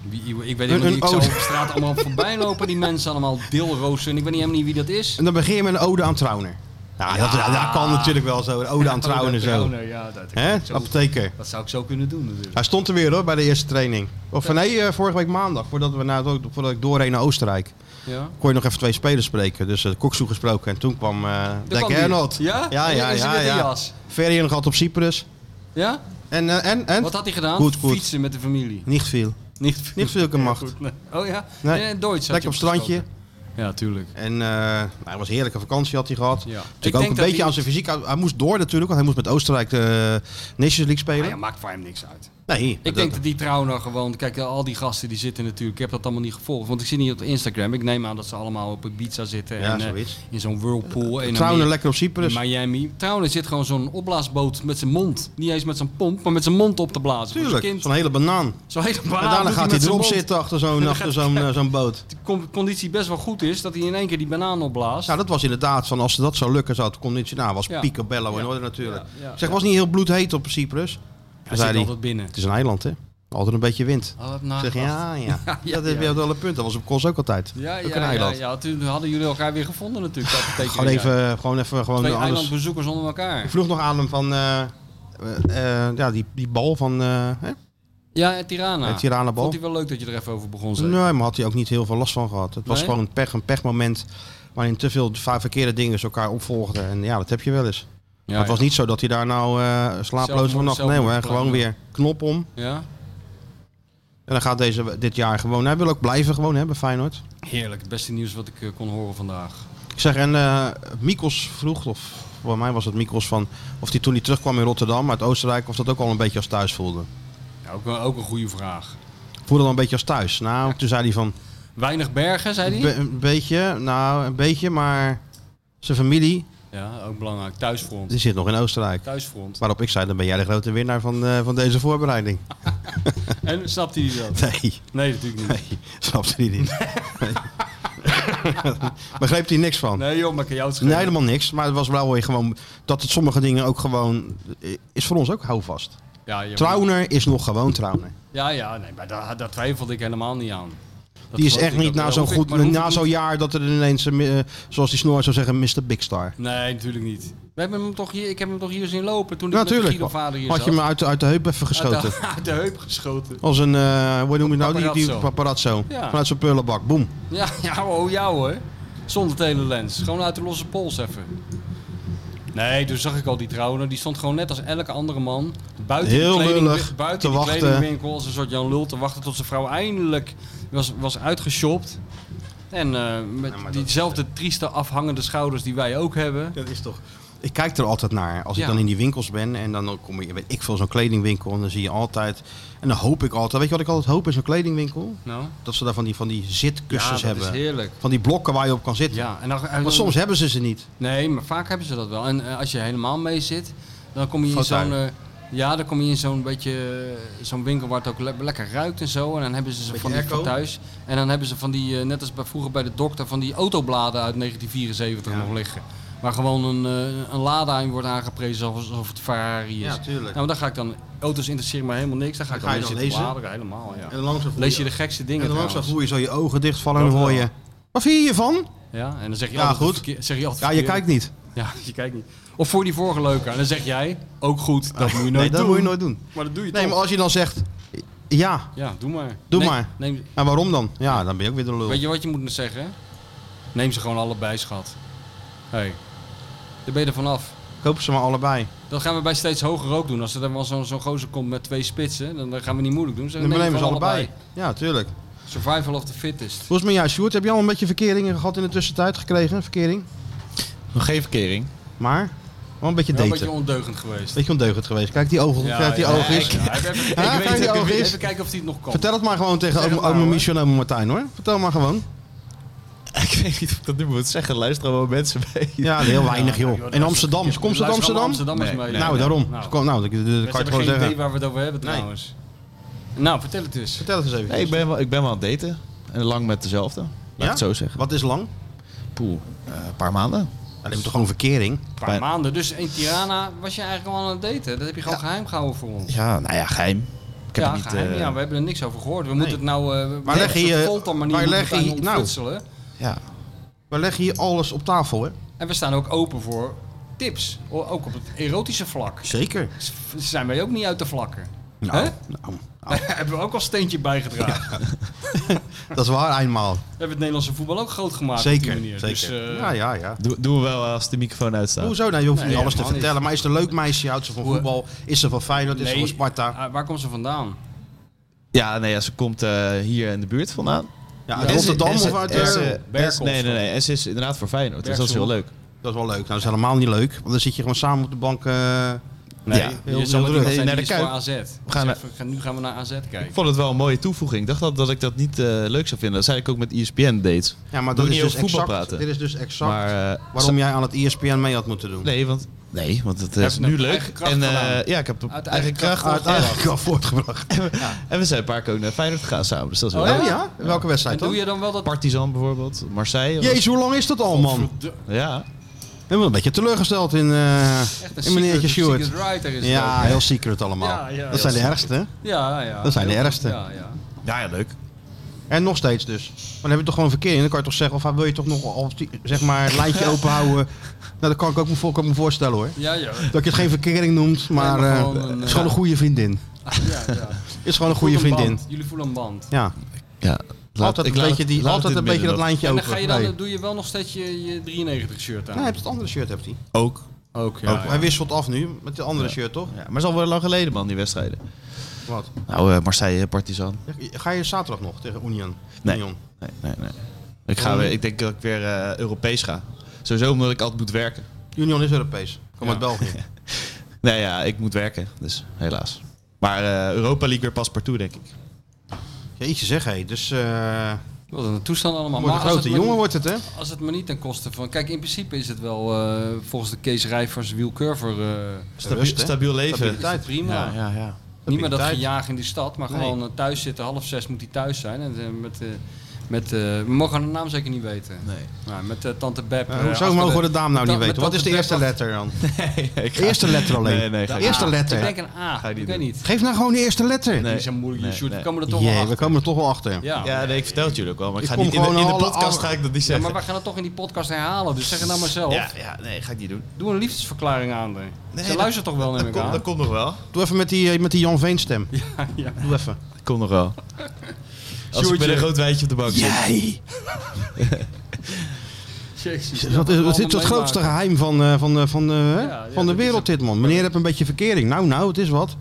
Speaker 2: Wie- Ik weet
Speaker 1: Een-
Speaker 2: helemaal niet,
Speaker 1: een
Speaker 2: ik zou
Speaker 1: ode.
Speaker 2: op straat allemaal voorbij lopen, die mensen allemaal deelroosten. Ik weet niet helemaal niet wie dat is.
Speaker 1: En dan begin je met een ode aan Trauner. Ja, Dat, ja, dat kan natuurlijk wel zo. Een ode aan Trauner zo.
Speaker 2: Trouwner, ja, dat,
Speaker 1: Hè?
Speaker 2: zo-
Speaker 1: Apotheker.
Speaker 2: dat zou ik zo kunnen doen natuurlijk.
Speaker 1: Hij stond er weer hoor, bij de eerste training. Of nee, eh, vorige week maandag, voordat, we naar, voordat ik doorheen naar Oostenrijk.
Speaker 2: Ja.
Speaker 1: Kon je nog even twee spelers spreken. Dus uh, Koksoe gesproken en toen kwam eh
Speaker 2: Daar
Speaker 1: Dek
Speaker 2: kwam die.
Speaker 1: Hernold.
Speaker 2: Ja?
Speaker 1: Ja, ja,
Speaker 2: En is hij
Speaker 1: ja,
Speaker 2: met de
Speaker 1: ja.
Speaker 2: jas.
Speaker 1: Ferry nog had op Cyprus.
Speaker 2: Ja?
Speaker 1: En, eh, en, en?
Speaker 2: Wat had hij gedaan?
Speaker 1: Goed, goed.
Speaker 2: Fietsen met de familie.
Speaker 1: Niet veel.
Speaker 2: Niet,
Speaker 1: Niet veel gemacht.
Speaker 2: Goed, nee. Oh ja?
Speaker 1: Nee.
Speaker 2: En, en Deutsch had
Speaker 1: Lekker op
Speaker 2: je
Speaker 1: strandje.
Speaker 2: opgeschoten. Ja, tuurlijk.
Speaker 1: En eh, nou, het was een heerlijke vakantie had hij gehad.
Speaker 2: Ja. Ik denk
Speaker 1: Natuurlijk ook een
Speaker 2: dat
Speaker 1: beetje
Speaker 2: hij-
Speaker 1: aan zijn fysiek. Hij, hij moest door natuurlijk, want hij moest met Oostenrijk de Nations League spelen.
Speaker 2: Maar Ah ja, maakt voor hem niks uit.
Speaker 1: Nee,
Speaker 2: Ik denk dat die trouwner gewoon, kijk, al die gasten die zitten natuurlijk, ik heb dat allemaal niet gevolgd, want ik zit niet op Instagram. Ik neem aan dat ze allemaal op Ibiza zitten
Speaker 1: Ja,
Speaker 2: en eh,
Speaker 1: zoiets.
Speaker 2: in zo'n whirlpool en
Speaker 1: Trouwner lekker dus. op Cyprus.
Speaker 2: Miami. Trouwner zit gewoon zo'n opblaasboot met zijn mond, niet eens met zijn pomp, maar met zijn mond op te blazen. voor zijn
Speaker 1: Tuurlijk,
Speaker 2: kind. Ah,
Speaker 1: zo'n hele banaan.
Speaker 2: Zo heet het
Speaker 1: en daarna gaat hij erop zitten achter zo'n achter zo'n eh, zo'n boot.
Speaker 2: De con- conditie best wel goed is, dat hij in één keer die banaan opblaast.
Speaker 1: Nou, dat was inderdaad van als dat zou lukken, zou het conditie. Nou, was
Speaker 2: Ja.
Speaker 1: picobello in
Speaker 2: Ja.
Speaker 1: orde natuurlijk.
Speaker 2: Ja, ja,
Speaker 1: zeg,
Speaker 2: ja.
Speaker 1: was niet heel bloedheet op Cyprus.
Speaker 2: hij
Speaker 1: Dan
Speaker 2: zit
Speaker 1: zei hij,
Speaker 2: altijd binnen.
Speaker 1: het is een eiland hè, altijd een beetje wind.
Speaker 2: Altijd
Speaker 1: Ik zeg,
Speaker 2: nagedacht.
Speaker 1: ja, ja.
Speaker 2: Ja, ja,
Speaker 1: dat is
Speaker 2: ja.
Speaker 1: weer wel een punt. Dat was op Kos ook altijd.
Speaker 2: Ja,
Speaker 1: ook
Speaker 2: ja,
Speaker 1: een
Speaker 2: ja, ja,
Speaker 1: eiland.
Speaker 2: Toen hadden jullie elkaar weer gevonden natuurlijk. Dat betekent
Speaker 1: Gewoon
Speaker 2: weer, ja.
Speaker 1: even, gewoon even, gewoon
Speaker 2: Twee
Speaker 1: anders.
Speaker 2: eilandbezoekers onder elkaar.
Speaker 1: Ik vroeg nog aan hem van eh, eh, eh, ja, die, die bal van. eh hè?
Speaker 2: Ja, en Tirana.
Speaker 1: Het Tirana-bal.
Speaker 2: Nou, Vond hij wel leuk dat je er even over begon, zeker?
Speaker 1: Nee, maar had hij ook niet heel veel last van gehad. Het was
Speaker 2: Nee?
Speaker 1: gewoon een, pech, een pechmoment waarin te veel va- verkeerde dingen dus elkaar opvolgden. En ja, dat heb je wel eens.
Speaker 2: Ja,
Speaker 1: maar het was
Speaker 2: ja.
Speaker 1: niet zo dat hij daar nou eh slaaploos
Speaker 2: Zelfmoord-
Speaker 1: vannacht. Nee hoor,
Speaker 2: zelfmoordpoging.
Speaker 1: gewoon weer knop om.
Speaker 2: Ja?
Speaker 1: En dan gaat deze dit jaar gewoon. Hij wil ook blijven gewoon hebben, Feyenoord.
Speaker 2: Heerlijk, het beste nieuws wat ik eh, kon horen vandaag.
Speaker 1: Ik zeg, en eh Mikos vroeg, of voor mij was het Mikos van, of die toen hij terugkwam in Rotterdam uit Oostenrijk, of dat ook al een beetje als thuis voelde.
Speaker 2: Ja, ook, wel- ook een goede vraag.
Speaker 1: Voelde dan een beetje als thuis. Nou, toen zei hij van,
Speaker 2: Weinig bergen, zei
Speaker 1: be-
Speaker 2: hij?
Speaker 1: een beetje, nou, een beetje, maar zijn familie,
Speaker 2: Ja, ook belangrijk. Thuisfront.
Speaker 1: die zit nog in Oostenrijk.
Speaker 2: Thuisfront.
Speaker 1: Waarop ik zei, dan ben jij de grote winnaar van, eh, van deze voorbereiding.
Speaker 2: En snapte hij dat?
Speaker 1: Nee,
Speaker 2: Nee, natuurlijk niet.
Speaker 1: nee, snapte hij niet. Nee. Begreep hij niks van.
Speaker 2: Nee joh, maar ik kan jou het
Speaker 1: Nee,
Speaker 2: schelen.
Speaker 1: helemaal niks. Maar het was wel weer gewoon dat het sommige dingen ook gewoon eh, is voor ons ook houvast.
Speaker 2: Ja, je-
Speaker 1: Trouwner is nog gewoon Trouwner.
Speaker 2: Ja, ja, nee, maar daar, daar twijfelde ik helemaal niet aan. Dat
Speaker 1: Die is
Speaker 2: geloof
Speaker 1: echt
Speaker 2: ik
Speaker 1: niet
Speaker 2: ook.
Speaker 1: na
Speaker 2: Dat
Speaker 1: zo'n
Speaker 2: hoef ik-
Speaker 1: goed,
Speaker 2: maar dat hoef
Speaker 1: na
Speaker 2: ik
Speaker 1: zo'n
Speaker 2: niet.
Speaker 1: jaar dat er ineens, een, eh, zoals die Snoor zou zeggen, Mr. Big Star.
Speaker 2: Nee, natuurlijk niet. We hebben hem toch hier, ik heb hem toch hier zien lopen toen ik met
Speaker 1: Natuurlijk.
Speaker 2: Guido vader hier
Speaker 1: Had
Speaker 2: zat.
Speaker 1: je hem uit, de- uit de heup even
Speaker 2: Uit
Speaker 1: geschoten.
Speaker 2: de, uit de heup geschoten.
Speaker 1: Als een, eh hoe noem je nou, die, die
Speaker 2: Paparazzo.
Speaker 1: paparazzo.
Speaker 2: Ja.
Speaker 1: Vanuit zijn pullenbak, boem.
Speaker 2: Ja, ja, oh ja hoor. Zonder telelens. Gewoon uit de losse pols even. Nee, toen zag ik al die trouwen. Die stond gewoon net als elke andere man. Buiten
Speaker 1: Heel
Speaker 2: de kleding,
Speaker 1: lullig te
Speaker 2: buiten de
Speaker 1: wachten.
Speaker 2: kledingwinkel als een soort Jan Lul te wachten tot zijn vrouw eindelijk was, was uitgeshopt. En eh, met diezelfde trieste afhangende schouders die wij ook hebben.
Speaker 1: Dat is toch... Ik kijk er altijd naar. Als
Speaker 2: Ja.
Speaker 1: ik dan in die winkels ben en dan kom ik, weet ik veel, zo'n kledingwinkel. En dan zie je altijd, en dan hoop ik altijd, weet je wat ik altijd hoop in zo'n kledingwinkel?
Speaker 2: Nou,
Speaker 1: Dat ze daar van die, van die
Speaker 2: ja,
Speaker 1: zitkussens
Speaker 2: dat is
Speaker 1: hebben.
Speaker 2: heerlijk.
Speaker 1: Van die blokken waar je op kan zitten.
Speaker 2: Ja, en dan, en dan-
Speaker 1: Want soms hebben ze ze niet.
Speaker 2: Nee, maar vaak hebben ze dat wel. En eh, als je helemaal mee zit, dan kom je in
Speaker 1: Fauteuil.
Speaker 2: zo'n... eh, ja, dan kom je in zo'n beetje... eh, zo'n winkel waar het ook le- lekker ruikt en zo. En dan hebben ze ze
Speaker 1: Beetje
Speaker 2: van die
Speaker 1: airco.
Speaker 2: van thuis. En dan hebben ze van die, eh, net als bij, vroeger bij de dokter, van die autobladen uit 1974 nog liggen. Waar gewoon een, eh, een lada in wordt aangeprezen alsof het Ferrari is.
Speaker 1: Ja, tuurlijk.
Speaker 2: Nou, maar dan ga ik dan... Auto's interesseren me helemaal niks. Dan ga ik
Speaker 1: Dan ga
Speaker 2: dan,
Speaker 1: je
Speaker 2: in
Speaker 1: dan
Speaker 2: zitten
Speaker 1: lezen?
Speaker 2: bladeren, helemaal, ja.
Speaker 1: En langzaam voel
Speaker 2: Lees je
Speaker 1: je-
Speaker 2: de gekste dingen
Speaker 1: En dan langzaam
Speaker 2: trouwens.
Speaker 1: voel je zo je ogen dichtvallen en dan hoor je... Wat vind je hiervan?
Speaker 2: Ja, en dan zeg je
Speaker 1: Ja,
Speaker 2: altijd
Speaker 1: goed.
Speaker 2: verkeer- zeg je altijd
Speaker 1: Ja, je
Speaker 2: verkeerd.
Speaker 1: kijkt niet.
Speaker 2: Ja, je kijkt niet. Of voor die vorige leuke. En dan zeg jij, ook goed, dat moet je nooit
Speaker 1: Nee, dat
Speaker 2: doen.
Speaker 1: moet je nooit doen.
Speaker 2: Maar dat doe je
Speaker 1: Nee,
Speaker 2: toch.
Speaker 1: maar als je dan zegt... Ja,
Speaker 2: Ja, doe maar.
Speaker 1: Doe
Speaker 2: Neem-
Speaker 1: maar.
Speaker 2: Neem,
Speaker 1: en waarom dan? Ja, dan ben je ook weer de lul.
Speaker 2: weet je wat je moet zeggen? Neem ze gewoon allebei, schat. Hé, hey, daar ben je er vanaf.
Speaker 1: Koop ze maar allebei.
Speaker 2: Dat gaan we bij steeds hoger ook doen. Als er dan wel zo'n zo'n gozer komt met twee spitsen, dan dan gaan we niet moeilijk doen. Zeg,
Speaker 1: Dan
Speaker 2: neem
Speaker 1: nemen ze
Speaker 2: gewoon
Speaker 1: allebei. Ja, tuurlijk.
Speaker 2: Survival of the fittest.
Speaker 1: Hoe is het met jou, Sjoerd? Heb je al een beetje verkeringen gehad in de tussentijd gekregen? Verkering?
Speaker 3: Nog geen verkering.
Speaker 1: Maar? Wel een beetje
Speaker 2: Wel een
Speaker 1: daten.
Speaker 2: beetje ondeugend geweest.
Speaker 1: beetje ondeugend geweest. Kijk die ogen. kijk die ogen eens.
Speaker 2: Ja, even,
Speaker 1: Ja,
Speaker 2: even- ik weet
Speaker 1: kijk die
Speaker 2: het,
Speaker 1: ogen
Speaker 2: even,
Speaker 1: eens.
Speaker 2: even kijken of hij het nog kan.
Speaker 1: Vertel het maar gewoon tegen
Speaker 2: Zeg het
Speaker 1: oma
Speaker 2: maar,
Speaker 1: oma
Speaker 2: hoor.
Speaker 1: Michel en oma Martijn, hoor. Vertel maar gewoon.
Speaker 3: Ik weet niet of ik dat nu moet zeggen. Luisteren wel mensen mee.
Speaker 1: Ja, heel weinig, joh. In Amsterdam. Komt ze uit
Speaker 2: Luister allemaal
Speaker 1: Amsterdam?
Speaker 2: Amsterdammers
Speaker 3: Nee,
Speaker 2: mee.
Speaker 3: nee,
Speaker 1: Nou, daarom.
Speaker 2: Nou.
Speaker 1: Dus kom- Nou, dat dat- dat
Speaker 2: We
Speaker 1: kan je
Speaker 2: hebben
Speaker 1: het
Speaker 2: geen
Speaker 1: gewoon
Speaker 2: idee
Speaker 1: zeggen.
Speaker 2: waar we het over hebben
Speaker 1: Nee.
Speaker 2: trouwens. Nou, vertel het eens.
Speaker 1: Vertel het eens even.
Speaker 3: Nee, ik ben, wel, ik ben wel aan het daten. En lang met dezelfde. Laat
Speaker 1: Ja?
Speaker 3: ik het zo zeggen.
Speaker 1: Wat is lang?
Speaker 3: Poeh, eh, een paar maanden.
Speaker 1: Alleen toch gewoon verkering.
Speaker 2: Een paar
Speaker 3: Bij-
Speaker 2: maanden. Dus in Tirana was je eigenlijk al aan het daten. Dat heb je gewoon geheim gehouden voor ons.
Speaker 3: Ja, nou ja, geheim. Ik heb
Speaker 2: ja,
Speaker 3: het niet,
Speaker 2: geheim.
Speaker 3: eh,
Speaker 2: ja, we hebben er niks over gehoord. We moeten het nou... eh
Speaker 1: Waar leg je je- waar
Speaker 2: Waar
Speaker 1: leg je-
Speaker 2: leg je...
Speaker 1: nou.
Speaker 2: Ontfutselen.
Speaker 3: ja.
Speaker 1: We leggen hier alles op tafel, hè?
Speaker 2: En we staan ook open voor tips. O- Ook op het erotische vlak.
Speaker 1: Zeker.
Speaker 2: S- Zijn wij ook niet uit de vlakken.
Speaker 1: Nou,
Speaker 2: Hè?
Speaker 1: nou,
Speaker 2: hebben we ook al steentje bijgedragen.
Speaker 1: dat is waar, eenmaal.
Speaker 2: We hebben het Nederlandse voetbal ook groot gemaakt
Speaker 1: Zeker.
Speaker 2: op die manier.
Speaker 1: zeker.
Speaker 2: Dus, eh,
Speaker 1: ja, ja, ja.
Speaker 3: Doe, doen we wel als de microfoon uitstaat.
Speaker 1: Hoezo? Nou, je hoeft
Speaker 2: Nee,
Speaker 1: niet alles te
Speaker 2: helemaal niet.
Speaker 1: vertellen. Maar is het een leuk meisje? Houdt ze van
Speaker 2: Hoe-
Speaker 1: voetbal? Is ze van Feyenoord? Is ze
Speaker 2: nee,
Speaker 1: van Sparta?
Speaker 2: eh, waar komt ze vandaan?
Speaker 3: Ja, nee, ja, ze komt eh, hier in de buurt vandaan.
Speaker 1: Ja,
Speaker 3: En
Speaker 1: uit
Speaker 3: ze-
Speaker 1: Rotterdam
Speaker 3: en ze-
Speaker 1: of uit...
Speaker 3: en
Speaker 1: eh,
Speaker 3: ze- en
Speaker 2: Berkel
Speaker 3: ze-
Speaker 2: of
Speaker 3: Nee,
Speaker 2: zo?
Speaker 3: nee, nee. En ze is inderdaad voor Feyenoord. Dus dat is heel
Speaker 2: Berkel.
Speaker 3: leuk.
Speaker 1: Dat is wel leuk. Nou, dat is helemaal niet leuk. Want dan zit je gewoon samen op de bank... eh,
Speaker 2: Nee,
Speaker 3: Ja,
Speaker 1: heel- heel
Speaker 2: je zal met
Speaker 1: druk.
Speaker 2: iemand zijn
Speaker 3: Naar
Speaker 2: die
Speaker 3: de
Speaker 2: is voor
Speaker 3: Kuip.
Speaker 2: AZ. We
Speaker 3: gaan
Speaker 2: gaan nu gaan we naar AZ kijken.
Speaker 3: Ik vond het wel een mooie toevoeging. Ik dacht dat, dat ik dat niet eh, leuk zou vinden. Dat zei ik ook met E ESPN dates.
Speaker 1: Ja, maar
Speaker 3: Doe
Speaker 1: dat
Speaker 3: niet
Speaker 1: is dus
Speaker 3: over voetbal
Speaker 1: exact,
Speaker 3: praten.
Speaker 1: dit is dus exact
Speaker 3: Maar, eh,
Speaker 1: waarom jij aan het E ESPN mee had moeten doen.
Speaker 3: Nee, want, nee, want het
Speaker 2: Heb
Speaker 3: is
Speaker 2: je
Speaker 3: nu
Speaker 2: het op
Speaker 3: leuk.
Speaker 2: eigen kracht
Speaker 3: en, eh,
Speaker 2: gedaan?
Speaker 3: ja, ik heb het op
Speaker 2: Uit
Speaker 3: eigen,
Speaker 2: eigen
Speaker 3: kracht.
Speaker 1: Ah, het eigenlijk al voortgebracht.
Speaker 3: En we zijn een paar keer ook naar Feyenoord gegaan samen. Dus dat is wel
Speaker 2: Oh,
Speaker 3: leuk.
Speaker 1: Oh ja? Welke
Speaker 2: En
Speaker 1: wedstrijd
Speaker 2: doe
Speaker 1: dan?
Speaker 2: je dan wel dat...
Speaker 3: Partizan bijvoorbeeld. Marseille. was-
Speaker 1: Jezus, hoe lang is dat al, man?
Speaker 2: De-
Speaker 3: Ja.
Speaker 1: Ik ben wel een beetje teleurgesteld in, eh,
Speaker 2: Echt
Speaker 1: in meneertje
Speaker 2: secret-
Speaker 1: Sjoerd.
Speaker 2: secret writer is het
Speaker 1: Ja,
Speaker 2: ook, hè?
Speaker 1: heel secret allemaal.
Speaker 2: Ja, ja,
Speaker 1: dat
Speaker 2: heel
Speaker 1: zijn de ergste. hè?
Speaker 2: ja, ja.
Speaker 1: Dat zijn de
Speaker 2: Heel goed,
Speaker 1: ergste.
Speaker 2: Ja, ja.
Speaker 3: ja, ja, leuk.
Speaker 1: En nog steeds dus. Maar dan heb je toch gewoon verkeering. Dan kan je toch zeggen, of ah, wil je toch nog of die- zeg maar, het lijntje open houden? Nou, dat kan ik ook me, voor- kan ik me voorstellen hoor.
Speaker 2: Ja, ja.
Speaker 1: Dat je het geen verkering noemt, maar
Speaker 2: maar
Speaker 1: eh,
Speaker 2: gewoon een,
Speaker 1: het is
Speaker 2: eh,
Speaker 1: gewoon een goede vriendin.
Speaker 2: Ah, ja, ja.
Speaker 1: is gewoon een goede
Speaker 2: Voelt
Speaker 1: vriendin.
Speaker 2: band. Jullie voelen een band.
Speaker 1: Ja,
Speaker 3: Ja. Laat-
Speaker 1: altijd
Speaker 3: ik
Speaker 1: een
Speaker 3: laat
Speaker 1: beetje,
Speaker 3: het-
Speaker 1: die,
Speaker 3: laat
Speaker 1: altijd
Speaker 3: het
Speaker 1: een
Speaker 3: in het
Speaker 1: beetje dat
Speaker 3: midden
Speaker 1: lijntje
Speaker 2: En dan,
Speaker 1: open.
Speaker 2: ga je dan,
Speaker 1: nee.
Speaker 2: dan doe je wel nog steeds je, je 93 shirt aan.
Speaker 1: Nee, hij heeft het andere shirt, heeft hij.
Speaker 3: dan. Ook.
Speaker 2: Ook,
Speaker 1: Hij wisselt af nu met het andere shirt, toch?
Speaker 3: Ja, maar het is alweer lang geleden, man, die wedstrijden.
Speaker 1: Wat?
Speaker 3: Nou, eh, Marseille, Partizan.
Speaker 1: Ga je zaterdag nog tegen Union?
Speaker 3: Nee.
Speaker 1: Union.
Speaker 3: Nee, nee, nee. Ik, ga weer, ik denk dat ik weer eh, Europees ga. Sowieso omdat ik altijd moet werken.
Speaker 1: Union is Europees. Kom uit België.
Speaker 3: Nee, ja, ik moet werken. Dus helaas. Maar eh, Europa League weer pas partout, denk ik.
Speaker 1: Jeetje zeg, hé. Dus eh
Speaker 2: Wat een toestand allemaal.
Speaker 1: wordt een
Speaker 2: Maar als
Speaker 1: grote
Speaker 2: het maar
Speaker 1: jongen
Speaker 2: niet-
Speaker 1: wordt het, hè?
Speaker 2: Als het maar niet ten koste van... Kijk, in principe is het wel eh, volgens de Kees Rijvers Wiel Curver... eh,
Speaker 3: Stabiel,
Speaker 1: Rust, hè?
Speaker 3: stabiel leven.
Speaker 2: is het
Speaker 1: Stabiliteit.
Speaker 2: prima.
Speaker 3: Ja, ja, ja.
Speaker 2: Niet meer dat
Speaker 1: Prioriteit.
Speaker 2: gejaag in die stad, maar
Speaker 1: Nee.
Speaker 2: gewoon eh, thuis zitten. Half zes moet hij thuis zijn. En, eh, met, eh, met, eh, we mogen de naam zeker niet weten.
Speaker 3: Nee.
Speaker 2: Nou, met eh, tante Beb.
Speaker 1: Eh,
Speaker 2: eh,
Speaker 1: hoezo
Speaker 2: achter
Speaker 1: mogen we de naam nou niet
Speaker 2: met ta-
Speaker 1: weten?
Speaker 2: met
Speaker 1: Wat is de
Speaker 2: tante
Speaker 1: eerste
Speaker 2: Beb
Speaker 1: letter dan?
Speaker 3: ik ga-
Speaker 1: De eerste letter alleen.
Speaker 3: Nee, nee, ga
Speaker 1: de
Speaker 3: ik
Speaker 1: eerste
Speaker 3: niet.
Speaker 2: achter- Ik
Speaker 1: letter.
Speaker 2: denk een A.
Speaker 3: Ga je
Speaker 2: ik
Speaker 3: niet
Speaker 2: weet
Speaker 3: doen.
Speaker 2: niet.
Speaker 1: Geef nou gewoon de eerste letter.
Speaker 2: Die
Speaker 3: Nee.
Speaker 2: is een moeilijke
Speaker 3: Nee,
Speaker 2: shoot.
Speaker 3: nee.
Speaker 2: We komen er toch wel
Speaker 1: Jee, we
Speaker 2: achter.
Speaker 1: komen er toch wel achter.
Speaker 2: Ja. Ja,
Speaker 3: Ja, nee, ik vertel het jullie ook wel. Maar ik,
Speaker 1: Ik
Speaker 3: ga
Speaker 1: kom
Speaker 3: niet in, de-
Speaker 1: gewoon
Speaker 3: in de
Speaker 1: alle-
Speaker 3: podcast
Speaker 1: alle-
Speaker 3: ga ik dat niet zeggen.
Speaker 2: maar we gaan het toch in die podcast herhalen. Dus zeg het nou maar zelf.
Speaker 3: ja, ja, nee, ga ik niet doen.
Speaker 2: Doe een liefdesverklaring aan. Nee, Ze
Speaker 3: dat-
Speaker 2: luistert toch wel, neem
Speaker 3: Dat
Speaker 2: ik
Speaker 3: komt,
Speaker 2: aan.
Speaker 3: dat komt nog wel.
Speaker 1: Doe even met die, eh, met die Jan Veen stem.
Speaker 2: Ja, ja.
Speaker 1: Doe even.
Speaker 3: Dat komt nog wel. Als
Speaker 2: Sjoerdje.
Speaker 3: ik met een groot wijntje op de bank zit.
Speaker 1: Jij!
Speaker 2: Jezus,
Speaker 1: Wat is, wat is het
Speaker 2: allemaal
Speaker 1: grootste
Speaker 2: meemaken.
Speaker 1: geheim van, eh, van, eh, van, eh, hè?
Speaker 2: ja,
Speaker 1: van de
Speaker 2: dat is
Speaker 1: wereld
Speaker 2: het.
Speaker 1: dit, man? Meneer heeft een beetje verkering. Nou, nou, het is wat.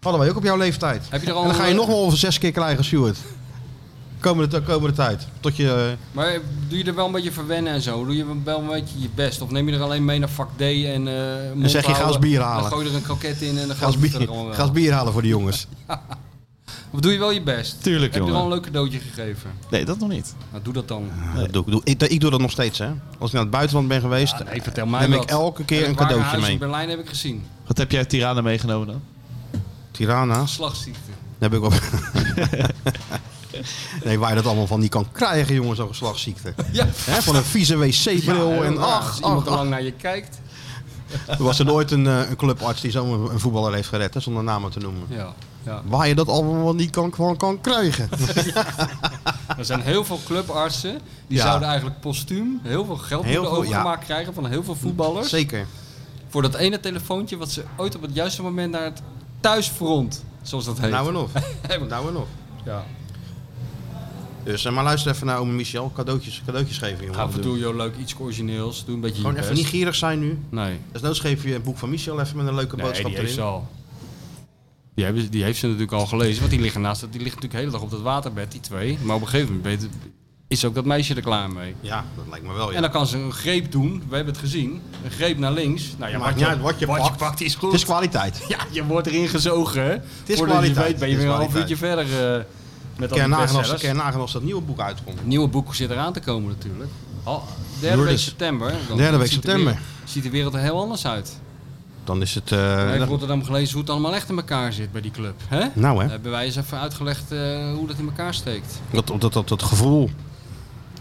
Speaker 1: Hadden wij ook op jouw leeftijd.
Speaker 2: Heb je er al
Speaker 1: En dan ga je
Speaker 2: een- eh,
Speaker 1: nog wel over zes keer krijgen, Stuart. Komende, komende tijd. Tot je... eh,
Speaker 2: Maar doe je er wel een beetje verwennen en zo? Doe je wel een beetje je best? Of neem je er alleen mee naar vak D en eh mond
Speaker 1: zeg je, ga
Speaker 2: houden,
Speaker 1: eens bier
Speaker 2: Dan
Speaker 1: halen.
Speaker 2: gooi je er een kroket in en dan
Speaker 1: Ga
Speaker 2: gaat
Speaker 1: eens
Speaker 2: het verder
Speaker 1: bier,
Speaker 2: allemaal wel.
Speaker 1: ga eens bier halen voor de jongens.
Speaker 2: Of doe je wel je best? Heb
Speaker 3: Tuurlijk,
Speaker 2: je
Speaker 3: jongen.
Speaker 2: wel een leuk cadeautje gegeven?
Speaker 3: Nee, dat nog niet.
Speaker 2: Nou, doe dat dan.
Speaker 1: Ja, dat doe ik, doe, ik, ik doe dat nog steeds, hè. Als ik naar het buitenland ben geweest,
Speaker 2: Ja, nee, vertel mij
Speaker 1: neem ik
Speaker 2: dat.
Speaker 1: elke keer
Speaker 2: En
Speaker 1: een
Speaker 2: het ware
Speaker 1: cadeautje
Speaker 2: huis
Speaker 1: mee.
Speaker 2: in Berlijn heb ik gezien.
Speaker 3: Wat heb jij uit Tirana meegenomen dan?
Speaker 1: Tirana,
Speaker 2: Slagziekte.
Speaker 1: daar heb ik op. nee, waar je dat allemaal van niet kan krijgen, jongens, zo'n geslachtsziekte.
Speaker 2: Ja.
Speaker 1: Hè, van een vieze wc-bril
Speaker 2: Ja,
Speaker 1: en
Speaker 2: ja,
Speaker 1: ach,
Speaker 2: als iemand
Speaker 1: ach,
Speaker 2: te lang naar je kijkt.
Speaker 1: ach. Er was er nooit een, eh, een clubarts die zo'n een voetballer heeft gered, hè, zonder namen te noemen.
Speaker 2: Ja, ja.
Speaker 1: Waar je dat allemaal niet kan, van kan krijgen.
Speaker 2: Er zijn heel veel clubartsen die
Speaker 1: Ja.
Speaker 2: zouden eigenlijk postuum heel veel geld
Speaker 1: Heel
Speaker 2: moeten
Speaker 1: veel, ja.
Speaker 2: overgemaakt krijgen van heel veel voetballers.
Speaker 1: Zeker.
Speaker 2: Voor dat ene telefoontje wat ze ooit op het juiste moment naar het thuisfront, zoals dat heet.
Speaker 1: Nou en of. Nou en of.
Speaker 2: ja.
Speaker 1: Dus, eh, maar luister even naar ome Michel. Cadeautjes, cadeautjes geven, jongen.
Speaker 2: Af en toe, joh, leuk, iets origineels. Doe een beetje
Speaker 1: Gewoon
Speaker 2: je
Speaker 1: even
Speaker 2: best.
Speaker 1: niet gierig zijn nu.
Speaker 2: Nee,
Speaker 1: Desnoods geef je een boek van Michel even met een leuke
Speaker 2: nee
Speaker 1: boodschap
Speaker 2: die heeft
Speaker 1: erin.
Speaker 2: ze al. Die, hebben, ze- die heeft ze natuurlijk al gelezen, want die liggen naast het, die ligt natuurlijk de hele dag op dat waterbed, die twee. Maar op een gegeven moment weet- is ook dat meisje er klaar mee.
Speaker 1: Ja, dat lijkt me wel. Ja.
Speaker 2: En dan kan ze een greep doen, we hebben het gezien. Een greep naar links. Nou ja,
Speaker 1: Maakt
Speaker 2: wat
Speaker 1: niet
Speaker 2: je,
Speaker 1: uit wat je pakt.
Speaker 2: is goed.
Speaker 1: het is kwaliteit.
Speaker 2: Ja, je wordt erin gezogen. hè?
Speaker 1: is
Speaker 2: Voordat je
Speaker 1: kwaliteit.
Speaker 2: weet ben je
Speaker 1: Het is
Speaker 2: weer een half uurtje
Speaker 1: kwaliteit.
Speaker 2: verder eh, met al
Speaker 1: Ker
Speaker 2: die
Speaker 1: nagen als,
Speaker 2: bestsellers.
Speaker 1: ker nagen als dat nieuwe boek uitkomt.
Speaker 2: Het nieuwe boek zit eraan te komen natuurlijk. Al, derde week
Speaker 1: Lourdes.
Speaker 2: september. Dan
Speaker 1: Derde week
Speaker 2: ziet de
Speaker 1: september. Eh,
Speaker 2: wereld- ziet de wereld er heel anders uit.
Speaker 1: Dan is het...
Speaker 2: Ik
Speaker 1: eh,
Speaker 2: heb Rotterdam gelezen hoe het allemaal echt in elkaar zit bij die club. Hè? Eh,
Speaker 1: nou hè,
Speaker 2: Hebben wij eens even uitgelegd eh, hoe dat in elkaar steekt.
Speaker 1: dat, dat, dat, dat gevoel.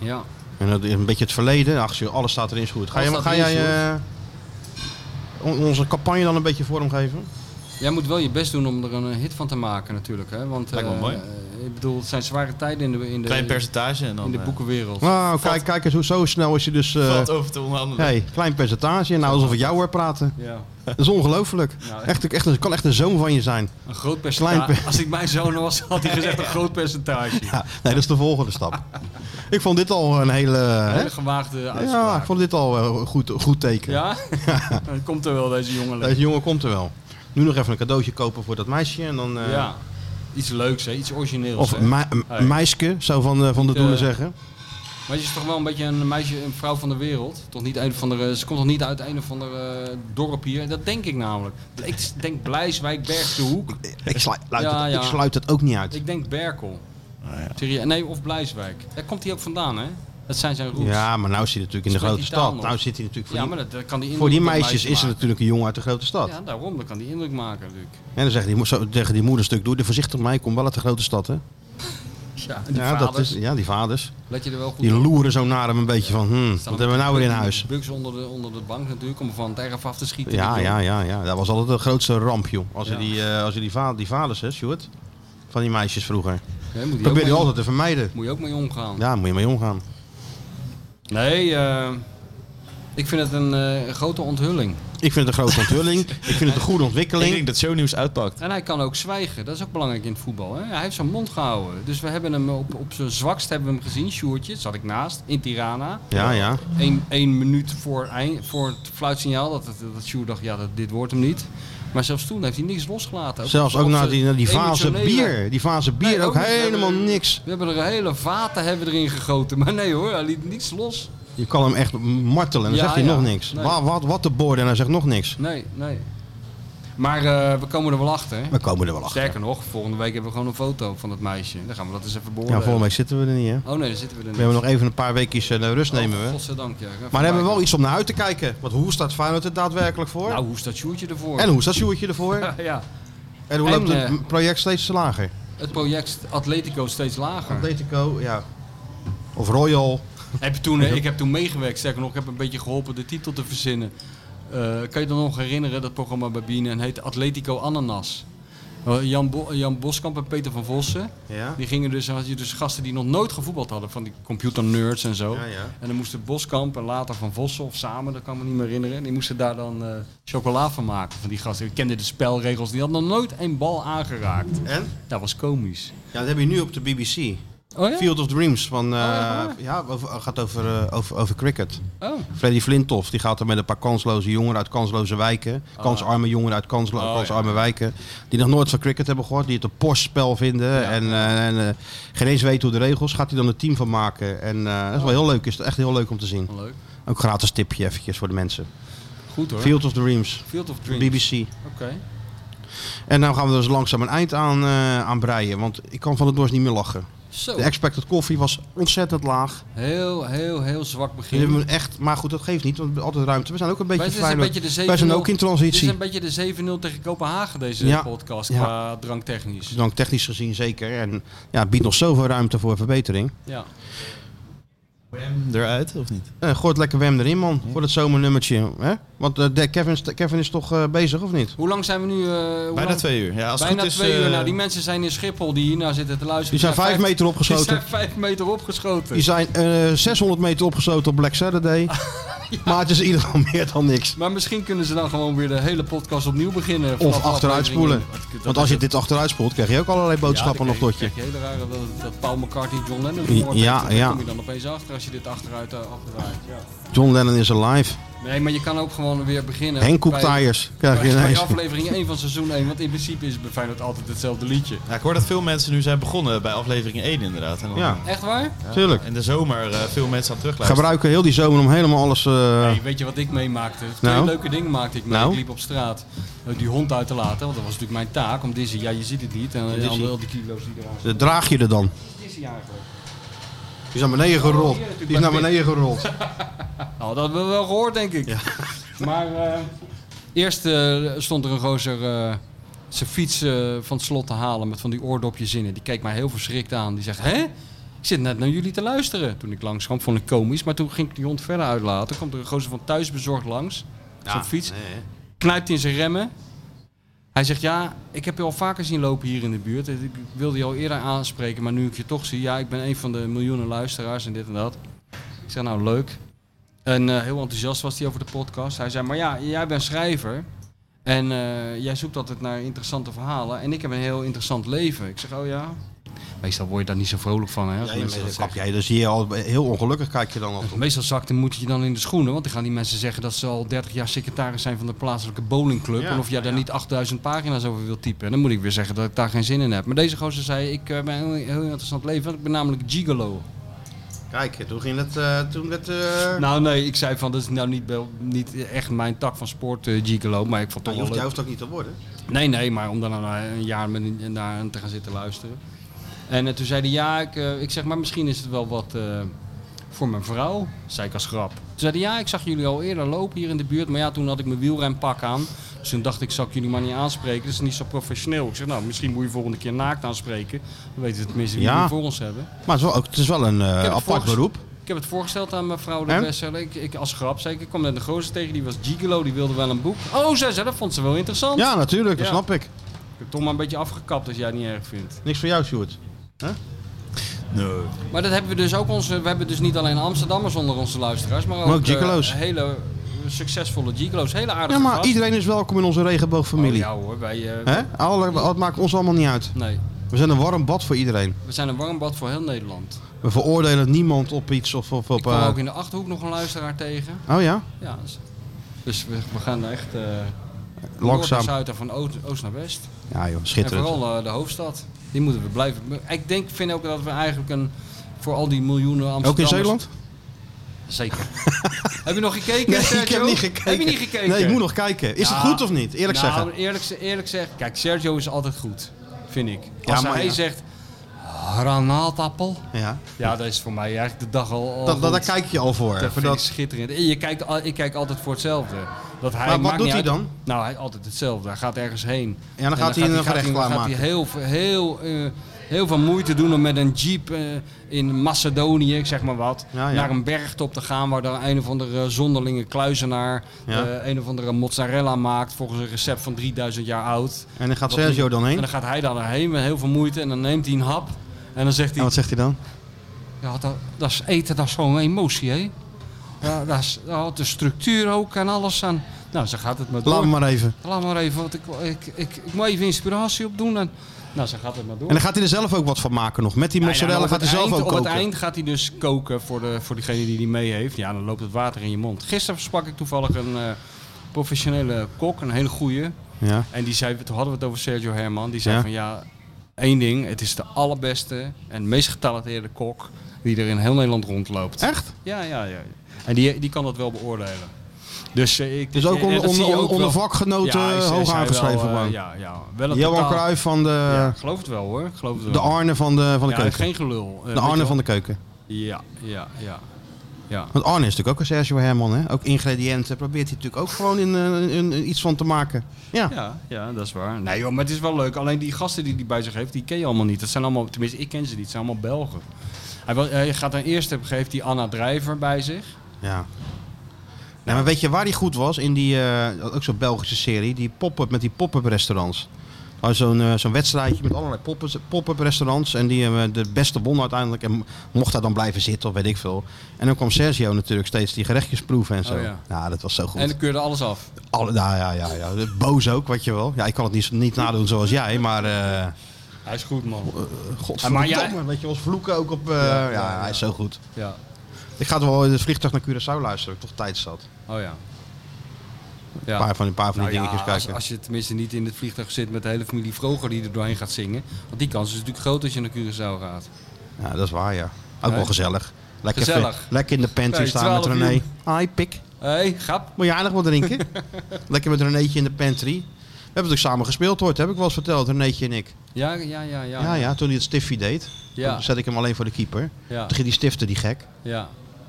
Speaker 2: Ja.
Speaker 1: En dat, een beetje het verleden. Ach, joh, alles staat erin is goed. Ga,
Speaker 2: Alles
Speaker 1: jij,
Speaker 2: staat
Speaker 1: ga
Speaker 2: erin is
Speaker 1: jij eh, on- onze campagne dan een beetje vorm geven?
Speaker 2: Jij moet wel je best doen om er een eh, hit van te maken natuurlijk. Hè? Want,
Speaker 3: Lijkt me
Speaker 2: eh,
Speaker 3: mooi.
Speaker 2: eh, ik bedoel, het zijn zware tijden in de, in
Speaker 3: Klein
Speaker 2: de,
Speaker 3: percentage en dan
Speaker 2: in de
Speaker 3: eh,
Speaker 2: boekenwereld.
Speaker 1: Nou, kijk, kijk eens hoe zo snel is je dus... eh,
Speaker 3: valt over te onderhandelen.
Speaker 1: hey, klein percentage. Nou, alsof ik jou hoor praten.
Speaker 2: Ja.
Speaker 1: Dat is ongelooflijk.
Speaker 2: Nou,
Speaker 1: Echt, echt, het kan echt een zoon van je zijn.
Speaker 2: Een
Speaker 1: Klein
Speaker 2: groot percentage. Als ik mijn zoon was, had hij gezegd een groot percentage.
Speaker 1: Ja, nee, dat is de volgende stap. Ik vond dit al een hele...
Speaker 2: Een
Speaker 1: hè?
Speaker 2: hele gewaagde
Speaker 1: Ja,
Speaker 2: uitspraak.
Speaker 1: ik vond dit al eh, een goed, goed teken.
Speaker 2: Ja? Dan komt er wel deze jongen.
Speaker 1: Deze jongen komt er wel. Nu nog even een cadeautje kopen voor dat meisje. En dan, eh,
Speaker 2: Ja. Iets leuks, hè? iets origineels.
Speaker 1: Of
Speaker 2: hè?
Speaker 1: me- m-
Speaker 2: Hey.
Speaker 1: meisje, zou van, eh, van de
Speaker 2: Niet,
Speaker 1: doelen
Speaker 2: eh,
Speaker 1: zeggen.
Speaker 2: Maar je is toch wel een beetje een meisje, een vrouw van de wereld. Toch niet een van de, ze komt toch niet uit een of ander eh, dorp hier? Dat denk ik namelijk. Ik denk Blijswijk, Bergse Hoek.
Speaker 1: Ik sluit, luid
Speaker 2: Ja,
Speaker 1: het,
Speaker 2: ja.
Speaker 1: ik sluit het ook niet uit.
Speaker 2: Ik denk Berkel.
Speaker 1: Nou
Speaker 2: Serieus. Nee, of Blijswijk. Daar komt hij ook vandaan, hè? Dat zijn zijn roots.
Speaker 1: Ja, maar nou zit hij natuurlijk in de
Speaker 2: Spreekt
Speaker 1: grote
Speaker 2: die taal
Speaker 1: stad.
Speaker 2: nog?
Speaker 1: Nou zit hij natuurlijk voor,
Speaker 2: Ja,
Speaker 1: die,
Speaker 2: maar dat, dat kan die
Speaker 1: voor die
Speaker 2: indruk op
Speaker 1: meisjes
Speaker 2: meisje
Speaker 1: is er
Speaker 2: maken.
Speaker 1: natuurlijk een jongen uit de grote stad.
Speaker 2: Ja, daarom. Dat kan die indruk maken, natuurlijk.
Speaker 1: En dan zeggen die, mo- zo, tegen die moeder stuk, doe er voorzichtig mee, kom wel uit de grote stad. Hè?
Speaker 2: Ja, en die
Speaker 1: ja,
Speaker 2: vaders.
Speaker 1: Dat is, ja, die vaders.
Speaker 2: Let je er wel goed
Speaker 1: Die loeren zo naar hem een beetje van, hmm, wat
Speaker 2: Staan
Speaker 1: hebben we nou weer in huis?
Speaker 2: Bugs onder de, onder de bank natuurlijk, om van het erf af te schieten.
Speaker 1: Ja,
Speaker 2: Die
Speaker 1: ja,
Speaker 2: jongen.
Speaker 1: ja, ja. Dat was altijd de grootste ramp, joh. Als je
Speaker 2: Ja.
Speaker 1: die, eh, als je die, va die vaders, hè, Stuart, van die meisjes vroeger.
Speaker 2: Nee, moet je ook
Speaker 1: Probeer die
Speaker 2: mee-
Speaker 1: altijd te vermijden.
Speaker 2: Moet je ook mee omgaan.
Speaker 1: Ja, moet je mee omgaan.
Speaker 2: Nee, eh, ik vind het een eh, grote onthulling.
Speaker 1: Ik vind het een grote onthulling. ik vind het een goede
Speaker 3: Ik
Speaker 1: ontwikkeling.
Speaker 3: denk dat shownieuws uitpakt.
Speaker 2: En hij kan ook zwijgen, dat is ook belangrijk in het voetbal. Hè? Hij heeft zijn mond gehouden. Dus we hebben hem op, op zijn zwakst hebben we hem gezien, Sjoertje, zat ik naast, in Tirana.
Speaker 1: Ja, ja.
Speaker 2: Eén één minuut voor, eind, voor het fluitsignaal, dat, dat, dat Sjoerd dacht, ja, dat, dit wordt hem niet. Maar zelfs toen heeft hij niks losgelaten.
Speaker 1: Zelfs
Speaker 2: op-
Speaker 1: ook
Speaker 2: op
Speaker 1: na
Speaker 2: zijn
Speaker 1: die, na die fase
Speaker 2: emotionele-
Speaker 1: bier. Die fase bier
Speaker 2: Nee,
Speaker 1: ook
Speaker 2: ook niet.
Speaker 1: helemaal
Speaker 2: Nee, nee.
Speaker 1: niks.
Speaker 2: We hebben er een hele vaten hebben we erin gegoten. Maar nee hoor, hij liet niets los.
Speaker 1: Je kan hem echt martelen en dan
Speaker 2: Ja,
Speaker 1: zegt hij
Speaker 2: ja.
Speaker 1: nog niks.
Speaker 2: Nee.
Speaker 1: Wat, wat, wat de borden en hij zegt nog niks.
Speaker 2: Nee, nee. Maar eh, we komen er wel achter. hè?
Speaker 1: We komen er wel achter.
Speaker 2: Sterker nog, volgende week hebben we gewoon een foto van dat meisje. Dan gaan we dat eens even
Speaker 1: Ja,
Speaker 2: beoordelen.
Speaker 1: volgende week zitten we er niet, hè?
Speaker 2: Oh nee, daar zitten we
Speaker 1: We
Speaker 2: er niet.
Speaker 1: hebben nog even een paar weekjes eh, rust nemen
Speaker 2: Oh,
Speaker 1: we.
Speaker 2: Godzijdank, ja. Even
Speaker 1: Maar dan hebben we wel
Speaker 2: kijken.
Speaker 1: iets om naar uit te kijken. Want hoe staat Feyenoord er daadwerkelijk voor?
Speaker 2: Nou, hoe staat Sjoerdje ervoor?
Speaker 1: en hoe staat Sjoerdje ervoor?
Speaker 2: ja,
Speaker 1: En hoe
Speaker 2: En,
Speaker 1: loopt het
Speaker 2: eh,
Speaker 1: project steeds lager?
Speaker 2: het project Atletico steeds lager.
Speaker 1: Atletico, ja. Of Royal.
Speaker 2: Heb je toen, eh, ik heb toen meegewerkt, sterker nog, ik heb een beetje geholpen de titel te verzinnen. Eh, kan je dan nog herinneren, dat programma bij Bienen, en heet Atletico Ananas. Eh, Jan, Bo- Jan Boskamp en Peter van Vossen,
Speaker 1: Ja.
Speaker 2: die gingen dus, had je dus gasten die nog nooit gevoetbald hadden, van die computer nerds en zo.
Speaker 1: Ja, ja.
Speaker 2: En dan moesten Boskamp en later Van Vossen of samen, dat kan ik me niet meer herinneren. Die moesten daar dan eh, chocola van maken van die gasten. Die kenden de spelregels, die hadden nog nooit één bal aangeraakt.
Speaker 1: En?
Speaker 2: Dat was komisch.
Speaker 1: Ja, dat heb je nu op de BBC.
Speaker 2: Oh ja? Oh,
Speaker 1: Field of Dreams van, eh,
Speaker 2: ja, waar?
Speaker 1: ja, over, gaat over, eh, over, over cricket.
Speaker 2: Oh.
Speaker 1: Freddy Flintoff die gaat er met een paar kansloze jongeren uit kansloze wijken, kansarme jongeren uit kanslo-
Speaker 2: Oh,
Speaker 1: kansarme wijken, die nog nooit van cricket hebben gehoord, die het een postspel vinden en, eh, en eh, geen eens weten hoe de regels, gaat hij dan een team van maken. En eh, dat is
Speaker 2: Oh.
Speaker 1: wel heel leuk, is het echt heel leuk om te zien.
Speaker 2: Leuk.
Speaker 1: Ook gratis tipje eventjes voor de mensen.
Speaker 2: Goed hoor. Field,
Speaker 1: Field of Dreams,
Speaker 2: of Dreams.
Speaker 1: BBC.
Speaker 2: Oké.
Speaker 1: En nou gaan we er dus langzaam een eind aan, eh, aan breien, want ik kan van het dorst niet meer lachen.
Speaker 2: Zo.
Speaker 1: De expected coffee was ontzettend laag.
Speaker 2: Heel, heel, heel zwak
Speaker 1: We
Speaker 2: begin.
Speaker 1: hebben echt, maar goed, dat geeft niet, want we hebben altijd ruimte. We zijn ook een beetje
Speaker 2: Maar het is een
Speaker 1: Feyenoord.
Speaker 2: beetje de 7-0.
Speaker 1: Wij zijn ook in
Speaker 2: Dit is
Speaker 1: transitie.
Speaker 2: een beetje de 7-0 tegen Kopenhagen, deze
Speaker 1: Ja.
Speaker 2: podcast,
Speaker 1: Ja.
Speaker 2: qua dranktechnisch.
Speaker 1: Dus Dan technisch gezien zeker. En ja, het biedt nog zoveel ruimte voor verbetering.
Speaker 2: Ja.
Speaker 3: Wem eruit, of niet?
Speaker 1: Eh gooi het lekker Wem erin, man. Voor het zomernummertje. Hè? Want eh, de- Kevin, is, Kevin is toch eh, bezig, of niet?
Speaker 2: Hoe lang zijn we nu? eh, hoe
Speaker 3: Bijna
Speaker 2: lang?
Speaker 3: twee uur. Ja, als het
Speaker 2: Bijna
Speaker 3: goed is,
Speaker 2: twee uur.
Speaker 3: eh,
Speaker 2: Nou, die mensen zijn in Schiphol die hiernaar zitten te luisteren.
Speaker 1: Die zijn vijf meter opgeschoten.
Speaker 2: Die zijn vijf meter opgeschoten.
Speaker 1: Die zijn eh, 600 meter opgesloten op Black Saturday. Maar het is in ieder geval meer dan niks.
Speaker 2: Maar misschien kunnen ze dan gewoon weer de hele podcast opnieuw beginnen.
Speaker 1: Of
Speaker 2: vanaf
Speaker 1: achteruit spoelen.
Speaker 2: aflevering één.
Speaker 1: Want als je dit achteruit spoelt, krijg je ook allerlei boodschappen
Speaker 2: ja,
Speaker 1: nog tot je.
Speaker 2: krijg je hele rare dat, dat Paul McCartney John Lennon
Speaker 1: Ja,
Speaker 2: vermoord heeft.
Speaker 1: ja.
Speaker 2: Daar kom je dan opeens achter als je dit achteruit eh, afdraait. Ja.
Speaker 1: John Lennon is alive.
Speaker 2: Nee, maar je kan ook gewoon weer beginnen.
Speaker 1: Henk Koek
Speaker 2: bij-
Speaker 1: Tires krijg je nou
Speaker 2: Bij, bij
Speaker 1: ineens.
Speaker 2: aflevering 1 van seizoen 1, want in principe is bij Feyenoord altijd hetzelfde liedje.
Speaker 3: ja, ik hoor dat veel mensen nu zijn begonnen bij aflevering 1 inderdaad. En dan
Speaker 1: Ja,
Speaker 2: Echt waar?
Speaker 1: tuurlijk.
Speaker 3: in de zomer eh, veel mensen aan terugluisteren.
Speaker 1: Gebruiken heel die zomer om helemaal alles... eh,
Speaker 2: Hey, weet je wat ik meemaakte? Twee
Speaker 1: Nou?
Speaker 2: leuke dingen maakte ik mee.
Speaker 1: Nou?
Speaker 2: Ik liep op straat eh, die hond uit te laten, want dat was natuurlijk mijn taak. Om deze, ja je ziet het niet, en
Speaker 1: Dizzy.
Speaker 2: eh, al, al die kilo's die eraan
Speaker 1: Dat draag je er dan?
Speaker 2: zitten. Dizzy eigenlijk.
Speaker 1: Die is naar beneden gerold. Die is naar beneden gerold.
Speaker 2: Nou, dat hebben we wel gehoord denk ik. Maar eh, eerst eh, stond er een gozer eh, zijn fiets eh, van het slot te halen met van die oordopjes in. En die keek mij heel verschrikt aan. Die zegt, hè? Ik zit net naar jullie te luisteren. Toen ik langs kwam, vond ik komisch. Maar toen ging ik die hond verder uitlaten. Toen kwam er een gozer van thuisbezorgd langs. Zo'n fiets. Knijpt in zijn remmen. Hij zegt, ja, ik heb je al vaker zien lopen hier in de buurt. Ik wilde je al eerder aanspreken, maar nu ik je toch zie... Ja, ik ben een van de miljoenen luisteraars en dit en dat. Ik zeg, nou, leuk. En eh, heel enthousiast was hij over de podcast. Hij zei, maar ja, jij bent schrijver. En eh, jij zoekt altijd naar interessante verhalen. En ik heb een heel interessant leven. Ik zeg, oh ja. Meestal word je daar niet zo vrolijk van, hè? Als
Speaker 1: Nee,
Speaker 2: mensen
Speaker 1: maar
Speaker 2: dat
Speaker 1: dat kap
Speaker 2: zeggen.
Speaker 1: jij, dan zie je al heel ongelukkig kijk je dan al. toe.
Speaker 2: Meestal zakt de moed je dan in de schoenen. Want dan gaan die mensen zeggen dat ze al 30 jaar secretaris zijn van de plaatselijke bowlingclub.
Speaker 1: Ja,
Speaker 2: en of jij daar
Speaker 1: ja.
Speaker 2: niet 8000 pagina's over wilt typen. En dan moet ik weer zeggen dat ik daar geen zin in heb. Maar deze gozer zei, ik eh, ben een heel, heel interessant leven. Want ik ben namelijk gigolo.
Speaker 1: Kijk, toen ging het, eh, toen werd. eh
Speaker 2: Nou nee, ik zei van, dat is nou niet, wel- niet echt mijn tak van sport, eh, gigolo. Maar ik vond het
Speaker 1: je
Speaker 2: toch wel
Speaker 1: hoeft,
Speaker 2: leuk.
Speaker 1: jij hoeft ook niet te worden.
Speaker 2: Nee, nee, maar om dan een, een jaar met, naar hem te gaan zitten luisteren. En eh, toen zei hij, ja, ik, eh, ik zeg, maar misschien is het wel wat eh, voor mijn vrouw, zei ik als grap. Toen zei hij, ja, ik zag jullie al eerder lopen hier in de buurt, maar ja, toen had ik mijn wielrenpak aan. Dus toen dacht ik, zal ik jullie maar niet aanspreken, dat is niet zo professioneel. Ik zeg, nou, misschien moet je volgende keer naakt aanspreken. Dan weten we tenminste wie
Speaker 1: Ja.
Speaker 2: we voor ons hebben.
Speaker 1: Maar het is wel, ook- het is wel een eh,
Speaker 2: het
Speaker 1: apart
Speaker 2: volgens-
Speaker 1: beroep.
Speaker 2: Ik heb het voorgesteld aan mevrouw de
Speaker 1: En?
Speaker 2: Wessel. Ik, ik, als grap zei ik, ik kwam net een gozer tegen, die was gigolo, die wilde wel een boek. Oh, zei ze, dat vond ze wel interessant.
Speaker 1: Ja, natuurlijk, dat
Speaker 2: Ja.
Speaker 1: snap ik.
Speaker 2: Ik heb toch maar een beetje afgekapt als jij het niet erg vindt.
Speaker 1: Niks voor jou, Sjoerd.
Speaker 2: Maar dat hebben we dus ook onze. We hebben dus niet alleen Amsterdammers onder onze luisteraars, maar ook,
Speaker 1: Maar ook
Speaker 2: eh,
Speaker 1: gigolo's.
Speaker 2: hele succesvolle gigolo's, hele aardige
Speaker 1: Ja, maar
Speaker 2: gast.
Speaker 1: iedereen is welkom in onze
Speaker 2: Oh,
Speaker 1: regenboogfamilie.
Speaker 2: ja hoor, wij. eh,
Speaker 1: Hè? Alle, het maakt ons allemaal niet uit.
Speaker 2: nee,
Speaker 1: We zijn een warm bad voor iedereen.
Speaker 2: we zijn een warm bad voor heel Nederland.
Speaker 1: We veroordelen niemand op iets of op.
Speaker 2: Ik
Speaker 1: op
Speaker 2: kwam
Speaker 1: eh,
Speaker 2: ook in de achterhoek nog een luisteraar tegen.
Speaker 1: Oh ja?
Speaker 2: Ja, dus, dus we, we gaan echt eh,
Speaker 1: Langzaam.
Speaker 2: Noord naar zuid en van oost, oost naar west.
Speaker 1: Ja joh,
Speaker 2: En
Speaker 1: schitterend.
Speaker 2: vooral eh, de hoofdstad. Die moeten we blijven. Ik denk, vind ook dat we eigenlijk een... Voor al die miljoenen Amsterdammers...
Speaker 1: Ook in Zeeland?
Speaker 2: Zeker. Heb je nog gekeken,
Speaker 1: ik
Speaker 2: Sergio?
Speaker 1: heb niet gekeken.
Speaker 2: Heb je niet gekeken?
Speaker 1: Nee, ik moet nog kijken. Is
Speaker 2: Ja.
Speaker 1: het goed of niet? Eerlijk
Speaker 2: nou,
Speaker 1: zeggen.
Speaker 2: Eerlijk, ze- eerlijk zeggen, kijk, Sergio is altijd goed, vind ik. Als
Speaker 1: maar
Speaker 2: hij
Speaker 1: ja.
Speaker 2: zegt granaatappel,
Speaker 1: Ja.
Speaker 2: ja, dat is voor mij eigenlijk de dag al. al
Speaker 1: Dat, dat,
Speaker 2: goed.
Speaker 1: daar kijk je al voor.
Speaker 2: Dat
Speaker 1: Voor
Speaker 2: vind ik
Speaker 1: dat,
Speaker 2: schitterend. En Je kijkt, al- ik kijk altijd voor hetzelfde. Dat hij,
Speaker 1: Maar wat
Speaker 2: maakt
Speaker 1: doet
Speaker 2: niet
Speaker 1: hij
Speaker 2: uit-
Speaker 1: dan?
Speaker 2: Nou, hij altijd hetzelfde. Hij gaat ergens heen.
Speaker 1: ja, dan gaat hij een gerecht
Speaker 2: gaat hij-
Speaker 1: klaarmaken.
Speaker 2: gaat hij heel, veel- heel, eh, heel veel moeite doen om met een jeep eh, in Macedonië, ik zeg maar wat,
Speaker 1: Ja, ja.
Speaker 2: naar een bergtop te gaan waar daar een of andere zonderlinge kluizenaar
Speaker 1: Ja.
Speaker 2: eh, een of andere mozzarella maakt volgens een recept van 3000 jaar oud.
Speaker 1: En dan gaat
Speaker 2: Wat
Speaker 1: Sergio
Speaker 2: niet-
Speaker 1: dan
Speaker 2: En
Speaker 1: heen.
Speaker 2: dan gaat hij daar heen met heel veel moeite en dan neemt hij een hap. En dan zegt
Speaker 1: En
Speaker 2: hij,
Speaker 1: wat zegt hij dan?
Speaker 2: ja, dat, dat is eten, dat is gewoon een emotie, hè? Ja, dat is, daar had de structuur ook en alles aan. Nou, zo gaat het maar door.
Speaker 1: Laat me maar even.
Speaker 2: Laat maar even, want ik, ik, ik, ik moet even inspiratie opdoen. En, nou, zo gaat het maar door.
Speaker 1: En dan gaat hij er zelf ook wat van maken nog. Met die mozzarella
Speaker 2: Nou ja,
Speaker 1: gaat
Speaker 2: op
Speaker 1: hij
Speaker 2: het
Speaker 1: zelf
Speaker 2: eind-
Speaker 1: ook koken.
Speaker 2: Op het eind gaat hij dus koken voor, de, voor degene die die mee heeft. Ja, dan loopt het water in je mond. Gisteren sprak ik toevallig een eh, professionele kok, een hele goeie.
Speaker 1: Ja.
Speaker 2: En die zei, toen hadden we het over Sergio Herman. Die zei
Speaker 1: Ja.
Speaker 2: van ja, één ding. Het is de allerbeste en meest getalenteerde kok die er in heel Nederland rondloopt.
Speaker 1: Echt?
Speaker 2: Ja, ja, ja. En die, die kan dat wel beoordelen. Dus eh, ik...
Speaker 1: Dus ook
Speaker 2: eh,
Speaker 1: onder,
Speaker 2: dat zie je
Speaker 1: onder,
Speaker 2: ook wel.
Speaker 1: vakgenoten
Speaker 2: Ja, is- is
Speaker 1: hoog
Speaker 2: hij
Speaker 1: aangeschreven
Speaker 2: wel, eh,
Speaker 1: gewoon.
Speaker 2: Ja, ja. Wel een
Speaker 1: Johan
Speaker 2: totaal-
Speaker 1: Cruijff van de,
Speaker 2: Ja, ik geloof het wel hoor. Ik geloof het
Speaker 1: de
Speaker 2: wel.
Speaker 1: Arne van de, van de
Speaker 2: Ja,
Speaker 1: keuken.
Speaker 2: geen gelul. Eh,
Speaker 1: de
Speaker 2: weet je
Speaker 1: Arne
Speaker 2: wel?
Speaker 1: van de keuken.
Speaker 2: Ja, ja, ja. Ja,
Speaker 1: Want Arne is natuurlijk ook een Sergio Herman. Hè? Ook ingrediënten probeert hij natuurlijk ook gewoon in, eh, in- in iets van te maken. Ja.
Speaker 2: ja, ja dat is waar. Nee joh, maar het is wel leuk. Alleen die gasten die hij bij zich heeft, die ken je allemaal niet. Dat zijn allemaal, tenminste ik ken ze niet, het zijn allemaal Belgen. Hij, wil- hij gaat dan eerst, hebben, geeft die Anna Drijver bij zich.
Speaker 1: Ja. Nou, maar weet je waar hij goed was? In die, eh, ook zo'n Belgische serie, die pop-up met die pop-up restaurants. Oh, zo'n eh, zo'n wedstrijdje met allerlei pop- pop-up restaurants. En die eh, de beste won uiteindelijk. En mocht daar dan blijven zitten, of weet ik veel. En dan kwam Sergio natuurlijk steeds die gerechtjes proeven en zo.
Speaker 2: Oh,
Speaker 1: ja.
Speaker 2: ja.
Speaker 1: dat was zo goed.
Speaker 2: En dan keurde alles af.
Speaker 1: Alle, nou ja, ja, ja. Boos ook, wat je wel. Ja, ik kan het niet, niet nadoen zoals jij, maar... eh
Speaker 2: Hij is goed man.
Speaker 1: godverdomme,
Speaker 2: Ja, maar jij-
Speaker 1: weet je, was vloeken ook op... eh, ja,
Speaker 2: ja,
Speaker 1: hij is zo goed.
Speaker 2: Ja.
Speaker 1: Ik ga toch wel in het vliegtuig naar Curaçao luisteren, toch tijd zat.
Speaker 2: Oh ja. Ja.
Speaker 1: Een paar van, een paar van die
Speaker 2: Nou ja,
Speaker 1: dingetjes
Speaker 2: als,
Speaker 1: kijken.
Speaker 2: als je tenminste niet in het vliegtuig zit met de hele familie Vroger die er doorheen gaat zingen. Want die kans is natuurlijk groot als je naar Curaçao gaat.
Speaker 1: Ja, dat is waar, ja. Ook
Speaker 2: Nee.
Speaker 1: wel gezellig. Lekker,
Speaker 2: Gezellig.
Speaker 1: even- lekker in de pantry
Speaker 2: Nee,
Speaker 1: staan met
Speaker 2: 12
Speaker 1: René.
Speaker 2: uur.
Speaker 1: Hi, pik.
Speaker 2: Hé, hey, grap.
Speaker 1: Moet je aardig wat drinken? lekker met Renéetje in de pantry. We hebben natuurlijk samen gespeeld ooit, heb ik wel eens verteld, Renéetje en ik.
Speaker 2: Ja, ja, ja, Ah, ja.
Speaker 1: Ja, ja, toen hij het stiffie deed,
Speaker 2: Ja.
Speaker 1: toen zet ik hem alleen voor de keeper.
Speaker 2: ja.
Speaker 1: Toen ging die stifte die gek.
Speaker 2: Ja.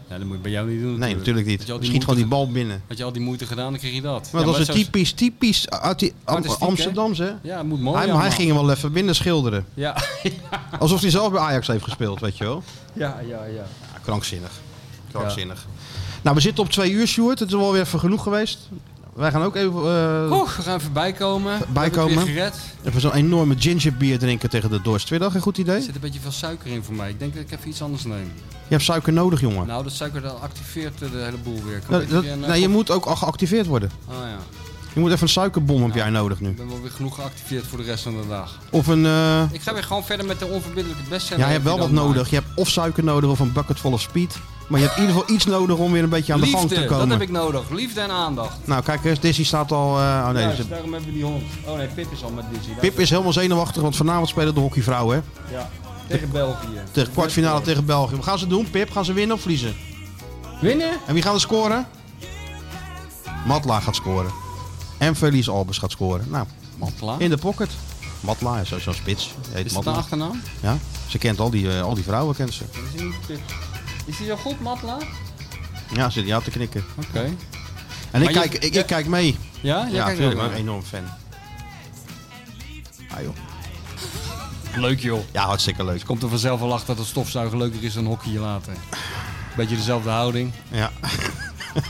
Speaker 2: ja, dat moet je bij jou niet doen.
Speaker 1: Nee, natuurlijk niet.
Speaker 2: Had je al
Speaker 1: Schiet
Speaker 2: die
Speaker 1: gewoon die
Speaker 2: moeite-
Speaker 1: bal binnen.
Speaker 2: Had je al die moeite gedaan, dan kreeg je dat.
Speaker 1: Maar
Speaker 2: ja,
Speaker 1: dat was een
Speaker 2: zo-
Speaker 1: typisch, typisch uit die Am-
Speaker 2: Artistiek, hè?
Speaker 1: Amsterdamse.
Speaker 2: Ja, het moet mooi
Speaker 1: Hij, hij
Speaker 2: allemaal.
Speaker 1: ging hem wel even binnen schilderen.
Speaker 2: Ja,
Speaker 1: Alsof hij zelf bij Ajax heeft gespeeld, weet je wel.
Speaker 2: ja, ja. ja.
Speaker 1: Ja, krankzinnig. Krankzinnig. Nou, we zitten op twee uur, Sjoerd. Het is wel weer even genoeg geweest. Wij gaan ook even, eh,
Speaker 2: Oeh, we gaan even bijkomen. We hebben het
Speaker 1: Bijkomen.
Speaker 2: weer gered.
Speaker 1: even zo'n enorme gingerbier drinken tegen de dorst. Vind je dat een goed
Speaker 2: Er
Speaker 1: idee? Je
Speaker 2: zit een beetje veel suiker in voor mij. Ik denk dat ik even iets anders neem.
Speaker 1: hebt suiker nodig, jongen.
Speaker 2: Nou, dat suiker dat activeert eh, de hele boel weer. Ik heb
Speaker 1: Dat-
Speaker 2: een
Speaker 1: dat-
Speaker 2: beetje een, eh,
Speaker 1: nee, je moet ook al geactiveerd worden.
Speaker 2: Oh ja,
Speaker 1: Je moet even een suikerbom heb
Speaker 2: Ja.
Speaker 1: jij nodig nu.
Speaker 2: ik ben wel weer genoeg geactiveerd voor de rest van de dag.
Speaker 1: Of een... eh,
Speaker 2: Ik ga weer gewoon verder met de onverbiddelijke bestseller.
Speaker 1: ja, je hebt wel
Speaker 2: die
Speaker 1: wat
Speaker 2: dan maakt.
Speaker 1: nodig. Je hebt of suiker nodig of een bucket vol of speed. Maar je hebt in ieder geval iets nodig om weer een beetje aan de gang te
Speaker 2: Liefde, dat
Speaker 1: komen.
Speaker 2: heb ik nodig. Liefde en aandacht.
Speaker 1: Nou, kijk eens. Dizzy staat al... eh, oh nee,
Speaker 2: Juist,
Speaker 1: ze-
Speaker 2: daarom hebben we die hond. Oh nee, Pip is al met Dizzy.
Speaker 1: Pip is helemaal zenuwachtig, want vanavond spelen de hockeyvrouwen. hè.
Speaker 2: Ja, tegen België.
Speaker 1: Tegen kwartfinale tegen België. Wat gaan ze doen, Pip? Gaan ze winnen of verliezen?
Speaker 2: Winnen?
Speaker 1: En wie gaat er scoren? Matla gaat scoren. En Felice Albers gaat scoren. Nou,
Speaker 2: Matla.
Speaker 1: in de pocket. Matla is zo- zo'n spits. Die Heet
Speaker 2: Ah. Is dat een
Speaker 1: Matla.
Speaker 2: achternaam?
Speaker 1: Ja. Ze kent al die, eh, al die vrouwen, kent ze.
Speaker 2: Is die, niet- is die zo goed, Matla? Oké.
Speaker 1: Ja, ze ja te knikken. En ik
Speaker 2: Maar je-
Speaker 1: kijk, ik,
Speaker 2: ja.
Speaker 1: ik kijk mee.
Speaker 2: Ja?
Speaker 1: ja,
Speaker 2: ja, kijk
Speaker 1: natuurlijk. Ik ben een enorm fan. Ah, joh.
Speaker 2: Leuk joh.
Speaker 1: Ja, hartstikke leuk.
Speaker 2: Komt er vanzelf wel achter dat een stofzuiger leuker is dan een hockey later. Beetje dezelfde houding.
Speaker 1: Ja.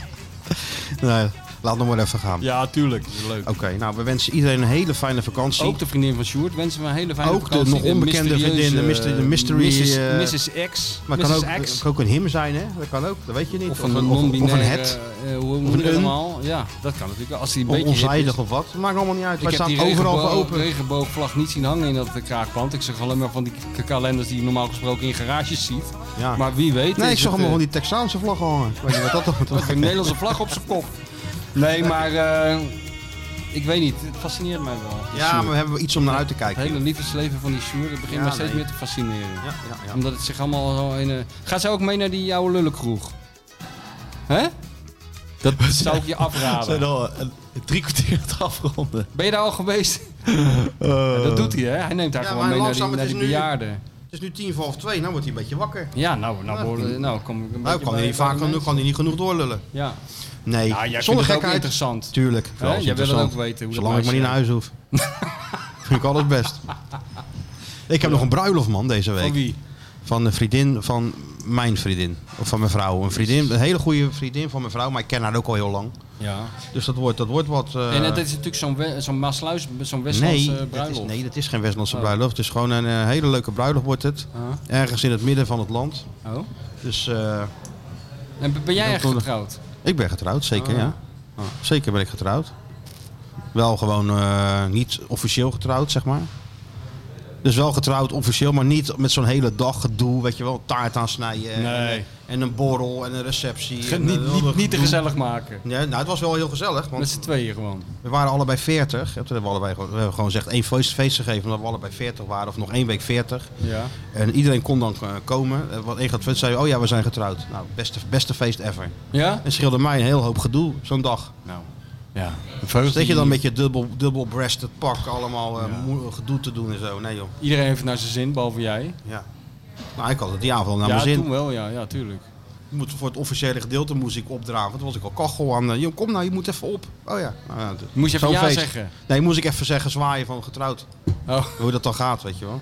Speaker 1: nee, laat nog maar even gaan.
Speaker 2: Ja, tuurlijk. Is leuk.
Speaker 1: Oké, nou, we wensen iedereen een hele fijne vakantie.
Speaker 2: Ook de vriendin van Sjoerd wensen we een hele fijne
Speaker 1: Ook de
Speaker 2: vakantie.
Speaker 1: nog onbekende
Speaker 2: mysterieuze,
Speaker 1: vriendin, de mystery- de mystery,
Speaker 2: Mrs.
Speaker 1: eh,
Speaker 2: Mrs. X.
Speaker 1: maar het
Speaker 2: Mrs.
Speaker 1: kan ook,
Speaker 2: X.
Speaker 1: het kan ook een him zijn, hè? Dat kan ook, dat weet je niet.
Speaker 2: Of
Speaker 1: of,
Speaker 2: een
Speaker 1: of,
Speaker 2: non-binaire...
Speaker 1: of een het.
Speaker 2: eh, eh, hoe noem
Speaker 1: een
Speaker 2: je dat
Speaker 1: un.
Speaker 2: allemaal? Ja, dat kan natuurlijk. wel. Als hij een
Speaker 1: Of
Speaker 2: beetje hip is.
Speaker 1: onzijdig of wat. Maakt allemaal niet uit. Wij
Speaker 2: Ik heb
Speaker 1: staan
Speaker 2: die
Speaker 1: overal voor
Speaker 2: regenboog,
Speaker 1: open.
Speaker 2: regenboogvlag niet zien hangen in dat eh, kraakpand. Ik zeg alleen maar van die k- kalenders die je normaal gesproken in garages ziet.
Speaker 1: Ja.
Speaker 2: Maar wie weet.
Speaker 1: Ah. nee,
Speaker 2: is
Speaker 1: ik zag
Speaker 2: het,
Speaker 1: allemaal
Speaker 2: eh,
Speaker 1: van die Texaanse vlag hangen. Ik weet niet wat dat dan
Speaker 2: Ook een Nederlandse vlag op zijn kop. Nee, maar eh, Ik weet niet, het fascineert mij wel. die
Speaker 1: Ja,
Speaker 2: Sjoerd.
Speaker 1: maar we hebben iets om naar uit te kijken.
Speaker 2: Het hele liefdesleven van die Sjoerd, het begint
Speaker 1: Ja,
Speaker 2: mij steeds
Speaker 1: nee.
Speaker 2: meer te fascineren.
Speaker 1: Ja, ja, ja.
Speaker 2: Omdat het zich allemaal zo in... eh, Gaat zij ook mee naar die oude lullenkroeg? Hè? Dat zou ik je afraden.
Speaker 3: zijn al eh, drie kwartier aan het afronden.
Speaker 2: Ben je daar al geweest? Eh. Ja, dat doet hij, hè? Hij neemt daar
Speaker 1: Ja,
Speaker 2: gewoon
Speaker 1: maar
Speaker 2: mee naar die,
Speaker 1: langzaam,
Speaker 2: naar
Speaker 1: het
Speaker 2: die
Speaker 1: is nu-
Speaker 2: bejaarden.
Speaker 1: Het is nu tien voor half twee, nou wordt hij een beetje vaker.
Speaker 2: Ja, nou, nou, worden, nou kom ik een
Speaker 1: Nou,
Speaker 2: beetje
Speaker 1: kan hij
Speaker 2: bij-
Speaker 1: niet
Speaker 2: bij
Speaker 1: vaak
Speaker 2: de
Speaker 1: genoeg,
Speaker 2: mensen.
Speaker 1: kan hij niet genoeg doorlullen.
Speaker 2: Ja.
Speaker 1: Nee,
Speaker 2: Nou, jij
Speaker 1: zonder
Speaker 2: vindt het ook
Speaker 1: gekheid.
Speaker 2: interessant.
Speaker 1: Tuurlijk,
Speaker 2: Hè?
Speaker 1: wel is
Speaker 2: Jij wil het
Speaker 1: interessant.
Speaker 2: ook weten hoe dat
Speaker 1: Zolang ik maar niet naar
Speaker 2: meisje-
Speaker 1: huis hoef. Vind ik alles best. Ik heb nog een bruiloft, man, deze week.
Speaker 2: Van wie?
Speaker 1: Van een vriendin van mijn vriendin. Of van mijn vrouw. Een vriendin, een hele goede vriendin van mijn vrouw, maar ik ken haar ook al heel lang.
Speaker 2: Ja.
Speaker 1: Dus dat wordt, dat wordt wat... eh,
Speaker 2: en dat is natuurlijk zo'n we- zo'n Maasluis, zo'n Westlandse
Speaker 1: nee,
Speaker 2: eh,
Speaker 1: dat is,
Speaker 2: bruiloft.
Speaker 1: nee, dat is geen Westlandse
Speaker 2: Oh.
Speaker 1: bruiloft. Het is gewoon een eh, hele leuke bruiloft wordt het.
Speaker 2: Ah,
Speaker 1: Ergens in het midden van het land.
Speaker 2: oh.
Speaker 1: Dus eh,
Speaker 2: En ben- ben jij
Speaker 1: Dan
Speaker 2: echt
Speaker 1: kon-
Speaker 2: getrouwd?
Speaker 1: ik ben getrouwd, zeker
Speaker 2: Oh.
Speaker 1: ja. Zeker ben ik getrouwd. Wel gewoon eh, niet officieel getrouwd, zeg maar. Dus wel getrouwd officieel, maar niet met zo'n hele dag gedoe. Weet je wel, taart aansnijden. En,
Speaker 2: Nee.
Speaker 1: eh, en een borrel en een receptie.
Speaker 2: Ge-
Speaker 1: en,
Speaker 2: niet,
Speaker 1: eh,
Speaker 2: niet, niet te
Speaker 1: gedoe.
Speaker 2: gezellig maken.
Speaker 1: Nee, nou, het was wel heel gezellig,
Speaker 2: Met
Speaker 1: want
Speaker 2: z'n tweeën gewoon.
Speaker 1: we waren allebei 40. Toen hebben we, allebei, gewoon- we hebben gewoon gezegd één feest, feest gegeven omdat we allebei 40 waren. Of nog één week 40.
Speaker 2: Ja.
Speaker 1: En iedereen kon dan eh, komen. Eh, Want één gaat feest, zei, oh ja, we zijn getrouwd. Nou, beste, beste feest ever.
Speaker 2: Ja?
Speaker 1: En scheelde mij een heel hoop gedoe, zo'n dag.
Speaker 2: Nou. Ja.
Speaker 1: Zit Dus je dan met je dubbel, dubbel-breasted pak allemaal eh, moe- gedoe te doen en zo? Nee joh.
Speaker 2: Iedereen heeft het naar zijn zin, behalve jij.
Speaker 1: Ja. Nou, ik had het die avond naar
Speaker 2: ja,
Speaker 1: mijn zin.
Speaker 2: toen wel, ja, ja, tuurlijk.
Speaker 1: Ik moet voor het officiële gedeelte moest ik opdraven. Toen was ik al kachel aan. eh, Joh, kom nou, je moet even op. Oh ja. Nou, ja, het-
Speaker 2: Moest je even
Speaker 1: zo'n
Speaker 2: ja
Speaker 1: feest.
Speaker 2: zeggen?
Speaker 1: Nee, moest ik even zeggen zwaaien van getrouwd.
Speaker 2: Oh,
Speaker 1: Hoe dat dan gaat, weet je wel.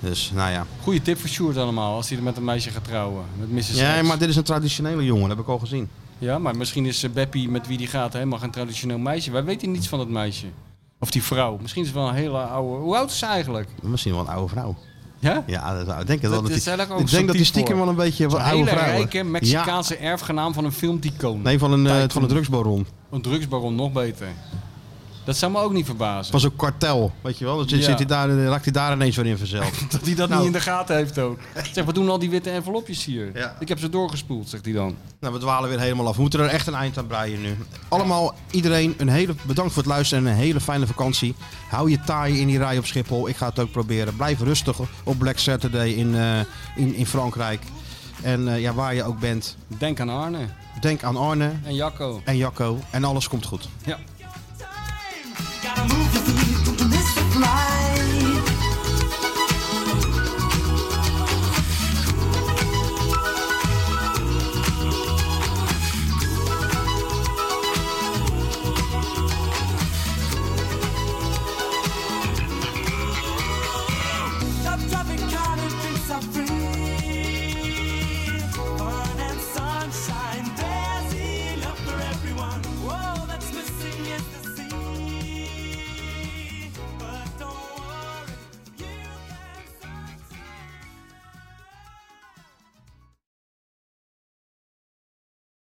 Speaker 1: Dus, nou ja.
Speaker 2: goede tip voor Sjoerd allemaal, als hij er met een meisje gaat trouwen. Met Mrs.
Speaker 1: Ja,
Speaker 2: X.
Speaker 1: maar dit is een traditionele jongen, dat heb ik al gezien.
Speaker 2: ja, maar misschien is eh, Beppie met wie die gaat helemaal geen traditioneel meisje. Wij weten niets van dat meisje. Of die vrouw. Misschien is het wel een hele oude... Hoe oud is ze eigenlijk?
Speaker 1: Misschien wel een oude vrouw.
Speaker 2: Ja?
Speaker 1: Ja, dat zou ik denken. Dat,
Speaker 2: Dat
Speaker 1: dat,
Speaker 2: is
Speaker 1: die-
Speaker 2: eigenlijk ook
Speaker 1: ik denk dat die
Speaker 2: zo'n type
Speaker 1: stiekem
Speaker 2: voor.
Speaker 1: wel een beetje wat
Speaker 2: Een
Speaker 1: oude
Speaker 2: hele
Speaker 1: vrouw.
Speaker 2: rijke Mexicaanse erfgenaam van een filmticoon.
Speaker 1: Nee, van een, eh, van
Speaker 2: Tycoon.
Speaker 1: een drugsbaron.
Speaker 2: Een drugsbaron, nog beter. Dat zou me ook niet verbazen.
Speaker 1: Van zo'n kartel, weet je wel. Dan zit,
Speaker 2: Ja.
Speaker 1: zit hij daar, dan raakt hij daar ineens weer in vanzelf.
Speaker 2: Dat hij dat
Speaker 1: Nou.
Speaker 2: niet in de gaten heeft ook. Zeg, wat doen al die witte envelopjes hier?
Speaker 1: Ja.
Speaker 2: Ik heb ze doorgespoeld, zegt hij dan.
Speaker 1: nou, we dwalen weer helemaal af. We moeten er echt een eind aan breien nu. Allemaal, iedereen, een hele, bedankt voor het luisteren en een hele fijne vakantie. Hou je taai in die rij op Schiphol. Ik ga het ook proberen. Blijf rustig op Black Saturday in, eh, in, in Frankrijk. En eh, ja, waar je ook bent,
Speaker 2: Denk aan Arne
Speaker 1: denk aan Arne
Speaker 2: en Jacco.
Speaker 1: en Jacco. En alles komt goed.
Speaker 2: Ja.